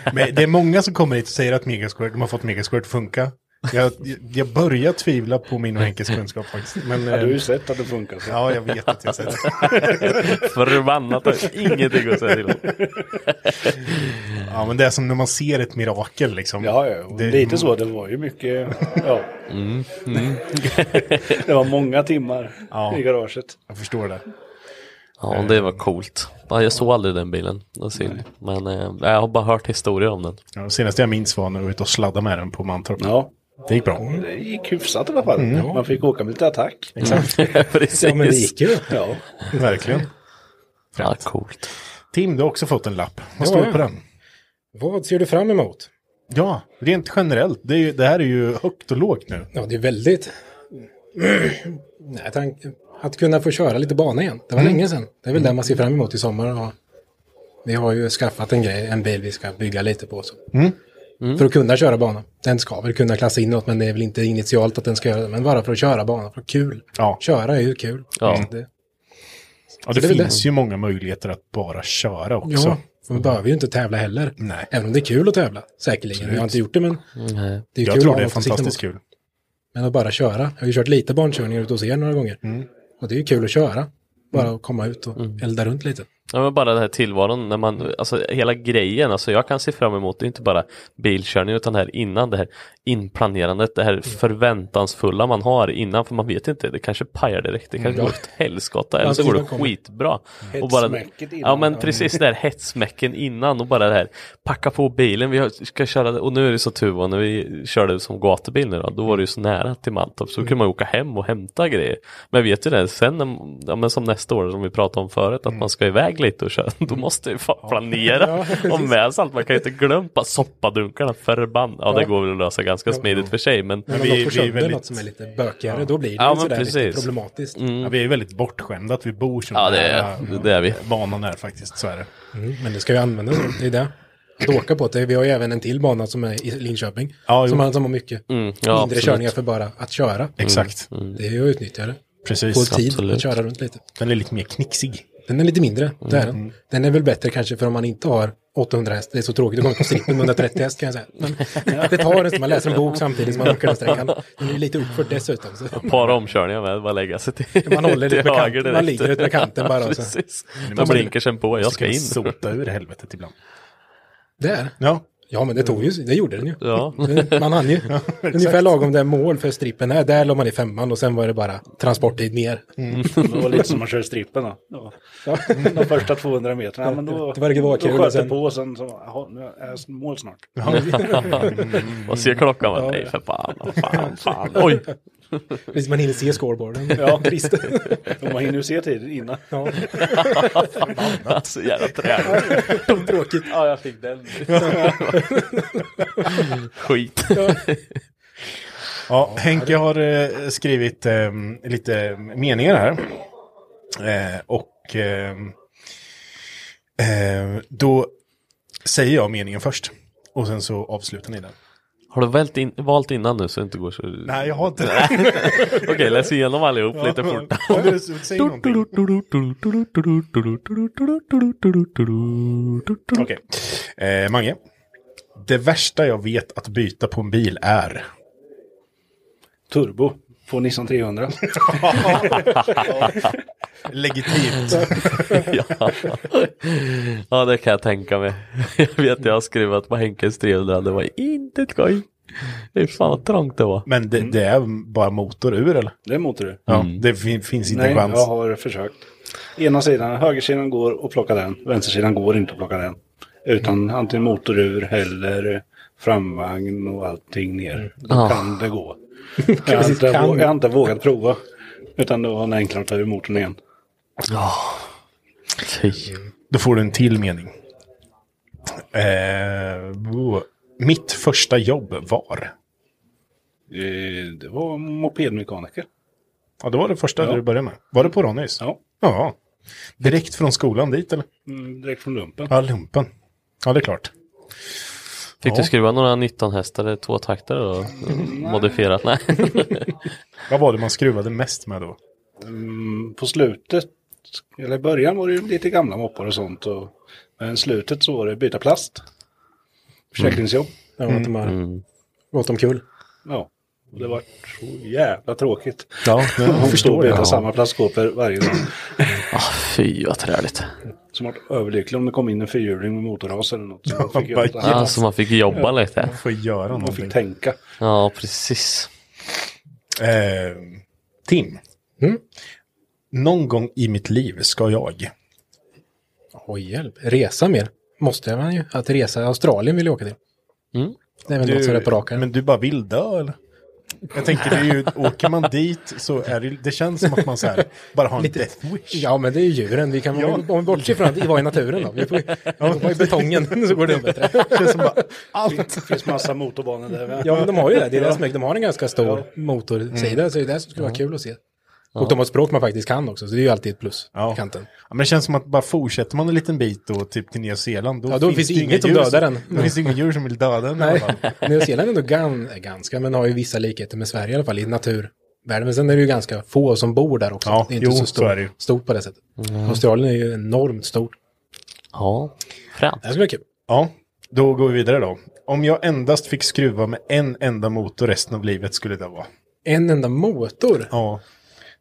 Speaker 3: Men det är många som kommer hit och säger att megasquirt, de har fått megasquirt funka. Jag, jag börjar tvivla på min och Henkes kunskap faktiskt. Men,
Speaker 21: Ja, du har ju
Speaker 3: eh,
Speaker 21: sett att det funkar. Så.
Speaker 3: Ja, jag vet att jag har sett.
Speaker 4: Förbannat, har jag ingenting att säga till om.
Speaker 3: ja, men det är som när man ser ett mirakel liksom.
Speaker 21: Ja, ja. Det... Lite så, det var ju mycket... Ja.
Speaker 3: Mm,
Speaker 21: det var många timmar
Speaker 3: Ja.
Speaker 21: i garaget.
Speaker 3: Jag förstår det.
Speaker 4: Ja, det var coolt. Ja, Jag såg aldrig den bilen, det var synd. Men eh, jag har bara hört historier om den.
Speaker 3: Ja, det senaste jag minns var när du var ute och sladdade med den på Mantorp.
Speaker 21: Ja.
Speaker 3: Det gick bra.
Speaker 21: Det gick hyfsat i alla fall.
Speaker 3: Mm.
Speaker 21: Man fick åka med lite attack.
Speaker 3: Exakt.
Speaker 21: Ja, men det gick ju. Ja.
Speaker 3: Verkligen.
Speaker 4: Ja, coolt.
Speaker 3: Tim, du har också fått en lapp. Vad
Speaker 16: Ja,
Speaker 3: står det
Speaker 16: ja.
Speaker 3: på den?
Speaker 16: Vad ser du fram emot?
Speaker 3: Ja, rent generellt. Det, är ju, det här är ju högt och lågt nu.
Speaker 16: Ja, det är väldigt... Nej, tank... Att kunna få köra lite bana igen. Det var
Speaker 3: Mm.
Speaker 16: länge sedan. Det är väl
Speaker 3: Mm.
Speaker 16: det man ser fram emot i sommar. Och vi har ju skaffat en grej, en bil vi ska bygga lite på. Så.
Speaker 6: Hmm?
Speaker 3: Mm.
Speaker 16: För att kunna köra bana. Den ska väl kunna klassa inåt, men det är väl inte initialt att den ska göra det. Men bara för att köra bana, för att kul. Köra är ju kul.
Speaker 3: Ja.
Speaker 16: Så det,
Speaker 3: Ja, det,
Speaker 16: Så det är väl
Speaker 3: finns
Speaker 16: det.
Speaker 3: ju många möjligheter att bara köra också.
Speaker 16: ja, för man behöver ju inte tävla heller. Även om det är kul att tävla, säkerligen. Jag har inte gjort det, men
Speaker 4: Nej.
Speaker 16: det är
Speaker 3: jag
Speaker 16: kul att
Speaker 3: tror
Speaker 16: ha
Speaker 3: det är
Speaker 16: något att sikta
Speaker 3: fantastiskt
Speaker 16: mot.
Speaker 3: kul.
Speaker 16: Men att bara köra. Jag har ju kört lite barnkörningar ute hos er några gånger.
Speaker 3: Mm.
Speaker 16: Och det är ju kul att köra. Bara att komma ut och elda runt lite.
Speaker 4: Ja, men bara den här tillvaron, när man, alltså hela grejen, alltså jag kan se fram emot det, inte bara bilkörning utan det här innan, det här inplanerandet, det här förväntansfulla man har innan, för man vet inte, det kanske pajar direkt, det kanske
Speaker 16: Mm.
Speaker 4: går åt helskotta, eller så
Speaker 16: Alltså,
Speaker 4: går det
Speaker 16: innan kommer-
Speaker 4: skitbra.
Speaker 16: Mm.
Speaker 4: Och bara,
Speaker 16: Hetsmäcket innan.
Speaker 4: ja men precis, det här hetsmäcken innan och bara det här, packa på bilen, vi har- ska köra, och nu är det så tur var när vi körde som gatubil nu då, då var det ju så nära till Mantorp, så då kunde man ju åka hem och hämta grejer. Men jag vet ju det, sen när, ja, men som nästa år som vi pratade om förut, att man ska iväg lite och köra, då måste ju fan planera
Speaker 12: Ja,
Speaker 4: och med sig allt. Man kan ju inte glömma soppadunkarna, förbannat. Ja, det
Speaker 16: Ja.
Speaker 4: går väl att lösa ganska smidigt för sig, men,
Speaker 16: Men om de får sönder något som är lite bökigare, då blir det
Speaker 4: Ja, Mm.
Speaker 16: ju
Speaker 4: men
Speaker 16: sådär lite
Speaker 4: precis.
Speaker 16: problematiskt.
Speaker 3: Ja, vi är väldigt bortskämda att vi bor så
Speaker 4: Ja, det är-
Speaker 3: nära
Speaker 4: det är vi.
Speaker 3: banan är faktiskt. Så är det.
Speaker 16: Mm, men det ska ju användas, det är det. Att åka på det. Vi har ju även en till bana som är i Linköping.
Speaker 3: Ja, jo.
Speaker 16: som, har, som har mycket
Speaker 3: Mm, ja,
Speaker 16: mindre
Speaker 3: absolut.
Speaker 16: körningar för bara att köra. Mm,
Speaker 3: Exakt.
Speaker 16: Det är ju att utnyttja det.
Speaker 3: Precis,
Speaker 16: Få tid
Speaker 3: absolut.
Speaker 16: att köra runt lite.
Speaker 3: Den är lite mer knixig.
Speaker 16: Den är lite mindre, det är
Speaker 3: Mm.
Speaker 16: den. Den är väl bättre kanske för om man inte har 800 häst. Det är så tråkigt att gå på strippen med 130 häst kan jag säga. Men det tar en stund, man läser en bok samtidigt som man åker den sträckan. Den är ju lite uppför dessutom. Så.
Speaker 4: Ett par omkörningar med, bara lägga sig till
Speaker 16: Man håller
Speaker 4: till
Speaker 16: ut med
Speaker 4: höger
Speaker 16: kanten,
Speaker 4: direkt.
Speaker 16: man ligger ut med kanten bara och så-
Speaker 4: Precis.
Speaker 16: Nu
Speaker 4: Man
Speaker 16: måste-
Speaker 4: blinkar sen på, jag
Speaker 16: måste
Speaker 4: ska
Speaker 16: kunna
Speaker 4: in.
Speaker 16: sota
Speaker 3: ur helvetet ibland.
Speaker 16: Där?
Speaker 3: Ja.
Speaker 16: Ja, men det tog ju, det gjorde den ju.
Speaker 4: Ja.
Speaker 16: Den- Man hann ju. Ungefär lagom där mål för strippen är. Där la man i femman och sen var det bara transporttid ner.
Speaker 21: Det var lite som man kör strippen då. Ja. Mm. De första 200 meterna. Ja, men då,
Speaker 16: Det verkar vara kul,
Speaker 21: Då sköt
Speaker 16: och sen-
Speaker 21: det på och sen så, jaha, nu är jag mål snart.
Speaker 16: Mm.
Speaker 4: och se klockan, va? nej för fan, vad fan, fan, oj.
Speaker 16: Precis, man hinner se scoreboarden.
Speaker 21: Ja,
Speaker 16: Trist.
Speaker 21: Och man hinner ju se tiden innan.
Speaker 16: Ja.
Speaker 21: Förbannat.
Speaker 4: Så jävla träligt.
Speaker 16: Tråkigt.
Speaker 4: Ja, jag fick den. Skit.
Speaker 3: Ja, Henke har eh, skrivit eh, lite meningar här. Eh, och eh, eh, då säger jag meningen först. Och sen så avslutar ni den.
Speaker 4: Har du vält in, valt innan nu så det inte går så... Nej,
Speaker 3: jag har inte
Speaker 4: det. Okej, läs igenom allihop lite fort.
Speaker 3: Ja, du, säg någonting. Okej. Eh, Mange. Det värsta jag vet att byta på en bil är?
Speaker 21: Turbo på Nissan 300.
Speaker 3: Legitimt.
Speaker 4: ja. ja, det kan jag tänka mig. Jag vet jag har skrivit på Henkes 300, det var inte skoj. Det är fan vad trångt det var.
Speaker 3: Men det, det är bara motor ur eller?
Speaker 21: Mm. Det är motor ur.
Speaker 3: Ja,
Speaker 21: Mm.
Speaker 3: det fin- finns inte
Speaker 21: Nej,
Speaker 3: en chans.
Speaker 21: jag har försökt. Ena sidan, högersidan går och plocka den. Vänstersidan går inte att plocka den. Utan antingen motorur eller framvagn och allting ner. Då
Speaker 4: Ah.
Speaker 21: kan det gå. Jag har, inte,
Speaker 4: Kan.
Speaker 21: vå- jag har inte vågat prova. Utan det var enklare att ta ur motorn igen.
Speaker 3: Då får du en till mening. Eh, bo- mitt första jobb var?
Speaker 21: Eh, Det var mopedmekaniker.
Speaker 3: Ja, det var det första
Speaker 21: Ja.
Speaker 3: du började med. Var det på Ronnys?
Speaker 21: Ja.
Speaker 3: Ja. Direkt från skolan dit eller?
Speaker 21: Mm, Direkt från lumpen.
Speaker 3: Ja, lumpen. Ja, det är klart.
Speaker 4: Fick
Speaker 3: Ja.
Speaker 4: du skruva några 19 hästar, två takter och modifierat? Nej.
Speaker 3: Vad var det man skruvade mest med då?
Speaker 21: Mm, På slutet, eller i början var det ju lite gamla moppar och sånt. Och, men slutet så var det byta plast. Försäkringsjobb.
Speaker 16: Ja,
Speaker 4: Mm.
Speaker 16: åt de här.
Speaker 2: Mm.
Speaker 16: Åt dem kul.
Speaker 21: Ja. Och det var så jävla tråkigt.
Speaker 16: Ja, det- jag
Speaker 21: Att
Speaker 16: förstår
Speaker 21: byta
Speaker 16: det. Ja.
Speaker 21: samma plastskåpor varje dag.
Speaker 4: Ah, Fy vad träligt.
Speaker 21: Som vart överlycklig om det kom in en fyrhjuling med motorras eller något. Så man fick
Speaker 4: Ja,
Speaker 21: göra något
Speaker 4: så man fick jobba
Speaker 21: Ja.
Speaker 4: lite.
Speaker 21: Man
Speaker 3: får göra
Speaker 21: Man
Speaker 3: någonting.
Speaker 21: fick tänka.
Speaker 4: Ja, precis.
Speaker 3: Eh, Tim.
Speaker 21: Mm.
Speaker 3: Någon gång i mitt liv ska jag.
Speaker 16: Oj, hjälp. Resa mer. Måste man ju. Att resa. Australien vill jag åka till. Det är väl något som är på raken.
Speaker 3: Men du bara vill dö eller? Jag tänker det är ju, åker man dit så är det, det känns som att man så här, bara har en
Speaker 16: Lite-
Speaker 3: death wish.
Speaker 16: Ja, men det är ju djuren. Vi kan,
Speaker 3: Ja.
Speaker 16: om vi bortser från att vi var i naturen då. Vi får vi var i betongen så går det bättre.
Speaker 21: Känns som bara
Speaker 16: allt.
Speaker 21: Det finns massa motorbanor där.
Speaker 16: Ja, men de har ju det. Det är det
Speaker 21: Ja.
Speaker 16: som är, de har en ganska stor motorsida, så det är det som skulle vara kul att se. Och
Speaker 3: Ja.
Speaker 16: de har ett språk man faktiskt kan också, så det är ju alltid ett plus i kanten.
Speaker 3: Ja, men det känns som att bara fortsätter man en liten bit då, typ till Nya Zeeland. Då,
Speaker 16: Ja, då finns det
Speaker 3: inga
Speaker 16: inget som
Speaker 3: djur
Speaker 16: dödar den.
Speaker 3: Då finns det inga djur som vill döda den. i alla
Speaker 16: Nej,
Speaker 3: fall.
Speaker 16: Nya Zeeland är ändå gan, är ganska, men har ju vissa likheter med Sverige i alla fall, i naturvärlden. Men sen är det ju ganska få som bor där också.
Speaker 3: Ja,
Speaker 16: det är inte
Speaker 3: jo,
Speaker 16: så
Speaker 3: så är det
Speaker 16: stort,
Speaker 3: ju.
Speaker 16: stort på det sättet.
Speaker 3: Mm.
Speaker 16: Australien är ju enormt stort.
Speaker 4: Ja, fränt.
Speaker 16: Det ska bli kul.
Speaker 3: Ja, då går vi vidare då. Om jag endast fick skruva med en enda motor resten av livet skulle det vara.
Speaker 16: En enda motor?
Speaker 3: Ja.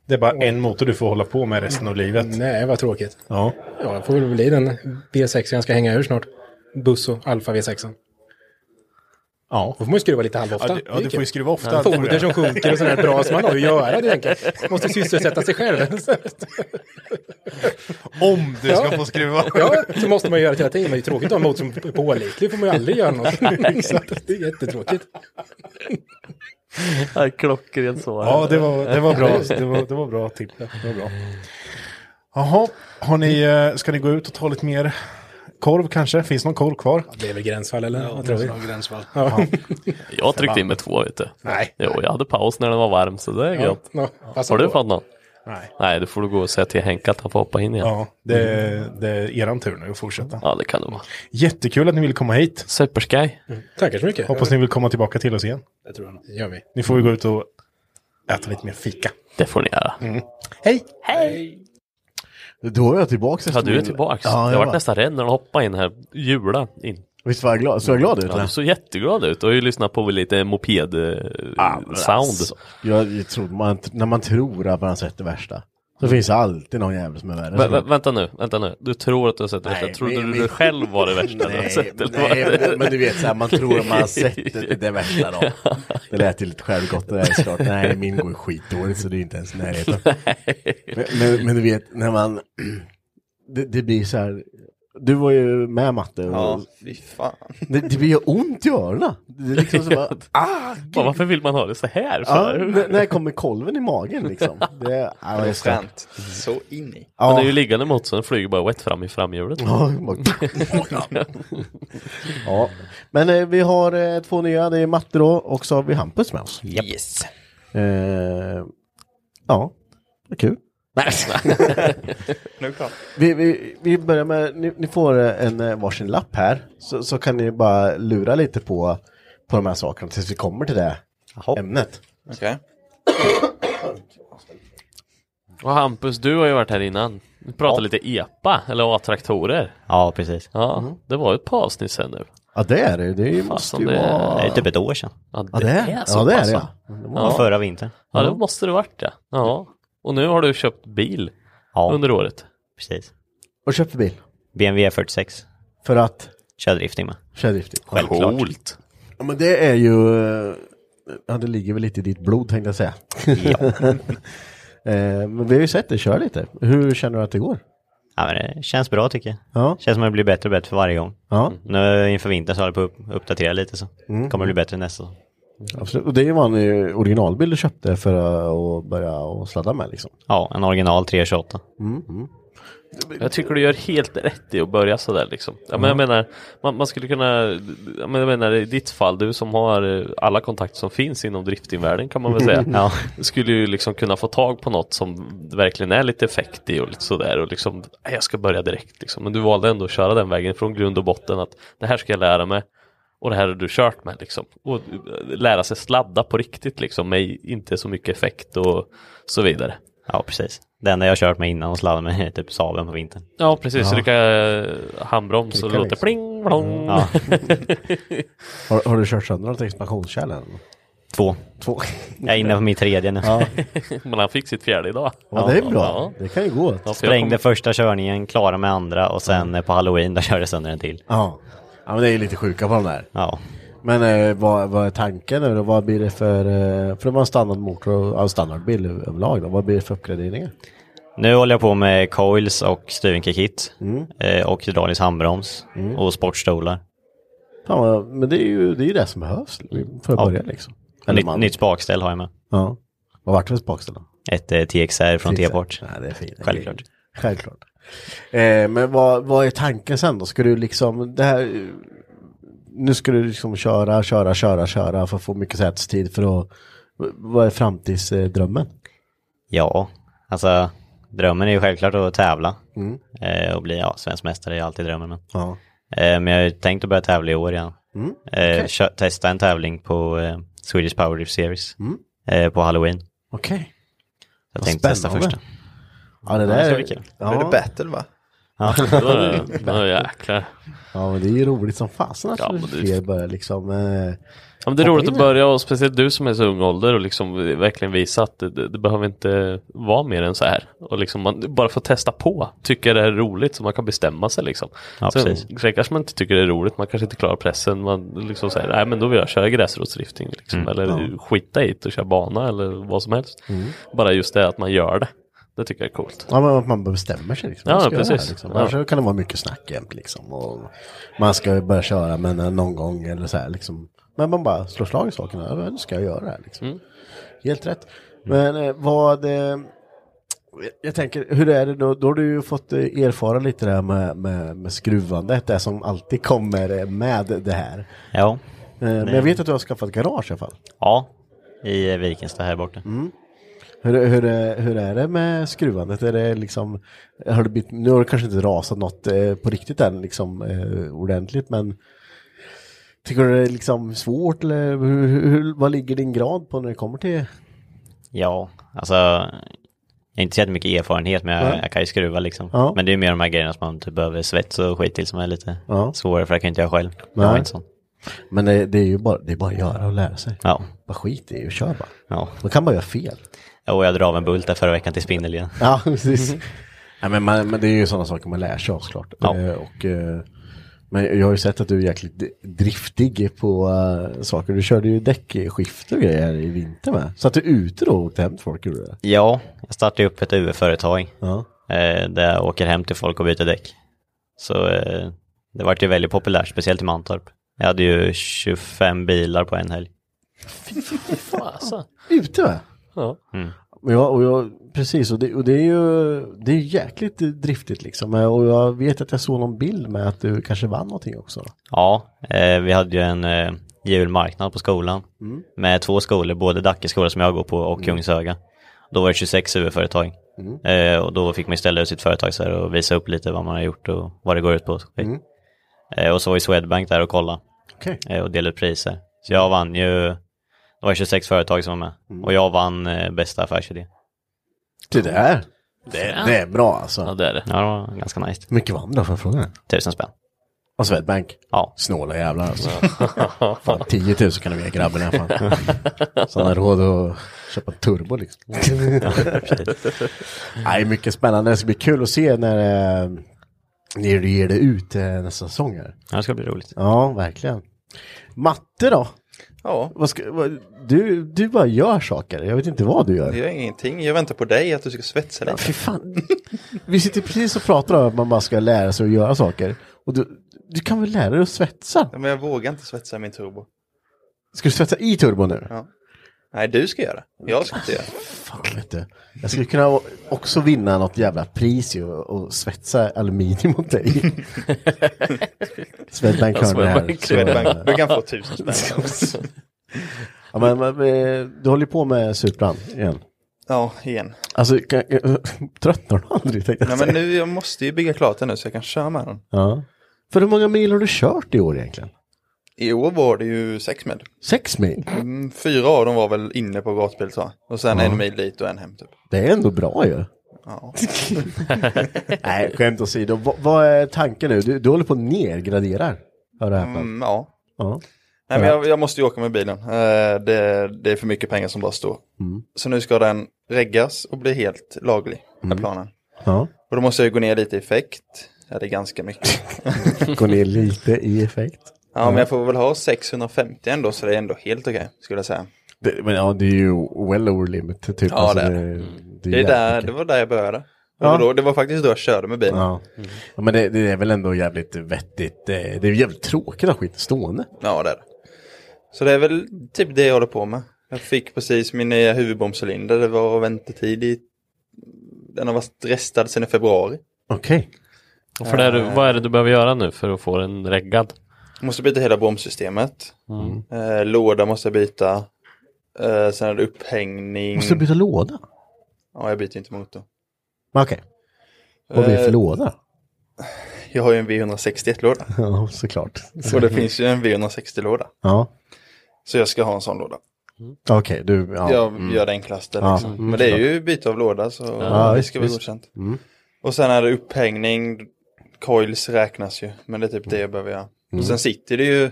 Speaker 3: Det är bara en motor du får hålla på med resten av livet.
Speaker 16: Nej, vad tråkigt.
Speaker 3: Ja.
Speaker 16: Ja, jag får väl bli den V6 jag ska hänga ur snart. Busso, Alfa V6.
Speaker 3: Ja.
Speaker 16: Då får man ju skruva lite halvofta.
Speaker 3: Ja, du- ja,
Speaker 16: Det är
Speaker 3: du
Speaker 16: kul.
Speaker 3: får ju skruva ofta,
Speaker 16: Ja,
Speaker 3: får du.
Speaker 16: Foder som sjunker och sådär bra som man har att göra det enkelt. Måste sysselsätta sig själv.
Speaker 3: Om du ska få skruva.
Speaker 16: Ja, så måste man göra det hela tiden. Men det är ju tråkigt att ha en motor som är pålitlig. får man ju aldrig göra något.
Speaker 4: Nej,
Speaker 16: Exakt. Det är jättetråkigt.
Speaker 4: Ja, Klockrent svar.
Speaker 3: Ja, det var, det var bra. Det var, det var bra tipp. Det var bra. Jaha, har ni, eh, ska ni gå ut och ta lite mer korv kanske? Finns någon korv kvar?
Speaker 16: Det är väl gränsfall eller? Ja, Vad tror vi?
Speaker 21: det är gränsfall.
Speaker 16: Ja.
Speaker 4: Jag tryckte in med två vet du.
Speaker 16: Nej.
Speaker 4: Jo, jag hade paus när den var varm så det är
Speaker 3: Ja,
Speaker 4: gött.
Speaker 16: ja, passa
Speaker 4: Har du
Speaker 16: på.
Speaker 4: fått någon?
Speaker 3: Nej.
Speaker 4: Nej, då får du gå och säga till Henke att han får hoppa in igen.
Speaker 3: Ja, det,
Speaker 2: Mm.
Speaker 3: det är eran tur nu att fortsätta.
Speaker 4: Ja, det kan det vara.
Speaker 3: Jättekul att ni ville komma hit.
Speaker 4: Supersky.
Speaker 2: Mm.
Speaker 16: Tackar så mycket.
Speaker 3: Hoppas ni vill komma tillbaka till oss igen.
Speaker 21: Det tror jag nog.
Speaker 16: Det gör vi.
Speaker 3: Ni får ju gå ut och äta lite mer fika.
Speaker 4: Det får ni göra.
Speaker 3: Mm.
Speaker 2: Hej!
Speaker 21: Hej!
Speaker 2: Då är jag tillbaka.
Speaker 4: Ja, du är tillbaks.
Speaker 2: Ja,
Speaker 4: jag
Speaker 2: jag
Speaker 4: vart
Speaker 2: var.
Speaker 4: nästan rädd när de hoppade in här. Jula in.
Speaker 2: Visst var jag glad? Såg jag glad ut?
Speaker 4: Ja,
Speaker 2: eller?
Speaker 4: du såg jätteglad ut. Du har ju lyssnat på lite eh,
Speaker 2: Men
Speaker 4: moped-sound.
Speaker 2: alltså, Jag, jag trodde man, när man tror att man har sett det värsta. Så
Speaker 4: Mm.
Speaker 2: finns det alltid någon jävel som är värre.
Speaker 4: Vä- vä- vänta nu, vänta nu. Du tror att du har sett det
Speaker 2: Nej,
Speaker 4: värsta. Trodde
Speaker 2: men-
Speaker 4: du
Speaker 2: men-
Speaker 4: själv var det värsta du har
Speaker 2: Nej,
Speaker 4: sett? eller
Speaker 2: nej,
Speaker 4: vad?
Speaker 2: men- men du vet så här, man tror att man har sett det- det värsta då. Det lät ju lite självgott det där såklart. Nej, min går ju skitdåligt så det är inte ens i närheten. Men, men, men du vet, när man... Det, det blir så här... Du var ju med Matte. Och,
Speaker 25: Ja, fy fan.
Speaker 2: Det, det blir ju ont i öronen. Det är liksom så bara, ah, gud.
Speaker 4: Fan, varför vill man ha det så här?
Speaker 2: Ja,
Speaker 4: för?
Speaker 2: när, när kommer kolven i magen liksom? Det, ja,
Speaker 4: Det är
Speaker 2: just det.
Speaker 4: skönt.
Speaker 25: Så in i.
Speaker 2: Ja.
Speaker 4: Den är ju liggande mot så den flyger bara wet fram i framhjulet.
Speaker 2: Ja, bara- Ja, men eh, vi har eh, två nya. Det är Matte då och så har vi Hampus med oss.
Speaker 25: Yes.
Speaker 2: Eh, ja, vad kul. Nej.
Speaker 25: Nu kom.
Speaker 2: vi, vi, vi börjar med, ni, ni får eh, en eh, varsin lapp här. Så, så kan ni bara lura lite på, på de här sakerna tills vi kommer till det ämnet.
Speaker 25: Okej.
Speaker 4: Och Hampus, du har ju varit här innan. Vi pratade lite EPA, eller A-traktorer.
Speaker 25: Ja, precis.
Speaker 4: Ja,
Speaker 2: Mm.
Speaker 4: det var ju ett par avsnitt sen nu.
Speaker 2: Ja det är det, det
Speaker 4: Fan,
Speaker 2: måste
Speaker 4: som
Speaker 2: ju
Speaker 4: det är-
Speaker 2: vara...
Speaker 25: Det är typ ett år sedan.
Speaker 4: Ja,
Speaker 2: Ja, det är det.
Speaker 4: så
Speaker 2: Ja, det är
Speaker 4: pass,
Speaker 2: det,
Speaker 4: va?
Speaker 2: ja. Det
Speaker 25: var förra vintern.
Speaker 4: Ja, det
Speaker 2: Mm.
Speaker 25: Ja.
Speaker 4: måste det varit ja. ja. Och nu har du köpt bil under året.
Speaker 25: Precis.
Speaker 2: Och köpte bil?
Speaker 25: BMW 46.
Speaker 2: För att?
Speaker 25: Köra drifting med.
Speaker 2: Köra drifting.
Speaker 25: Självklart.
Speaker 4: Coolt.
Speaker 2: Ja men det är ju, eh, ja det ligger väl lite i ditt blod tänkte jag säga. Eh, men vi har ju sett dig köra lite. Hur känner du att det går?
Speaker 25: Ja, men det känns bra tycker jag.
Speaker 2: Ja.
Speaker 25: Känns som att det blir bättre och bättre för varje gång.
Speaker 2: Ja.
Speaker 25: Nu inför vintern så håller jag på att upp- uppdatera lite så.
Speaker 2: Mm.
Speaker 25: Kommer det bli bättre nästa säsong.
Speaker 2: Absolut. Och det var en originalbil du köpte för att börja och sladda med liksom.
Speaker 25: Ja, en original 328.
Speaker 2: Mm. mm.
Speaker 4: Jag tycker du gör helt rätt i att börja sådär liksom. Ja, men jag menar, man, man skulle kunna, ja, men jag menar i ditt fall, du som har eh, alla kontakter som finns inom driftingvärlden kan man väl säga.
Speaker 25: Ja.
Speaker 4: Skulle ju liksom kunna få tag på något som verkligen är lite effektiv och lite sådär och liksom, "Nej, jag ska börja direkt liksom. Men du valde ändå att köra den vägen från grund och botten att det här ska jag lära mig och det här har du kört med liksom. Och eh, lära sig sladda på riktigt liksom med inte så mycket effekt och så vidare.
Speaker 25: Ja, precis. Det enda jag har kört med innan och sladdat med är typ Saaben på vintern.
Speaker 4: Ja precis, så du kan eh, handbroms och
Speaker 25: Klicka
Speaker 4: det låter
Speaker 25: liksom.
Speaker 4: pling plong.
Speaker 25: Ja.
Speaker 2: Har, har du kört sönder något expansionskärl än?
Speaker 25: Två.
Speaker 2: Två.
Speaker 25: Jag är inne på min tredje nu.
Speaker 2: Ja.
Speaker 4: Men han fick sitt fjärde idag.
Speaker 2: Ja, det är bra. Det kan ju gå.
Speaker 4: för jag
Speaker 25: Sprängde
Speaker 4: kommer-
Speaker 25: första körningen, klarade med andra och sen eh, på halloween där körde jag sönder en till.
Speaker 2: Ja. Mm. ja, men det är ju lite sjuka på de där.
Speaker 25: Ja.
Speaker 2: Men eh, vad, vad är tanken nu då? Vad blir det för, eh, för det var en standardmotor och ja, en standardbil överlag då. Vad blir det för uppgraderingar?
Speaker 25: Nu håller jag på med coils och stuvingkickit
Speaker 2: Mm.
Speaker 25: eh, och hydraulisk handbroms
Speaker 2: Mm.
Speaker 25: och sportstolar.
Speaker 2: Fan, vad- men det är ju det, är ju det som behövs för att
Speaker 25: Mm. Ja.
Speaker 2: börja liksom.
Speaker 25: Nytt- nytt spakställ har jag med.
Speaker 2: Ja. Vad vart det för spakställ då?
Speaker 25: Ett eh, TXR från
Speaker 2: TXR.
Speaker 25: T-port.
Speaker 2: Ja, det är fint.
Speaker 25: Självklart.
Speaker 2: Självklart. Eh, men vad, vad är tanken sen då? Ska du liksom, det här, eh, nu ska du liksom köra, köra, köra, köra för att få mycket sätestid för att, v- vad är framtidsdrömmen?
Speaker 25: Ja, alltså drömmen är ju självklart att tävla
Speaker 2: Mm.
Speaker 25: eh, och bli ja, svensk mästare är ju alltid drömmen. Men,
Speaker 2: Ja.
Speaker 25: eh, men jag har ju tänkt att börja tävla i år igen.
Speaker 2: Mm,
Speaker 25: Eh,
Speaker 2: okej.
Speaker 25: kö- testa en tävling på eh, Swedish Power Drift Series
Speaker 2: Mm.
Speaker 25: eh, på Halloween.
Speaker 2: Okej.
Speaker 25: Jag
Speaker 2: Vad
Speaker 25: tänkte testa
Speaker 2: spännande.
Speaker 25: första.
Speaker 2: Ja, det
Speaker 25: Ja,
Speaker 2: där
Speaker 25: det ska bli kul. Då är det
Speaker 2: battle va?
Speaker 25: Ja, då är det-
Speaker 4: då jäklar.
Speaker 2: Ja, men det är ju roligt som fasen att
Speaker 4: Ja, men det är-
Speaker 2: fler börjar liksom... Eh,
Speaker 4: Ja, men det är
Speaker 2: hoppa in
Speaker 4: roligt att
Speaker 2: i det.
Speaker 4: börja och speciellt du som är så ung ålder och liksom verkligen visa att det, det, det behöver inte vara mer än så här. Och liksom man bara får testa på, tycker det är roligt så man kan bestämma sig liksom.
Speaker 25: Ja,
Speaker 4: Sen,
Speaker 25: precis.
Speaker 4: sen kanske man inte tycker det är roligt, man kanske inte klarar pressen, man liksom säger nej men då vill jag köra gräsrotsdrifting liksom.
Speaker 25: Mm,
Speaker 4: eller
Speaker 25: ja.
Speaker 4: skita i det och köra bana eller vad som helst.
Speaker 2: Mm.
Speaker 4: Bara just det att man gör det, det tycker jag är coolt.
Speaker 2: Ja, men att man bestämmer sig liksom. Man
Speaker 4: Ja,
Speaker 2: ska göra det här,
Speaker 4: precis.
Speaker 2: Liksom.
Speaker 4: Ja.
Speaker 2: Annars kan det vara mycket snack jämt liksom. Och man ska börja köra men eh, någon gång eller så här liksom. Men man bara slår slag i sakerna. Ja, Nu ska jag göra det här liksom.
Speaker 4: Mm.
Speaker 2: Helt rätt. Men eh, vad... Eh, jag tänker, hur är det då? Då har du ju fått eh, erfara lite det här med, med, med skruvandet. Det som alltid kommer eh, med det här.
Speaker 25: Ja.
Speaker 2: Eh, Men jag vet att du har skaffat garage i alla fall.
Speaker 25: Ja, i eh, Vikensta här borta.
Speaker 2: Mm. Hur, hur, är- hur är det med skruvandet? Är det liksom, har det blivit, nu har det kanske inte rasat något eh, på riktigt än, liksom, eh, ordentligt, men tycker du det är liksom svårt? Eller hur, hur, vad ligger din grad på när det kommer till?
Speaker 25: Ja, alltså jag har inte så jättemycket erfarenhet men
Speaker 2: Nej.
Speaker 25: jag, jag kan ju skruva liksom.
Speaker 2: Ja.
Speaker 25: Men det är ju mer de här grejerna som man typ behöver svets och skit till som är lite
Speaker 2: Ja.
Speaker 25: svårare för det kan jag inte jag själv. Jag är
Speaker 2: Nej.
Speaker 25: inte sån.
Speaker 2: Men det, det är ju bara, det är bara att göra och lära sig.
Speaker 25: Ja.
Speaker 2: Bara skit i och kör bara.
Speaker 25: Ja.
Speaker 2: Man kan bara göra fel.
Speaker 25: Ja, Och jag drar av en bult där förra veckan till spindel igen.
Speaker 2: Ja, precis. Nej, men, man, men det är ju sådana saker man lär sig av såklart.
Speaker 25: Ja.
Speaker 2: Eh, och, eh, men jag har ju sett att du är jäkligt d- driftig på eh, saker. Du körde ju däckskift och grejer i vinter med. Så att du är ute då och åkte hem till folk gjorde du det?
Speaker 25: Ja, jag startade upp ett UF-företag
Speaker 2: Ja.
Speaker 25: eh, där jag åker hem till folk och byter däck. Så eh, det vart ju väldigt populärt, speciellt i Mantorp. Jag hade ju 25 bilar på en helg.
Speaker 4: Fasen.
Speaker 2: Ute med?
Speaker 4: Ja.
Speaker 25: Mm.
Speaker 2: Men jag, och jag, precis, och det, och det är ju det är ju jäkligt driftigt liksom. Eh, Och jag vet att jag såg någon bild med att du kanske vann någonting också.
Speaker 25: Ja, eh, vi hade ju en eh, julmarknad på skolan
Speaker 2: Mm.
Speaker 25: med två skolor, både Dacke skola som jag går på och
Speaker 2: Mm.
Speaker 25: Kungsöga. Då var det 26 UF-företag
Speaker 2: Mm.
Speaker 25: eh, och då fick man ju ställa ut sitt företag så här och visa upp lite vad man har gjort och vad det går ut på.
Speaker 2: Mm.
Speaker 25: Eh, och så var ju Swedbank där och kolla
Speaker 2: Okej.
Speaker 25: eh, och delade ut priser. Så jag vann ju, det var 26 företag som var med och jag vann eh, bästa affärsidé.
Speaker 2: Mm. Det där, det, det är bra alltså.
Speaker 25: Ja det är det. Ja det var ganska nice.
Speaker 2: Hur mycket vann du då för frågan?
Speaker 25: Tusen spänn.
Speaker 2: Och Swedbank?
Speaker 25: Ja.
Speaker 2: Snåla jävlar alltså. fan, 10 000 kan du ge grabben i alla fall. Så han har råd att köpa en turbo liksom.
Speaker 25: Ja, precis.
Speaker 2: Nej, mycket spännande. Det ska bli kul att se när, eh, när du ger det ut eh, nästa säsong. Här.
Speaker 25: Ja, det ska bli roligt.
Speaker 2: Ja, verkligen. Matte då?
Speaker 26: Ja.
Speaker 2: Vad ska, vad, du, du bara gör saker. Jag vet inte vad du
Speaker 26: Jag
Speaker 2: gör.
Speaker 26: gör ingenting. Jag väntar på dig att du ska svetsa lite.
Speaker 2: fy fan. Vi sitter precis och pratar om att man bara ska lära sig att göra saker. Och du, du kan väl lära dig att svetsa?
Speaker 26: Men jag vågar inte svetsa i min turbo.
Speaker 2: Ska du svetsa i turbo nu?
Speaker 26: Ja. Nej, du ska göra. Jag ska inte göra.
Speaker 2: Fan, vet du. Jag skulle kunna också vinna något jävla pris ju och svetsa aluminium åt dig. Swedbank har det här. så-
Speaker 26: Swedbank. Du kan få tusen spänn.
Speaker 2: ja, men, men, eh, du håller ju på med Supran igen.
Speaker 26: Ja, igen.
Speaker 2: Alltså, kan, tröttnar du aldrig? tänkte jag
Speaker 26: Nej, men
Speaker 2: säga.
Speaker 26: nu, jag måste ju bygga klart den nu så jag kan köra med den.
Speaker 2: Ja. För hur många mil har du kört i år egentligen?
Speaker 26: I år var det ju sex med.
Speaker 2: Sex mil?
Speaker 26: Mm, fyra av dem var väl inne på gatbil så. Och sen
Speaker 2: Ja.
Speaker 26: en mil dit och en hem typ.
Speaker 2: Det är ändå bra ju.
Speaker 26: Ja.
Speaker 2: Nej, skämt åsido. V- vad är tanken nu? Du, du håller på att nergradera. Hör och häpna.
Speaker 26: Mm, ja.
Speaker 2: Ja.
Speaker 26: Nej, men jag, jag måste ju åka med bilen. Eh, det, det är för mycket pengar som bara står.
Speaker 2: Mm.
Speaker 26: Så nu ska den reggas och bli helt laglig, är
Speaker 2: Mm.
Speaker 26: planen.
Speaker 2: Ja.
Speaker 26: Och då måste jag ju gå ner lite i effekt. Ja, det är ganska mycket.
Speaker 2: Går ner lite i effekt.
Speaker 26: Ja, men jag får väl ha 650 ändå, så det är ändå helt okej, skulle jag säga.
Speaker 2: Det, men ja, det är ju well over limit. Typ.
Speaker 26: Ja,
Speaker 2: Alltså,
Speaker 26: det är
Speaker 2: det
Speaker 26: Det,
Speaker 2: är
Speaker 26: är där,
Speaker 2: jävligt
Speaker 26: det var där jag började. Det,
Speaker 2: Ja.
Speaker 26: var då, det var faktiskt då jag körde med bilen.
Speaker 2: Ja. ja, men det, det är väl ändå jävligt vettigt. Det, det är ju jävligt tråkigt att ha skiten stående.
Speaker 26: Ja, det är det. Så det är väl typ det jag håller på med. Jag fick precis min nya huvudbromscylinder. Det var väntetid i... Den har varit restad sedan i februari.
Speaker 2: Okej.
Speaker 4: Och för det, är- vad är det du behöver göra nu för att få den reggad?
Speaker 26: Jag måste byta hela bromssystemet.
Speaker 4: Mm.
Speaker 26: Eh, låda måste jag byta. Eh, sen är det upphängning.
Speaker 2: Måste du byta låda?
Speaker 26: Ja, jag byter inte motor.
Speaker 2: Men Okej. Vad blir det för
Speaker 26: Eh,
Speaker 2: låda?
Speaker 26: Jag har ju en V161-låda.
Speaker 2: Ja, såklart.
Speaker 26: Och det finns ju en V160-låda.
Speaker 2: Ja,
Speaker 26: Så jag ska ha en sån låda.
Speaker 2: okej. du, ja.
Speaker 26: jag
Speaker 2: mm.
Speaker 26: gör det enklaste.
Speaker 2: Ja,
Speaker 26: Liksom.
Speaker 2: mm,
Speaker 26: Men det är
Speaker 2: såklart.
Speaker 26: ju byte av låda så
Speaker 2: Ja,
Speaker 26: det
Speaker 2: visst,
Speaker 26: ska vara
Speaker 2: visst.
Speaker 26: godkänt.
Speaker 2: Mm.
Speaker 26: Och sen är det upphängning, coils räknas ju, men det är typ det jag behöver göra.
Speaker 2: Mm.
Speaker 26: Och sen sitter det ju,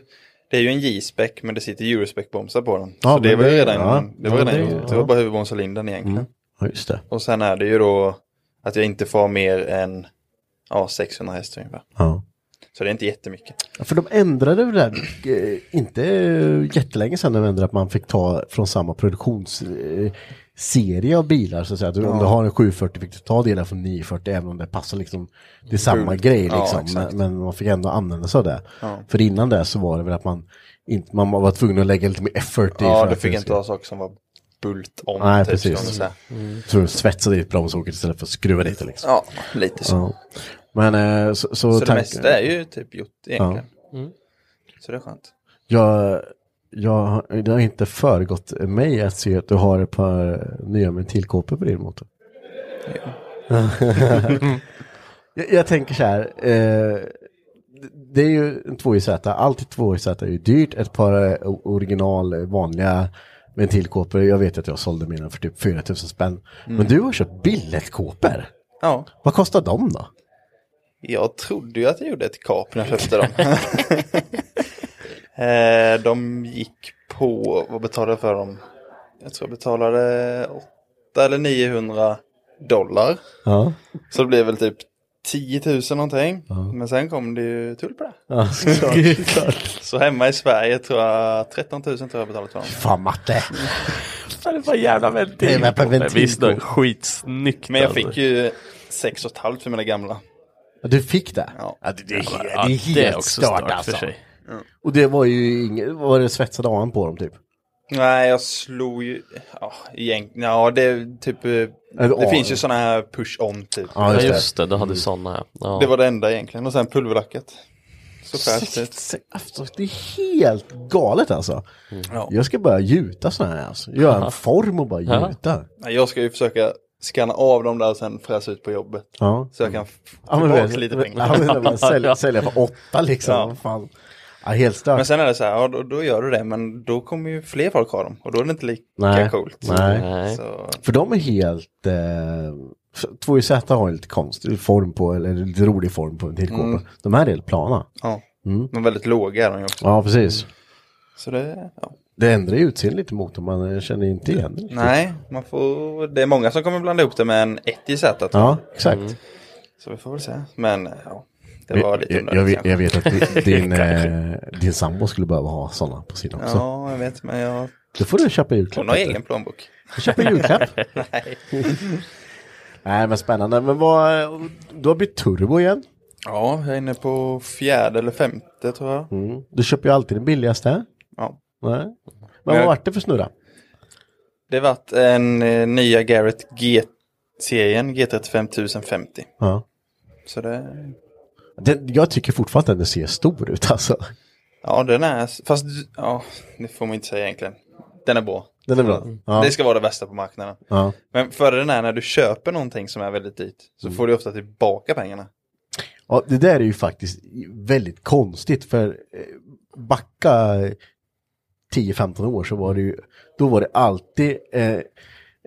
Speaker 26: det är ju en J-spec men det sitter Eurospec-bromsar på den.
Speaker 2: Ja,
Speaker 26: så det
Speaker 2: men
Speaker 26: var ju
Speaker 2: det-
Speaker 26: redan,
Speaker 2: ja.
Speaker 26: det var
Speaker 2: Ja,
Speaker 26: redan
Speaker 2: det-
Speaker 26: gjort. Det
Speaker 2: ja.
Speaker 26: var bara huvudbromsarlindan egentligen.
Speaker 2: Mm. Ja, just det.
Speaker 26: Och sen är det ju då att jag inte får mer än ja, 600 hästar ungefär.
Speaker 2: Ja.
Speaker 26: Så det är inte jättemycket.
Speaker 2: Ja, För de ändrade det där, eh, inte eh, jättelänge sedan de ändrade att man fick ta från samma produktionsserie av bilar så att säga. Att Om
Speaker 26: Ja.
Speaker 2: du har en 740 fick du ta delar från 940 även om det passar liksom, det är samma
Speaker 26: Mm.
Speaker 2: grej
Speaker 26: Ja,
Speaker 2: liksom.
Speaker 26: exakt.
Speaker 2: men, men man fick ändå använda sig av det.
Speaker 26: Ja.
Speaker 2: För innan det så var det väl att man, inte, man var tvungen att lägga lite mer effort i.
Speaker 26: Ja,
Speaker 2: för
Speaker 26: du
Speaker 2: att
Speaker 26: fick
Speaker 2: det
Speaker 26: inte ha saker som var bult om.
Speaker 2: Nej,
Speaker 26: typ, ska man
Speaker 2: precis. Mm.
Speaker 26: säga.
Speaker 2: Så du svetsade dit bromsåket istället för att skruva dit det liksom.
Speaker 26: Ja, lite så.
Speaker 2: Ja. Men eh, så, så,
Speaker 26: Så, det
Speaker 2: tanken-
Speaker 26: mesta är ju typ gjort
Speaker 2: Ja.
Speaker 26: egentligen. Så det är skönt.
Speaker 2: Jag, jag, det har inte föregått mig att se att du har ett par nya ventilkåpor på din motor. jag, jag tänker så här. Eh, det- det är ju en 2JZ. Alltid 2JZ är ju dyrt. Ett par eh, o- original eh, vanliga ventilkåpor. Jag vet att jag sålde mina för typ 4000 spänn.
Speaker 26: Mm.
Speaker 2: Men du har köpt billetkåpor.
Speaker 26: Ja.
Speaker 2: Vad kostar de då?
Speaker 26: Jag trodde ju att jag gjorde ett kap när jag köpte dem. eh, de gick på, vad betalade jag för dem? Jag tror jag betalade 8 eller 900 dollar.
Speaker 2: Ja.
Speaker 26: Så det blev väl typ 10 000 någonting.
Speaker 2: Ja.
Speaker 26: Men sen kom det ju tull på det.
Speaker 2: Ja, såklart, såklart.
Speaker 26: Så hemma i Sverige tror jag 13 000 tror jag jag betalade för dem.
Speaker 2: Fan Matte.
Speaker 26: Det var jävla ventil.
Speaker 2: Det var på ventil.
Speaker 4: Visst, det är skitsnyggt.
Speaker 26: Men jag
Speaker 4: alltså.
Speaker 26: fick ju 6 500 för mina gamla.
Speaker 2: Du fick det?
Speaker 26: Ja.
Speaker 2: det, det, är,
Speaker 26: Ja,
Speaker 2: he-
Speaker 26: ja,
Speaker 2: det är
Speaker 26: det är
Speaker 2: helt
Speaker 26: också
Speaker 2: stört
Speaker 26: stört för
Speaker 2: alltså.
Speaker 26: sig. Ja.
Speaker 2: Och det var ju inget, var det svetsade an på dem typ?
Speaker 26: Nej, jag slog ju... Ja, egentligen... Ja, det är typ... eh,
Speaker 2: Eller
Speaker 26: Det
Speaker 2: A.
Speaker 26: finns ju sådana här push-on typ.
Speaker 4: Ja, just det. Ja, just det, du hade Mm. såna, ja. Ja.
Speaker 26: Det var det enda egentligen. Och sen pulverlacket. Så fräscht
Speaker 2: ut. Alltså, det är helt galet alltså.
Speaker 26: Ja.
Speaker 2: Jag ska börja gjuta sådana här alltså. Göra en form och bara
Speaker 26: Ja.
Speaker 2: gjuta.
Speaker 26: Nej, Jag ska ju försöka skanna av dem där och sen fräsa ut på jobbet.
Speaker 2: Ja.
Speaker 26: Så jag kan få
Speaker 2: Ja, men
Speaker 26: tillbaka
Speaker 2: vet-
Speaker 26: lite
Speaker 2: men-
Speaker 26: pengar.
Speaker 2: ja, men man säljer- säljer för åtta, liksom. Vad fan. Ja, helt stört.
Speaker 26: Men sen är det så här, ja, då, då gör du det, men då kommer ju fler folk ha dem. Och då är det inte lika
Speaker 2: Nej.
Speaker 26: coolt.
Speaker 2: Nej.
Speaker 26: Så,
Speaker 2: För de är helt... Eh, 2JZ har en lite konstig form på, eller lite rolig form på en tillkåpa.
Speaker 26: Mm.
Speaker 2: De här är helt plana.
Speaker 26: ja.
Speaker 2: Mm.
Speaker 26: Men väldigt låga är de ju också.
Speaker 2: Ja, precis.
Speaker 26: Så det, ja.
Speaker 2: Det ändrar ju utseendet lite mot dem, man eh, känner inte igen det riktigt.
Speaker 26: Nej, man får, det är många som kommer blanda ihop det med en 1 i Z. tror jag. Mm.
Speaker 2: Ja, exakt.
Speaker 26: Så vi får väl se. Men ja, det var lite
Speaker 2: jag, jag, vet,
Speaker 26: kanske.
Speaker 2: jag vet att di- din, eh, din sambo skulle behöva ha sådana på sin också.
Speaker 26: Ja, jag vet, men jag...
Speaker 2: Då får du köpa julklapp.
Speaker 26: Hon har
Speaker 2: vet du.
Speaker 26: egen plånbok.
Speaker 2: Du köper julklapp.
Speaker 26: Nej.
Speaker 2: Nej, men spännande. Men vad, du har bytt turbo igen.
Speaker 26: Ja, jag är inne på fjärde eller femte tror jag.
Speaker 2: Mm. Du köper ju alltid den billigaste.
Speaker 26: Ja.
Speaker 2: Nej. Men
Speaker 26: Men
Speaker 2: vad
Speaker 26: jag-
Speaker 2: vart det för snurra?
Speaker 26: Det vart en eh, nya Garrett G-serien, G35 050.
Speaker 2: Ja.
Speaker 26: Så det,
Speaker 2: Den, jag tycker fortfarande att den ser stor ut alltså.
Speaker 26: ja den är, fast ja, det får man inte säga egentligen. Den är bra. Mm.
Speaker 2: Den är bra. Ja.
Speaker 26: Det ska vara det bästa på marknaden.
Speaker 2: Ja.
Speaker 26: Men fördelen är när du köper någonting som är väldigt dyrt så
Speaker 2: Mm.
Speaker 26: får du ofta tillbaka pengarna.
Speaker 2: Ja, det där är ju faktiskt väldigt konstigt för eh, backa 10-15 år så var det ju, då var det alltid eh,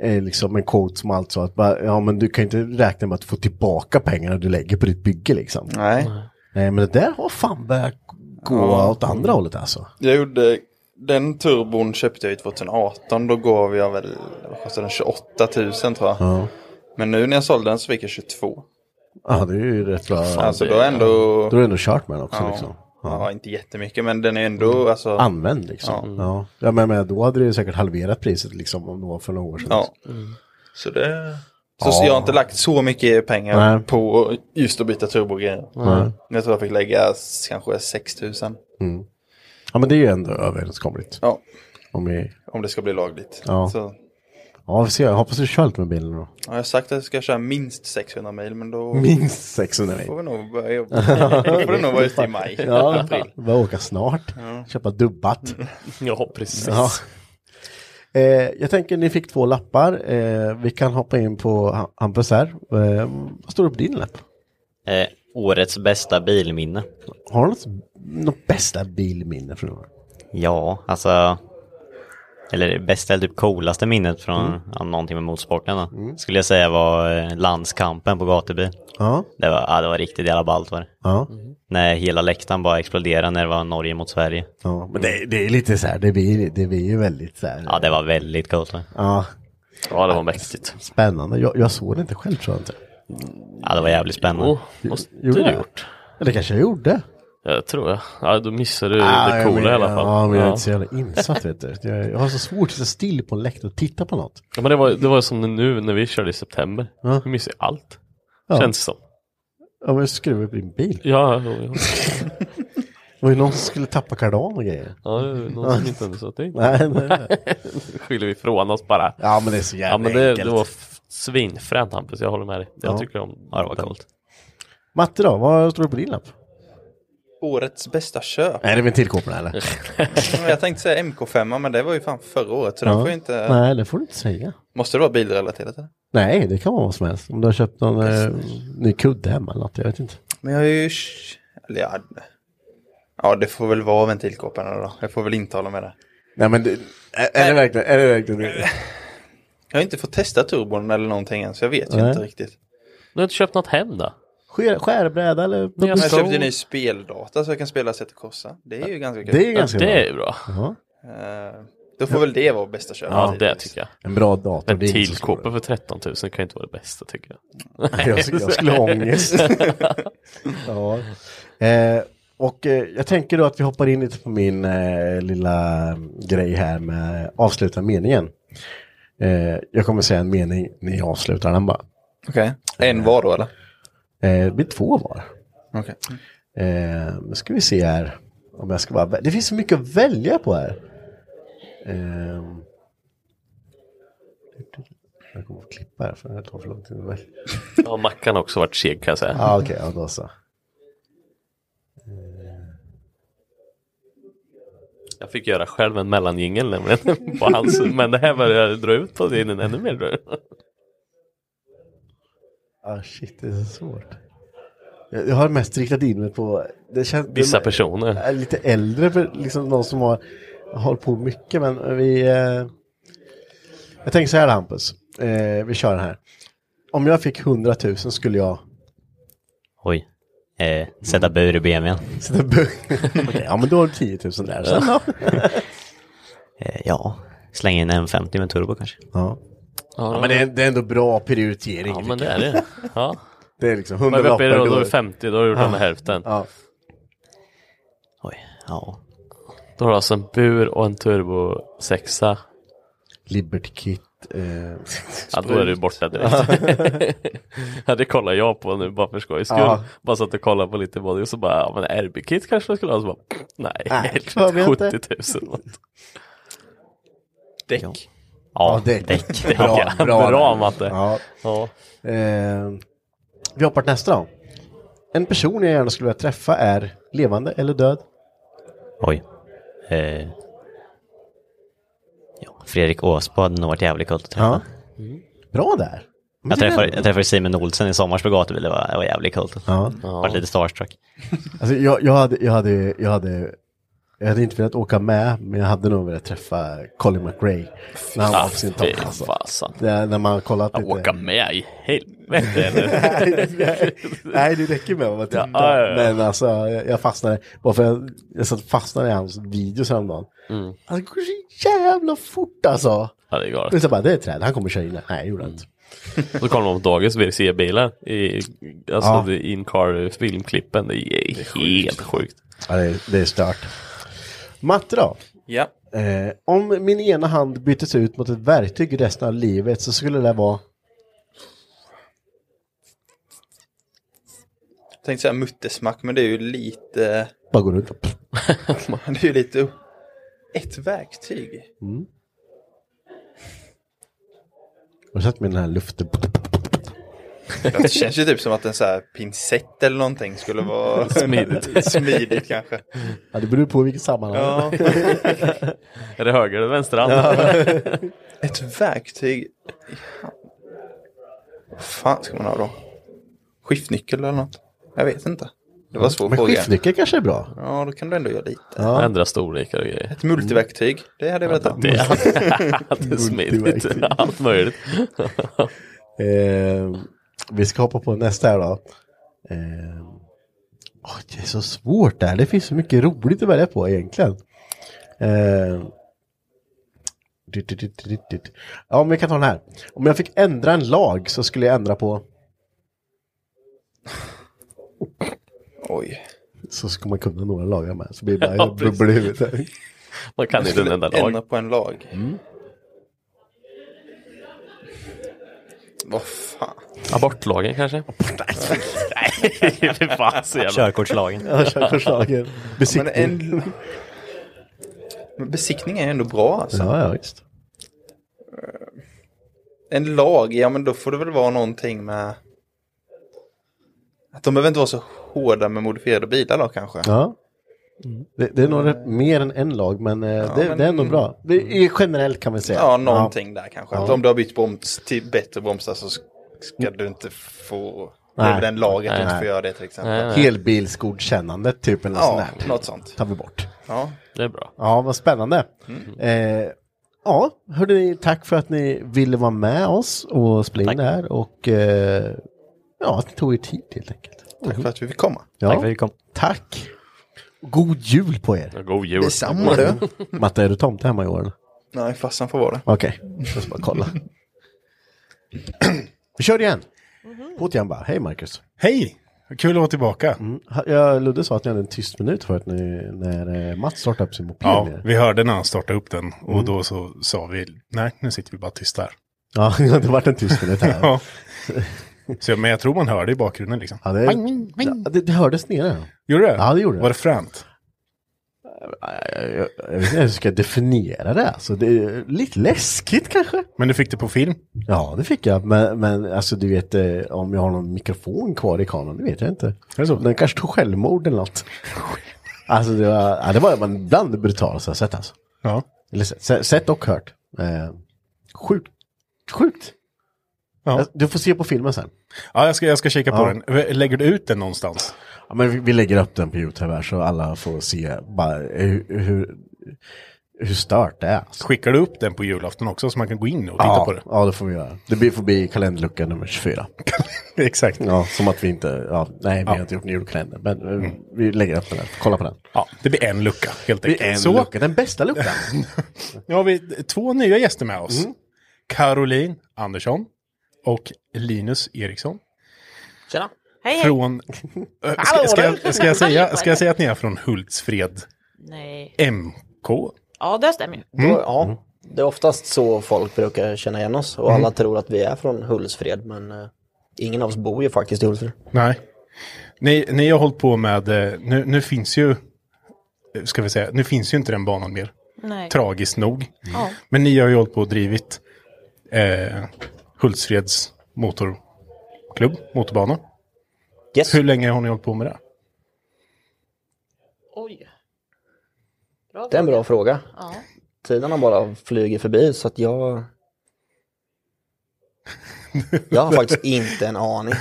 Speaker 2: eh, liksom en quote som allt sa att bara, ja men du kan inte räkna med att få tillbaka pengarna du lägger på ditt bygge liksom.
Speaker 26: Nej.
Speaker 2: Nej men det där har fan börjat gå
Speaker 26: Ja.
Speaker 2: åt andra hållet alltså.
Speaker 26: Jag gjorde, den turbon köpte jag ju 2018, då gav jag väl, vad kostade den, 28 000 tror jag.
Speaker 2: Ja.
Speaker 26: Men nu när jag sålde den så fick jag 22.
Speaker 2: Ja det är ju rätt bra.
Speaker 26: Fan, alltså då är ändå...
Speaker 2: Då har du ändå kört med den också
Speaker 26: ja.
Speaker 2: liksom.
Speaker 26: Ja.
Speaker 2: Ja. Mm.
Speaker 26: inte jättemycket men den är ändå alltså...
Speaker 2: Använd liksom.
Speaker 26: Ja.
Speaker 2: Ja. Ja. men, men då hade det ju säkert halverat priset liksom om det var för några år sedan.
Speaker 26: Ja.
Speaker 4: Mm.
Speaker 26: Så det... Så,
Speaker 2: Ja.
Speaker 26: så jag har inte lagt så mycket pengar
Speaker 2: Nej.
Speaker 26: på just att byta turbogrejer.
Speaker 2: Nej.
Speaker 26: Jag tror jag fick lägga s- kanske 6 000
Speaker 2: Mm. Ja men det är ju ändå överenskomligt.
Speaker 26: Ja.
Speaker 2: Om vi...
Speaker 26: om det ska bli lagligt.
Speaker 2: Ja.
Speaker 26: Så,
Speaker 2: Ja, vi får se. Jag hoppas du kör lite med bilen då.
Speaker 26: ja, jag har sagt att jag ska köra minst 600 mil men då...
Speaker 2: Minst 600 mil.
Speaker 26: Får vi nog börja jobba. då får det nog vara ute i maj.
Speaker 2: Ja,
Speaker 26: april.
Speaker 2: vi åka snart.
Speaker 26: Ja.
Speaker 2: Köpa dubbat.
Speaker 4: Ja, precis.
Speaker 2: Eh, jag tänker ni fick två lappar. Eh, vi kan hoppa in på Ha- Hampus här. Eh, vad står det på din lapp?
Speaker 25: Eh, årets bästa bilminne.
Speaker 2: Har du något, något bästa bilminne från året?
Speaker 25: Ja, alltså... Eller det bästa eller typ coolaste minnet från
Speaker 2: Mm.
Speaker 25: ja, någonting med motorsporten då,
Speaker 2: Mm.
Speaker 25: Skulle jag säga var eh, landskampen på gatubil.
Speaker 2: Ja.
Speaker 25: Det var, ja, det var riktigt jävla ballt var det.
Speaker 2: Ja.
Speaker 4: Mm.
Speaker 25: När hela läktaren bara exploderade när det var Norge mot Sverige.
Speaker 2: Ja, men det, det är lite så här, det blir, det blir ju väldigt så här.
Speaker 25: Ja, det var väldigt coolt. va?
Speaker 2: Ja,
Speaker 4: Ja, det var mäktigt.
Speaker 2: spännande. Jag, jag såg det inte själv tror jag inte.
Speaker 25: Ja, det var jävligt spännande.
Speaker 2: Gjorde
Speaker 4: du
Speaker 2: jag? Eller kanske jag gjorde.
Speaker 4: Ja, det tror jag. Ja, då missade du
Speaker 2: Ah,
Speaker 4: det
Speaker 2: jag
Speaker 4: coola
Speaker 2: men-
Speaker 4: i alla fall.
Speaker 2: Ja, men jag är inte så jävla insatt vet du. Jag, jag har så svårt att sitta still på en läktare och titta på något.
Speaker 4: Ja, men det var det var som nu när vi körde i september.
Speaker 2: Ja.
Speaker 4: Vi missade allt.
Speaker 2: Ja.
Speaker 4: Känns det som.
Speaker 2: Ja, men jag skruvar upp din bil.
Speaker 4: Ja, jo, jo.
Speaker 2: Det var ju någon som skulle tappa kardan och grejer.
Speaker 4: Ja, det är någon som inte hade suttit.
Speaker 2: Nej, nej, nej.
Speaker 4: Nu skyller vi ifrån oss bara.
Speaker 2: Ja, men det är så jävla
Speaker 4: Ja, men det, det
Speaker 2: enkelt.
Speaker 4: var f- svinfränt Hampus, jag håller med dig. Jag
Speaker 2: Ja.
Speaker 4: tycker om
Speaker 25: Ja, det var coolt.
Speaker 2: Matte då, vad står det på din lapp?
Speaker 26: Årets bästa köp.
Speaker 2: Är det ventilkåporna eller?
Speaker 26: Men jag tänkte säga MK5 men det var ju fan förra året så den får ju inte...
Speaker 2: Nej, det får du inte säga.
Speaker 26: Måste det vara bilrelaterat? eller?
Speaker 2: Nej, det kan vara vad som helst. Om du har köpt någon eh, ny kudde hemma eller något, jag vet inte.
Speaker 26: Men jag är ju... sh- Eller ja, ja, det får väl vara ventilkåporna då. Jag får väl inte hålla med det.
Speaker 2: Nej, men det- är, är det verkligen, är det verkligen det?
Speaker 26: Jag har inte fått testa turbon eller någonting än så jag vet ju
Speaker 2: Nej.
Speaker 26: inte riktigt.
Speaker 4: Du har inte köpt något hem då?
Speaker 2: Skär, skärbräda eller?
Speaker 26: Men jag släppte ju ny speldata så jag kan spela Zet och Corsa. Det är ju ganska kul.
Speaker 2: Det är ganska
Speaker 4: det
Speaker 2: bra.
Speaker 4: är ju bra.
Speaker 2: Ja.
Speaker 26: Eh, Då får väl det vara bästa köpet.
Speaker 4: Ja, det tycker jag.
Speaker 2: En bra dator,
Speaker 4: En
Speaker 2: det är inte så
Speaker 4: tillkåpa för 13 000 kan ju inte vara det bästa tycker jag.
Speaker 2: Jag, sk- jag skulle ha ångest. ja. eh, och eh, jag tänker då att vi hoppar in lite på min eh, lilla grej här med avsluta meningen. Eh, jag kommer säga en mening när jag avslutar den bara.
Speaker 26: Okej. En var då eller?
Speaker 2: Eh, det blir två var.
Speaker 26: Okej.
Speaker 2: Eh, nu ska vi se här. Om jag ska bara vä- det finns så mycket att välja på här. Ehm. jag kommer att klippa här för det här tar för lång tid att välja.
Speaker 4: Ja, Mackan har också varit seg kan jag säga.
Speaker 2: Ja, Ah, okej, ja, då så.
Speaker 4: Jag fick göra själv en mellanjingel nämligen. På hans, men det här börjar dra ut på tiden ännu mer. tror jag.
Speaker 2: Ah, shit, det är så svårt. Jag jag har mest riktat in mig på det känns,
Speaker 4: Vissa
Speaker 2: det-
Speaker 4: personer.
Speaker 2: är Lite äldre, för liksom någon som har hållit på mycket. Men vi... Eh, jag tänker så här Hampus, eh, vi kör den här. Om jag fick 100 000 skulle jag...
Speaker 25: Oj. Eh, sätta bur i BMWn.
Speaker 2: Sätta bur. Okej, ja men då har du 10 000 där sen då.
Speaker 25: eh, ja, slänga in en 50 med turbo kanske.
Speaker 2: Ja. Ja, men det är, det är ändå bra prioritering.
Speaker 4: Ja,
Speaker 2: tycker
Speaker 4: men det
Speaker 2: jag.
Speaker 4: är det. Ja.
Speaker 2: Det är liksom
Speaker 4: Men
Speaker 2: 100
Speaker 4: vi är uppe i
Speaker 2: lappar
Speaker 4: det, Då är
Speaker 2: då.
Speaker 4: vi 50, då har du gjort av med
Speaker 2: Ja.
Speaker 4: hälften.
Speaker 2: Ja.
Speaker 25: Oj, ja.
Speaker 4: Då har du alltså en bur och en turbo sexa.
Speaker 2: Liberty Kit. Eh,
Speaker 4: Ja, då är du borta direkt. ja, det kollar jag på nu bara för skojs skull.
Speaker 2: Ja.
Speaker 4: Bara satt och kollade på lite body och så bara, ja men RB-kit kanske man skulle ha. Så bara, nej,
Speaker 2: Nej,
Speaker 4: helvete,
Speaker 2: det var vi
Speaker 4: 70
Speaker 2: inte.
Speaker 4: 000 något. Däck.
Speaker 2: Ja, däck.
Speaker 4: däck. Ja, bra, Matte.
Speaker 2: Ja.
Speaker 4: Ja.
Speaker 2: Eh, vi hoppar till nästa då. En person jag gärna skulle vilja träffa är levande eller död?
Speaker 25: Oj. Eh. Ja, Fredrik Åsbad hade nog varit jävligt coolt att träffa.
Speaker 2: Mm. Bra där. Men
Speaker 25: Jag
Speaker 2: det är
Speaker 25: träffade,
Speaker 2: den.
Speaker 25: jag träffade Simon Olsen i sommars på gatubil, det var, det var jävligt coolt.
Speaker 2: Ja.
Speaker 25: Vart lite starstruck.
Speaker 2: Alltså, jag, jag, hade, jag, hade, jag, hade, jag hade inte velat åka med, men jag hade nog velat träffa Colin McRae. När han var på sin topp.
Speaker 4: Ah, Fy
Speaker 2: Alltså.
Speaker 4: fasen.
Speaker 2: Det, när man har kollat lite.
Speaker 4: Åka med i helvete.
Speaker 2: nej, nej, nej, det räcker med att vara titta.
Speaker 4: Ja, ja, ja.
Speaker 2: Men alltså, jag, jag fastnade. Bara för jag, jag satt fastnade i hans videos häromdagen.
Speaker 4: Mm.
Speaker 2: Han går så jävla fort alltså.
Speaker 4: Ja, det är galet.
Speaker 2: Men så bara, det är ett träd, han kommer köra in det. Nej, det gjorde han inte.
Speaker 4: Då kollar man på dagens WRC-bilar i alltså
Speaker 2: Ja.
Speaker 4: the in-car filmklippen. Det är, helt sjukt.
Speaker 2: Ja, det, är- det är stört. Matte då?
Speaker 15: Ja.
Speaker 2: Eh, om min ena hand byttes ut mot ett verktyg resten av livet så skulle det vara...
Speaker 26: Jag tänkte säga muttersmack, men det är ju lite...
Speaker 2: Bara gå runt.
Speaker 26: det är ju lite... upp- Ett verktyg.
Speaker 2: Mm. Har du sett med den här luften?
Speaker 26: Det känns ju typ som att en så här pincett eller någonting skulle vara
Speaker 4: Smidigt.
Speaker 26: smidigt kanske.
Speaker 2: Ja, det beror på vilket sammanhang.
Speaker 26: Ja.
Speaker 4: är det höger eller vänster hand?
Speaker 26: Ett verktyg i hand. Vad fan ska man ha då? Skiftnyckel eller något? Jag vet inte. Det var en svår
Speaker 2: Men
Speaker 26: fråga.
Speaker 2: skiftnyckeln kanske är bra.
Speaker 26: Ja, då kan du ändå göra lite.
Speaker 2: Ja.
Speaker 4: Ändra storlekar och grejer.
Speaker 26: Ett multiverktyg, det hade jag velat ha.
Speaker 4: Det, det är smidigt.
Speaker 26: Multiverktyg.
Speaker 4: Allt möjligt.
Speaker 2: Eh, vi ska hoppa på nästa här då. Eh, åh, det är så svårt där. Det finns så mycket roligt att välja på egentligen. Eh, dit, dit, dit, dit, dit. ja, men vi kan ta den här. Om jag fick ändra en lag så skulle jag ändra på...
Speaker 26: Oj.
Speaker 2: Så ska man kunna några lagar med. Så blir det bara
Speaker 26: Ja, precis.
Speaker 2: bubblor i huvudet.
Speaker 4: Man kan
Speaker 26: Jag
Speaker 4: inte en
Speaker 26: skulle
Speaker 4: enda lag.
Speaker 26: Ändra på en lag.
Speaker 2: Mm.
Speaker 26: Vad fan.
Speaker 4: Abortlagen kanske? Nej, fy fan så jävla...
Speaker 25: Körkortslagen.
Speaker 2: Ja, körkortslagen. Besiktning.
Speaker 26: Ja, men, en... men besiktning är ändå bra alltså. Eh,
Speaker 2: Ja, ja, visst.
Speaker 26: En lag, ja men då får det väl vara någonting med... Att de behöver inte vara så hårda med modifierade bilar då kanske.
Speaker 2: Ja.
Speaker 4: Mm.
Speaker 2: Det, det är nog rätt- mer än en lag, men, eh, det,
Speaker 26: Eh, men- mm.
Speaker 2: det är ändå bra. Det är generellt kan vi säga.
Speaker 26: Ja, någonting där kanske. Att
Speaker 2: Ja.
Speaker 26: om du har bytt broms till bättre bromsar så ska du inte få... Det är väl den lagen du inte får göra det till exempel.
Speaker 2: Helbilsgodkännandet, typ. Eller
Speaker 26: Ja,
Speaker 2: sån här.
Speaker 26: något sånt.
Speaker 2: tar vi bort.
Speaker 26: Ja.
Speaker 4: Det är bra.
Speaker 2: Ja, vad spännande.
Speaker 26: Mm.
Speaker 2: Eh, ja, hörde ni, tack för att ni ville vara med oss och spela in det här. Och eh, ja, att ni tog er tid helt enkelt.
Speaker 26: Tack för att vi fick komma.
Speaker 2: Ja.
Speaker 26: Tack för att
Speaker 25: vi kom.
Speaker 2: Tack. God jul på er.
Speaker 4: God jul. Mm.
Speaker 26: Detsamma, du.
Speaker 2: Matte, är du tomte hemma i år? eller?
Speaker 26: Nej, farsan får vara det.
Speaker 2: Okej, jag ska bara kolla. Vi kör igen. Åt igen bara. Hej Marcus.
Speaker 3: Mhm. Hej! Kul att vara tillbaka.
Speaker 2: Mm. Ha- Ja, Ludde sa att ni hade en tyst minut förut när, när eh, Mats startade upp sin moped.
Speaker 3: Ja,
Speaker 2: nere.
Speaker 3: vi hörde när han startade upp den och
Speaker 2: Mm.
Speaker 3: då så sa vi, nej nu sitter vi bara tysta här.
Speaker 2: ja det har varit en tyst minut här.
Speaker 3: ja. så, jag- men jag tror man hörde i bakgrunden liksom.
Speaker 2: Ja, det,
Speaker 3: Pang,
Speaker 2: Eh, Ja, det, det hördes nere.
Speaker 3: Gjorde det?
Speaker 2: Ja, det gjorde det.
Speaker 3: Var det fränt?
Speaker 2: Eh, Jag, jag vet inte hur jag ska definiera det. Alltså, det är lite läskigt kanske.
Speaker 3: Men du fick det på film?
Speaker 2: Ja, det fick jag. Men, men alltså, du vet eh, om jag har någon mikrofon kvar i kameran, det vet jag inte. Den kanske tog självmord eller något. alltså, det var, ja, det var bland det brutalaste jag sett alltså.
Speaker 3: Ja.
Speaker 2: Eller sett- sett, sett och hört. Eh, sjukt. Sjukt. Alltså,
Speaker 3: Ja.
Speaker 2: Du får se på filmen sen.
Speaker 3: Ja, jag ska, jag ska kika på
Speaker 2: Ja.
Speaker 3: den. Lägger du ut den någonstans?
Speaker 2: Ja, men vi, vi lägger upp den på YouTube här så alla får se bara hur, hur, hur stört det är. Alltså.
Speaker 3: Skickar du upp den på julafton också så man kan gå in och titta
Speaker 2: ja,
Speaker 3: på det?
Speaker 2: Ja, det får vi göra. Det blir, får bli kalenderlucka nummer 24.
Speaker 3: Exakt.
Speaker 2: Ja, som att vi inte, ja, nej vi
Speaker 3: Ja. Mm.
Speaker 2: har inte gjort en julkalender, men eh, vi lägger upp den här. Kolla på den.
Speaker 3: Ja, det blir en lucka helt
Speaker 2: Det blir
Speaker 3: enkelt.
Speaker 2: en lucka, den bästa luckan. Mm.
Speaker 3: nu har vi två nya gäster med oss. Caroline Andersson och Linus Eriksson.
Speaker 8: Tjena. Hej, hej.
Speaker 3: Från... Äh, Ska,
Speaker 8: Hallå,
Speaker 3: ska,
Speaker 8: du.
Speaker 3: jag, ska, jag säga, ska jag säga att ni är från Hultsfred
Speaker 8: Nej.
Speaker 3: MK?
Speaker 8: Ja, det stämmer ju.
Speaker 3: Mm.
Speaker 8: Då-
Speaker 3: Ja.
Speaker 24: Det är oftast så folk brukar känna igen oss och
Speaker 3: Mm.
Speaker 24: alla tror att vi är från Hultsfred men eh, ingen av oss bor ju faktiskt i Hultsfred.
Speaker 3: Nej. Ni, ni har hållit på med, eh, nu, nu finns ju, eh, ska vi säga, nu finns ju inte den banan mer.
Speaker 8: Nej. Mm.
Speaker 3: Tragiskt nog.
Speaker 8: Ja.
Speaker 3: Men ni har ju hållit på och drivit eh, Hultsfreds motorklubb, motorbana. Hur länge har ni hållit på med det?
Speaker 8: Oj.
Speaker 24: Det är en bra fråga.
Speaker 8: Ja.
Speaker 24: Tiden har bara flugit förbi så att jag... Jag har faktiskt inte en aning.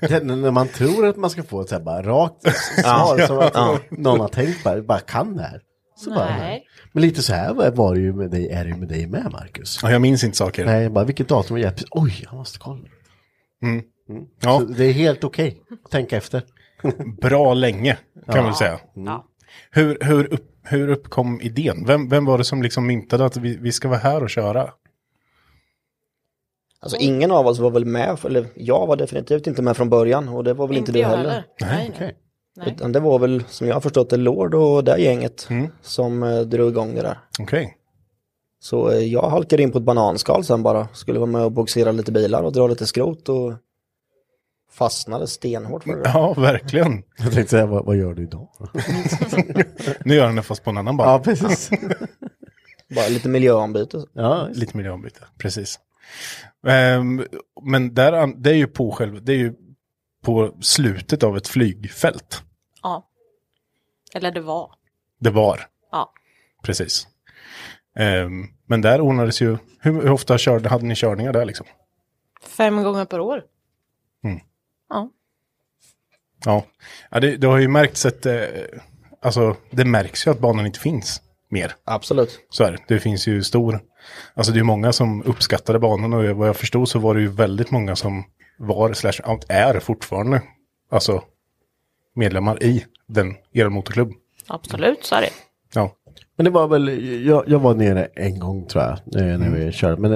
Speaker 2: Det- när när man tror att man ska få ett så här bara rakt svar som att
Speaker 24: Ja.
Speaker 2: någon har tänkt bara, bara kan det här. Så bara,
Speaker 24: Nej.
Speaker 2: Men lite så här var- var det ju med dig, är det ju med dig med Marcus.
Speaker 3: Ja, jag minns inte saker.
Speaker 2: Nej, bara vilket datum var det? Precis, Oj, jag måste kolla.
Speaker 3: Mm.
Speaker 2: Ja. Så det är helt okej att tänka efter.
Speaker 3: Bra länge kan
Speaker 2: Ja. Mm.
Speaker 3: man väl säga.
Speaker 2: Ja.
Speaker 3: Hur, hur, upp, hur uppkom idén? Vem, vem var det som liksom myntade att vi, vi ska vara här och köra?
Speaker 24: Alltså ingen av oss var väl med, eller jag var definitivt inte med från början och det var väl inte, du
Speaker 8: jag
Speaker 24: heller.
Speaker 8: heller. Nej, nej.
Speaker 24: Utan det var väl, som jag har förstått det, Lord och det gänget som eh, drog igång det där.
Speaker 3: Mm. Okej.
Speaker 24: Så eh, jag halkade in på ett bananskal sen bara, skulle vara med och boxera lite bilar och dra lite skrot och fastnade stenhårt för det. där.
Speaker 3: Ja, verkligen.
Speaker 2: Jag tänkte säga, vad, vad gör du idag?
Speaker 3: nu gör han det fast på en annan bana.
Speaker 2: Ja, precis.
Speaker 24: bara lite miljöombyte.
Speaker 2: Ja,
Speaker 3: lite miljöombyte, precis. Ehm, men där, an- det är ju på själv, det är ju på slutet av ett flygfält.
Speaker 8: Ja. Eller det var.
Speaker 3: Det var,
Speaker 8: Ja.
Speaker 3: precis. Ehm, men där ordnades ju, hur, hur ofta körde, hade ni körningar där liksom?
Speaker 8: Fem gånger per år.
Speaker 3: Ja, ja det, det har ju märkts att, eh, alltså det märks ju att banan inte finns mer.
Speaker 24: Absolut.
Speaker 3: Så är det, det finns ju stor, alltså det är ju många som uppskattade banan och vad jag förstod så var det ju väldigt många som var, slash out är fortfarande, alltså medlemmar i den, er motorklubb.
Speaker 8: Absolut, så är det.
Speaker 3: Ja.
Speaker 2: Men det var väl, jag, jag var nere en gång tror jag, eh, när
Speaker 3: Mm.
Speaker 2: vi körde. Men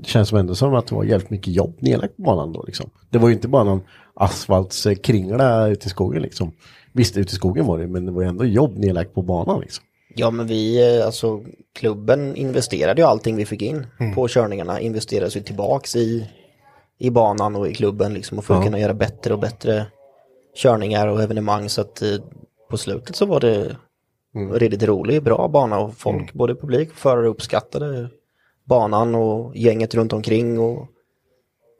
Speaker 2: det känns som ändå som att det var jävligt mycket jobb nedlagt på banan då liksom. Det var ju inte bara någon asfaltskringla ute i skogen liksom. Visst, ute i skogen var det, men det var ju ändå jobb nedlagt på banan liksom.
Speaker 24: Ja men vi, eh, alltså klubben investerade ju allting vi fick in
Speaker 2: Mm.
Speaker 24: på körningarna, investerades ju tillbaks i, i banan och i klubben liksom och för att
Speaker 2: Ja.
Speaker 24: kunna göra bättre och bättre körningar och evenemang så att eh, på slutet så var det
Speaker 2: Mm.
Speaker 24: riktigt rolig, bra bana och folk, både publik och förare uppskattade banan och gänget runt omkring och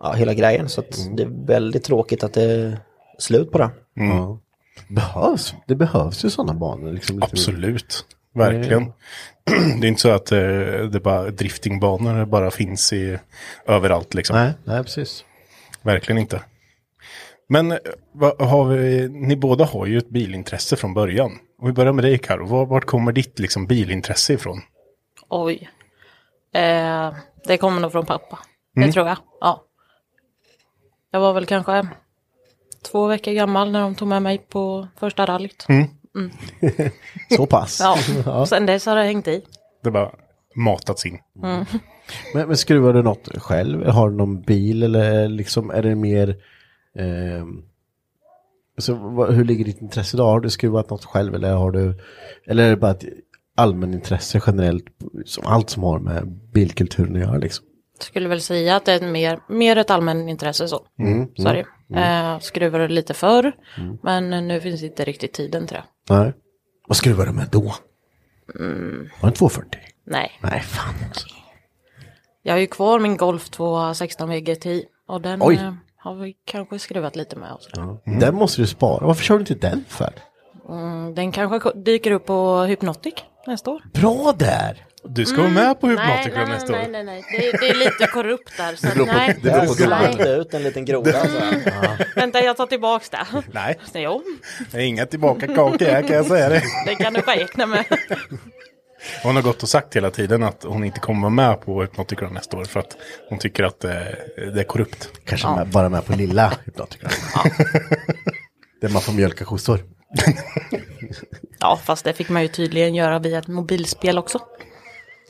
Speaker 24: ja, hela grejen så
Speaker 2: Mm.
Speaker 24: att det är väldigt tråkigt att det är slut på det.
Speaker 3: Mm.
Speaker 2: Ja. Behövs, det behövs ju sådana banor liksom. lite-
Speaker 3: Absolut, verkligen. Det är inte så att eh, det bara driftingbanor bara finns i, överallt liksom.
Speaker 2: Nej, nej precis.
Speaker 3: Verkligen inte. Men eh, vad har vi, ni båda har ju ett bilintresse från början. Om vi börjar med dig Karo, var, vart kommer ditt liksom, bilintresse ifrån?
Speaker 8: Oj. Eh, det kommer nog från pappa.
Speaker 3: Mm.
Speaker 8: Det tror jag. Ja. Jag var väl kanske två veckor gammal när de tog med mig på första rallyt.
Speaker 3: Mm.
Speaker 8: Mm.
Speaker 2: Så pass.
Speaker 8: Ja,
Speaker 2: Ja.
Speaker 8: sen dess har det hängt i.
Speaker 3: Det bara matats in.
Speaker 8: Mm.
Speaker 2: Men, men skruvar du något själv? Har du någon bil eller liksom är det mer... ehm, så, vad, hur ligger ditt intresse då? Har du skruvat något själv eller har du... Eller är det bara ett allmänintresse generellt? Som allt som har med bilkulturen att göra liksom.
Speaker 8: Skulle väl säga att det är mer, mer ett allmänintresse så.
Speaker 2: Mm,
Speaker 8: så är det.
Speaker 2: mm,
Speaker 8: Eh, skruvade lite förr,
Speaker 2: Mm.
Speaker 8: men nu finns inte riktigt tiden tror jag.
Speaker 2: Nej. Vad skruvar du med då? Var det 240?
Speaker 8: Nej.
Speaker 2: Nej, fan. alltså.
Speaker 8: Jag har ju kvar min Golf 216 VGTI och den
Speaker 2: Oj.
Speaker 8: eh, har vi kanske skruvat lite med och sådär.
Speaker 2: Den måste du spara. Varför kör du inte den för?
Speaker 8: Mm, den kanske ko- dyker upp på Hypnotic nästa år.
Speaker 2: Bra där!
Speaker 3: Du
Speaker 8: ska vara Mm, med på nej, Hypnotic nej, nästa nej, år. nej, nej. Det är- det är lite korrupt där, så Du går på- nej. du går på
Speaker 24: skulle
Speaker 8: Nej.
Speaker 24: inte ut en liten groda. så här.
Speaker 8: Vänta, jag tar tillbaks det.
Speaker 3: Nej.
Speaker 8: Jo,
Speaker 3: Det är inga tillbaka kakor här kan jag säga det.
Speaker 8: det kan du räkna med.
Speaker 3: Hon har gått och sagt hela tiden att hon inte kommer vara med på Hypnoticron nästa år för att hon tycker att eh, det är korrupt.
Speaker 2: Kanske med, bara med på lilla hypnotikern. Där man får mjölka kossor.
Speaker 8: Ja, fast det fick man ju tydligen göra via ett mobilspel också.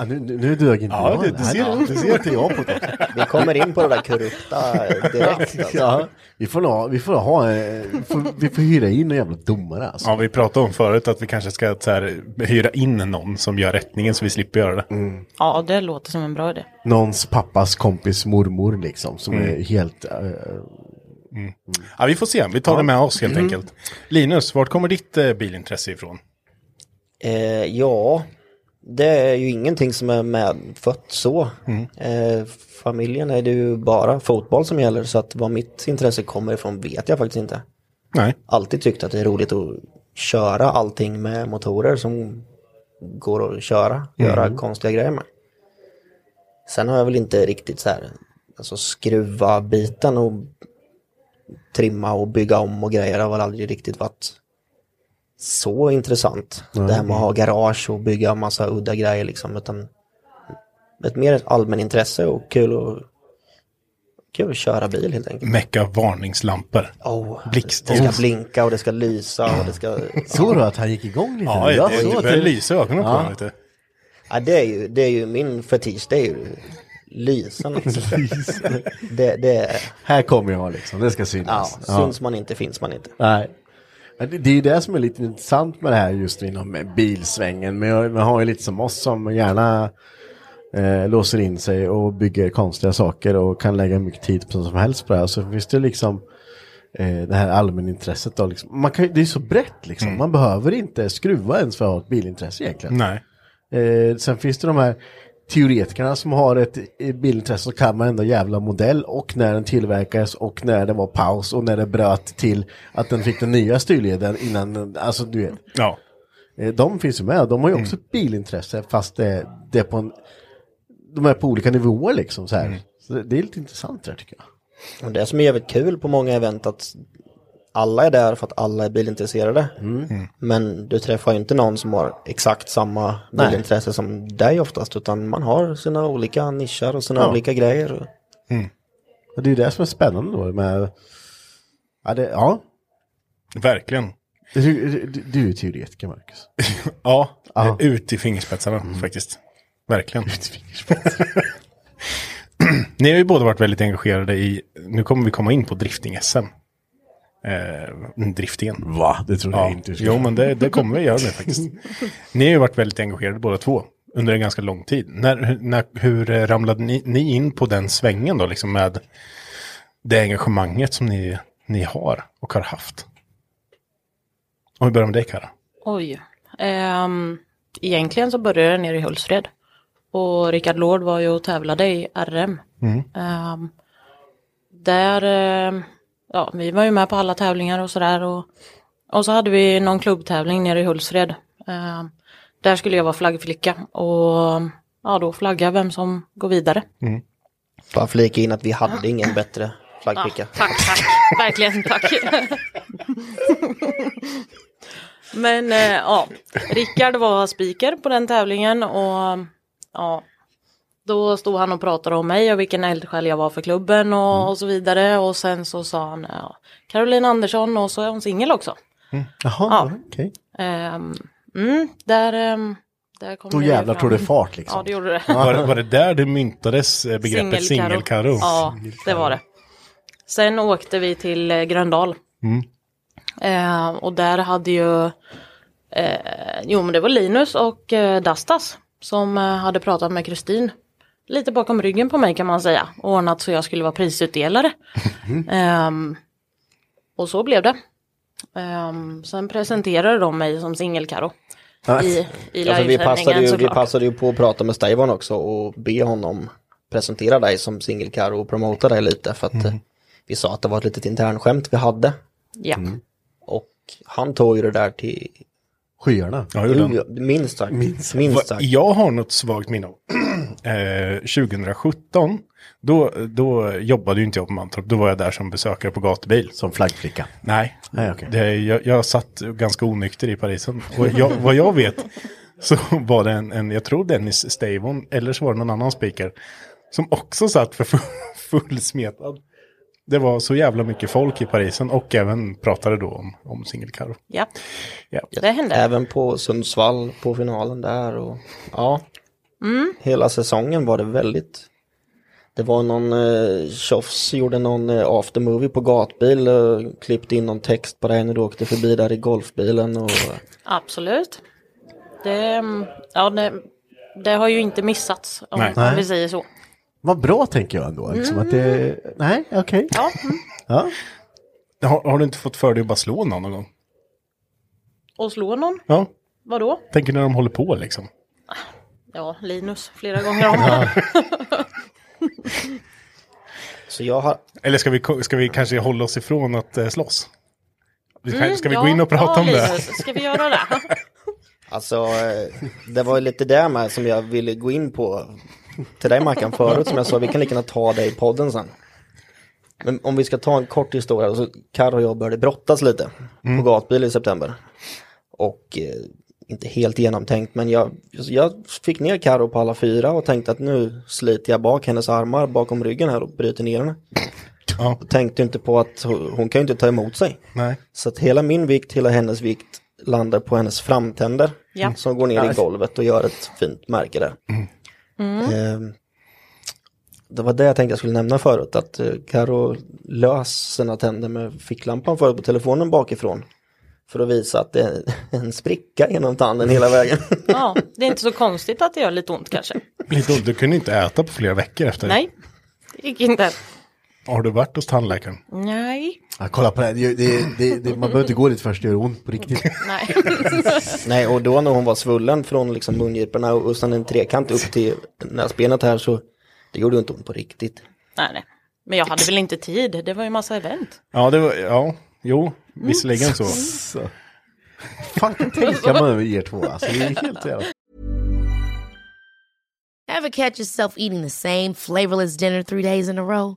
Speaker 2: Ja, nu, nu, nu dög inte
Speaker 24: Ja,
Speaker 2: jag.
Speaker 24: du- du
Speaker 2: Nej,
Speaker 24: ser-
Speaker 2: nej,
Speaker 24: du
Speaker 2: det
Speaker 24: ser.
Speaker 2: går inte jag på det.
Speaker 24: Vi kommer in på det där korrupta eh, direkt. Alltså.
Speaker 2: Ja, vi får nog ha, vi får ha, eh, vi får, vi får hyra in en jävla domare alltså.
Speaker 3: Ja, vi pratade om förut att vi kanske ska så här, hyra in någon som gör rättningen så vi slipper göra det.
Speaker 2: Mm,
Speaker 8: Ja, det låter som en bra idé.
Speaker 2: Någons pappas kompis mormor liksom som
Speaker 3: Mm.
Speaker 2: är helt... eh,
Speaker 3: Ja, vi får se, vi tar
Speaker 2: Ja.
Speaker 3: det med oss helt
Speaker 2: Mm.
Speaker 3: enkelt. Linus, vart kommer ditt eh, bilintresse ifrån?
Speaker 24: Eh, ja, det är ju ingenting som är medfött så.
Speaker 3: Mm.
Speaker 24: Eh, familjen är det ju bara fotboll som gäller så att var mitt intresse kommer ifrån vet jag faktiskt inte.
Speaker 3: Nej.
Speaker 24: Alltid tyckt att det är roligt att köra allting med motorer som går att köra, göra
Speaker 3: Mm.
Speaker 24: konstiga grejer med. Sen har jag väl inte riktigt så här, alltså skruva biten och trimma och bygga om och grejer har väl aldrig riktigt varit så intressant.
Speaker 2: Nej.
Speaker 24: Det här med att ha garage och bygga massa udda grejer liksom. Utan ett mer allmän intresse och kul och kul att köra bil helt enkelt.
Speaker 3: Mecka varningslampor.
Speaker 24: Oh, Det
Speaker 3: Blixtljus.
Speaker 24: ska blinka och det ska lysa och det ska...
Speaker 2: Såg du att han gick igång lite?
Speaker 24: Ja,
Speaker 2: Jag
Speaker 24: det-
Speaker 2: såg
Speaker 24: det
Speaker 2: att
Speaker 24: började lysa i ögonen på honom
Speaker 3: lite.
Speaker 24: Ja, det är ju, det är ju min fetisch, det är ju lysen. Alltså. det, det är...
Speaker 2: Här kommer jag liksom, det ska
Speaker 24: Ja,
Speaker 2: synas.
Speaker 24: syns man inte finns man inte.
Speaker 2: Nej. Men Det det är ju det som är lite intressant med det här just inom eh, bilsvängen. Men jag- man har ju lite som oss som gärna eh, låser in sig och bygger konstiga saker och kan lägga mycket tid på vad som helst på det här. Så finns det liksom eh, det här allmänintresset då. Liksom. Man kan, ju- det är så brett liksom.
Speaker 3: Mm.
Speaker 2: Man behöver inte skruva ens för att ha ett bilintresse egentligen.
Speaker 3: Nej.
Speaker 2: Eh, sen finns det de här teoretikerna som har ett eh, bilintresse så kan man ändå jävla modell och när den tillverkades och när det var paus och när det bröt till att den fick den nya styrleden innan, den- alltså du vet.
Speaker 3: Ja. Mm.
Speaker 2: Eh, de finns ju med, de har ju också ett bilintresse fast det, det är på en, de är på olika nivåer liksom så här.
Speaker 3: Mm.
Speaker 2: Så det, det är lite intressant där tycker jag.
Speaker 24: Och det som är jävligt kul på många event att alla är där för att alla är bilintresserade.
Speaker 2: Mm.
Speaker 24: Men du träffar ju inte någon som har exakt samma
Speaker 2: Nej.
Speaker 24: bilintresse som dig oftast utan man har sina olika nischar och sina
Speaker 2: Ja.
Speaker 24: olika grejer.
Speaker 3: Mm.
Speaker 2: Och det är ju det som är spännande då med, ja, det, ja.
Speaker 3: Verkligen.
Speaker 2: Du, du, du är teoretiker Marcus.
Speaker 3: Ja,
Speaker 2: Ja.
Speaker 3: Eh,
Speaker 2: Mm.
Speaker 3: ut i fingerspetsarna faktiskt. Verkligen. Ni har ju båda varit väldigt engagerade i, nu kommer vi komma in på drifting-SM. Eh, driftingen.
Speaker 2: Va? Det trodde jag inte du skulle.
Speaker 3: Jo, men det, det kommer vi göra nu faktiskt. Ni har ju varit väldigt engagerade båda två under en ganska lång tid. När, när, hur eh, ramlade ni, ni in på den svängen då, liksom med det engagemanget som ni, ni har och har haft? Om vi börjar med dig, Kara.
Speaker 8: Oj. Ehm, egentligen så började jag nere i Hultsfred. Och Rickard Lord var ju och tävlade i RM.
Speaker 3: Mm.
Speaker 8: Ehm, där, ehm, ja vi var ju med på alla tävlingar och sådär. Och, och så hade vi någon klubbtävling nere i Hultsfred. Ehm, där skulle jag vara flaggflicka och ja, då flagga vem som går vidare.
Speaker 24: Bara flika in att vi hade ingen bättre flaggpicka.
Speaker 8: Ja, tack, tack. Verkligen tack. Men eh, ja, Rickard var speaker på den tävlingen och ja, då stod han och pratade om mig och vilken eldsjäl jag var för klubben och,
Speaker 3: Mm.
Speaker 8: och så vidare. Och sen så sa han ja, Caroline Andersson och så är hon singel också.
Speaker 3: Mm.
Speaker 2: Jaha,
Speaker 8: Ja.
Speaker 2: okej.
Speaker 8: Ehm, mm, där, ehm, där kom
Speaker 3: Då
Speaker 8: det
Speaker 3: jävlar
Speaker 8: fram.
Speaker 3: tog det fart, liksom.
Speaker 8: Ja, det gjorde det.
Speaker 3: Var, det- var det där det myntades eh, begreppet
Speaker 8: Singelkaro.
Speaker 3: singelkaro?
Speaker 8: Ja, det var det. Sen åkte vi till eh, Gröndal.
Speaker 3: Mm.
Speaker 8: Eh, och där hade ju, eh, jo men det var Linus och eh, Dastas som eh, hade pratat med Kristin. Lite bakom ryggen på mig kan man säga. Och ordnat så jag skulle vara prisutdelare. Ehm, och så blev det. Ehm, sen presenterade de mig som singelkaro. I, i
Speaker 24: Ja, för vi, passade ju,
Speaker 8: livesändningen
Speaker 24: vi
Speaker 8: såklart.
Speaker 24: passade ju på att prata med Stefan också och be honom presentera dig som singelkaro och promota dig lite för att eh,
Speaker 3: Mhm.
Speaker 24: vi sa att det var ett litet internskämt vi hade.
Speaker 8: Ja.
Speaker 3: Mm.
Speaker 24: Och han tog ju det där till
Speaker 2: skyarna.
Speaker 3: Ja, gjorde han.
Speaker 24: minst sagt. Minst, sagt.
Speaker 3: Jag har något svagt minne av eh, 2017. Då, då jobbade ju inte jag på Mantorp, då var jag där som besökare på gatubil.
Speaker 2: Som flaggflicka?
Speaker 3: Nej,
Speaker 2: Nej, okej.
Speaker 3: det, jag, jag satt ganska onykter i Parisen. Och jag, vad jag vet så var det en, en jag tror Dennis Stavon, eller så var det någon annan speaker, som också satt för full, fullsmetad. Det var så jävla mycket folk i Parisen och även pratade då om, om singelkaro.
Speaker 8: Ja.
Speaker 3: Ja.
Speaker 8: Det hände.
Speaker 24: Även på Sundsvall på finalen där och ja.
Speaker 8: Mm.
Speaker 24: Hela säsongen var det väldigt Det var någon eh, tjofs gjorde någon eh, aftermovie på gatbil och klippte in någon text på det när du åkte förbi där i golfbilen och eh,
Speaker 8: Absolut. Det, mm, ja, det, det har ju inte missats om,
Speaker 2: Nej.
Speaker 8: om vi
Speaker 2: Nej.
Speaker 8: säger så.
Speaker 2: Vad bra tänker jag ändå.
Speaker 8: Mm.
Speaker 2: Liksom, att det, nej, okej.
Speaker 8: Ja. mm.
Speaker 2: Ja.
Speaker 3: Har, har du inte fått för dig att bara slå någon någon gång?
Speaker 8: Och slå någon,
Speaker 3: Ja,
Speaker 8: vadå?
Speaker 3: tänker när de håller på liksom.
Speaker 8: Ja, Linus flera gånger om.
Speaker 24: Så jag har...
Speaker 3: Eller ska vi, ko- ska vi kanske hålla oss ifrån att eh, slåss? Vi kan-
Speaker 8: Mm,
Speaker 3: Ska vi
Speaker 8: ja,
Speaker 3: gå in och prata
Speaker 8: ja,
Speaker 3: om det?
Speaker 8: Linus, Ska vi göra det?
Speaker 24: Alltså, eh, det var ju lite det med som jag ville gå in på till dig Mackan förut som jag sa, vi kan lika gärna ta det i podden sen. Men om vi ska ta en kort historia, så Karro och jag började brottas lite
Speaker 3: Mm.
Speaker 24: på gatbil i september. Och eh, inte helt genomtänkt, men jag, jag fick ner Karro på alla fyra och tänkte att nu sliter jag bak hennes armar bakom ryggen här och bryter ner henne.
Speaker 3: Ja.
Speaker 24: Tänkte inte på att hon, hon kan ju inte ta emot sig.
Speaker 3: Nej.
Speaker 24: Så att hela min vikt, hela hennes vikt landar på hennes framtänder
Speaker 8: Ja.
Speaker 24: som går ner
Speaker 8: Nej.
Speaker 24: i golvet och gör ett fint märke där.
Speaker 2: Mm.
Speaker 24: Ehm, det var det jag tänkte jag skulle nämna förut, att eh, Karo lös sina tänder med ficklampan förut på telefonen bakifrån. För att visa att det är en spricka genom tanden hela
Speaker 2: Mm.
Speaker 24: vägen.
Speaker 8: Ja, det är inte så konstigt att det gör lite ont kanske.
Speaker 3: Lite ont, du kunde inte äta på flera veckor efter.
Speaker 8: Nej, det gick inte.
Speaker 3: Har du varit hos tandläkaren?
Speaker 8: Nej.
Speaker 2: Ja, kolla på det, här. det, det, det, det man behöver inte gå dit först, det gör ont på riktigt.
Speaker 8: Nej.
Speaker 24: Nej, och då när hon var svullen från liksom mungiporna och och sen en trekant upp till näsbenet här så det gjorde ju inte ont på riktigt.
Speaker 8: nej, nej. Men jag hade väl inte tid, det var ju massa event.
Speaker 3: Ja, det var, ja, jo,
Speaker 8: Mm.
Speaker 3: visserligen så.
Speaker 2: Fan kan tänka man över er två alltså, det är helt jävla...
Speaker 27: Ever catch yourself eating the same flavorless dinner three days in a row?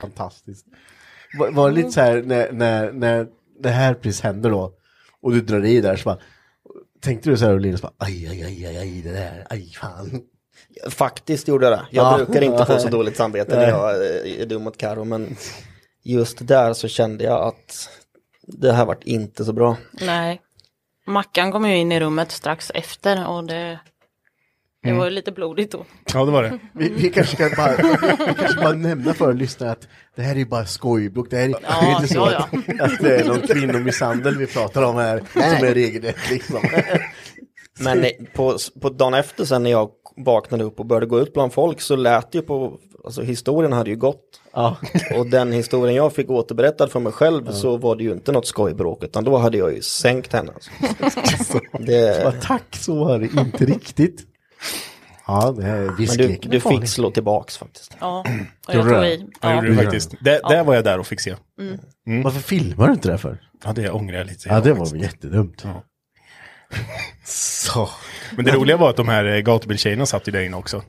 Speaker 2: Fantastiskt. Var, var det lite så här när, när, när det här precis händer då och du drar i där så bara, tänkte du så här och Linus bara aj, aj, aj, aj, aj det där, aj fan.
Speaker 24: Faktiskt gjorde jag det. Jag
Speaker 2: Ja.
Speaker 24: brukar inte få så dåligt samvete när
Speaker 2: Nej.
Speaker 24: jag eh, är dum mot Karo men just där så kände jag att det här vart inte så bra.
Speaker 8: Nej. Mackan kom ju in i rummet strax efter och det, det
Speaker 2: Mm.
Speaker 8: var ju lite blodigt då.
Speaker 3: Ja, det var det.
Speaker 2: Vi, vi kanske kan bara, vi kanske bara nämna för lyssnarna att det här är ju bara skojblock. Det här är, det är inte så
Speaker 8: ja,
Speaker 2: Att, att det är någon kvinnomisshandel vi pratar om här som är regelrätt liksom.
Speaker 24: Men eh, på, på dagen efter sen när jag vaknade upp och började gå ut bland folk så lät det ju på, alltså historien hade ju gått. Och den historien jag fick återberättad för mig själv så var det ju inte något skojbråk utan då hade jag ju sänkt henne. Alltså.
Speaker 2: Så
Speaker 24: Det,
Speaker 2: bara, tack så var det inte riktigt. Ja, det här är
Speaker 24: men du,
Speaker 2: viskleken är
Speaker 24: du
Speaker 2: farlig.
Speaker 24: fick slå tillbaks faktiskt.
Speaker 8: Ja, och
Speaker 3: Gjorde
Speaker 8: jag
Speaker 3: du det?
Speaker 8: tog i.
Speaker 3: Ja, gjorde du faktiskt. Det,
Speaker 8: Ja.
Speaker 3: Där var jag där och fick se.
Speaker 8: Mm.
Speaker 2: Varför filmar du inte det här för?
Speaker 3: Ja, det ångrar jag lite.
Speaker 2: Ja, det var väl jättedumt.
Speaker 3: Så. Men det roliga var att de här eh, gatubiltjejerna satt ju där inne också.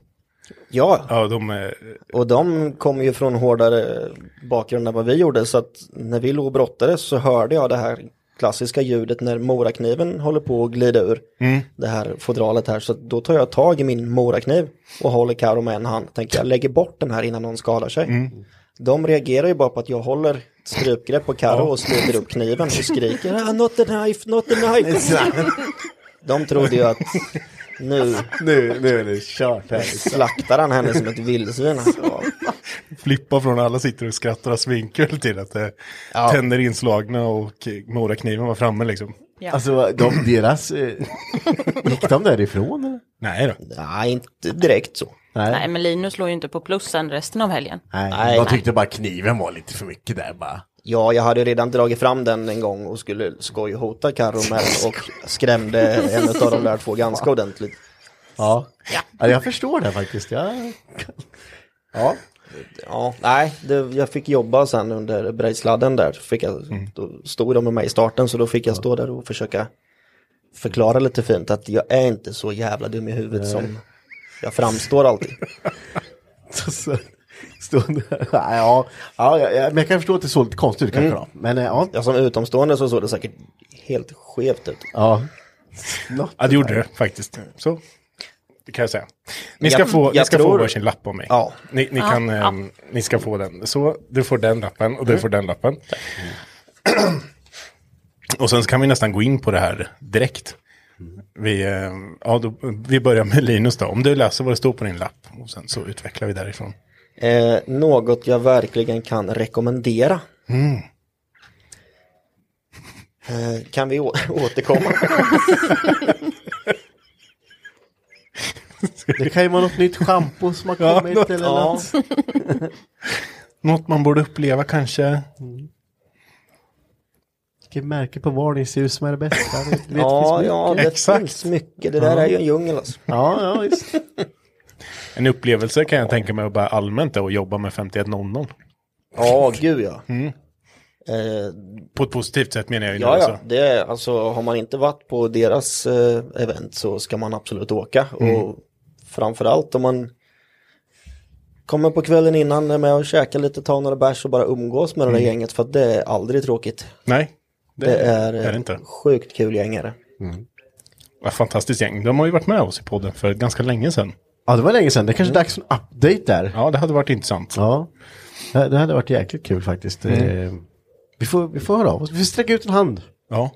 Speaker 24: Ja,
Speaker 3: ja de, eh,
Speaker 24: Och de kom ju från hårdare bakgrund än vad vi gjorde så att när vi låg och brottades så hörde jag det här klassiska ljudet när morakniven håller på att glida ur
Speaker 3: Mm.
Speaker 24: det här fodralet här så att då tar jag tag i min morakniv och håller Karo med en hand. Tänker jag lägger bort den här innan någon skadar sig.
Speaker 2: Mm.
Speaker 24: De reagerar ju bara på att jag håller ett strypgrepp på Karo och sliter upp kniven och skriker "Ah, Not the knife, not the knife. De trodde ju att nu,
Speaker 2: nu, nu är det kört här.
Speaker 24: Slaktar han henne som ett vildsvin. alltså.
Speaker 3: Flippa från alla sitter och skrattar svinkul till att det tänder inslagna och eh, morakniven var framme liksom.
Speaker 2: Alltså de, deras, eh, gick de därifrån eller?
Speaker 3: Nej då.
Speaker 24: Nej, inte direkt så.
Speaker 8: Nej. men Linus låg ju inte på plus sen resten av helgen.
Speaker 2: Nej,
Speaker 24: Nej.
Speaker 2: jag tyckte bara kniven var lite för mycket där bara.
Speaker 24: Ja, jag hade redan dragit fram den en gång och skulle skojhota Carro med och skrämde en av de där två ganska ordentligt.
Speaker 2: Ja. ja, jag förstår det faktiskt. Jag...
Speaker 24: Ja. Ja, nej, det, jag fick jobba sen under Brejsladden där. Så Fick jag,
Speaker 2: Mm.
Speaker 24: Då stod de med mig i starten så då fick jag stå där och försöka förklara lite fint att jag är inte så jävla dum i huvudet
Speaker 2: Nej.
Speaker 24: som jag framstår alltid.
Speaker 2: Så- så- Stod... Ja, ja, ja, ja, men jag kan förstå att det såg lite konstigt ut kanske
Speaker 24: Mm.
Speaker 2: då. Men eh, ja.
Speaker 24: ja, som utomstående så såg det säkert helt skevt ut.
Speaker 2: Ja.
Speaker 3: Ja, det gjorde det faktiskt. Så, det kan jag säga. Ni ska
Speaker 24: Jag-
Speaker 3: få, ni
Speaker 24: jag
Speaker 3: ska få
Speaker 24: tror-
Speaker 3: varsin lapp av mig.
Speaker 24: Ja.
Speaker 3: Ni, ni,
Speaker 24: Ja.
Speaker 3: kan,
Speaker 24: Ja.
Speaker 3: ehm, ni ska få den. Så, du får den lappen och du
Speaker 24: Mm.
Speaker 3: får den lappen. och sen så kan vi nästan gå in på det här direkt. Vi, ehm, ja, då, vi börjar med Linus då. Om du läser vad det står på din lapp och sen så utvecklar vi därifrån.
Speaker 24: Eh, något jag verkligen kan rekommendera.
Speaker 3: Mm.
Speaker 24: Eh, kan vi å- återkomma?
Speaker 2: Det kan ju vara något nytt schampo som har
Speaker 3: Ja,
Speaker 2: kommit
Speaker 3: något-
Speaker 2: eller
Speaker 3: ja.
Speaker 2: något.
Speaker 3: Något man borde uppleva kanske.
Speaker 2: Vilket märke på varningsljus som är det bästa. Det vet
Speaker 24: ja,
Speaker 2: finns
Speaker 24: ja,
Speaker 2: mycket.
Speaker 24: det finns mycket. Det där
Speaker 3: Ja.
Speaker 24: är ju en djungel alltså.
Speaker 2: Ja, ja, just
Speaker 3: En upplevelse kan jag tänka mig att bara allmänt är att jobba med 5100.
Speaker 24: Ja, gud ja.
Speaker 2: Mm.
Speaker 24: Eh,
Speaker 3: På ett positivt sätt menar jag ju nu
Speaker 24: Ja,
Speaker 3: alltså.
Speaker 24: ja. Det är, alltså, har man inte varit på deras eh, event så ska man absolut åka.
Speaker 3: Mm.
Speaker 24: Och framförallt om man kommer på kvällen innan är med och käkar lite, tar några bärs och bara umgås med det där
Speaker 3: Mm.
Speaker 24: gänget för att det är aldrig tråkigt.
Speaker 3: Nej, det
Speaker 24: det, är,
Speaker 3: är det
Speaker 24: ett
Speaker 3: inte.
Speaker 24: sjukt kul gäng är det.
Speaker 3: Vad fantastiskt gäng. De har ju varit med oss i podden för ganska länge sedan. Mm.
Speaker 2: Ja, det var länge sedan. Det kanske är dags för en update där.
Speaker 3: Ja, det hade varit intressant.
Speaker 2: Ja, det det hade varit jäkligt kul faktiskt.
Speaker 24: Mm.
Speaker 2: Eh, Vi, får, vi får höra av oss. Vi får sträcka ut en hand. Mm.
Speaker 3: Ja.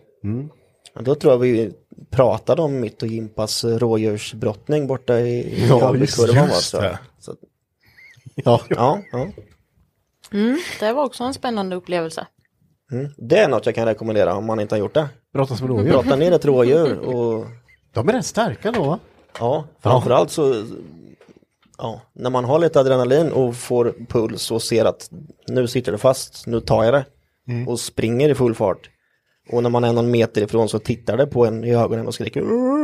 Speaker 24: Ja, Då tror jag vi pratade om mitt och Jimpas eh, rådjursbrottning borta i, i
Speaker 2: Ja,
Speaker 24: Albukurvan,
Speaker 2: just-
Speaker 24: va,
Speaker 2: just
Speaker 24: tror jag.
Speaker 2: det.
Speaker 24: Så, att-
Speaker 2: ja.
Speaker 24: ja, ja.
Speaker 8: Mm, det var också en spännande upplevelse.
Speaker 24: Mm. Det är något jag kan rekommendera om man inte har gjort det.
Speaker 2: Brottas med rådjur.
Speaker 24: Brotta ner ett rådjur och...
Speaker 2: De är rätt starka då va?
Speaker 24: Ja, framförallt så... Ja, när man har lite adrenalin och får puls och ser att nu sitter det fast, nu tar jag det.
Speaker 3: Mm.
Speaker 24: Och springer i full fart. Och när man är någon meter ifrån så tittar det på en i ögonen och skriker "Åh!"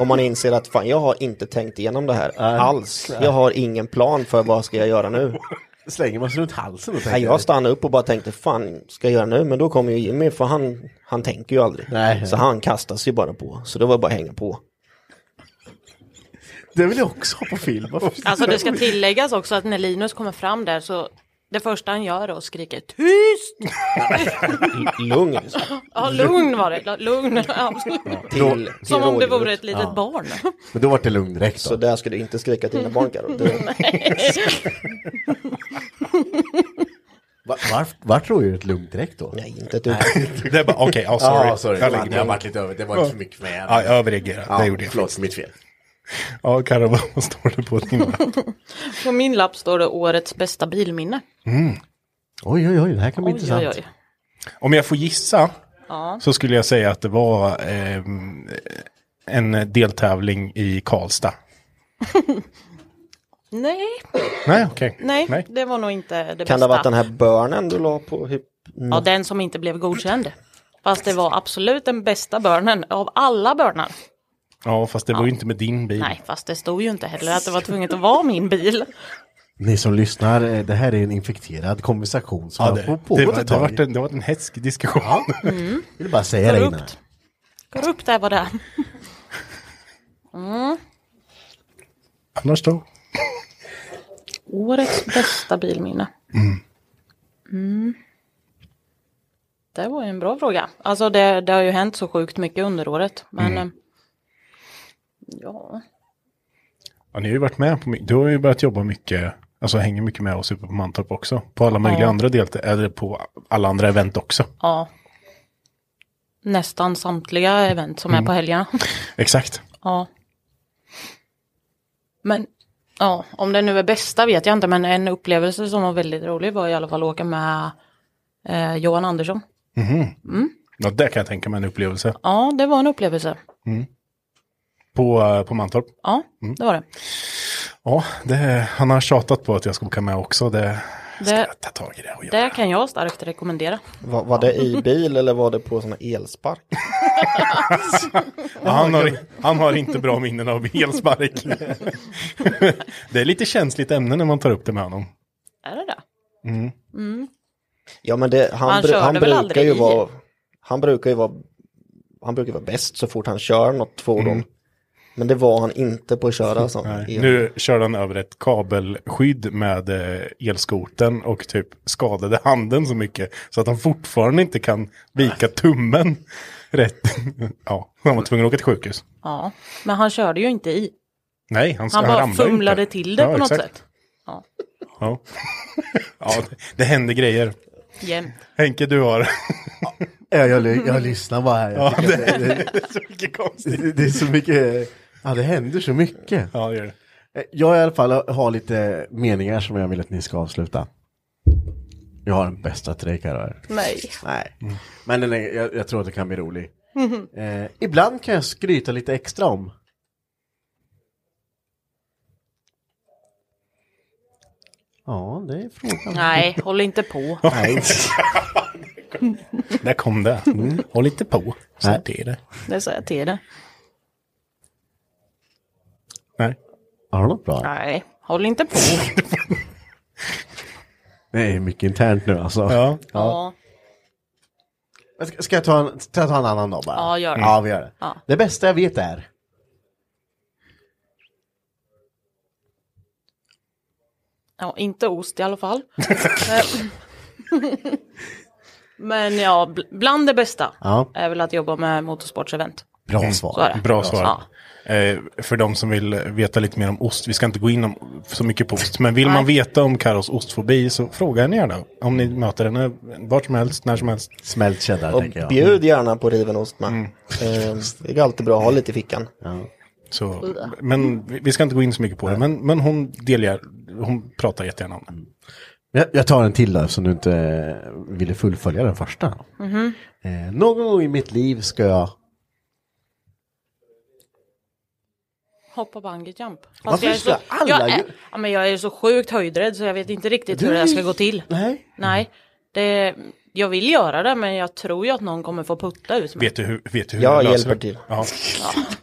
Speaker 24: Och man inser att fan jag har inte tänkt igenom det här alls. Jag har ingen plan för vad ska jag göra nu.
Speaker 2: Slänger man sig runt halsen och tänker?
Speaker 24: Nej, jag stannade upp och bara tänkte, fan ska jag göra nu? Men då kom ju Jimmy, för han, han tänker ju aldrig.
Speaker 2: Nej.
Speaker 24: så han kastar sig bara på, så det var bara att hänga på.
Speaker 2: Det vill jag också ha på film. Varför-
Speaker 8: Alltså det ska tilläggas också att när Linus kommer fram där så det första han gör är att skrika tyst!
Speaker 24: Lugn.
Speaker 8: Ja, lugn var det. Lugn, absolut.
Speaker 24: Till-
Speaker 8: Som
Speaker 24: till
Speaker 8: om det vore
Speaker 24: rådjuret.
Speaker 8: ett litet
Speaker 24: Ja.
Speaker 8: barn.
Speaker 2: Men då var det lugn direkt.
Speaker 24: Så där ska du inte skrika till dina barn Carro. Det-
Speaker 2: Va- Vart var, rådjuret lugnt direkt då?
Speaker 24: Nej, inte ett dugg.
Speaker 3: Det är bara, okej, ja, sorry.
Speaker 2: Ja, sorry.
Speaker 3: Jag lägger
Speaker 2: Fan,
Speaker 3: mig.
Speaker 2: det har varit lite över. Det var
Speaker 3: Ja.
Speaker 2: lite för mycket för mig.
Speaker 3: Ja, jag överreagerade.
Speaker 2: Ja,
Speaker 3: det gjorde jag.
Speaker 2: Förlåt, mitt fel.
Speaker 3: Ja, Karra, vad står det på din lapp?
Speaker 8: På min lapp står det årets bästa bilminne.
Speaker 3: Mm.
Speaker 2: Oj, oj, oj, det här kan
Speaker 8: Oj, oj, oj.
Speaker 3: Om jag får gissa
Speaker 8: Ja.
Speaker 3: så skulle jag säga att det var ehm, en deltävling i Karlstad.
Speaker 8: Nej,
Speaker 3: Nej, okej.
Speaker 8: nej, det var nog inte det bästa.
Speaker 24: Kan det ha varit den här börnen du la på hyp...
Speaker 8: Ja, den som inte blev godkänd. Fast det var absolut den bästa börnen av alla börnar.
Speaker 3: Ja, fast det var ju inte med din bil.
Speaker 8: Nej, fast det stod ju inte heller att det var tvunget att vara min bil.
Speaker 2: Ni som lyssnar, eh, det här är en infekterad konversation som
Speaker 3: Ja,
Speaker 2: har
Speaker 3: det-
Speaker 2: på-
Speaker 3: det
Speaker 2: pågått
Speaker 3: var-
Speaker 2: ett
Speaker 3: det
Speaker 2: tag.
Speaker 3: vart en- det var en hätsk diskussion.
Speaker 8: Mm.
Speaker 2: Vill bara säga det innan.
Speaker 8: Korrupt där var det. Mm.
Speaker 3: Annars då?
Speaker 8: Årets bästa bilminne.
Speaker 3: Mm.
Speaker 8: Mm. Det var ju en bra fråga. Alltså det, det har ju hänt så sjukt mycket under året. Men
Speaker 3: Mm.
Speaker 8: eh, ja,
Speaker 3: Ja, ni har ju varit med på my- Du har ju börjat jobba mycket, alltså hänger mycket med oss uppe på Mantorp också. På alla möjliga
Speaker 8: Ja.
Speaker 3: andra delte eller på alla andra event också.
Speaker 8: ja. Nästan samtliga event som
Speaker 3: Mm.
Speaker 8: är på helgerna.
Speaker 3: Exakt.
Speaker 8: Ja. Men ja, om det nu är bästa vet jag inte, men en upplevelse som var väldigt rolig var i alla fall att åka med eh, Johan Andersson.
Speaker 3: Mhm.
Speaker 8: Mm.
Speaker 3: Ja, det kan jag tänka mig en upplevelse.
Speaker 8: Ja, det var en upplevelse.
Speaker 3: Mm. På, på Mantorp?
Speaker 8: Ja,
Speaker 3: Mm.
Speaker 8: det var det.
Speaker 3: Ja, det, han har tjatat på att jag ska åka med också. Det,
Speaker 8: Det, det kan jag starkt rekommendera.
Speaker 24: Var, var det i bil eller var det på sån här elspark?
Speaker 3: Ja, han,
Speaker 2: Oh
Speaker 3: har, han har inte bra minnen av elspark. det är lite känsligt ämne när man tar upp det med honom.
Speaker 8: Är det det?
Speaker 3: Mm.
Speaker 8: Mm.
Speaker 24: Ja men det, han,
Speaker 8: Han
Speaker 24: bru-
Speaker 8: körde
Speaker 24: han
Speaker 8: väl
Speaker 24: brukar
Speaker 8: aldrig
Speaker 24: ju
Speaker 8: i?
Speaker 24: vara... Han brukar ju vara... Han brukar vara bäst så fort han kör något fordon.
Speaker 3: Mm.
Speaker 24: Men det var han inte på att köra sån
Speaker 3: Nej.
Speaker 24: el.
Speaker 3: Nu körde han över ett kabelskydd med eh, elskoten och typ skadade handen så mycket så att han fortfarande inte kan vika tummen rätt. ja, han var tvungen att åka till sjukhus.
Speaker 8: Ja, men han körde ju inte i.
Speaker 3: Nej, han,
Speaker 8: Han bara
Speaker 3: ramlade ju
Speaker 8: fumlade
Speaker 3: inte.
Speaker 8: till det
Speaker 3: Ja,
Speaker 8: på något
Speaker 3: exakt.
Speaker 8: sätt. Ja,
Speaker 3: Ja, ja det, det händer grejer.
Speaker 8: jämt.
Speaker 3: Henke, du har...
Speaker 2: Ja, jag, ly- jag lyssnar bara här. Jag
Speaker 3: Ja,
Speaker 2: tycker att
Speaker 3: det-
Speaker 2: det är så mycket konstigt. Det är så mycket, ja det händer så mycket. Eh,
Speaker 3: Ja, det gör det.
Speaker 2: Jag i alla fall har lite meningar som jag vill att ni ska avsluta. Jag har den bästa till dig Karo.
Speaker 8: Nej.
Speaker 2: Nej. Men den är, jag, jag tror att det kan bli rolig.
Speaker 8: Mhm.
Speaker 2: Eh, ibland kan jag skryta lite extra om. Ja, det är frågan.
Speaker 8: Nej, håll inte på.
Speaker 3: Nej. Där kom det. Håll inte på. Så
Speaker 2: Mm. Nej.
Speaker 3: det är det.
Speaker 8: Det sa jag till dig.
Speaker 2: Har du något bra?
Speaker 8: Nej, håll inte på.
Speaker 2: Det är mycket internt nu alltså.
Speaker 3: Ja.
Speaker 8: Ja.
Speaker 2: Men Ska, ska, jag ta en, ska jag ta en annan dag bara?
Speaker 8: Ja, gör det.
Speaker 2: Ja, vi gör det.
Speaker 8: Ja.
Speaker 2: Det bästa jag vet är.
Speaker 8: Ja, inte ost i alla fall. Men- Men ja, bl- bland det bästa
Speaker 3: Ja.
Speaker 8: är väl att jobba med motorsportsevent.
Speaker 3: Bra
Speaker 8: Så är det.
Speaker 3: Bra svar.
Speaker 8: Ja.
Speaker 3: Eh, för de som vill veta lite mer om ost, vi ska inte gå in om, så mycket på ost, men vill man veta om Karos ostfobi så fråga henne gärna. Om ni möter henne vart som helst, när som helst.
Speaker 2: Smält cheddar
Speaker 24: Och bjud gärna på riven ost med.
Speaker 3: Mm.
Speaker 24: Eh, det är alltid bra att ha lite i fickan.
Speaker 3: Så,
Speaker 2: Mm.
Speaker 3: men vi vi ska inte gå in så mycket på det, men, men hon delger, hon pratar jättegärna om det.
Speaker 2: Mm. Jag, jag tar en till då eftersom du inte eh, ville fullfölja den första.
Speaker 8: Mhm.
Speaker 2: Eh, någon gång i mitt liv ska jag...
Speaker 8: Hoppa bungee jump. Fast
Speaker 2: Varför
Speaker 8: jag är
Speaker 2: ska
Speaker 8: så,
Speaker 2: alla
Speaker 8: jag är,
Speaker 2: ju-
Speaker 8: ja, men jag är så sjukt höjdrädd så jag vet inte riktigt
Speaker 2: Du
Speaker 8: hur det här
Speaker 2: är-
Speaker 8: ska gå till.
Speaker 2: Nej.
Speaker 8: Nej. Det, jag vill göra det men jag tror ju att någon kommer få putta ut mig.
Speaker 3: Vet du hur, vet du hur
Speaker 24: Jag
Speaker 3: vi löser
Speaker 24: hjälper
Speaker 3: det?
Speaker 24: till.
Speaker 3: Ja.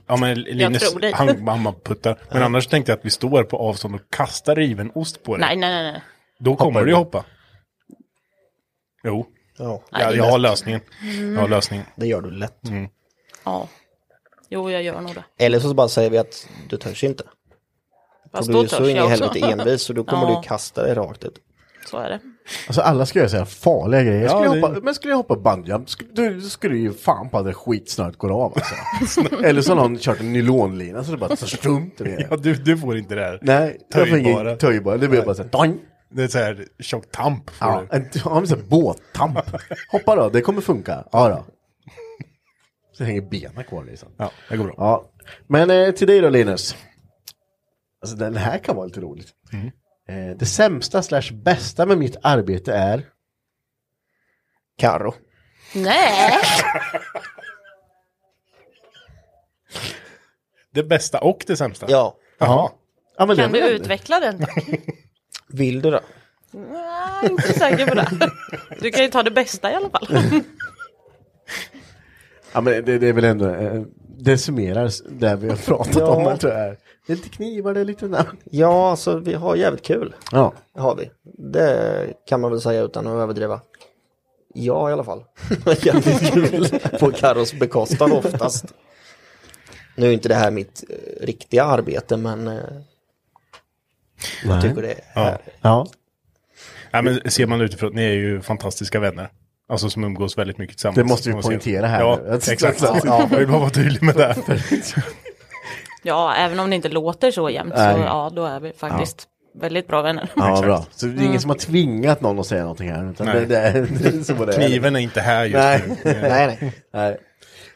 Speaker 3: ja, men Linus,
Speaker 8: tror dig.
Speaker 3: han, han bara puttar. Men
Speaker 8: Ja.
Speaker 3: annars tänkte jag att vi står på avstånd och kastar riven ost på dig.
Speaker 8: Nej, nej, nej. nej.
Speaker 3: Då kommer du ju hoppa. Jo,
Speaker 24: ja.
Speaker 3: jag, jag har lösningen. Jag har lösningen. Mm.
Speaker 24: Det gör du lätt.
Speaker 8: Mm. Ja. Jo, jag gör nog det.
Speaker 24: Eller så bara säger vi att du törs inte.
Speaker 8: Fast
Speaker 24: För
Speaker 8: då
Speaker 24: du är
Speaker 8: törs
Speaker 24: så
Speaker 8: jag
Speaker 24: in i
Speaker 8: också.
Speaker 24: helvete envis så då kommer
Speaker 8: Ja.
Speaker 24: du kasta dig rakt ut.
Speaker 8: Så är det.
Speaker 2: Alltså alla ska göra så här farliga grejer.
Speaker 24: Ja,
Speaker 2: Skulle jag
Speaker 24: det-
Speaker 2: hoppa, men skulle jag hoppa bungyjump, sk- du skulle ju fan på att det skitsnart går av alltså. Eller så har någon kört en nylonlina så det bara tar strumt i
Speaker 3: Ja, du, du får inte det här.
Speaker 2: Nej, jag får
Speaker 3: töjbara.
Speaker 2: ingen töjbara. Det blir bara så här, doing.
Speaker 3: Det är så här tjock tamp. får
Speaker 2: Ja,
Speaker 3: du.
Speaker 2: en, ja, men så här båttamp. Hoppa då, det kommer funka. Ja då. Så hänger benen kvar liksom.
Speaker 3: Ja, det går bra.
Speaker 2: Ja. Men eh, till dig då Linus. Alltså den här kan vara lite roligt.
Speaker 3: Mm.
Speaker 2: Eh, det sämsta slash bästa med mitt arbete är?
Speaker 24: Karo.
Speaker 8: Nej.
Speaker 3: Det bästa och det sämsta.
Speaker 24: Ja.
Speaker 3: Jaha.
Speaker 2: Ja, men
Speaker 8: Kan du utveckla den?
Speaker 24: Vill du då?
Speaker 8: Nej, inte säker på det. Du kan ju ta det bästa i alla fall.
Speaker 2: Ja, men det, det är väl ändå, eh, det summerar det vi har pratat
Speaker 24: Ja.
Speaker 2: om. Tror jag. Det är lite knivar, det är lite namn.
Speaker 24: Ja, alltså vi har jävligt kul.
Speaker 2: Ja.
Speaker 24: Det har vi. Det kan man väl säga utan att överdriva. Ja, i alla fall. jävligt kul. På Karos bekostnad oftast. Nu är inte det här mitt eh, riktiga arbete, men eh, jag
Speaker 3: Nej.
Speaker 24: tycker det är
Speaker 3: Ja.
Speaker 2: ja.
Speaker 3: Nej, men ser man utifrån, ni är ju fantastiska vänner. Alltså som umgås väldigt mycket tillsammans.
Speaker 2: Det måste vi
Speaker 3: kan man säga.
Speaker 2: poängtera här
Speaker 3: Ja,
Speaker 2: nu. Att-
Speaker 3: exakt.
Speaker 2: att-
Speaker 3: Ja. Jag vill bara vara tydlig med det.
Speaker 8: Ja, även om det inte låter så jämt så
Speaker 2: Nej.
Speaker 8: ja, då är vi faktiskt väldigt bra vänner.
Speaker 2: Ja, bra. Så det är ingen
Speaker 8: Mm.
Speaker 2: som har tvingat någon att säga någonting här. Utan
Speaker 3: Nej.
Speaker 2: det, det, är- det är så vad det
Speaker 3: Kniven är inte här just
Speaker 2: nej.
Speaker 3: nu.
Speaker 2: nej, nej.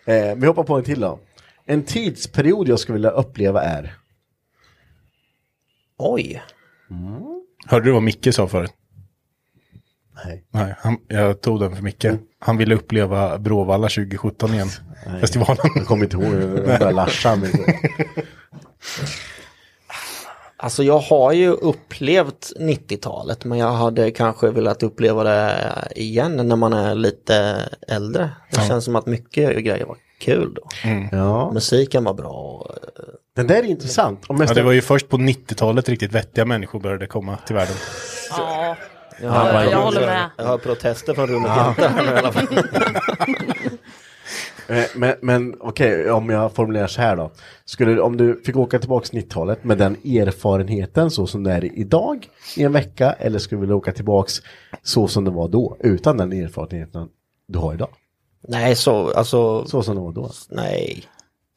Speaker 2: nej. Eh, vi hoppar på en till då. En tidsperiod jag skulle vilja uppleva är?
Speaker 24: Oj.
Speaker 3: Hörde du vad Micke sa förut? Nej, han, jag tog den för
Speaker 2: Mm.
Speaker 3: Micke. Han ville uppleva Bråvalla 2017 igen.
Speaker 2: Nej.
Speaker 3: Festivalen.
Speaker 2: Jag kommer inte ihåg, det var bara Larsa med.
Speaker 24: Alltså jag har ju upplevt 90-talet men jag hade kanske velat uppleva det igen när man är lite äldre. Det
Speaker 2: Ja.
Speaker 24: känns som att mycket grejer var kul då.
Speaker 2: Ja.
Speaker 24: Musiken var bra.
Speaker 2: Mm. Den där är intressant. Om jag
Speaker 3: Ja, det
Speaker 2: ställer-
Speaker 3: var ju först på 90-talet riktigt vettiga människor började komma till världen.
Speaker 8: Ja,
Speaker 3: Ja,
Speaker 24: jag,
Speaker 3: vad-
Speaker 24: jag
Speaker 8: håller med.
Speaker 24: Jag hör protester från rummet
Speaker 2: Ja.
Speaker 24: jämte här nu i alla fall.
Speaker 2: Eh, Men, men okej, om jag formulerar så här då. Skulle, om du fick åka tillbaka till 90-talet med den erfarenheten så som det är idag i en vecka eller skulle du vilja åka tillbaka så som det var då utan den erfarenheten du har idag?
Speaker 24: Nej, så alltså.
Speaker 2: Så som det var då?
Speaker 24: Nej.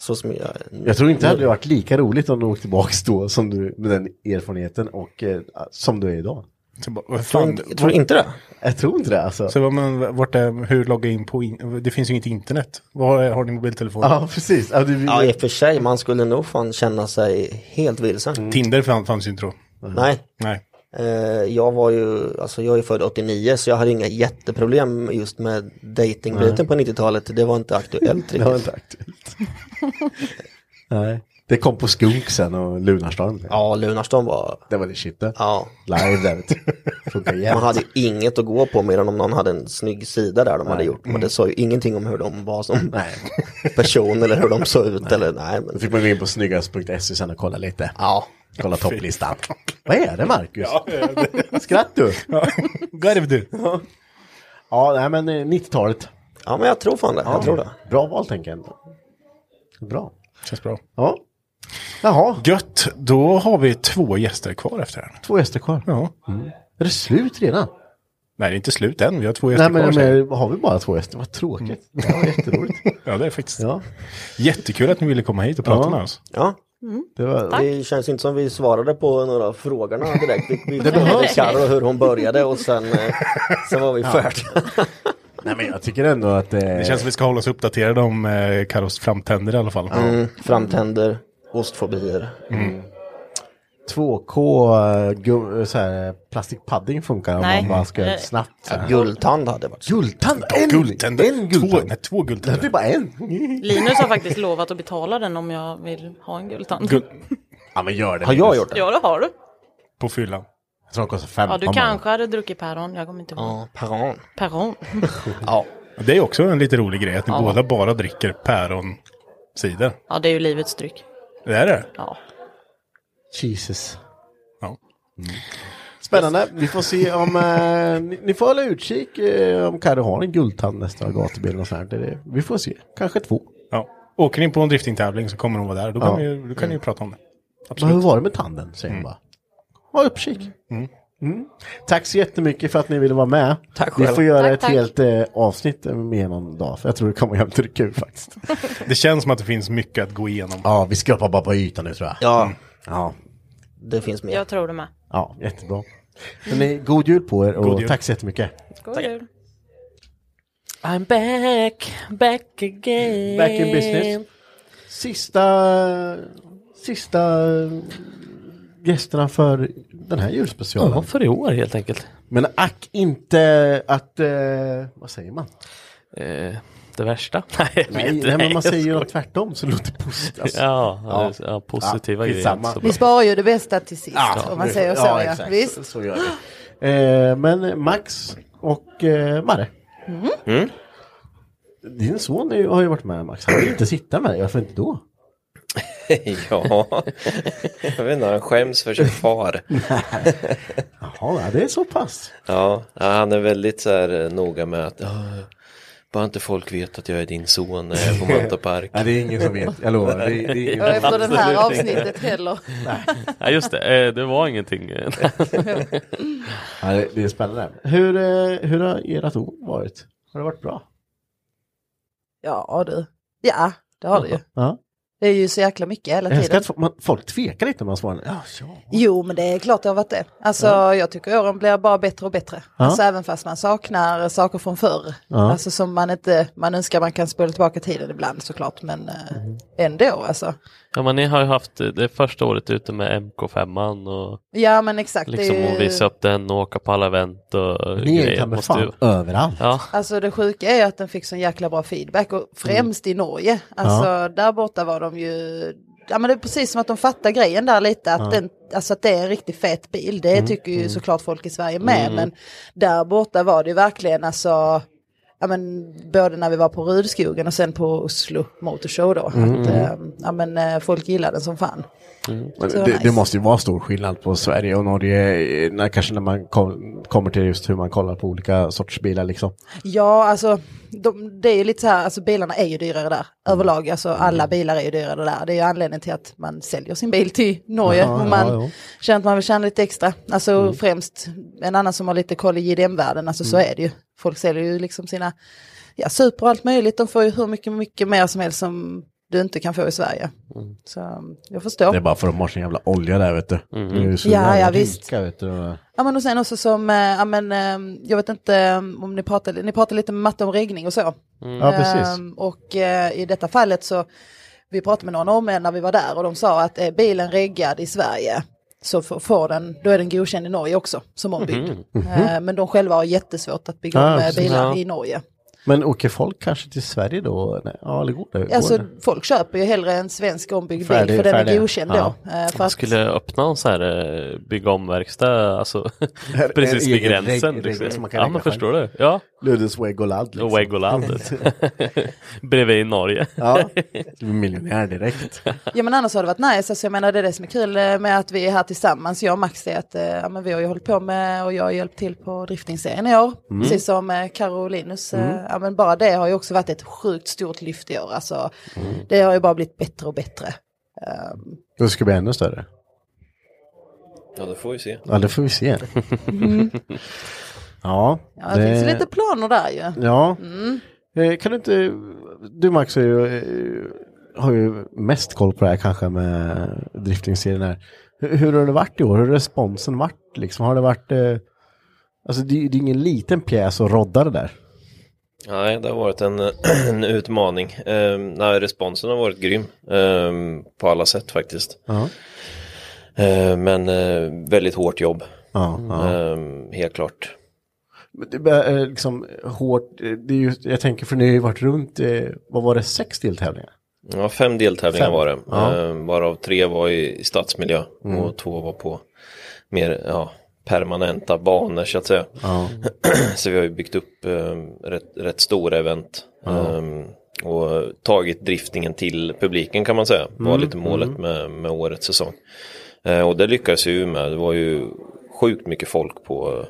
Speaker 24: Så som jag.
Speaker 2: Jag tror inte det hade varit lika roligt om du åkte tillbaka då som du, med den erfarenheten och eh, som du är idag.
Speaker 3: Vad fan-
Speaker 2: Jag tror inte det alltså.
Speaker 3: Så vad man, vart är, hur loggar jag in på, in, det finns ju inget internet. Vad har, har ni mobiltelefon?
Speaker 2: precis. Ja,
Speaker 24: i och för sig, man skulle nog fan känna sig helt vilsen.
Speaker 2: Mm.
Speaker 3: Tinder fann- fanns ju inte då.
Speaker 24: Nej.
Speaker 3: Nej.
Speaker 24: Eh, Jag var ju, alltså jag är född 89 så jag hade inga jätteproblem just med datingbiten
Speaker 2: Nej.
Speaker 24: på 90-talet. Det var inte aktuellt riktigt.
Speaker 2: Det var inte aktuellt. Nej. Det kom på Skunk sen och Lunarstorm.
Speaker 24: Ja, Lunarstorm var...
Speaker 2: Det var det shit det.
Speaker 24: Ja.
Speaker 2: Live där vet du. Funkar jämt.
Speaker 24: Man hade ju inget att gå på mer än om någon hade en snygg sida där de hade
Speaker 2: Nej.
Speaker 24: gjort. Men det sa ju ingenting om hur de var som person eller hur de såg ut. Eller, nej, men...
Speaker 2: Då fick man gå in på snyggast.se sen och kolla lite.
Speaker 24: Ja.
Speaker 2: Kolla topplistan. Vad är det Marcus? Skratt du.
Speaker 3: Garv du.
Speaker 2: Ja, nej men eh, 90-talet.
Speaker 24: Ja, men jag tror fan det. Jag tror det.
Speaker 2: Bra val tänker jag ändå. Bra.
Speaker 3: Känns bra.
Speaker 2: Ja. Jaha.
Speaker 3: Gött, då har vi två gäster kvar efter den.
Speaker 2: Två gäster kvar.
Speaker 3: Ja.
Speaker 2: Mm. Är det slut redan?
Speaker 3: Nej, det är inte slut än. Vi har två gäster
Speaker 2: Nej men,
Speaker 3: kvar. sen.
Speaker 2: men har vi bara två gäster? Vad tråkigt. Det var jätteroligt.
Speaker 3: ja, det är faktiskt.
Speaker 2: Ja.
Speaker 3: Jättekul att ni ville komma hit och prata
Speaker 24: Ja.
Speaker 3: med oss.
Speaker 24: Ja.
Speaker 2: Det, var- Tack.
Speaker 24: känns inte som vi svarade på några av frågorna direkt. Vi, vi
Speaker 2: Det behövs.
Speaker 24: Karo hur hon började och sen, eh, sen var vi
Speaker 2: Ja.
Speaker 24: färdiga.
Speaker 2: Nej men jag tycker ändå att eh,
Speaker 3: Det känns som vi ska hålla oss uppdaterade om eh, Karos framtänder i alla fall.
Speaker 24: Mm, framtänder, ostfobier.
Speaker 3: Mm.
Speaker 2: 2K eh, gu- så här, plastic padding funkar om
Speaker 24: Nej.
Speaker 2: man bara ska göra
Speaker 24: Eh,
Speaker 2: det snabbt.
Speaker 24: ja, guldtand hade varit
Speaker 2: Guldtand? En, guldtand. en guldtand? Två, nej,
Speaker 3: två guldtänder.
Speaker 2: Det är bara en.
Speaker 8: Mm. Linus har faktiskt lovat att betala den om jag vill ha en guldtand.
Speaker 2: Ja men gör det.
Speaker 24: Har jag gjort det?
Speaker 8: Ja, det har du.
Speaker 3: På fyllan.
Speaker 2: Jag tror de kostar 15
Speaker 8: Ja, du kanske hade druckit päron. Jag kommer inte ihåg.
Speaker 24: Ja, päron.
Speaker 8: Päron.
Speaker 24: Ja.
Speaker 3: Det är också en lite rolig grej att ni
Speaker 8: Ja.
Speaker 3: båda bara dricker päronsider.
Speaker 8: Ja, det är ju livets dryck.
Speaker 3: Det är det?
Speaker 8: Ja.
Speaker 2: Jesus. Mm.
Speaker 3: Ja.
Speaker 2: Spännande. Vi får se om... Eh, ni, ni får hålla utkik eh, om Carro har en guldtand nästa gatubil. eller något sånt här. Det är- Vi får se. Kanske två.
Speaker 3: Ja. Åker ni på en driftingtävling så kommer hon vara där. Då kan,
Speaker 2: Ja.
Speaker 3: ni, då kan ni ju prata om det.
Speaker 2: Men hur var det med tanden? Säger hon bara. Ha uppkik.
Speaker 3: Mm.
Speaker 2: Mm. Tack så jättemycket för att ni ville vara med.
Speaker 3: Tack
Speaker 2: Vi
Speaker 3: själv.
Speaker 2: får göra
Speaker 3: Tack,
Speaker 2: ett
Speaker 3: tack.
Speaker 2: helt eh, avsnitt med någon dag. För jag tror det kommer att bli kul faktiskt.
Speaker 3: Det känns som att det finns mycket att gå igenom.
Speaker 2: Ja, vi skrapar bara på ytan nu tror jag.
Speaker 24: Ja.
Speaker 2: Ja,
Speaker 24: Det finns mer.
Speaker 8: Jag tror det med.
Speaker 2: ja jättebra. Hörrni, god jul på er
Speaker 24: God
Speaker 2: och
Speaker 24: jul.
Speaker 2: tack så jättemycket.
Speaker 8: God jul. I'm back, back again.
Speaker 2: Back
Speaker 13: Eh.
Speaker 2: in business. Sista, sista gästerna för den här julspecialen.
Speaker 4: Ja, för i år helt enkelt.
Speaker 2: Men ack inte att, eh, vad säger man?
Speaker 4: Eh, det värsta? Nej, jag vet
Speaker 2: Nej,
Speaker 4: inte.
Speaker 2: nej, men man
Speaker 4: jag
Speaker 2: säger ju
Speaker 4: skojar.
Speaker 2: något tvärtom så det låter positivt. Alltså.
Speaker 4: Ja, ja, det- ja, positiva grejer.
Speaker 2: skitsamma.
Speaker 4: Så bra.
Speaker 13: Vi sparar ju det bästa till sist
Speaker 2: Ja,
Speaker 13: om man
Speaker 2: nu-
Speaker 13: säger så.
Speaker 2: ja,
Speaker 13: Ja,
Speaker 2: exakt. Så-
Speaker 13: Visst?
Speaker 2: så gör vi. Eh, men Max och eh, Marre.
Speaker 13: Mm.
Speaker 2: Din son är, ju- har ju varit med Max. Han vill inte sitta med dig. Varför inte då?
Speaker 28: ja, jag vet inte, han skäms för sin far.
Speaker 2: Jaha, ja, det är så pass.
Speaker 28: Ja, ja, han är väldigt så här eh, noga med att "Ah, bara inte folk vet att jag är din son när jag är på Mantorpark.
Speaker 2: Ja, det är ingen som vet, jag lovar. Det- det är ingen Och som efter vet. det här avsnittet heller. Nej.
Speaker 4: Nej, just det. Eh, det var ingenting.
Speaker 2: Ja, det, det är spännande. Hur, eh, hur har ert år varit? Har det varit bra?
Speaker 13: Ja, du. Ja, det har det ju.
Speaker 2: Ja.
Speaker 13: Det är ju så jäkla mycket hela
Speaker 2: Jag älskar
Speaker 13: tiden.
Speaker 2: att fo- man, folk tvekar lite när man svarar. Ja, ja.
Speaker 13: Jo, men det är klart det har varit det. Alltså, jag tycker åren blir bara bättre och bättre.
Speaker 2: Ja.
Speaker 13: Alltså, även fast man saknar saker från förr.
Speaker 2: Ja.
Speaker 13: Alltså
Speaker 2: Mm.
Speaker 13: som man inte, man önskar man kan spola tillbaka tiden ibland såklart, men eh, ändå alltså.
Speaker 4: Ja men ni har ju haft det första året ute med MK5an och
Speaker 13: Ja, men exakt, det är
Speaker 4: liksom
Speaker 13: ju-
Speaker 4: och visa upp den och åka på alla event och
Speaker 2: Ni är ju ta mig
Speaker 4: Måste ju-
Speaker 2: fan överallt.
Speaker 4: Ja.
Speaker 13: Alltså det sjuka är ju att den fick sån jäkla bra feedback och främst i Norge. Alltså
Speaker 2: Ja.
Speaker 13: där borta var de ju, ja men det är precis som att de fattar grejen där lite, att,
Speaker 2: Ja.
Speaker 13: den, alltså att det är en riktigt fet bil. Det
Speaker 2: Mm,
Speaker 13: tycker ju
Speaker 2: mm.
Speaker 13: såklart folk i Sverige med,
Speaker 2: Mm.
Speaker 13: men där borta var det ju verkligen alltså, ja men både när vi var på Rudskogen och sen på Oslo Motor Show då.
Speaker 2: Mm.
Speaker 13: Att, eh, ja men eh, folk gillade den som fan.
Speaker 2: Men
Speaker 13: Så
Speaker 2: det,
Speaker 13: nice.
Speaker 2: det måste ju vara stor skillnad på Sverige och Norge, eh, när, kanske när man kom, kommer till just hur man kollar på olika sorts bilar liksom.
Speaker 13: Ja, alltså de, det är ju lite så här, alltså bilarna är ju dyrare där
Speaker 2: Mm.
Speaker 13: överlag. Alltså alla bilar är ju dyrare där. Det är ju anledningen till att man säljer sin bil till Norge.
Speaker 2: Ja,
Speaker 13: och man
Speaker 2: ja, ja.
Speaker 13: känner att man vill tjäna lite extra. Alltså främst en annan som har lite koll i JDM-världen, alltså så
Speaker 2: Mm.
Speaker 13: är det ju. Folk säljer ju liksom sina, ja super och allt möjligt. De får ju hur mycket, mycket mer som helst som du inte kan få i Sverige.
Speaker 2: Mm.
Speaker 13: Så jag förstår.
Speaker 2: Det är bara för att de har sin jävla olja där vet du. Det är ju så
Speaker 13: Ja,
Speaker 2: jävla
Speaker 13: ja,
Speaker 2: rika,
Speaker 13: visst.
Speaker 2: Vet du.
Speaker 13: Ja men och sen också som, eh, ja, men, eh, jag vet inte eh, om ni pratade, ni pratade lite med Matte om regning och så.
Speaker 2: Mm. Ja, precis.
Speaker 13: Ehm, och eh, i detta fallet så, vi pratade med några norrmän när vi var där och de sa att är bilen reggad i Sverige så f- får den, då är den godkänd i Norge också som ombyggd.
Speaker 2: Mhm. Mhm.
Speaker 13: Eh, men de själva har jättesvårt att bygga
Speaker 2: Ja,
Speaker 13: om eh,
Speaker 2: precis.
Speaker 13: bilar
Speaker 2: Ja.
Speaker 13: i Norge.
Speaker 2: Men åker folk kanske till Sverige då? Nej, Ja, eller går det? Går
Speaker 13: Alltså
Speaker 2: det?
Speaker 13: folk köper ju hellre en svensk ombyggd bil
Speaker 4: Färdig-
Speaker 13: för den är
Speaker 4: färdig.
Speaker 13: godkänd
Speaker 4: Ja.
Speaker 13: då. Eh, för
Speaker 4: Man
Speaker 13: att,
Speaker 4: skulle öppna en sån här eh, bygga om verkstad, alltså
Speaker 2: Här är
Speaker 4: precis vid
Speaker 2: egen
Speaker 4: gränsen.
Speaker 2: reg- regel som
Speaker 4: liksom.
Speaker 2: man kan
Speaker 4: Ja
Speaker 2: regla
Speaker 4: men
Speaker 2: själv.
Speaker 4: förstår du. Ja.
Speaker 2: Luddes Wegoland. Liksom.
Speaker 4: Wegolandet. Bredvid Norge.
Speaker 2: Ja, du är miljonär direkt.
Speaker 13: Ja men annars har det varit nice, alltså, jag menar det är det som är kul eh, med att vi är här tillsammans, jag och Max, är att eh, ja, men vi har ju hållit på med och jag har hjälpt till på driftingserien i år,
Speaker 2: Mm.
Speaker 13: precis som eh, Karo och Linus. eh,
Speaker 2: Mm.
Speaker 13: Ja, men bara det har ju också varit ett sjukt stort lyft i år, alltså,
Speaker 28: Mm.
Speaker 13: det har ju bara blivit bättre och bättre. Ehm,
Speaker 2: Det ska bli ännu större.
Speaker 28: Ja, det får vi se.
Speaker 2: Ja, det får vi se.
Speaker 13: Mm.
Speaker 2: Ja,
Speaker 13: ja, det finns ju lite planer där ju.
Speaker 2: Ja.
Speaker 13: Mm.
Speaker 2: Eh, Kan du inte, du Max är ju, eh, har ju mest koll på det här kanske med driftingserien här. Hur, hur har det varit i år? Hur har responsen varit liksom? Har det varit, eh, alltså det, är- det är ingen liten pjäs att rodda det där.
Speaker 28: Nej, det har varit en, en utmaning. Um, nej, responsen har varit grym ehm, på alla sätt faktiskt.
Speaker 2: Ja.
Speaker 28: Ehm, men eh, väldigt hårt jobb.
Speaker 2: Ja, ja.
Speaker 28: Ehm, helt klart.
Speaker 2: Men Det bör- eh, liksom hårt, eh, det är ju, jag tänker för ni har ju varit runt, eh, vad var det, sex deltävlingar?
Speaker 28: Ja, fem deltävlingar
Speaker 2: Fem.
Speaker 28: var det.
Speaker 2: Ja.
Speaker 28: Ehm, varav tre var i, i stadsmiljö
Speaker 2: Mm.
Speaker 28: och två var på mer ja, permanenta banor så att säga.
Speaker 2: Ja.
Speaker 28: så vi har ju byggt upp ehm, rätt, rätt stora event.
Speaker 2: Ja.
Speaker 28: Ehm, och tagit driftningen till publiken kan man säga. var
Speaker 4: Mm,
Speaker 28: lite målet
Speaker 4: mm.
Speaker 28: med, med årets säsong. Eh, och det lyckades ju med. Det var ju sjukt mycket folk på,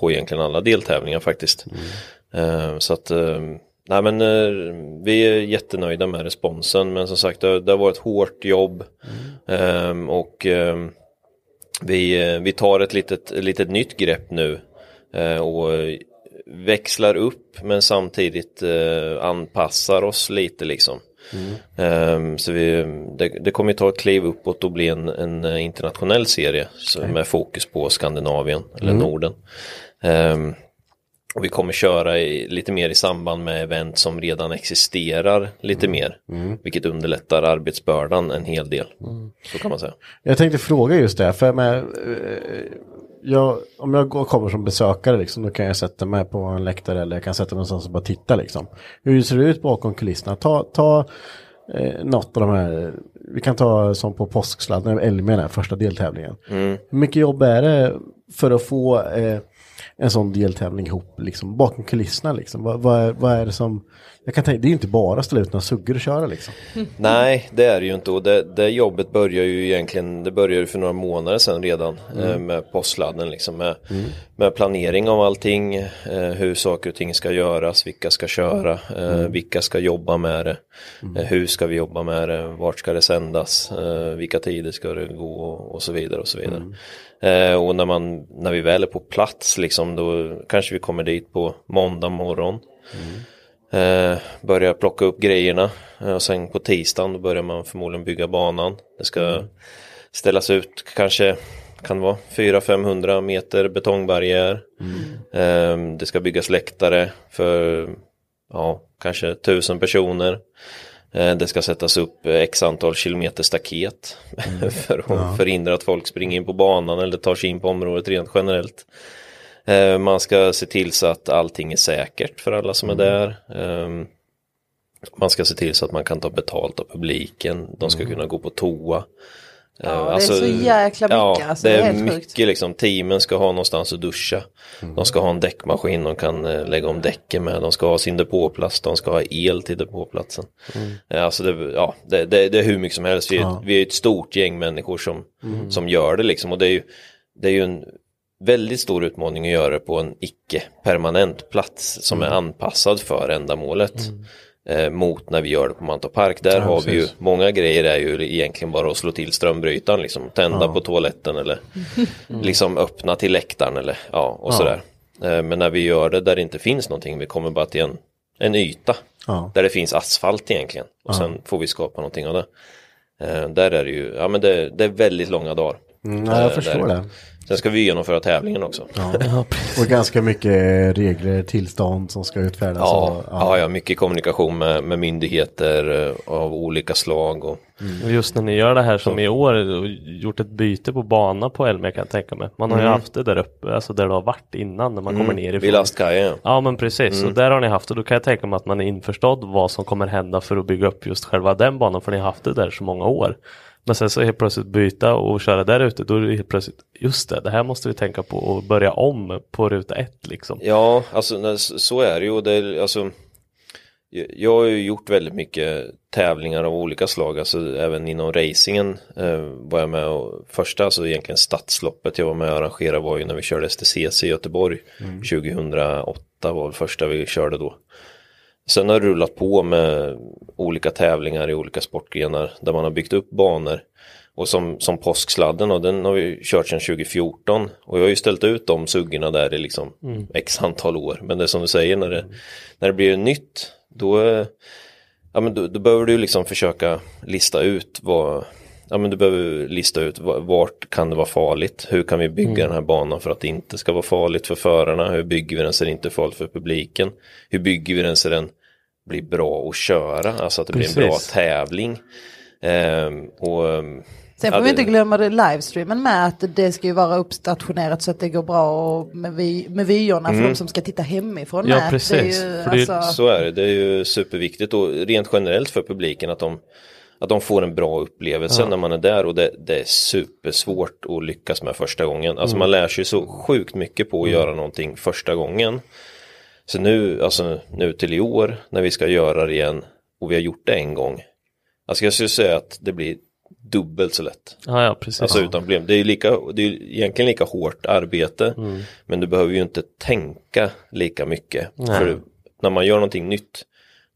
Speaker 28: på egentligen alla deltävlingar faktiskt. Eh, så att, eh, nej men eh, vi är jättenöjda med responsen. Men som sagt, det, det har varit hårt jobb. Eh, och eh, vi, eh, vi tar ett litet, ett litet nytt grepp nu. eh, och växlar upp men samtidigt eh, anpassar oss lite liksom.
Speaker 9: Mm.
Speaker 28: Ehm, så vi, det, det kommer ju ta ett kliv uppåt och bli en, en eh, internationell serie så
Speaker 9: Okej.
Speaker 28: med fokus på Skandinavien eller
Speaker 9: Mm.
Speaker 28: Norden. Ehm, och vi kommer köra i, lite mer i samband med event som redan existerar lite
Speaker 9: Mm.
Speaker 28: mer. Vilket underlättar arbetsbördan en hel del.
Speaker 9: Mm.
Speaker 28: Så kan man säga.
Speaker 2: Jag tänkte fråga just det, för jag med, eh, jag, om jag går, kommer som besökare liksom, då kan jag sätta mig på en läktare eller jag kan sätta mig någonstans och bara titta liksom. Hur ser det ut bakom kulisserna? Ta, ta eh, något av de här, vi kan ta som på påsksladden, Elmia, den här första deltävlingen.
Speaker 28: Mm.
Speaker 2: Hur mycket jobb är det för att få eh, en sån deltävling ihop, liksom, bakom kulisserna liksom? Vad, vad, är, vad är det som, jag kan tänka, det är ju inte bara att ställa ut några suggor och köra liksom.
Speaker 28: Nej, det är det ju inte och det, det jobbet börjar ju egentligen, det började ju för några månader sedan redan
Speaker 9: Mm.
Speaker 28: eh, med postsladden liksom med,
Speaker 9: Mm.
Speaker 28: med planering av allting, eh, hur saker och ting ska göras, vilka ska köra, eh,
Speaker 9: Mm.
Speaker 28: vilka ska jobba med det,
Speaker 9: Mm.
Speaker 28: eh, hur ska vi jobba med det, vart ska det sändas, eh, vilka tider ska det gå och, och så vidare och så vidare. Eh, och när, man, när vi väl är på plats liksom då kanske vi kommer dit på måndag morgon. Eh, börjar plocka upp grejerna eh, och sen på tisdagen då börjar man förmodligen bygga banan. Det ska ställas ut kanske kan det vara 400-500 meter betongbarriär. Eh, det ska byggas läktare för ja, kanske 1000 personer. Eh, Det ska sättas upp eh, x antal kilometer staket för att
Speaker 9: Ja.
Speaker 28: förhindra att folk springer in på banan eller tar sig in på området rent generellt. Eh, Man ska se till så att allting är säkert för alla som är där. Ehm, Man ska se till så att man kan ta betalt av publiken. De ska kunna gå på toa. Ja,
Speaker 13: är så jäkla mycket, alltså,
Speaker 28: det
Speaker 13: det är
Speaker 28: är
Speaker 13: helt sjukt.
Speaker 28: mycket liksom. Teamen ska ha någonstans att duscha.
Speaker 9: Mm.
Speaker 28: De ska ha en däckmaskin de kan eh, lägga om däcken med. De ska ha sin depåplats. De ska ha el till depåplatsen.
Speaker 9: Mm.
Speaker 28: Eh, Alltså det, ja, det, det, det är hur mycket som helst. Vi är,
Speaker 9: Ja.
Speaker 28: vi är ett stort gäng människor som,
Speaker 9: Mm.
Speaker 28: som gör det liksom. Och det är ju, det är ju en väldigt stor utmaning att göra det på en icke-permanent plats som
Speaker 9: Mm.
Speaker 28: är anpassad för ändamålet. Eh, mot när vi gör det på Mantorp Park. Där
Speaker 9: Ja,
Speaker 28: har vi ju,
Speaker 9: precis.
Speaker 28: många grejer är ju egentligen bara att slå till strömbrytaren liksom. Tända
Speaker 9: Ja.
Speaker 28: på toaletten eller
Speaker 2: Mm.
Speaker 28: liksom öppna till läktaren eller ja och
Speaker 9: Ja.
Speaker 28: sådär. Eh, Men när vi gör det där det inte finns någonting, vi kommer bara till en, en yta
Speaker 9: Ja.
Speaker 28: där det finns asfalt egentligen och
Speaker 9: Ja.
Speaker 28: sen får vi skapa någonting av det. Eh, Där är det ju, ja men det, det är väldigt långa dagar.
Speaker 2: Mm, ja, jag
Speaker 28: Eh,
Speaker 2: förstår det.
Speaker 28: Sen ska vi genomföra tävlingen också.
Speaker 2: Och ganska mycket regler, tillstånd som ska utfärdas.
Speaker 28: Ja,
Speaker 2: och-
Speaker 28: ja, ja, mycket kommunikation med, med myndigheter eh, av olika slag. Och,
Speaker 2: Mm.
Speaker 4: Mm. Och Just när ni gör det här som i år och gjort ett byte på bana på Elmia kan jag tänka mig. Man har ju
Speaker 28: Mm.
Speaker 4: haft det där uppe, alltså där det har varit innan när man
Speaker 28: Mm,
Speaker 4: kommer ner
Speaker 28: vid lastkajen, ja.
Speaker 4: Ja men precis,
Speaker 28: Mm.
Speaker 4: och där har ni haft det. Då kan jag tänka mig att man är införstådd vad som kommer hända för att bygga upp just själva den banan för ni har haft det där så många år. Men sen så helt plötsligt byta och köra där ute, då är det helt plötsligt, just det, det här måste vi tänka på och börja om på ruta ett liksom.
Speaker 28: Ja, alltså nej, så så är det ju. Och Det, är, alltså, jag- jag har ju gjort väldigt mycket tävlingar av olika slag, alltså även inom racingen eh, var jag med och första, alltså egentligen stadsloppet jag var med och arrangerade var ju när vi körde STCC i Göteborg
Speaker 9: Mm.
Speaker 28: 2008 var väl första vi körde då. Sen har det rullat på med olika tävlingar i olika sportgrenar där man har byggt upp banor. Och som, som påsksladden och den har vi kört sedan 2014. Och jag har ju ställt ut de suggorna där i liksom
Speaker 9: Mm.
Speaker 28: x antal år. Men det är som du säger när det, när det blir nytt då, eh, ja, men då, då behöver du liksom försöka lista ut vad Ja, men du behöver lista ut va- vart kan det vara farligt? Hur kan vi bygga
Speaker 9: Mm.
Speaker 28: den här banan för att det inte ska vara farligt för förarna? Hur bygger vi den så det inte är farligt för publiken? Hur bygger vi den så den blir bra att köra? Alltså att det blir en bra
Speaker 4: Precis.
Speaker 28: tävling. Ehm, och, ehm,
Speaker 13: Sen
Speaker 28: ja,
Speaker 13: får vi
Speaker 28: det-
Speaker 13: inte glömma det livestreamen med att det ska ju vara uppstationerat så att det går bra och med, vi, med vyerna för
Speaker 28: Mm.
Speaker 13: de som ska titta hemifrån.
Speaker 28: Ja,
Speaker 13: med.
Speaker 28: precis.
Speaker 13: Det är ju,
Speaker 28: För det,
Speaker 13: alltså,
Speaker 28: Så är det, det är ju superviktigt och rent generellt för publiken att de, att de får en bra upplevelse
Speaker 9: Ja.
Speaker 28: när man är där och det, det är supersvårt att lyckas med första gången. Alltså
Speaker 9: Mm.
Speaker 28: man lär sig så sjukt mycket på att
Speaker 9: Mm.
Speaker 28: göra någonting första gången. Så nu, alltså nu till i år när vi ska göra det igen och vi har gjort det en gång. Alltså jag skulle säga att det blir dubbelt så lätt.
Speaker 4: Ja, ja, precis.
Speaker 28: Alltså
Speaker 4: Ja.
Speaker 28: utan problem. Det är ju lika, det är ju egentligen lika hårt arbete.
Speaker 4: Mm.
Speaker 28: Men du behöver ju inte tänka lika mycket.
Speaker 4: Nej.
Speaker 28: För när man gör någonting nytt,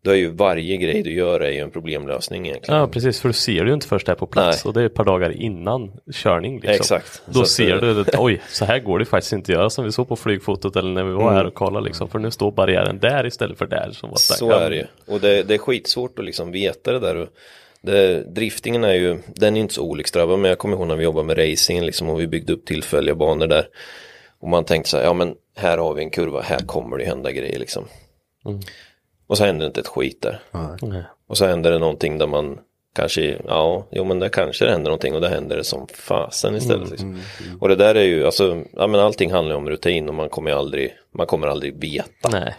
Speaker 28: då är ju varje grej du gör är ju en problemlösning egentligen.
Speaker 4: Ja precis, för du ser det ju inte först här på plats och det är ett par dagar innan körning. Liksom.
Speaker 28: Exakt.
Speaker 4: Då
Speaker 28: Så att,
Speaker 4: ser
Speaker 28: eh,
Speaker 4: du, det, oj, så här går det faktiskt inte att göra som vi såg på flygfotot eller när vi var
Speaker 28: Mm.
Speaker 4: här och kollade liksom. För nu står barriären där istället för där. Som var
Speaker 28: Så är det ju. Och det, det är skitsvårt att liksom veta det där. Och Det, driftingen är ju, den är inte så olycksdrabbad, men jag kommer ihåg när vi jobbade med racingen liksom, och vi byggde upp tillfälliga banor där. Och man tänkte så här, ja men här har vi en kurva, här kommer det hända grejer liksom.
Speaker 4: Mm.
Speaker 28: Och så händer det inte ett skit där.
Speaker 4: Nej.
Speaker 28: Och så händer det någonting där man kanske, ja, jo men där kanske det händer någonting och det händer det som fasen istället.
Speaker 9: Mm,
Speaker 28: liksom.
Speaker 9: mm,
Speaker 28: Och det där är ju, alltså, ja men allting handlar ju om rutin och man kommer ju aldrig, man kommer aldrig veta.
Speaker 9: Nej.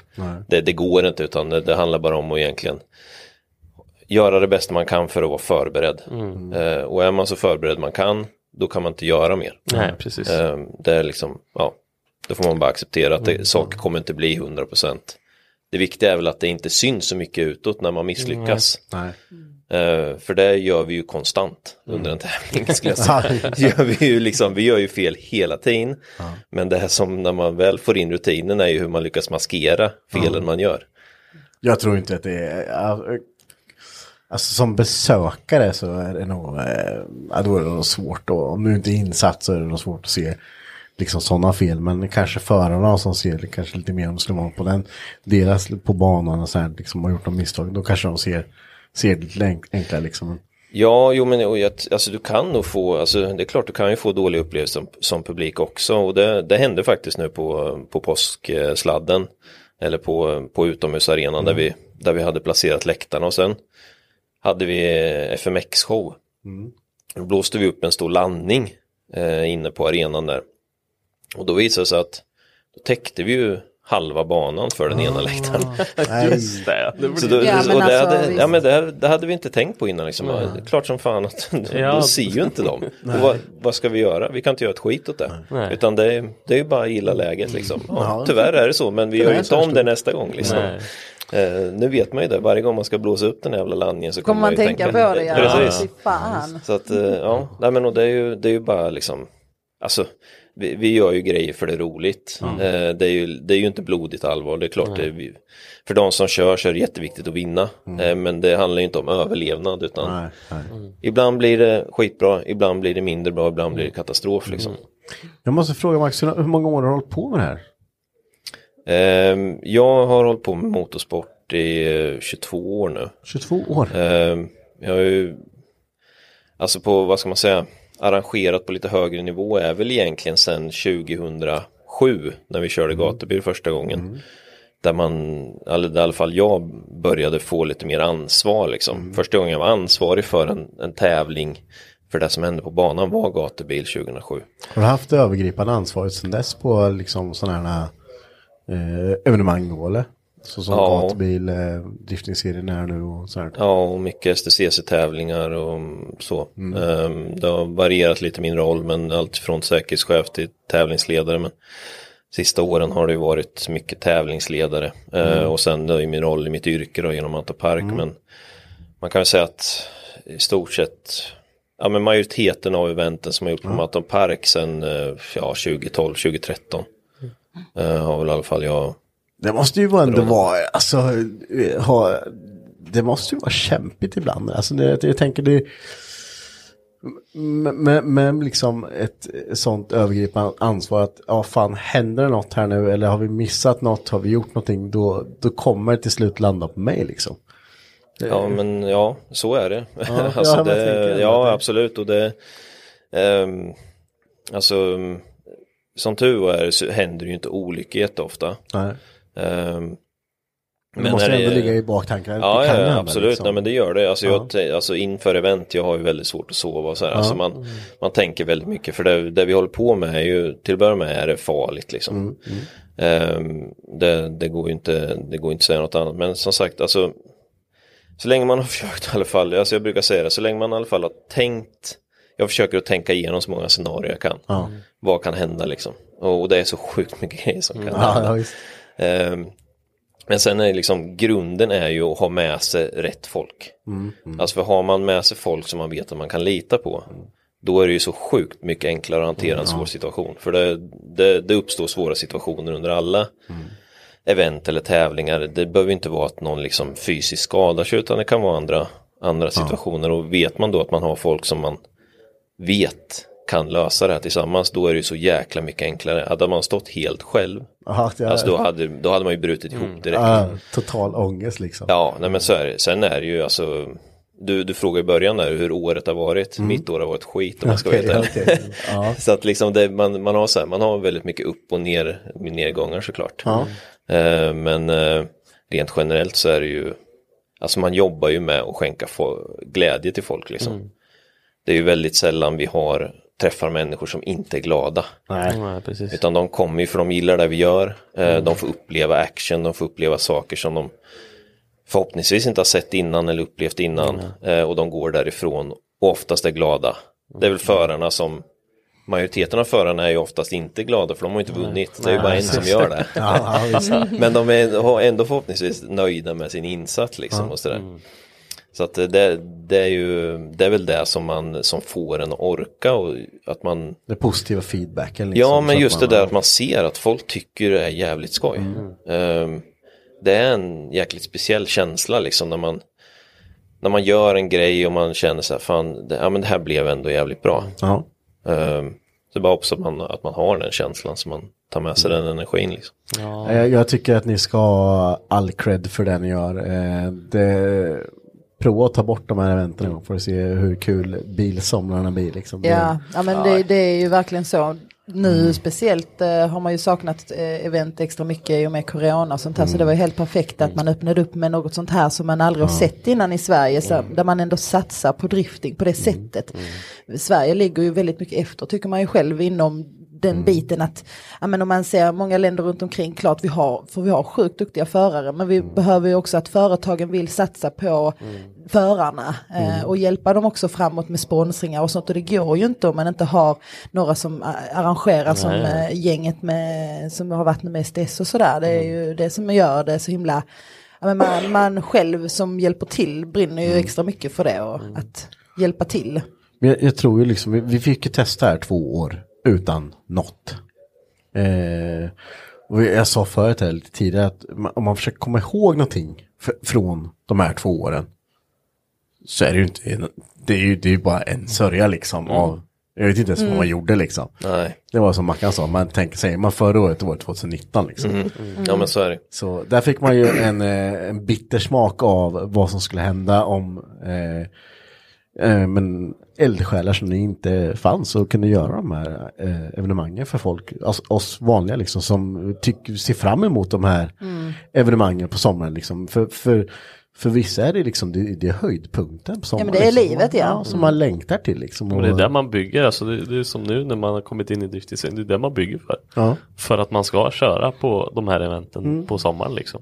Speaker 28: Det, det går inte utan det, det handlar bara om att egentligen göra det bästa man kan för att vara förberedd.
Speaker 9: Mm.
Speaker 28: Eh, och är man så förberedd man kan, då kan man inte göra mer.
Speaker 9: Nej, precis.
Speaker 28: Eh, det är liksom, ja, då får man bara acceptera att det,
Speaker 9: Mm.
Speaker 28: saker kommer inte bli 100%. Det viktiga är väl att det inte syns så mycket utåt när man misslyckas.
Speaker 2: Nej.
Speaker 28: Eh, för det gör vi ju konstant
Speaker 9: Mm.
Speaker 28: under en tävling skulle jag säga.
Speaker 9: Ja,
Speaker 28: Det gör vi, ju liksom, vi gör ju fel hela tiden.
Speaker 9: Ja.
Speaker 28: Men det här som när man väl får in rutinen är ju hur man lyckas maskera felen
Speaker 2: Ja.
Speaker 28: man gör.
Speaker 2: Jag tror inte att det är... äh, Alltså som besökare så är det nog, äh, ja, då är det nog svårt. Och om du inte är insatt så är det nog svårt att se liksom sådana fel. Men kanske förarna som ser det kanske lite mer om slår på den. Deras på banan och så här, liksom har gjort något misstag. Då kanske de ser, ser det lite enk- enklare liksom.
Speaker 28: Ja, jo men och jag, alltså, du kan nog få, alltså, det är klart du kan ju få dåliga upplevelser som, som publik också och det, det hände faktiskt nu på, på
Speaker 4: Mm.
Speaker 28: påsksladden eller på, på utomhusarenan där, vi, där vi hade placerat läktarna och sen hade vi eh, FMX-show.
Speaker 21: Mm.
Speaker 28: Då blåste vi upp en stor landning eh, inne på arenan där. Och då visade det sig att då täckte vi ju halva banan för den ena läktaren.
Speaker 4: Ah. nej. Just det, det blir-
Speaker 28: Så då,
Speaker 4: Ja, men
Speaker 28: och det,
Speaker 4: alltså,
Speaker 28: hade,
Speaker 4: visst.
Speaker 28: ja, men det, här- det hade vi inte tänkt på innan. Liksom.
Speaker 4: Nej.
Speaker 28: Ja, det är Klart som fan att
Speaker 4: Ja.
Speaker 28: då ser ju inte dem.
Speaker 4: Nej.
Speaker 28: Och vad, vad ska vi göra? Vi kan inte göra ett skit åt det.
Speaker 4: Nej.
Speaker 28: Utan det, är- det är ju bara att gilla läget liksom.
Speaker 4: Ja.
Speaker 28: Ja, tyvärr är det så, men vi
Speaker 4: Det
Speaker 28: gör
Speaker 4: är
Speaker 28: ju inte
Speaker 4: så
Speaker 28: om det nästa gång. Liksom.
Speaker 4: Nej.
Speaker 28: Eh, nu vet man ju det, varje gång man ska blåsa upp den här jävla landningen så
Speaker 13: Kommer
Speaker 28: kommer
Speaker 13: man
Speaker 28: ju
Speaker 13: tänka på det, ja.
Speaker 28: Precis.
Speaker 13: Fy fan.
Speaker 28: Så att, eh, ja, nej men och det är ju, det är ju bara liksom, alltså, vi, vi gör ju grejer för det är roligt.
Speaker 4: Mm.
Speaker 28: Eh, det, är ju, det är ju inte blodigt allvar, det är klart,
Speaker 4: Nej.
Speaker 28: det är, vi- för de som kör så är det jätteviktigt att vinna.
Speaker 4: Mm.
Speaker 28: Eh, men det handlar ju inte om överlevnad, utan
Speaker 4: Nej, nej. Mm.
Speaker 28: ibland blir det skitbra, ibland blir det mindre bra, ibland blir det katastrof liksom.
Speaker 2: Jag måste fråga Max, hur hur många år har du hållit på med det här?
Speaker 28: Ehm, Jag har hållit på med motorsport i eh, 22 år nu.
Speaker 2: 22 år?
Speaker 28: Ehm, Jag har ju, alltså på, vad ska man säga, arrangerat på lite högre nivå är väl egentligen sedan 2007 när vi körde gatubil första gången. Där man, eller där i alla fall jag började få lite mer ansvar liksom. Första gången jag var ansvarig för en, en tävling för det som hände på banan var gatubil 2007.
Speaker 2: Har du haft det övergripande ansvaret sedan dess på liksom sådana här eh, evenemang då eller? Så som
Speaker 28: Ja.
Speaker 2: gatubil, eh, driftingserien är nu och sådär.
Speaker 28: Ja, och mycket STCC-tävlingar och så.
Speaker 2: Mm.
Speaker 28: Ehm, Det har varierat lite min roll, men allt från säkerhetschef till tävlingsledare. Men sista åren har det ju varit mycket tävlingsledare. Ehm,
Speaker 4: Mm.
Speaker 28: Och sen är ju min roll i mitt yrke då, genom Anta Park.
Speaker 4: Mm.
Speaker 28: Men man kan väl säga att i stort sett, ja men majoriteten av eventen som har gjort på
Speaker 4: Mm.
Speaker 28: Anta Park sedan eh, ja, 2012, 2013. eh, har väl i alla fall jag
Speaker 2: Det Mm. måste ju vara ändå vara, alltså, eh, ha, det måste ju vara kämpigt ibland. Alltså, det, jag tänker det med, med, med liksom ett sånt övergripande ansvar att ja fan händer det något här nu eller har vi missat något, har vi gjort någonting då, då kommer det till slut landa på mig liksom. Det-
Speaker 28: Ja, men ja, så är det.
Speaker 2: Ja,
Speaker 28: alltså,
Speaker 2: ja, men jag tänker
Speaker 28: det,
Speaker 2: ändå
Speaker 28: ja
Speaker 2: att det-
Speaker 28: absolut. Och det, ehm, alltså, mm, som tur är så händer det ju inte olyckor jätteofta.
Speaker 2: Nej.
Speaker 28: Ehm,
Speaker 2: Det måste
Speaker 28: när
Speaker 2: ändå ligga i baktanken att
Speaker 28: Ja,
Speaker 2: det
Speaker 28: ja,
Speaker 2: kan
Speaker 28: ja
Speaker 2: hända,
Speaker 28: absolut.
Speaker 2: liksom.
Speaker 28: Nej, men det gör det. Alltså,
Speaker 2: Ja.
Speaker 28: jag, t- alltså, inför event, jag har ju väldigt svårt att sova och så här.
Speaker 2: Ja.
Speaker 28: Alltså, man, man tänker väldigt mycket. För det, det vi håller på med är ju, till att börja med är det farligt liksom.
Speaker 2: Mm, mm.
Speaker 28: Ehm, det, det går ju inte, det går inte att säga något annat. Men som sagt, alltså, så länge man har försökt i alla fall, alltså jag brukar säga det, så länge man i alla fall har tänkt, jag försöker att tänka igenom så många scenarier jag kan.
Speaker 2: Ja.
Speaker 28: Vad kan hända liksom? Och, och det är så sjukt mycket grejer som kan
Speaker 2: Mm. Ja, ja,
Speaker 28: hända.
Speaker 2: visst.
Speaker 28: Ehm, men sen är liksom grunden är ju att ha med sig rätt folk.
Speaker 2: Mm,
Speaker 28: Alltså för har man med sig folk som man vet att man kan lita på, då är det ju så sjukt mycket enklare att hantera en
Speaker 4: Mm, ja.
Speaker 28: svår situation. För det, det, det uppstår svåra situationer under alla
Speaker 2: Mm.
Speaker 28: event eller tävlingar. Det behöver ju inte vara att någon liksom fysiskt skadar sig, utan det kan vara andra, andra situationer. Och vet man då att man har folk som man vet kan lösa det här tillsammans, då är det ju så jäkla mycket enklare. Hade man stått helt själv,
Speaker 2: Ja, det är- Mm.
Speaker 28: alltså då, hade, då hade man ju brutit ihop direkt.
Speaker 2: Ja, total ångest liksom.
Speaker 28: Ja, nej men så är det. Sen är det ju alltså, du, du frågade i början där hur året har varit.
Speaker 2: Mm.
Speaker 28: Mitt år har varit skit om man ska
Speaker 2: Okej,
Speaker 28: veta.
Speaker 2: okej. Ja.
Speaker 28: så att liksom det, man, man, har så här, man har väldigt mycket upp och ner, med nedgångar såklart.
Speaker 2: Ja.
Speaker 28: Eh, men eh, rent generellt så är det ju, alltså man jobbar ju med att skänka fo- glädje till folk liksom.
Speaker 4: Mm.
Speaker 28: Det är ju väldigt sällan vi har, träffar människor som inte är glada.
Speaker 4: Nej. Nej, precis.
Speaker 28: Utan de kommer ju för de gillar det vi gör. Eh,
Speaker 4: Mm.
Speaker 28: De får uppleva action, de får uppleva saker som de förhoppningsvis inte har sett innan eller upplevt innan. Eh, Och de går därifrån och oftast är glada. Det är
Speaker 4: Mm.
Speaker 28: väl förarna som Majoriteten av förarna är ju oftast inte glada för de har ju inte
Speaker 4: Nej.
Speaker 28: vunnit. Det är ju bara
Speaker 4: Nej,
Speaker 28: en som
Speaker 4: precis.
Speaker 28: gör det.
Speaker 4: Ja, ja, visst.
Speaker 28: Men de är har ändå förhoppningsvis nöjda med sin insats liksom
Speaker 4: Ja. Mm.
Speaker 28: och sådär. Så att eh, det, det är ju, det är väl det som man, som får en att orka och att man
Speaker 2: Den positiva feedbacken.
Speaker 28: ja,
Speaker 2: liksom, så
Speaker 28: men
Speaker 2: att
Speaker 28: just
Speaker 2: man- Mm.
Speaker 28: det där att man ser att folk tycker det är jävligt skoj. Ehm, det är en jäkligt speciell känsla liksom när man, när man gör en grej och man känner så här, fan, det, ja, men det här blev ändå jävligt bra.
Speaker 2: Ja.
Speaker 28: Ehm, så det är bara också att man, att man har den känslan så man tar med sig den energin. Liksom.
Speaker 2: Jag, Eh, jag tycker att ni ska ha all cred för det ni gör. Eh, det, prova att ta bort de här eventen en gång för att se hur kul bilsamlarna blir. Liksom.
Speaker 13: Ja, ja men det, det är ju verkligen så. Nu speciellt eh, har man ju saknat eh, event extra mycket i och med corona och sånt här. Så det var ju helt perfekt att man öppnade upp med något sånt här som man aldrig har
Speaker 9: Ja.
Speaker 13: sett innan i Sverige. Så, Där man ändå satsar på drifting på det sättet.
Speaker 2: Mm.
Speaker 13: Sverige ligger ju väldigt mycket efter tycker man ju själv inom den biten att ja, men om man ser många länder runt omkring, klart vi har, för vi har sjukt duktiga förare, men vi behöver ju också att företagen vill satsa på förarna eh,
Speaker 9: Mm.
Speaker 13: och hjälpa dem också framåt med sponsringar och sånt. Och det går ju inte om man inte har några som eh, arrangerar som
Speaker 9: Nej.
Speaker 13: eh, gänget med, som har varit med STS och sådär. Det är
Speaker 9: Mm.
Speaker 13: ju det som gör det så himla, ja, men man, man själv som hjälper till brinner
Speaker 9: Mm.
Speaker 13: ju extra mycket för det och att hjälpa till.
Speaker 2: Men jag, jag tror ju liksom, vi, vi fick ju testa här två år utan något. Eh, och jag, jag sa förut här lite tidigare att ma- om man försöker komma ihåg någonting f- från de här två åren. Så är det ju inte, en- det är ju, det är ju bara en sörja liksom av, jag vet inte ens vad man
Speaker 28: Mm.
Speaker 2: gjorde liksom.
Speaker 28: Nej.
Speaker 2: Det var som Mackan sa, man tänker, säger man förra året, då var det 2019 liksom.
Speaker 28: Mm. Mm. Ja, men så är det.
Speaker 2: Så där fick man ju en, eh, en bitter smak av vad som skulle hända om eh, eh, men eldsjälar som ni inte fanns och kunde göra de här eh, evenemangen för folk, oss, oss vanliga liksom som tycker, ser fram emot de här
Speaker 18: Mm.
Speaker 2: evenemangen på sommaren liksom. För, för, för vissa är det liksom det, det är höjdpunkten på
Speaker 13: Ja,
Speaker 2: sommaren.
Speaker 13: men det är
Speaker 2: liksom.
Speaker 13: livet, ja.
Speaker 2: Som man längtar till liksom.
Speaker 4: Men det är
Speaker 2: Och-
Speaker 4: där man bygger, alltså det, det är som nu när man har kommit in i driftdesign, det är där man bygger för.
Speaker 2: Ja. Mm.
Speaker 4: För att man ska köra på de här eventen på sommaren liksom.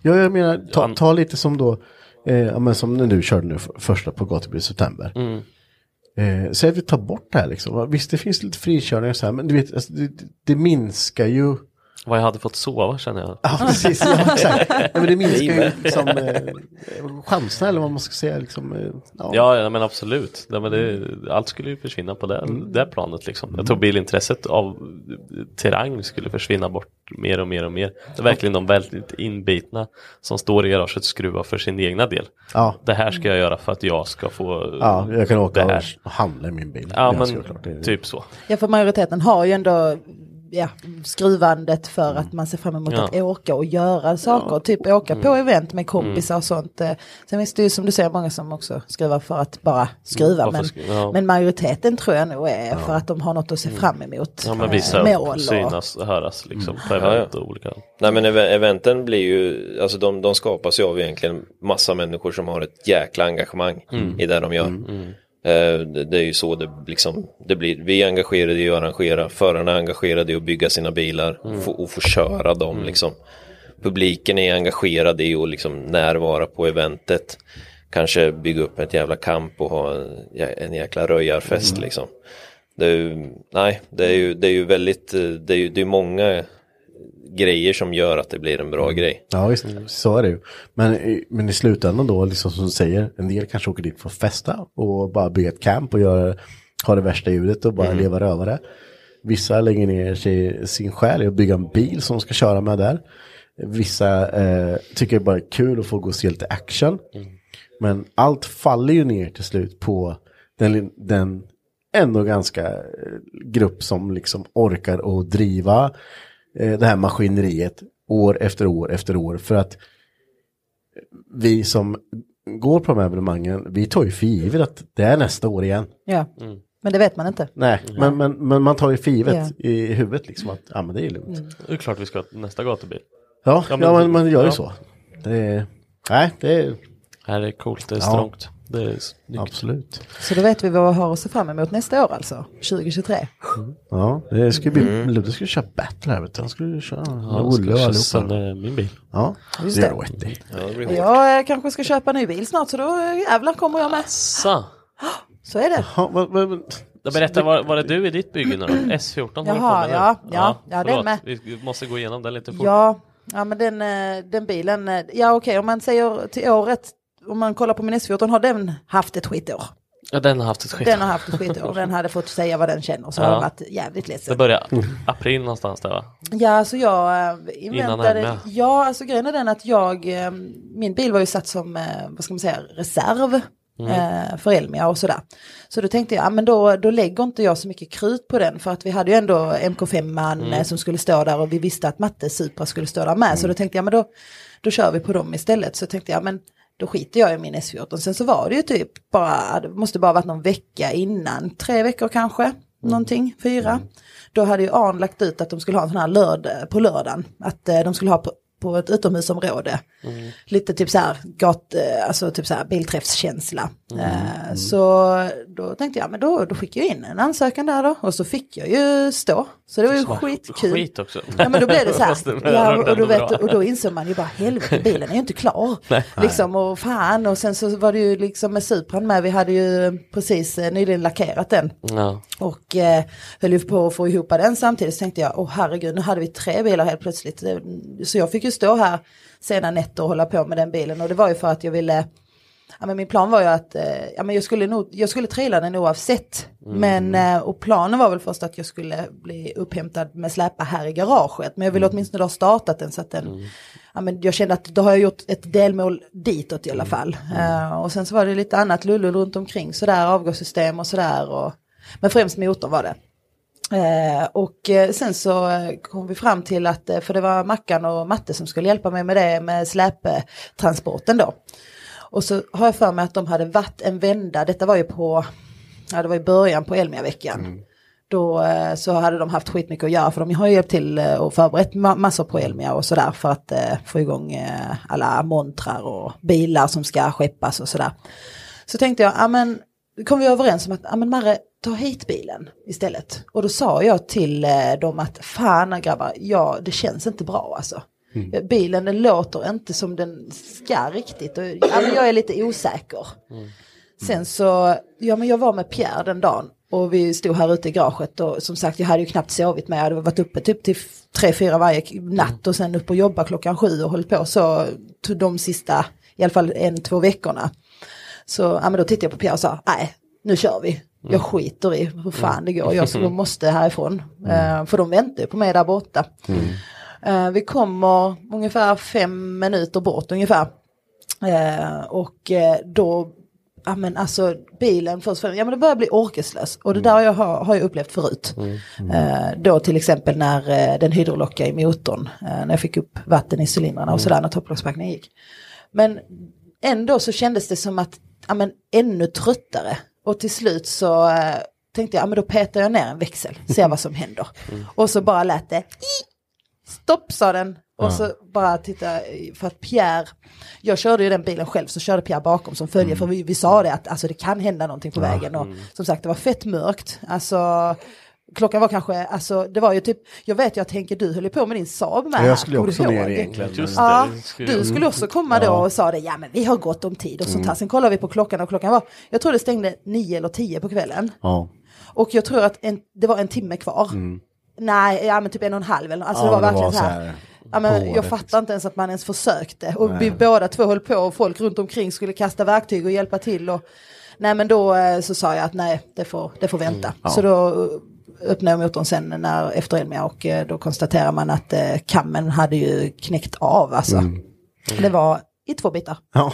Speaker 2: Ja, jag menar, ta, ta lite som då, eh, ja, men som när du körde nu f- första på Gatubil i september.
Speaker 4: Mm.
Speaker 2: Eh, så att vi tar bort det här liksom. Visst, det finns lite frikörningar och så här, men du vet, alltså, det, det minskar ju...
Speaker 4: Vad jag hade fått sova känner jag.
Speaker 2: Ja, precis. Ja, exakt. Nej, men det minskar ju
Speaker 4: Jajamän.
Speaker 2: liksom, eh, chanserna, eller vad man ska säga. Liksom, eh, ja.
Speaker 4: Ja, ja men absolut. Ja, men det, allt skulle ju försvinna på det,
Speaker 2: Mm.
Speaker 4: det planet liksom. Jag tror bilintresset av eh, terräng skulle försvinna bort mer och mer och mer. Det är verkligen de väldigt inbitna som står i garaget och skruvar för sin egna del.
Speaker 2: Ja.
Speaker 4: Det här ska jag göra för att jag ska få eh,
Speaker 2: ja, jag kan
Speaker 4: det
Speaker 2: åka
Speaker 4: här.
Speaker 2: och handla i min bil.
Speaker 4: Ja,
Speaker 2: Det
Speaker 4: men
Speaker 2: ska jag klart, det är-
Speaker 4: typ så.
Speaker 13: Ja, för majoriteten har ju ändå ja, skruvandet för att man ser fram emot
Speaker 4: Mm. Ja. Mm.
Speaker 13: att åka och göra saker. Typ åka på event med kompisar och sånt. Eh, Sen finns det ju som du säger många som också skruvar för att bara skruva.
Speaker 4: Mm, bara för
Speaker 13: Men,
Speaker 4: skru- ja. Mm.
Speaker 13: men majoriteten tror jag nog är för att de har något att se fram emot.
Speaker 4: Ja, men
Speaker 13: Eh,
Speaker 4: visa
Speaker 13: mål
Speaker 4: upp,
Speaker 13: och...
Speaker 4: synas, höras liksom på
Speaker 28: Mm. Ja, ja.
Speaker 4: event och olika.
Speaker 28: Nej men ev- eventen blir ju, alltså de, de skapas ju av egentligen massa människor som har ett jäkla engagemang
Speaker 4: Mm.
Speaker 28: i det de gör.
Speaker 4: Mm, mm.
Speaker 28: Eh, det, det är ju så det liksom, det blir, vi är engagerade i att arrangera, förarna är engagerade i att bygga sina bilar
Speaker 4: Mm.
Speaker 28: få, och få köra dem
Speaker 4: Mm.
Speaker 28: liksom. Publiken är engagerad i att liksom närvara på eventet, kanske bygga upp ett jävla kamp och ha en, jä- en jäkla röjarfest
Speaker 4: Mm.
Speaker 28: liksom. Det är ju, nej, det är ju, det är ju väldigt, eh, det är ju det är många grejer som gör att det blir en
Speaker 2: Mm.
Speaker 28: bra grej.
Speaker 2: Ja, visst, så är det ju. Men, i- men i slutändan då, liksom som du säger, en del kanske åker dit för att festa och bara bygga ett camp och göra, ha det värsta ljudet och bara
Speaker 4: Mm.
Speaker 2: leva rövare. Vissa lägger ner sig, sin själ i att bygga en bil som de ska köra med där. Vissa eh, tycker det bara är kul att få gå och se lite action. Men allt faller ju ner till slut på den, den ändå ganska eh, grupp som liksom orkar att driva eh, det här maskineriet år efter år efter år. För att vi som går på de här evenemangen, vi tar ju för givet att det är nästa år igen.
Speaker 13: Ja,
Speaker 4: Mm.
Speaker 13: men det vet man inte.
Speaker 2: Nej, men, men, men man tar ju för givet i huvudet liksom att ja, men det är lugnt.
Speaker 28: Mm.
Speaker 4: Det är klart vi ska till nästa gatubil.
Speaker 2: Ja, ja, men man gör ju
Speaker 4: ja.
Speaker 2: så. Det är, nej, det är...
Speaker 4: Här är coolt, det är
Speaker 2: Ja.
Speaker 4: strongt. Det är snyggt.
Speaker 2: Absolut.
Speaker 13: Så då vet vi vad vi har att se fram emot nästa år alltså, 2023.
Speaker 2: Ja, det ska bli, Ludde ska köra battle här vet du. Han skulle ju köra
Speaker 4: ska
Speaker 2: med Olle och
Speaker 4: köra
Speaker 2: allihopa.
Speaker 4: sönder min bil.
Speaker 2: Ja,
Speaker 13: Just
Speaker 2: det
Speaker 13: det.
Speaker 2: är rätt i.
Speaker 13: Jag eh, kanske ska köpa en ny bil snart så då eh, jävlar kommer jag med. Så är det.
Speaker 2: Ja, vad, vad, vad,
Speaker 4: Då berätta, var, var det du i ditt bygge nu då? S14 håller
Speaker 13: Jaha,
Speaker 4: på med nu.
Speaker 13: ja, ja, ja, det
Speaker 4: förlåt.
Speaker 13: med.
Speaker 4: Vi måste gå igenom den lite fort.
Speaker 13: Ja, ja men den, eh, den bilen, eh, ja okej om man säger till året, om man kollar på min S14 har den haft ett skitår.
Speaker 4: Ja, den har haft ett skit.
Speaker 13: Den har haft ett skitår, den hade fått säga vad den känner så
Speaker 4: Ja.
Speaker 13: har den varit jävligt ledsen.
Speaker 4: Det börjar april någonstans där va?
Speaker 13: Ja, så jag eh, inväntade,
Speaker 4: Emma.
Speaker 13: ja alltså grejen är den att jag, eh, min bil var ju satt som, eh, vad ska man säga, reserv.
Speaker 19: Mm.
Speaker 13: eh, för Elmia och sådär. Så då tänkte jag, ja, men då, då lägger inte jag så mycket krut på den för att vi hade ju ändå MK5an
Speaker 19: Mm.
Speaker 13: eh, som skulle stå där och vi visste att Matte Supra skulle stå där med. Så då tänkte jag, men då, då kör vi på dem istället. Så tänkte jag, men då skiter jag i min S14. Sen så var det ju typ bara, det måste bara varit någon vecka innan, tre veckor kanske. någonting, fyra. Då hade ju Arn lagt ut att de skulle ha en sån här lörd, på lördagen, att eh, de skulle ha på, på ett utomhusområde. Lite typ så här, gat, eh, alltså typ så här bilträffskänsla.
Speaker 4: Mm.
Speaker 13: Eh, Så då tänkte jag, men då, då skickar jag in en ansökan där då. Och så fick jag ju stå. Så det var ju
Speaker 4: Så-
Speaker 13: skitkul.
Speaker 4: skit också.
Speaker 13: Ja men då blev det så
Speaker 4: Fast det
Speaker 13: här.
Speaker 4: var
Speaker 13: Ja, och, då
Speaker 4: ändå
Speaker 13: vet,
Speaker 4: bra.
Speaker 13: och då insåg man ju bara helvete bilen är ju inte klar.
Speaker 4: Nej.
Speaker 13: Liksom och fan och sen så var det ju liksom med Supran med. Vi hade ju precis eh, nyligen lackerat den.
Speaker 4: Ja.
Speaker 13: Och eh, höll ju på att få ihop den samtidigt så tänkte jag, åh herregud, nu hade vi tre bilar helt plötsligt. Det- Så jag fick ju stå här sena nätter och hålla på med den bilen och det var ju för att jag ville, ja men min plan var ju att, eh, ja men jag skulle nog, jag skulle traila den oavsett.
Speaker 9: Mm.
Speaker 13: Men, eh, och planen var väl först att jag skulle bli upphämtad med släpa här i garaget. Men jag ville åtminstone ha startat den så att den, ja men jag kände att då har jag gjort ett delmål ditåt i alla fall. Eh, och sen så var det lite annat lullul runt omkring sådär, avgassystem och sådär. Och, men främst motorn var det. Eh, och eh, sen så eh, kom vi fram till att, eh, för det var Mackan och Matte som skulle hjälpa mig med det, med släptransporten då. Och så har jag för mig att de hade varit en vända, detta var ju på, ja det var i början på Elmia-veckan. Då eh, så hade de haft skitmycket att göra för de har ju hjälpt till eh, och förberett ma- massor på Elmia och sådär för att eh, få igång eh, alla montrar och bilar som ska skeppas och sådär. Så tänkte jag, ja men kom vi överens om att, ja men Marre, ta hit bilen istället. Och då sa jag till eh, dem att, fan grabbar, ja det känns inte bra alltså. Eh, Bilen den låter inte som den ska riktigt och ja, men jag är lite osäker. Sen så, ja men jag var med Pierre den dagen och vi stod här ute i garaget och som sagt jag hade ju knappt sovit med, jag hade varit uppe typ till f- tre, fyra varje k- natt och sen upp och jobba klockan sju och hållit på så tog de sista, i alla fall en, två veckorna. Så ja, men då tittade jag på Pierre och sa, nej, nu kör vi.
Speaker 9: Mm.
Speaker 13: Jag skiter i hur fan
Speaker 9: Mm.
Speaker 13: det går, jag så- jag måste härifrån. Eh, för de väntar ju på mig där borta.
Speaker 2: Mm.
Speaker 13: Eh, vi kommer ungefär fem minuter bort ungefär. Eh, och eh, då, ja men alltså bilen först och främst, ja men det börjar bli orkeslös. Och det där har jag, har, har jag upplevt förut.
Speaker 2: Mm.
Speaker 8: Mm.
Speaker 13: Eh, då till exempel när eh, den hydrolockade i motorn, eh, när jag fick upp vatten i cylindrarna
Speaker 9: Mm.
Speaker 13: och sådär när topplockspackningen gick. Men ändå så kändes det som att, ja men ännu tröttare. Och till slut så eh, tänkte jag, ja men då petar jag ner en växel, ser vad som händer.
Speaker 2: Mm.
Speaker 13: Och så bara lät det, "Ii!" stopp sa den. Och
Speaker 9: Ja.
Speaker 13: så bara titta, för att Pierre, jag körde ju den bilen själv så körde Pierre bakom som
Speaker 2: Mm.
Speaker 13: följer för vi, vi sa det att alltså, det kan hända någonting på
Speaker 9: Ja.
Speaker 13: vägen och
Speaker 9: Mm.
Speaker 13: som sagt det var fett mörkt. Alltså, klockan var kanske, alltså det var ju typ, jag vet ju att Henke du höll ju på med din Saab med.
Speaker 2: Ja, jag
Speaker 13: här,
Speaker 2: skulle
Speaker 13: kommer
Speaker 2: också
Speaker 13: du
Speaker 2: ner
Speaker 13: ihåg?
Speaker 2: egentligen, men- Just det,
Speaker 13: Ja,
Speaker 2: det skulle jag-
Speaker 13: du skulle också komma då
Speaker 2: Ja.
Speaker 13: och sa det, ja men vi har gått om tid och sånt här.
Speaker 2: Mm.
Speaker 13: Sen kollade vi på klockan och klockan var, jag tror det stängde nio eller tio på kvällen.
Speaker 2: Ja.
Speaker 13: Och jag tror att en, det var en timme kvar. Nej, ja men typ en och en halv eller alltså
Speaker 2: Mm. Ja,
Speaker 13: det var
Speaker 2: det
Speaker 13: verkligen
Speaker 2: var
Speaker 13: så
Speaker 2: så
Speaker 13: här.
Speaker 2: här
Speaker 13: Ja, men
Speaker 2: håret,
Speaker 13: jag fattar inte ens att man ens försökte. Och vi
Speaker 2: Nej.
Speaker 13: båda två höll på och folk runt omkring skulle kasta verktyg och hjälpa till. Och, nej men då eh, så sa jag att nej, det får, det får vänta.
Speaker 2: Mm.
Speaker 9: Ja.
Speaker 13: Så då eh, öppnade jag motorn sen när, efter Elmia och eh, då konstaterar man att eh, kammen hade ju knäckt av alltså.
Speaker 2: Mm.
Speaker 13: Det var i två bitar.
Speaker 2: Ja.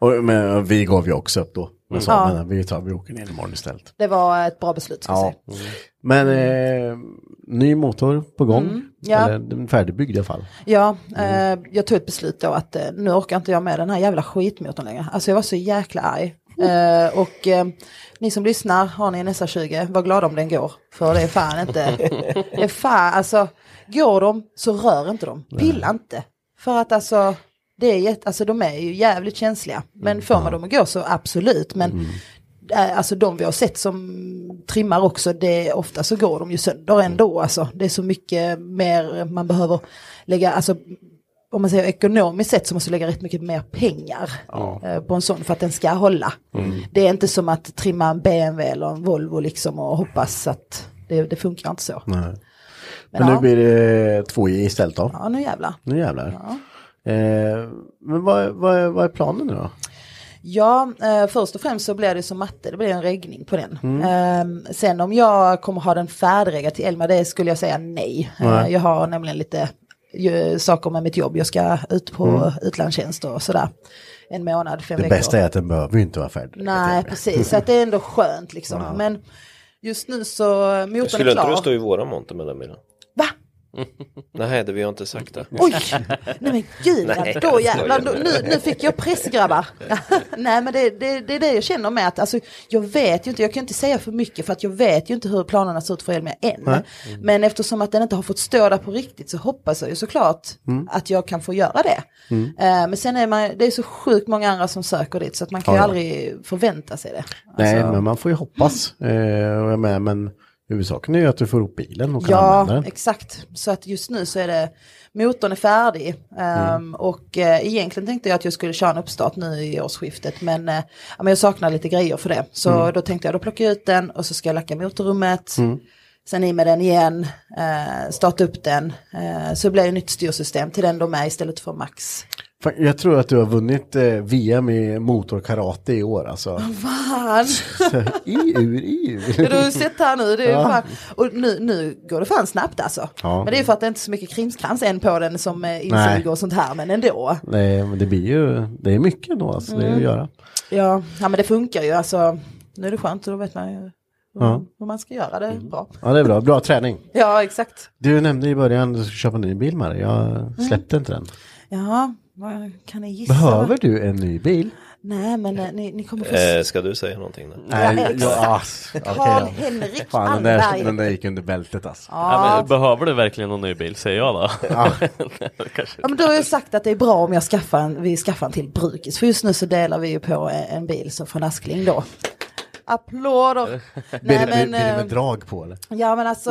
Speaker 2: Och, men vi gav ju också upp då. Men sa,
Speaker 13: Ja.
Speaker 2: men, vi, tar, vi åker ner imorgon istället.
Speaker 13: Det var ett bra beslut. Ska jag
Speaker 2: Ja.
Speaker 13: säga.
Speaker 2: Men eh, ny motor på gång.
Speaker 13: Mm, ja.
Speaker 2: Eller den färdigbyggd i alla fall.
Speaker 13: Ja, eh, jag tog ett beslut då att eh, nu orkar inte jag med den här jävla skitmotorn längre. Alltså jag var så jäkla arg. Eh, och eh, ni som lyssnar, har ni en SR20, var glada om den går. För det är fan inte, det är fan, alltså går de så rör inte dem, pilla inte. För att alltså, det är jätte, alltså de är ju jävligt känsliga. Men får man dem att gå så absolut, men eh, Alltså de vi har sett som trimmar också, det, ofta så går de ju sönder ändå. Alltså, det är så mycket mer man behöver lägga, alltså, om man säger ekonomiskt sett så måste du lägga rätt mycket mer pengar eh, på en sån för att den ska hålla.
Speaker 9: Mm.
Speaker 13: Det är inte som att trimma en BMW eller en Volvo liksom och hoppas att det, det funkar inte så.
Speaker 2: Nej.
Speaker 13: Men
Speaker 2: Men,
Speaker 13: ja.
Speaker 2: nu blir det 2J istället då.
Speaker 13: Ja, nu jävlar.
Speaker 2: Nu jävlar. Eh, men vad, vad, vad är planen nu då?
Speaker 13: Ja, eh, först och främst så blir det som matte, det blir en reggning på den.
Speaker 2: Mm.
Speaker 13: Eh, sen om jag kommer ha den färdigreggad till Elma, det skulle jag säga nej.
Speaker 9: Nej.
Speaker 13: Eh, jag har nämligen lite eh, saker med mitt jobb, jag ska ut på
Speaker 2: Mm.
Speaker 13: utlandstjänst och sådär. En månad, fem
Speaker 2: Det
Speaker 13: veckor.
Speaker 2: bästa är att den behöver ju inte vara färdig.
Speaker 13: Nej, precis, så att det är ändå skönt liksom.
Speaker 2: Ja.
Speaker 13: Men just nu så, motorn är
Speaker 28: Skulle inte
Speaker 13: klar.
Speaker 28: du stå i våra monter mellan bilarna? Nej, det vill jag inte sagt det.
Speaker 13: Oj! Nej men gud,
Speaker 28: Nej,
Speaker 13: då
Speaker 28: jag
Speaker 13: jävlar, då,
Speaker 28: skojar.
Speaker 13: nu, nu fick jag press grabbar. Nej men det, det, det är det jag känner med att alltså, jag vet ju inte, jag kan ju inte säga för mycket för att jag vet ju inte hur planerna ser ut för Elmia än.
Speaker 2: Nej.
Speaker 13: Men eftersom att den inte har fått stå där på riktigt så hoppas jag ju såklart
Speaker 2: Mm.
Speaker 13: att jag kan få göra det.
Speaker 2: Mm.
Speaker 13: Eh, men sen är man, det är så sjukt många andra som söker dit så att man kan
Speaker 2: Ja,
Speaker 13: ju
Speaker 2: ja.
Speaker 13: aldrig förvänta sig det.
Speaker 2: Nej,
Speaker 13: Alltså-
Speaker 2: men man får ju hoppas. Eh, och jag med, men huvudsaken är ju att du får upp bilen och kan använda
Speaker 13: Ja,
Speaker 2: den.
Speaker 13: exakt. Så att just nu så är det, motorn är färdig. Ehm,
Speaker 2: Mm.
Speaker 13: Och eh, egentligen tänkte jag att jag skulle köra en uppstart nu i årsskiftet. Men, eh, ja, men jag saknar lite grejer för det. Så
Speaker 2: Mm.
Speaker 13: då tänkte jag, då plockar jag ut den och så ska jag lacka motorrummet.
Speaker 2: Mm.
Speaker 13: Sen i med den igen, eh, starta upp den. Eh, så det blir det nytt styrsystem till den då med istället för max.
Speaker 2: Fan, Jag tror att du har vunnit eh, VM i motorkarate i år alltså.
Speaker 13: Fan!
Speaker 2: Så, I ur, i ur.
Speaker 13: Ja, du har ju sett här nu, det är ju
Speaker 2: Ja.
Speaker 13: fan. Och nu, nu går det fan snabbt alltså.
Speaker 2: Ja.
Speaker 13: Men det är ju för att det är inte så mycket krimskrams än på den som eh,
Speaker 2: Nej.
Speaker 13: insuger och sånt här, men ändå.
Speaker 2: Nej, men det blir ju, det är mycket då alltså, det är att
Speaker 13: Mm.
Speaker 2: göra.
Speaker 13: Ja, ja, men det funkar ju. Alltså, nu är det skönt, då vet man ju
Speaker 2: Ja. Mm.
Speaker 13: hur man ska göra det bra.
Speaker 2: ja, det är bra, bra träning.
Speaker 13: Ja, exakt.
Speaker 2: Du nämnde i början att du skulle köpa en ny bil Marie, jag släppte inte den.
Speaker 13: Ja, vad kan ni gissa?
Speaker 2: Behöver
Speaker 13: vad-
Speaker 2: du en ny bil?
Speaker 13: Nej, men eh, ni, ni kommer få...
Speaker 28: Eh, ska du säga någonting? Då?
Speaker 2: Nej,
Speaker 13: Ja,
Speaker 2: jag,
Speaker 13: exakt.
Speaker 2: ja, ass, okej då.
Speaker 13: Karl-Henrik
Speaker 2: Fan, den där,
Speaker 13: Almberg.
Speaker 2: den där gick under bältet alltså.
Speaker 13: Ja.
Speaker 4: men, behöver du verkligen någon ny bil, säger jag då. Kanske.
Speaker 13: Ja, men då har jag sagt att det är bra om jag skaffar en, vi skaffar en till brukis. För just nu så delar vi ju på en, en bil så från Askling då. Applåder!
Speaker 2: Blir det, blir,
Speaker 13: men,
Speaker 2: blir det med
Speaker 13: eh,
Speaker 2: drag på eller?
Speaker 13: Ja men alltså,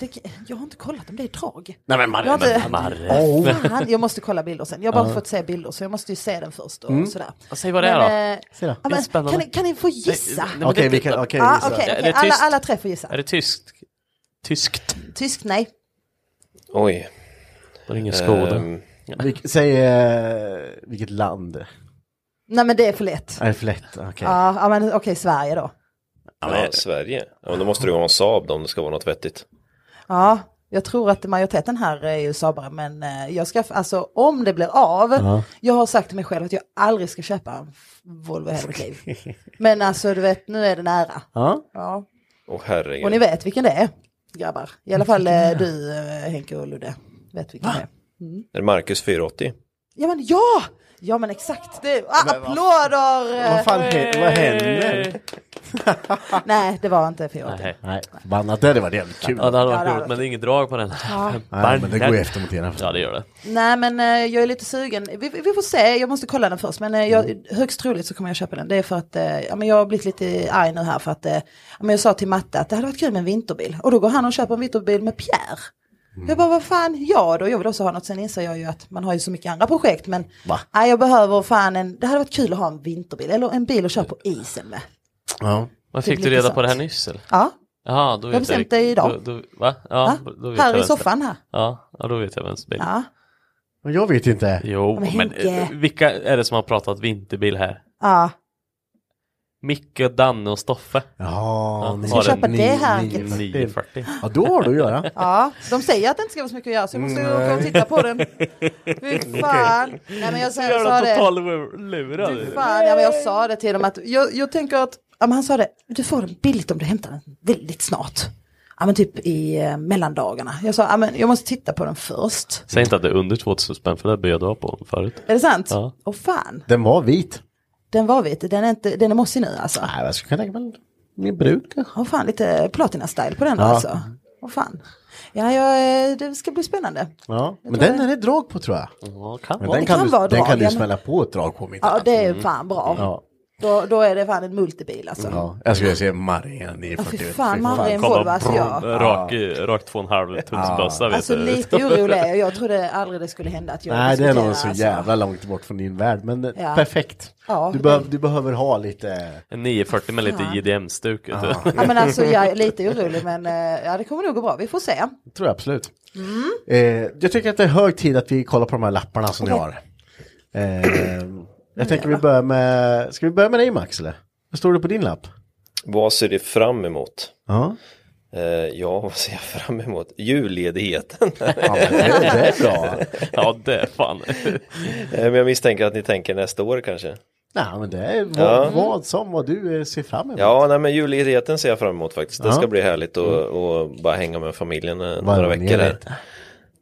Speaker 13: det, jag har inte kollat om det är drag.
Speaker 2: Nej, men Marre,
Speaker 13: jag, har
Speaker 2: men Marre.
Speaker 13: Fan, jag måste kolla bilder sen. Jag har bara
Speaker 4: Ja.
Speaker 13: fått se bilder så jag måste ju se den först och
Speaker 4: Mm.
Speaker 13: sådär.
Speaker 4: Säg vad det är då.
Speaker 13: Men, eh,
Speaker 4: Säg då.
Speaker 13: ja, men,
Speaker 4: Spännande.
Speaker 13: kan, ni- kan ni få gissa?
Speaker 4: Nej, men Okej, det- vi kan- okej,
Speaker 13: ah,
Speaker 4: gissa.
Speaker 13: okej,
Speaker 4: Är det
Speaker 13: okej. alla,
Speaker 4: tyst?
Speaker 13: alla tre får gissa.
Speaker 4: Är det tyskt? Tyskt?
Speaker 13: Tyskt nej.
Speaker 28: Oj.
Speaker 4: Det är ingen Skoda.
Speaker 28: Ehm,
Speaker 2: Vilk, säg eh, vilket land?
Speaker 13: Nej men det är för lätt.
Speaker 2: Är det för lätt? Okej.
Speaker 13: Ja, ja, men okej Sverige då.
Speaker 28: ja, Sverige. Ja, men då måste du ha en Saab då, om det ska vara något vettigt.
Speaker 13: Ja, jag tror att majoriteten här är ju sabare men eh, jag ska, alltså om det blir av,
Speaker 28: Ja.
Speaker 13: jag har sagt till mig själv att jag aldrig ska köpa en Volvo i hela mitt liv. Men alltså du vet, nu är det nära.
Speaker 2: Ja.
Speaker 13: Ja.
Speaker 28: Åh herregud.
Speaker 13: Och ni vet vilken det är, grabbar. I alla fall eh, du eh, Henke och Ludde vet vilken det är. Mm.
Speaker 28: Är det Marcus 480?
Speaker 13: Ja men ja! Ja men exakt, det, ah,
Speaker 28: Men vad-
Speaker 13: applåder!
Speaker 2: Vad fan hä- vad händer?
Speaker 13: Nej, det var inte Fiat.
Speaker 4: Nej.
Speaker 2: Nej, förbannat. Det hade varit jävligt kul.
Speaker 4: Ja, det hade varit
Speaker 13: Ja, det
Speaker 4: roligt, men det är inget drag på den.
Speaker 13: Ja.
Speaker 2: Nej, men det går ju efter mot ena.
Speaker 4: Ja, det gör det.
Speaker 13: Nej men eh, jag är lite sugen. Vi, vi vi får se, jag måste kolla den först. Men eh,
Speaker 4: Mm.
Speaker 13: jag, högst troligt så kommer jag köpa den. Det är för att eh, ja, men jag har blivit lite arg nu här för att eh, ja, men jag sa till Matte att det hade varit kul med en vinterbil. Och då går han och köper en vinterbil med Pierre.
Speaker 4: Mm.
Speaker 13: Jag bara vad fan, ja då, jag vill också ha något. Sen inser jag ju att man har ju så mycket andra projekt. Men
Speaker 2: Va?
Speaker 13: nej, jag behöver fan en, det hade varit kul att ha en vinterbil. Eller en bil att köra på isen med.
Speaker 2: Ja.
Speaker 4: Men
Speaker 13: Det är
Speaker 4: fick du
Speaker 13: lite
Speaker 4: reda
Speaker 13: sant.
Speaker 4: på det här nyss eller?
Speaker 13: Ja.
Speaker 4: Jaha, då
Speaker 13: Jag
Speaker 4: vet
Speaker 13: har bestämt det idag.
Speaker 4: Då, då, va? Ja,
Speaker 13: Ja,
Speaker 4: då vet
Speaker 13: här
Speaker 4: jag
Speaker 13: i
Speaker 4: vems det är.
Speaker 13: soffan här.
Speaker 4: Ja, ja, då vet jag vems bil.
Speaker 13: Ja.
Speaker 2: Men jag vet inte.
Speaker 4: Jo,
Speaker 13: Men
Speaker 4: men,
Speaker 13: Henke.
Speaker 4: eh, vilka är det som har pratat vinterbil här?
Speaker 13: Ja.
Speaker 4: Micke, Danne och Stoffe.
Speaker 2: Ja, ni-
Speaker 4: har
Speaker 2: Ska
Speaker 4: en
Speaker 13: köpa det här,
Speaker 4: 9,
Speaker 13: Henke.
Speaker 4: 940.
Speaker 2: Ja, då har du att göra.
Speaker 13: Ja, de säger att det inte ska vara så mycket att göra så jag måste ju åka och titta på den. Fy fan. Nej, men jag
Speaker 4: Så
Speaker 13: sa, jag
Speaker 4: jävla
Speaker 13: sa det.
Speaker 4: total lurad.
Speaker 13: Fy Fan, ja, men jag sa det till dem att jag, jag tänker att, ja, men han sa det, du får den billigt om du hämtar den väldigt snart. Ja men typ i eh, mellandagarna. Jag sa, ja men jag måste titta på den först.
Speaker 4: Säg inte att det är under 2000 spänn för det bjöd du ha på förut.
Speaker 13: Är det sant?
Speaker 4: Ja.
Speaker 13: Åh fan,
Speaker 2: Den var vit.
Speaker 13: den var vit, den är, inte, den är mossig nu alltså.
Speaker 2: Nej, jag skulle kunna tänka mig mer bruk.
Speaker 13: Åh fan, lite platina-style på den
Speaker 2: Ja.
Speaker 13: alltså. Åh fan. Ja, jag, eh, det ska bli spännande.
Speaker 2: Ja,
Speaker 13: Jag
Speaker 2: men
Speaker 13: tror
Speaker 2: den
Speaker 13: det.
Speaker 2: är det drag på tror jag.
Speaker 4: kan
Speaker 2: men
Speaker 4: Mm.
Speaker 13: vara.
Speaker 2: den
Speaker 13: Det
Speaker 2: kan,
Speaker 13: kan
Speaker 2: du,
Speaker 13: vara
Speaker 2: den
Speaker 13: drag,
Speaker 2: kan du
Speaker 13: ja,
Speaker 2: ju
Speaker 13: men-
Speaker 2: smälla på ett drag på mitt
Speaker 13: Ja, det är fan bra.
Speaker 2: Ja.
Speaker 13: Då, då är det fan en multibil alltså.
Speaker 2: Ja, jag skulle säga Maria
Speaker 13: Ja,
Speaker 2: 941.
Speaker 13: fy fan, man har en Volvo, alltså jag.
Speaker 4: Rak, rak två och en halv
Speaker 2: Ja.
Speaker 4: tumsbössa vet
Speaker 13: Alltså
Speaker 4: du.
Speaker 13: lite orolig är jag. Jag trodde aldrig det skulle hända att jag
Speaker 2: Nej, det är
Speaker 13: diskuterar,
Speaker 2: nog så
Speaker 13: alltså.
Speaker 2: jävla långt bort från din värld, men eh,
Speaker 13: Ja.
Speaker 2: perfekt.
Speaker 13: Ja,
Speaker 2: du,
Speaker 13: det-
Speaker 2: behöv, du behöver ha lite...
Speaker 4: En 940 med lite
Speaker 13: Fan.
Speaker 4: JDM-stuk. vet du.
Speaker 13: Ja men alltså jag är lite orolig men eh, ja, det kommer nog gå bra, vi får se.
Speaker 2: tror jag absolut. Eh, jag tycker att det är hög tid att vi kollar på de här lapparna som ni
Speaker 13: Okej.
Speaker 2: har. Eh, jag tänker vi börjar med... Ska vi börja med dig Max eller? Vad står det på din lapp?
Speaker 28: Vad ser du fram emot?
Speaker 2: Ja.
Speaker 28: Eh, ja, vad ser jag fram emot? Julledigheten.
Speaker 2: men det- det är bra.
Speaker 28: ja, det är fan. Eh, men jag misstänker att ni tänker nästa år kanske.
Speaker 2: Nej, men det är vad,
Speaker 28: Ja.
Speaker 2: vad som, vad du eh, ser fram emot.
Speaker 28: Ja, nej, men julledigheten ser jag fram emot faktiskt. Det
Speaker 2: Ja.
Speaker 28: ska bli härligt att och bara hänga med familjen eh,
Speaker 2: Varva
Speaker 28: några
Speaker 2: ner
Speaker 28: veckor här.
Speaker 2: lite.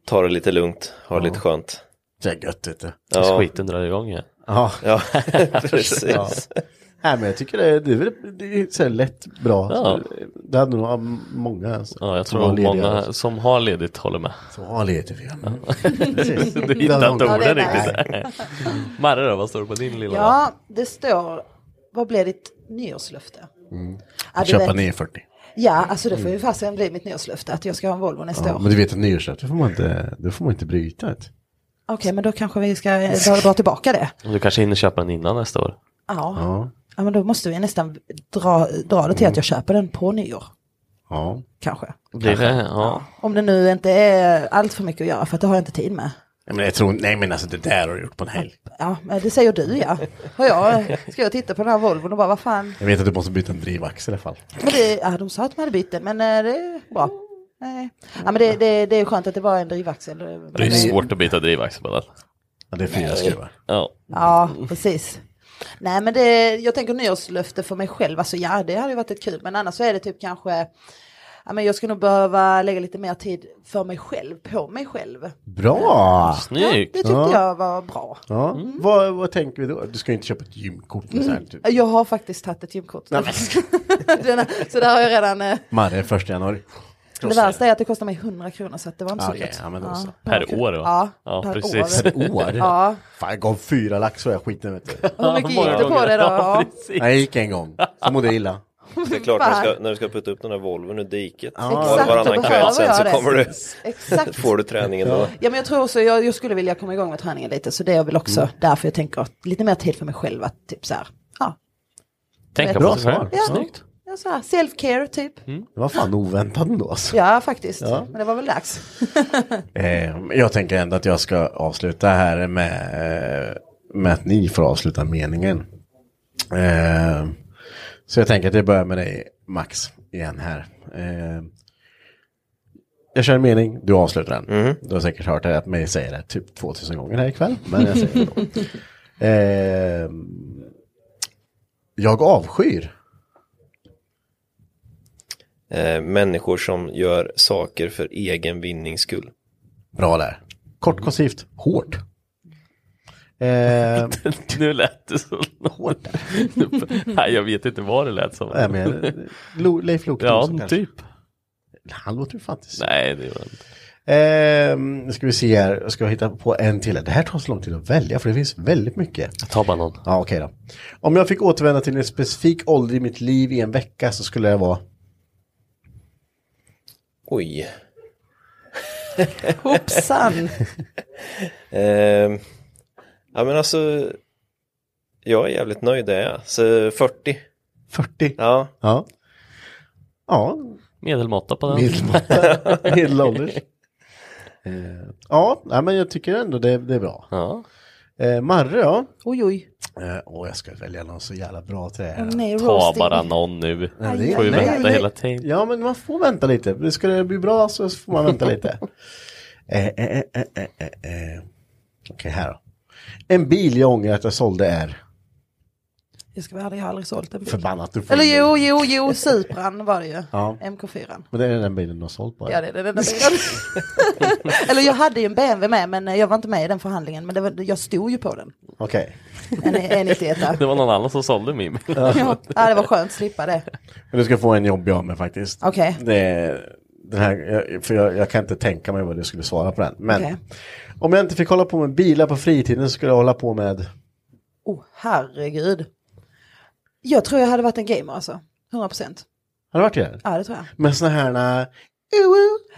Speaker 28: ta det lite lugnt, ha det
Speaker 2: Ja.
Speaker 28: lite skönt.
Speaker 2: Det är gött vet du.
Speaker 28: Ja.
Speaker 2: Så
Speaker 4: skiten drar igång igen.
Speaker 2: Ja,
Speaker 28: ja precis.
Speaker 2: Ja. Nej men jag tycker det, det är väl det är så här lätt bra.
Speaker 4: Ja.
Speaker 2: Det hade nog av många alltså,
Speaker 4: Ja, jag
Speaker 2: som
Speaker 4: tror
Speaker 2: var
Speaker 4: att
Speaker 2: lediga,
Speaker 4: många
Speaker 2: alltså.
Speaker 4: som har ledigt håller med.
Speaker 2: Som har ledigt, ja.
Speaker 13: Precis.
Speaker 4: du hittar inte
Speaker 13: Ja, det är
Speaker 4: orden
Speaker 13: där.
Speaker 4: riktigt. Marre då, vad står det på din lilla?
Speaker 13: Ja, det står, vad blir ditt nyårslöfte?
Speaker 2: Mm.
Speaker 13: Ja, du
Speaker 2: Köpa
Speaker 13: vet-
Speaker 2: ner 40.
Speaker 13: Ja, alltså det får ju fasen bli mitt nyårslöfte att jag ska ha en Volvo nästa
Speaker 2: Ja,
Speaker 13: år.
Speaker 2: men du vet att nyårslöfte får man inte, det får man inte bryta. Vet. du.
Speaker 13: Okej, men då kanske vi ska dra, dra tillbaka det.
Speaker 4: Du kanske hinner köpa den innan nästa år?
Speaker 13: Ja. ja. men då måste vi nästan dra, dra det till att jag köper den på nyår.
Speaker 2: Ja.
Speaker 13: Kanske.
Speaker 4: Blir det? Ja.
Speaker 13: Om det nu inte är allt för mycket att göra för att det har jag inte tid med.
Speaker 2: Nej men jag tror, nej men alltså det där har du gjort på en helg.
Speaker 13: Ja, men det säger du ja. Och jag ska jag titta på den här Volvon och bara vad fan.
Speaker 2: Jag vet att du måste byta en drivaxel i alla fall.
Speaker 13: Men det, ja, de sa att man hade bytt den, men eh, det är bra. Nej. Ja, men det, det, det är skönt att det var en drivaxel.
Speaker 4: Det är ju svårt att byta drivaxel på den.
Speaker 2: Ja, det är fyra skruvar.
Speaker 4: Ja.
Speaker 13: Ja, precis. Nej, men det, jag tänker nyårslöfte för mig själv. Alltså ja, det hade ju varit ett kul, men annars så är det typ kanske... Ja, men jag skulle nog behöva lägga lite mer tid för mig själv, på mig själv.
Speaker 2: Bra!
Speaker 13: Snyggt. Ja, det tyckte jag var bra.
Speaker 2: Ja.
Speaker 4: Mm.
Speaker 2: Vad, vad tänker vi då? Du ska ju inte köpa ett gymkort. med Så här, typ.
Speaker 13: Jag har faktiskt tagit ett gymkort.
Speaker 2: Nej,
Speaker 13: Den här- så där har jag redan... eh,
Speaker 2: Marre, första januari. Ah,
Speaker 13: Det värsta är att det kostar mig 100 kronor så att det var inte så
Speaker 2: Okej,
Speaker 13: dyrt.
Speaker 2: ja, men då så.
Speaker 4: Per år va?
Speaker 13: Ja,
Speaker 4: Ja,
Speaker 13: per
Speaker 4: precis.
Speaker 13: år.
Speaker 2: Per år?
Speaker 13: Ja.
Speaker 2: Fan, jag gav fyra lax för den här skiten vet du.
Speaker 13: Hur mycket gick du på det då?
Speaker 4: Ja,
Speaker 13: Ja.
Speaker 4: precis.
Speaker 2: Nej, jag gick en gång. Så mådde jag illa.
Speaker 28: Det är klart när du,
Speaker 13: Fan.
Speaker 28: ska, när du ska putta upp den här Volvon ur diket
Speaker 2: Ja.
Speaker 28: var-
Speaker 2: Exakt, då
Speaker 28: varannan
Speaker 2: behöver
Speaker 28: kväll sen
Speaker 13: jag
Speaker 28: så
Speaker 13: det.
Speaker 28: kommer du,
Speaker 13: Exakt.
Speaker 28: får du träningen
Speaker 2: Ja.
Speaker 28: då.
Speaker 13: Ja men jag tror också, jag, jag skulle vilja komma igång med träningen lite så det är väl också
Speaker 2: Mm.
Speaker 13: därför jag tänker att lite mer tid för mig själv att typ så här, ja.
Speaker 4: Tänka
Speaker 13: Bra
Speaker 4: på sig själv. Mm.
Speaker 13: svar. Ja. Snyggt. ja så här, self-care typ.
Speaker 2: Det var fan oväntat ändå alltså.
Speaker 13: Ja faktiskt,
Speaker 2: Mm. Ja.
Speaker 13: men det var väl dags.
Speaker 2: Eh, jag tänker ändå att jag ska avsluta här med, eh, med att ni får avsluta meningen. Eh, så jag tänker att jag börjar med dig Max igen här. Eh, jag kör en mening, du avslutar den. Du har säkert hört det, att mig säger det typ 2000 gånger här ikväll. Men jag säger det då. Eh, jag avskyr.
Speaker 28: Eh, människor som gör saker för egen vinnings skull.
Speaker 2: Bra där. Kort, koncist, hårt. Eh,
Speaker 4: nu lät det så hårt. Nej, jag vet inte vad det lät som.
Speaker 2: Nej, men, eh, Lo- Leif Loket
Speaker 4: Ja,
Speaker 2: Olsson kanske.
Speaker 4: typ.
Speaker 2: Han låter ju fantastisk.
Speaker 4: Nej, det gör han inte.
Speaker 2: Ehm, nu ska vi se här, jag ska hitta på en till. Det här tar så lång tid att välja för det finns väldigt mycket.
Speaker 4: Jag tar bara någon.
Speaker 2: Ja, okej då. Om jag fick återvända till en specifik ålder i mitt liv i en vecka så skulle jag vara...
Speaker 28: Oj.
Speaker 13: Hoppsan.
Speaker 28: Ehm, ja men alltså, jag är jävligt nöjd där jag är. Så 40.
Speaker 2: 40?
Speaker 28: Ja.
Speaker 2: Ja. Ja.
Speaker 4: Medelmåtta på den.
Speaker 2: Medelmåtta. Medelålders. Ehm, ja, nej, men jag tycker ändå det, det är bra.
Speaker 4: Ja.
Speaker 2: Ehm, Marre ja.
Speaker 13: Oj, oj.
Speaker 2: Ehm, åh, jag ska välja någon så jävla bra till det här.
Speaker 13: Åh, nej,
Speaker 4: Ta
Speaker 13: roasting.
Speaker 4: bara någon nu.
Speaker 2: Nej, det-
Speaker 4: Får ju
Speaker 2: nej,
Speaker 4: vänta
Speaker 2: nej.
Speaker 4: hela tiden.
Speaker 2: Ja, men man får vänta lite. Det Ska det bli bra så får man vänta lite. eh, eh, eh, eh, eh, eh. eh. Okej, här då. En bil jag ångrar att jag sålde är
Speaker 13: Jag ska vara ärlig, jag har aldrig sålt en bil.
Speaker 2: förbannat. Du får
Speaker 13: Eller
Speaker 2: en bil.
Speaker 13: jo, jo, jo, Supran var det ju.
Speaker 2: Ja.
Speaker 13: MK4.
Speaker 2: Men det är den bilen du har sålt bara.
Speaker 13: Ja det är den enda bilen. Eller jag hade ju en BMW med men eh, jag var inte med i den förhandlingen men det var, jag stod ju på den.
Speaker 2: Okej.
Speaker 13: En, en 91 där.
Speaker 4: Det var någon annan som sålde min bil.
Speaker 13: Ja, det var skönt att slippa det.
Speaker 2: Men du ska få en jobb jag med faktiskt.
Speaker 13: Okej.
Speaker 2: Det är den här, jag- för jag, jag kan inte tänka mig vad du skulle svara på den. Men
Speaker 13: Okej.
Speaker 2: om jag inte fick hålla på med bilar på fritiden så skulle jag hålla på med
Speaker 13: Oh, herregud. Jag tror jag hade varit en gamer alltså. 100 procent.
Speaker 2: Har du varit i det?
Speaker 13: Ja, det tror jag.
Speaker 2: Med såna här... eh,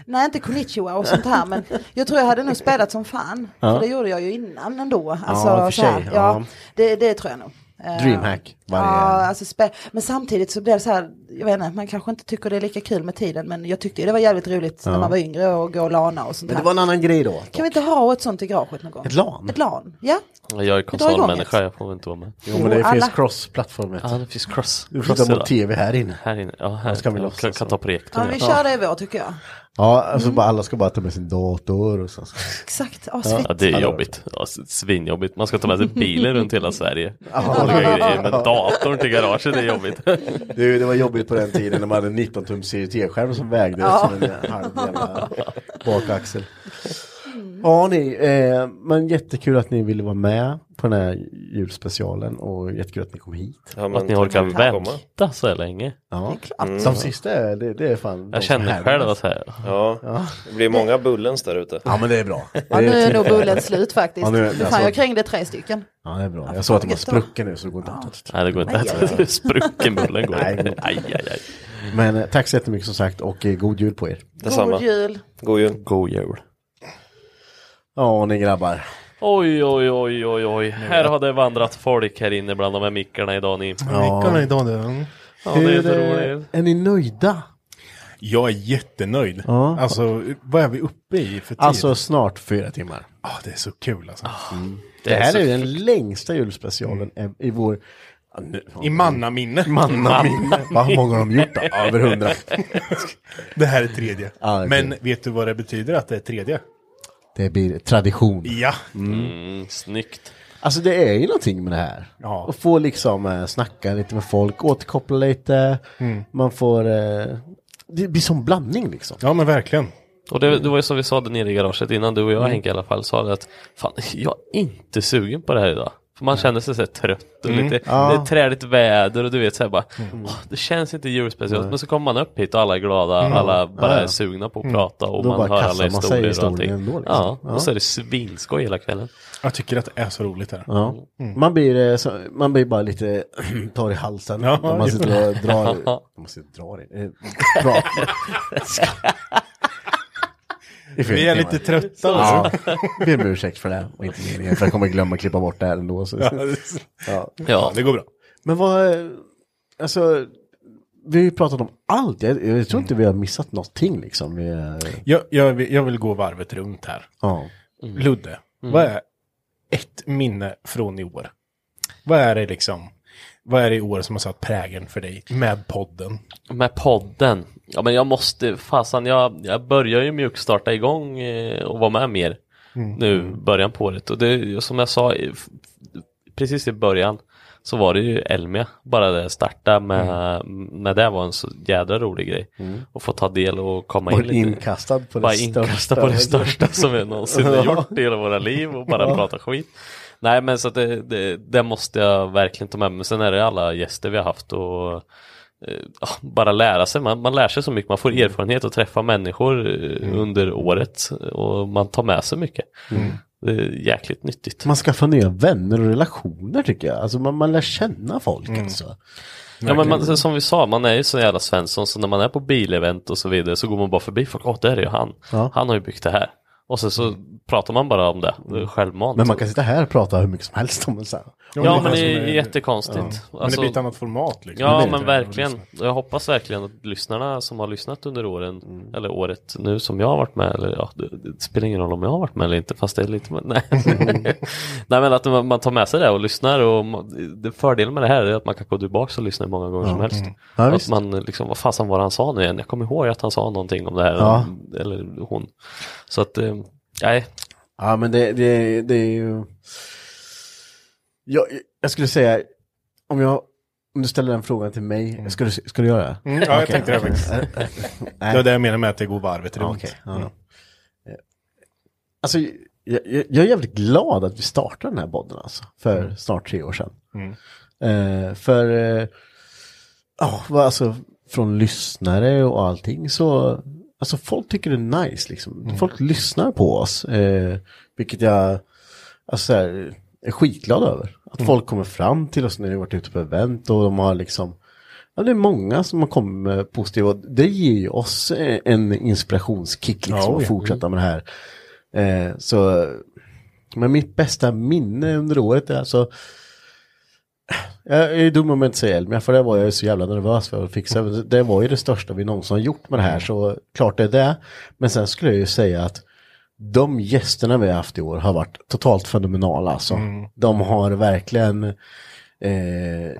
Speaker 13: Nej, inte konnichiwa och sånt här, men jag tror jag hade nog spelat som fan.
Speaker 2: Ja.
Speaker 13: För det gjorde jag ju innan ändå. Alltså,
Speaker 2: Ja, i och för
Speaker 13: så här.
Speaker 2: sig,
Speaker 13: Ja,
Speaker 2: ja.
Speaker 13: Det, det tror jag nog. Eh,
Speaker 2: Dreamhack varje-
Speaker 13: Ja, alltså spe... Men samtidigt så blir det så här, jag vet inte, man kanske inte tycker det är lika kul med tiden, men jag tyckte ju det var jävligt roligt
Speaker 2: Ja.
Speaker 13: när man var yngre och gå och lana och sånt
Speaker 2: Men det
Speaker 13: här.
Speaker 2: var en annan grej då.
Speaker 13: Kan vi inte ha ett sånt i garaget någon gång?
Speaker 2: Ett LAN?
Speaker 13: Ett LAN, ja.
Speaker 4: Jag är konsolmänniska, jag får väl inte vara med.
Speaker 2: Jo, men det
Speaker 13: Jo, alla-
Speaker 2: finns cross-plattformen.
Speaker 4: Ja, det finns cross.
Speaker 2: Du flyttar mot tv här inne.
Speaker 4: Här inne, ja. Här
Speaker 2: ska vi
Speaker 4: jag
Speaker 2: låtsas
Speaker 4: kan, kan ta projektorn.
Speaker 13: Ja, men vi kör det i vår tycker jag.
Speaker 2: Ja, alltså bara alla ska bara ta med sin dator och så.
Speaker 13: Exakt, ja,
Speaker 4: Ja,
Speaker 13: svettigt.
Speaker 4: det är jobbigt. Ja, s- svinjobbigt. Man ska ta med sig bilen runt hela Sverige.
Speaker 2: Ja.
Speaker 4: Olika grejer, men datorn till garaget är jobbigt.
Speaker 2: Du, det var jobbigt på den tiden när man hade 19 tums CRT-skärm som vägde
Speaker 13: Ja.
Speaker 2: som en halv jävla bakaxel. Ja, ni, eh, men jättekul att ni ville vara med på den här julspecialen och jättekul att ni kom hit.
Speaker 28: Ja, men
Speaker 4: Att ni orkar
Speaker 28: tack för att ni
Speaker 4: vänta
Speaker 28: kom.
Speaker 4: så länge.
Speaker 2: Ja,
Speaker 28: Mm.
Speaker 2: de sista är, det, det är fan. de
Speaker 4: Jag
Speaker 2: som
Speaker 4: känner
Speaker 2: härdas.
Speaker 4: själv att här.
Speaker 28: Ja, det blir många bullens där ute.
Speaker 2: Ja, men det är bra.
Speaker 13: Ja, nu är nog bullen slut faktiskt.
Speaker 2: Ja, nu är-
Speaker 13: Fan, jag
Speaker 2: alltså-
Speaker 13: krängde tre stycken.
Speaker 2: Ja, det är bra. Jag såg att de var sprucken nu så det går inte att
Speaker 4: Nej, det går inte att Sprucken bullen går.
Speaker 2: Nej, det
Speaker 4: inte. Aj, aj, aj.
Speaker 2: Men eh, tack så jättemycket som sagt och eh, god jul på er.
Speaker 4: Detsamma. God jul.
Speaker 28: God jul.
Speaker 2: God jul. Ja, ni grabbar.
Speaker 4: Oj, oj, oj, oj, oj. Här har det vandrat folk här inne bland de här mickarna idag ni.
Speaker 3: Mickarna idag, du.
Speaker 4: Ja, det är inte
Speaker 2: eh,
Speaker 4: roligt.
Speaker 2: är ni nöjda?
Speaker 3: Jag är jättenöjd.
Speaker 2: Ja.
Speaker 3: Alltså, vad är vi uppe i för tid?
Speaker 2: Alltså snart fyra timmar.
Speaker 3: Ja,
Speaker 2: Ah.
Speaker 3: det är så kul alltså.
Speaker 2: Mm. Det, här är ju den längsta julspecialen i vår... Ja, nu-
Speaker 3: I mannaminne.
Speaker 2: Mannaminne. Vad har många de gjort då? Över hundra.
Speaker 3: det här är tredje.
Speaker 2: Ja, det är
Speaker 3: Men vet du vad det betyder att det är tredje?
Speaker 2: Det blir tradition.
Speaker 3: Ja.
Speaker 2: Mm.
Speaker 4: snyggt.
Speaker 2: Alltså det är ju någonting med det här.
Speaker 3: Ja.
Speaker 2: Att få liksom eh, snacka lite med folk, återkoppla lite.
Speaker 3: Mm.
Speaker 2: Man får... Eh, det blir som blandning liksom.
Speaker 3: Ja men verkligen.
Speaker 4: Och det, det var ju som vi sa där nere i garaget innan, du och jag
Speaker 2: Mm.
Speaker 4: Henke i alla fall, sa det att fan, jag är inte sugen på det här idag. För man känner sig så här trött och
Speaker 3: Mm.
Speaker 4: lite,
Speaker 3: Ja.
Speaker 4: det är träligt väder och du vet så här bara,
Speaker 3: Mm.
Speaker 4: "Åh, det känns inte julspeciellt.
Speaker 3: Nej.
Speaker 4: Men så kommer man upp hit och alla är glada,
Speaker 3: Mm.
Speaker 4: alla bara
Speaker 3: Ja, ja.
Speaker 4: är sugna på att
Speaker 3: Mm.
Speaker 4: prata och
Speaker 3: Då
Speaker 4: man
Speaker 3: bara
Speaker 4: hör
Speaker 3: kastar
Speaker 4: alla
Speaker 3: man sig
Speaker 4: historier och
Speaker 3: historien
Speaker 4: allting.
Speaker 3: ändå, liksom.
Speaker 4: ja,
Speaker 2: Ja.
Speaker 4: och så är det svinskoj hela kvällen.
Speaker 3: Jag tycker att det är så roligt här. Mm.
Speaker 2: Ja. Man, blir, eh, så, man blir bara lite torr i halsen
Speaker 3: Ja,
Speaker 2: när man sitter och drar.
Speaker 3: Ja.
Speaker 2: Man måste dra det. Eh, dra. I fyra
Speaker 3: Vi är
Speaker 2: timmar.
Speaker 3: lite trötta,
Speaker 2: Ja.
Speaker 3: alltså.
Speaker 2: Ber om ursäkt för det. Och inte meningen, för jag kommer glömma att klippa bort det här ändå. Så.
Speaker 3: Ja, det-
Speaker 4: Ja,
Speaker 3: det går bra.
Speaker 2: Men vad, eh, alltså, vi har ju pratat om allt. Jag, jag tror inte vi har missat någonting liksom. Vi, eh,
Speaker 3: Jag, jag, vill- jag vill gå varvet runt här.
Speaker 2: Ja.
Speaker 3: Mm. Ludde,
Speaker 2: Mm.
Speaker 3: vad är ett minne från i år? Vad är det liksom? Vad är det i år som har satt prägen för dig med podden?
Speaker 4: Med podden. Ja men jag måste, fasen jag, jag börjar ju mjukstarta igång eh, och vara med mer
Speaker 3: Mm.
Speaker 4: nu början på året. Och det är ju som jag sa i- f- precis i början så var det ju Elmia, bara det starta med, med det var en så jädra rolig grej.
Speaker 2: Mm.
Speaker 4: Och få ta del och komma
Speaker 2: Bara
Speaker 4: in lite.
Speaker 2: inkastad på det
Speaker 4: bara
Speaker 2: största.
Speaker 4: inkastad på det största som vi någonsin har
Speaker 2: Ja.
Speaker 4: gjort i hela våra liv och bara
Speaker 2: Ja.
Speaker 4: prata skit. Nej men så att det, det, det måste jag verkligen ta med mig. Men sen är det alla gäster vi har haft och eh, ja, bara lära sig. Man, man lär sig så mycket. Man
Speaker 2: Mm.
Speaker 4: får erfarenhet och träffa människor eh, under året och man tar med sig mycket.
Speaker 2: Mm.
Speaker 4: Det är jäkligt nyttigt.
Speaker 2: Man skaffar nya vänner och relationer tycker jag. Alltså man, man lär känna folk
Speaker 4: Mm.
Speaker 2: alltså.
Speaker 4: Ja, men man, alltså,
Speaker 2: Verkligen.
Speaker 4: som vi sa, man är ju så jävla svensson så när man är på bilevent och så vidare så går man bara förbi folk. Åh, där är ju han.
Speaker 2: Ja. Mm.
Speaker 4: Han har ju byggt det här. Och sen så pratar man bara om det, det är självmant.
Speaker 2: Men man kan sitta här och prata hur mycket som helst om en sån här.
Speaker 4: Ja, men det är jättekonstigt.
Speaker 3: alltså,
Speaker 4: Alltså-
Speaker 3: Men det blir ett annat format, liksom.
Speaker 4: Ja,
Speaker 3: Det blir
Speaker 4: men
Speaker 3: det.
Speaker 4: verkligen. Jag hoppas verkligen att lyssnarna som har lyssnat under åren, eller året nu som jag har varit med, eller ja, det, det spelar ingen roll om jag har varit med eller inte, fast det är lite, men, nej. nej, men att man man tar med sig det och lyssnar och man- det fördelen med det här är att man kan gå tillbaka och lyssna hur många gånger
Speaker 2: Ja.
Speaker 4: som helst.
Speaker 2: Mm. Ja,
Speaker 4: att
Speaker 2: visst.
Speaker 4: man liksom, vad fasen var det han sa nu igen? Jag kommer ihåg att han sa någonting om det här,
Speaker 2: Ja.
Speaker 4: eller hon. Så att, eh, nej,
Speaker 2: Ja, men det, det, det är ju... Jag, jag skulle säga, om jag... Om du ställer den frågan till mig, ska, du, ska du göra det?
Speaker 3: Mm, ja, jag
Speaker 2: Okej.
Speaker 3: tänkte det faktiskt.
Speaker 2: Nej.
Speaker 3: Det var det jag menade med att det går varvet
Speaker 2: Ja,
Speaker 3: runt.
Speaker 2: okej, ja.
Speaker 3: Mm.
Speaker 2: Alltså, jag, jag, jag är jävligt glad att vi startade den här podden alltså, för snart tre år sedan.
Speaker 3: Mm.
Speaker 2: Eh, för, eh, ja, vad- alltså, från lyssnare och allting så, alltså folk tycker det är nice liksom. Folk lyssnar på oss, eh, vilket jag, alltså, så här, är skitglad över. Att folk kommer fram till oss när vi varit ute på event och de har liksom, ja, det är många som har kommit med positiva, och det ger ju oss eh, en inspirationskick liksom,
Speaker 3: Ja,
Speaker 2: att
Speaker 3: ja. Mm.
Speaker 2: fortsätta med det här. Eh, så, men mitt bästa minne under året är alltså, jag är dum om jag inte säger Elmia, för det var jag ju så jävla nervös för att fixa. Det var ju det största vi någonsin har gjort med det här, så klart det är det. Men sen skulle jag ju säga att de gästerna vi har haft i år har varit totalt fenomenala. Alltså.
Speaker 3: Mm.
Speaker 2: De har verkligen eh,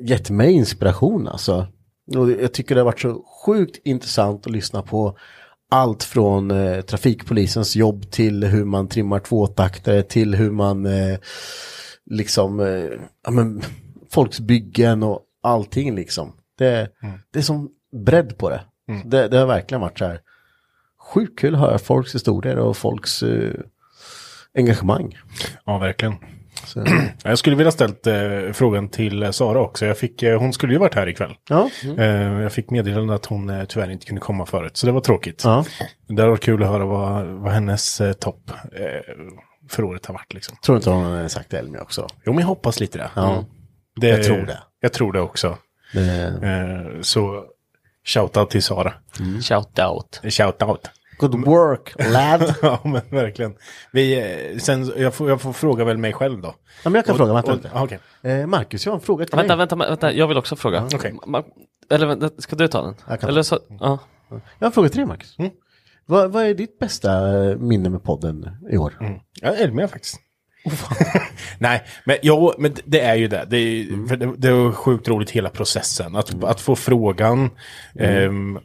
Speaker 2: gett mig inspiration. Alltså. Och jag tycker det har varit så sjukt intressant att lyssna på allt från eh, trafikpolisens jobb till hur man trimmar tvåtaktare till hur man eh, liksom eh, ja, men, folks byggen och allting liksom. Det, det är som bredd på det.
Speaker 3: Mm.
Speaker 2: det. Det har verkligen varit så här sjukt kul att höra folks historier och folks eh, engagemang.
Speaker 3: Ja, verkligen. Jag skulle vilja ställt eh, frågan till eh, Sara också. Jag fick, eh, hon skulle ju varit här ikväll.
Speaker 2: Ja.
Speaker 3: Eh, jag fick meddelande att hon eh, tyvärr inte kunde komma förut, så det var tråkigt. Det hade varit kul att höra vad, vad hennes eh, topp eh, för året har varit. Liksom.
Speaker 2: Tror inte hon har sagt Elmia också?
Speaker 3: Jo, men jag hoppas lite det.
Speaker 2: Ja. Jag tror det.
Speaker 3: Jag tror det också. Eh, så shout-out till Sara.
Speaker 2: Mm.
Speaker 4: Shout-out.
Speaker 3: Shout-out.
Speaker 2: Good work, lad.
Speaker 3: ja, men verkligen. Vi, eh, sen, jag, får, jag får fråga väl mig själv då.
Speaker 2: Ja, men jag kan
Speaker 3: Och-
Speaker 2: fråga, vänta
Speaker 3: och-
Speaker 2: lite.
Speaker 3: ah, okej.
Speaker 2: Eh, Marcus, jag har en fråga till
Speaker 4: Vänta,
Speaker 2: dig.
Speaker 4: vänta, vänta, jag vill också fråga.
Speaker 2: Okej.
Speaker 4: Ma- Eller vänta, ska du ta den?
Speaker 2: Jag kan
Speaker 4: Eller så, ja.
Speaker 2: Jag har en fråga till dig, Marcus.
Speaker 3: Mm.
Speaker 2: Vad, vad är ditt bästa eh, minne med podden i år?
Speaker 4: Mm.
Speaker 3: Ja, Elmia faktiskt.
Speaker 4: Oh,
Speaker 3: Nej, men, jo, men det är ju det. Det, är,
Speaker 4: Mm.
Speaker 3: för det, det var sjukt roligt hela processen. Att, att få frågan
Speaker 28: Mm.
Speaker 3: ehm,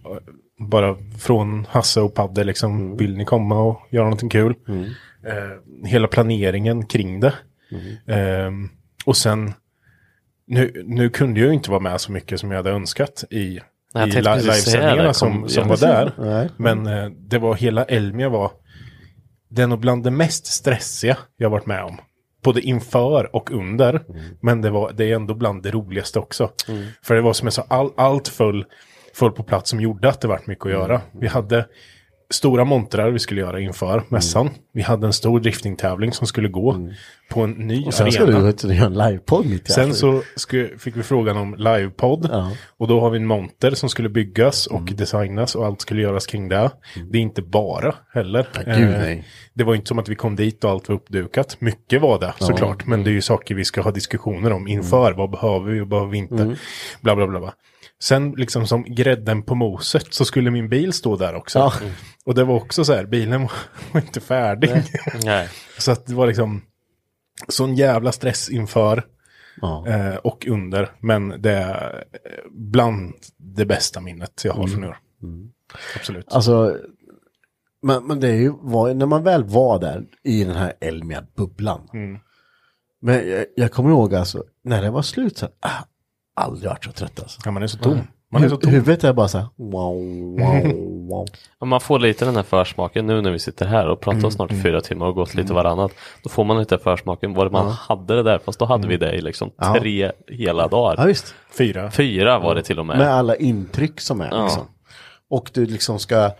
Speaker 3: bara från Hasse och Padde, liksom,
Speaker 4: Mm.
Speaker 3: vill ni komma och göra någonting kul? Eh, hela planeringen kring det.
Speaker 4: Mm.
Speaker 3: Ehm, och sen, nu, nu kunde jag ju inte vara med så mycket som jag hade önskat i,
Speaker 4: Nej, jag
Speaker 3: i
Speaker 4: tänkte
Speaker 3: li-
Speaker 4: precis säga det.
Speaker 3: livesändningarna
Speaker 4: Kom-
Speaker 3: som, som
Speaker 4: ja.
Speaker 3: var där.
Speaker 4: Nej.
Speaker 3: Men eh, det var hela Elmia var det är nog bland det mest stressiga jag varit med om. Både inför och under. Men det, var, det är ändå bland det roligaste också.
Speaker 28: Mm.
Speaker 3: För det var som jag sa, all, allt föll, föll på plats som gjorde att det vart mycket att
Speaker 2: Mm.
Speaker 3: göra. Vi hade stora montrar vi skulle göra
Speaker 2: Mm.
Speaker 3: inför mässan. Vi hade en stor driftingtävling som skulle gå på en ny
Speaker 2: Och sen
Speaker 3: arena.
Speaker 2: ska du ut och göra en livepodd mitt i
Speaker 3: Sen
Speaker 2: allt.
Speaker 3: så sku- fick vi frågan om livepodd. Och då har vi en monter som skulle byggas och
Speaker 2: Mm.
Speaker 3: designas och allt skulle göras kring det. Det är inte bara heller. Eh,
Speaker 2: gud, nej.
Speaker 3: Det var inte som att vi kom dit och allt var uppdukat. Mycket var det
Speaker 2: Ja.
Speaker 3: såklart. Men det är ju saker vi ska ha diskussioner om inför. Vad behöver vi och behöver vi inte?
Speaker 2: Mm.
Speaker 3: Bla bla bla. bla. Sen liksom som grädden på moset så skulle min bil stå där också.
Speaker 2: Ja.
Speaker 3: Och det var också så här, bilen var inte färdig.
Speaker 4: Nej.
Speaker 3: Så att det var liksom sån jävla stress inför eh, och under. Men det är eh, bland det bästa minnet jag har
Speaker 4: Mm.
Speaker 3: från i år. Absolut.
Speaker 2: Alltså, men, men det är ju, var, när man väl var där i den här Elmia-bubblan.
Speaker 3: Mm.
Speaker 2: Men jag, jag kommer ihåg alltså, när det var slut så här, ah, aldrig varit så trött alltså.
Speaker 3: Ja, man är så tom. Man är så tom. Mm.
Speaker 2: Huvudet är bara så här, wow, wow, wow.
Speaker 4: Ja, man får lite den här försmaken nu när vi sitter här och pratar
Speaker 2: Mm,
Speaker 4: snart i
Speaker 2: mm.
Speaker 4: fyra timmar och gått lite varannat. Då får man lite försmaken vad
Speaker 2: Ja.
Speaker 4: man
Speaker 2: Mm.
Speaker 4: hade det där, fast då hade vi det i liksom
Speaker 2: Ja.
Speaker 4: tre hela dagar.
Speaker 2: Ja, visst.
Speaker 3: Fyra.
Speaker 4: Fyra var det till och med.
Speaker 2: Med alla intryck som är
Speaker 4: Ja.
Speaker 2: liksom. Och du liksom ska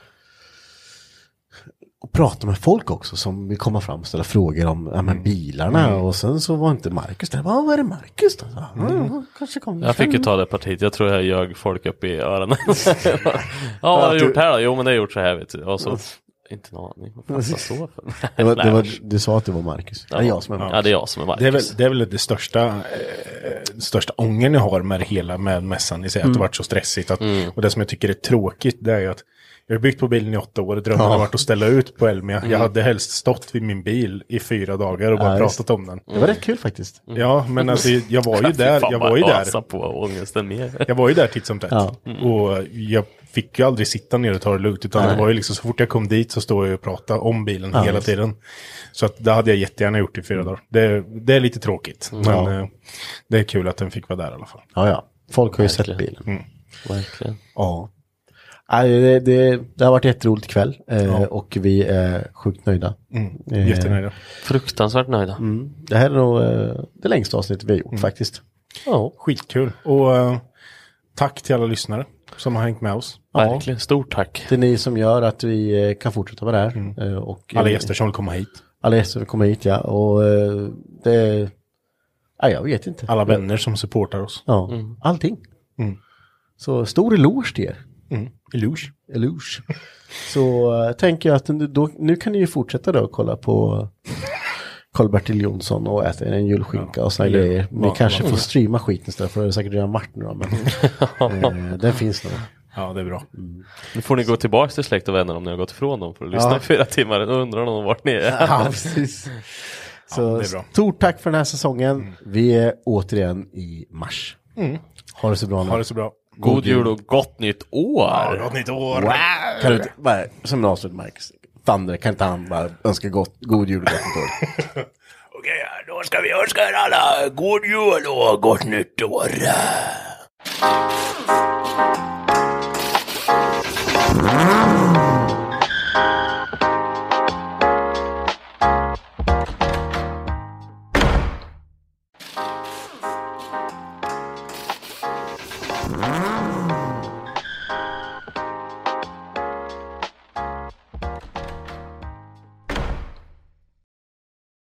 Speaker 2: och prata med folk också som vill komma fram och ställa frågor om ja, men bilarna.
Speaker 4: Mm.
Speaker 2: Och sen så var inte Marcus där. "Va, Vad är det Marcus då? Ja, ja, kanske kommer
Speaker 4: Mm. Jag fick ju
Speaker 2: sen."
Speaker 4: ta det partiet, jag tror jag ljög folk upp i öronen. ja, vad har du gjort här då? Jo, men det har jag gjort så här vet du. Och så, inte en aning. Vad fan ska jag stå för?
Speaker 2: Det var, det var, du sa att det var Marcus. Det är jag som är Marcus.
Speaker 4: Ja, det är jag som är Marcus.
Speaker 3: Det är väl det, är väl det största, eh, största ångern jag har med det hela med mässan i sig. Att
Speaker 2: Mm.
Speaker 3: det varit så stressigt. Att,
Speaker 4: Mm.
Speaker 3: Och det som jag tycker är tråkigt det är ju att jag har byggt på bilen i åtta år. Drömmen
Speaker 2: Ja.
Speaker 3: har varit att ställa ut på Elmia.
Speaker 2: Mm.
Speaker 3: Jag hade helst stått vid min bil i fyra dagar och bara
Speaker 2: Ja,
Speaker 3: pratat
Speaker 2: visst.
Speaker 3: om den.
Speaker 2: Det var rätt kul faktiskt.
Speaker 3: Ja, men alltså jag var ju
Speaker 4: Mm. Fy
Speaker 3: där.
Speaker 4: fan,
Speaker 3: Jag
Speaker 4: vad
Speaker 3: var ju
Speaker 4: asa
Speaker 3: där.
Speaker 4: på ångesten mer.
Speaker 3: Jag var ju där titt som tätt.
Speaker 4: Ja.
Speaker 3: Och jag fick ju aldrig sitta ner och ta det lugnt. Utan
Speaker 4: Nej.
Speaker 3: det var ju liksom så fort jag kom dit så stod jag ju och pratade om bilen
Speaker 2: Ja,
Speaker 3: hela
Speaker 2: visst.
Speaker 3: tiden. Så att det hade jag jättegärna gjort i fyra dagar. Det, det är lite tråkigt.
Speaker 2: Mm.
Speaker 3: Men
Speaker 2: Ja.
Speaker 3: eh, det är kul att den fick vara där i alla fall.
Speaker 2: Ja, ja. Folk har ju sett bilen.
Speaker 4: Mm. Verkligen.
Speaker 2: Ja. Nej, Det, det, det har varit jätteroligt ikväll eh, och vi är sjukt nöjda.
Speaker 3: Mm,
Speaker 2: Eh,
Speaker 3: jättenöjda.
Speaker 4: Fruktansvärt nöjda.
Speaker 2: Mm. Det här är nog eh, det längsta avsnittet vi har gjort
Speaker 4: Mm.
Speaker 2: faktiskt.
Speaker 3: Skitkul. Och eh, tack till alla lyssnare som har hängt med oss.
Speaker 4: Verkligen, stort tack.
Speaker 2: Det är ni som gör att vi eh, kan fortsätta med det här.
Speaker 3: Mm.
Speaker 2: eh, Och,
Speaker 3: Alla
Speaker 2: eh,
Speaker 3: gäster som vill komma hit.
Speaker 2: Alla gäster som vill komma hit ja. Och eh, det... Ja, jag vet inte.
Speaker 3: Alla vänner som supportar oss.
Speaker 2: Ja,
Speaker 3: Mm.
Speaker 2: allting.
Speaker 3: Mm.
Speaker 2: Så stor eloge till er.
Speaker 3: Mm. Eloge.
Speaker 2: Eloge. Så eh, tänker jag att nu- då, nu kan ni ju fortsätta då och kolla på Karl-Bertil Jonsson och äta en julskinka och såna
Speaker 4: eller
Speaker 2: grejer. Ni
Speaker 4: vad-
Speaker 2: kanske
Speaker 4: vad-
Speaker 2: får streama skiten istället för det är säkert redan vart nu då, men eh, den finns nog.
Speaker 3: Ja, det är bra.
Speaker 4: Nu får ni gå tillbaka till släkt och vänner om ni har gått ifrån dem för att lyssna
Speaker 2: Ja.
Speaker 4: fyra timmar. Nu undrar de vart ni är.
Speaker 2: Ja, precis. Så
Speaker 4: det är bra.
Speaker 2: stort tack för den här säsongen. Vi är återigen i mars.
Speaker 3: Mm.
Speaker 2: Ha det så bra nu.
Speaker 3: Ha det så bra.
Speaker 4: God jul och gott nytt år!
Speaker 3: Ja, gott nytt år!
Speaker 2: Wow. Kan du inte, bara, som en avslut, Marcus. Thunder, kan inte han bara önska gott, god jul och gott nytt år?
Speaker 9: Okej, då ska vi önska er alla god jul och gott nytt år. Bye.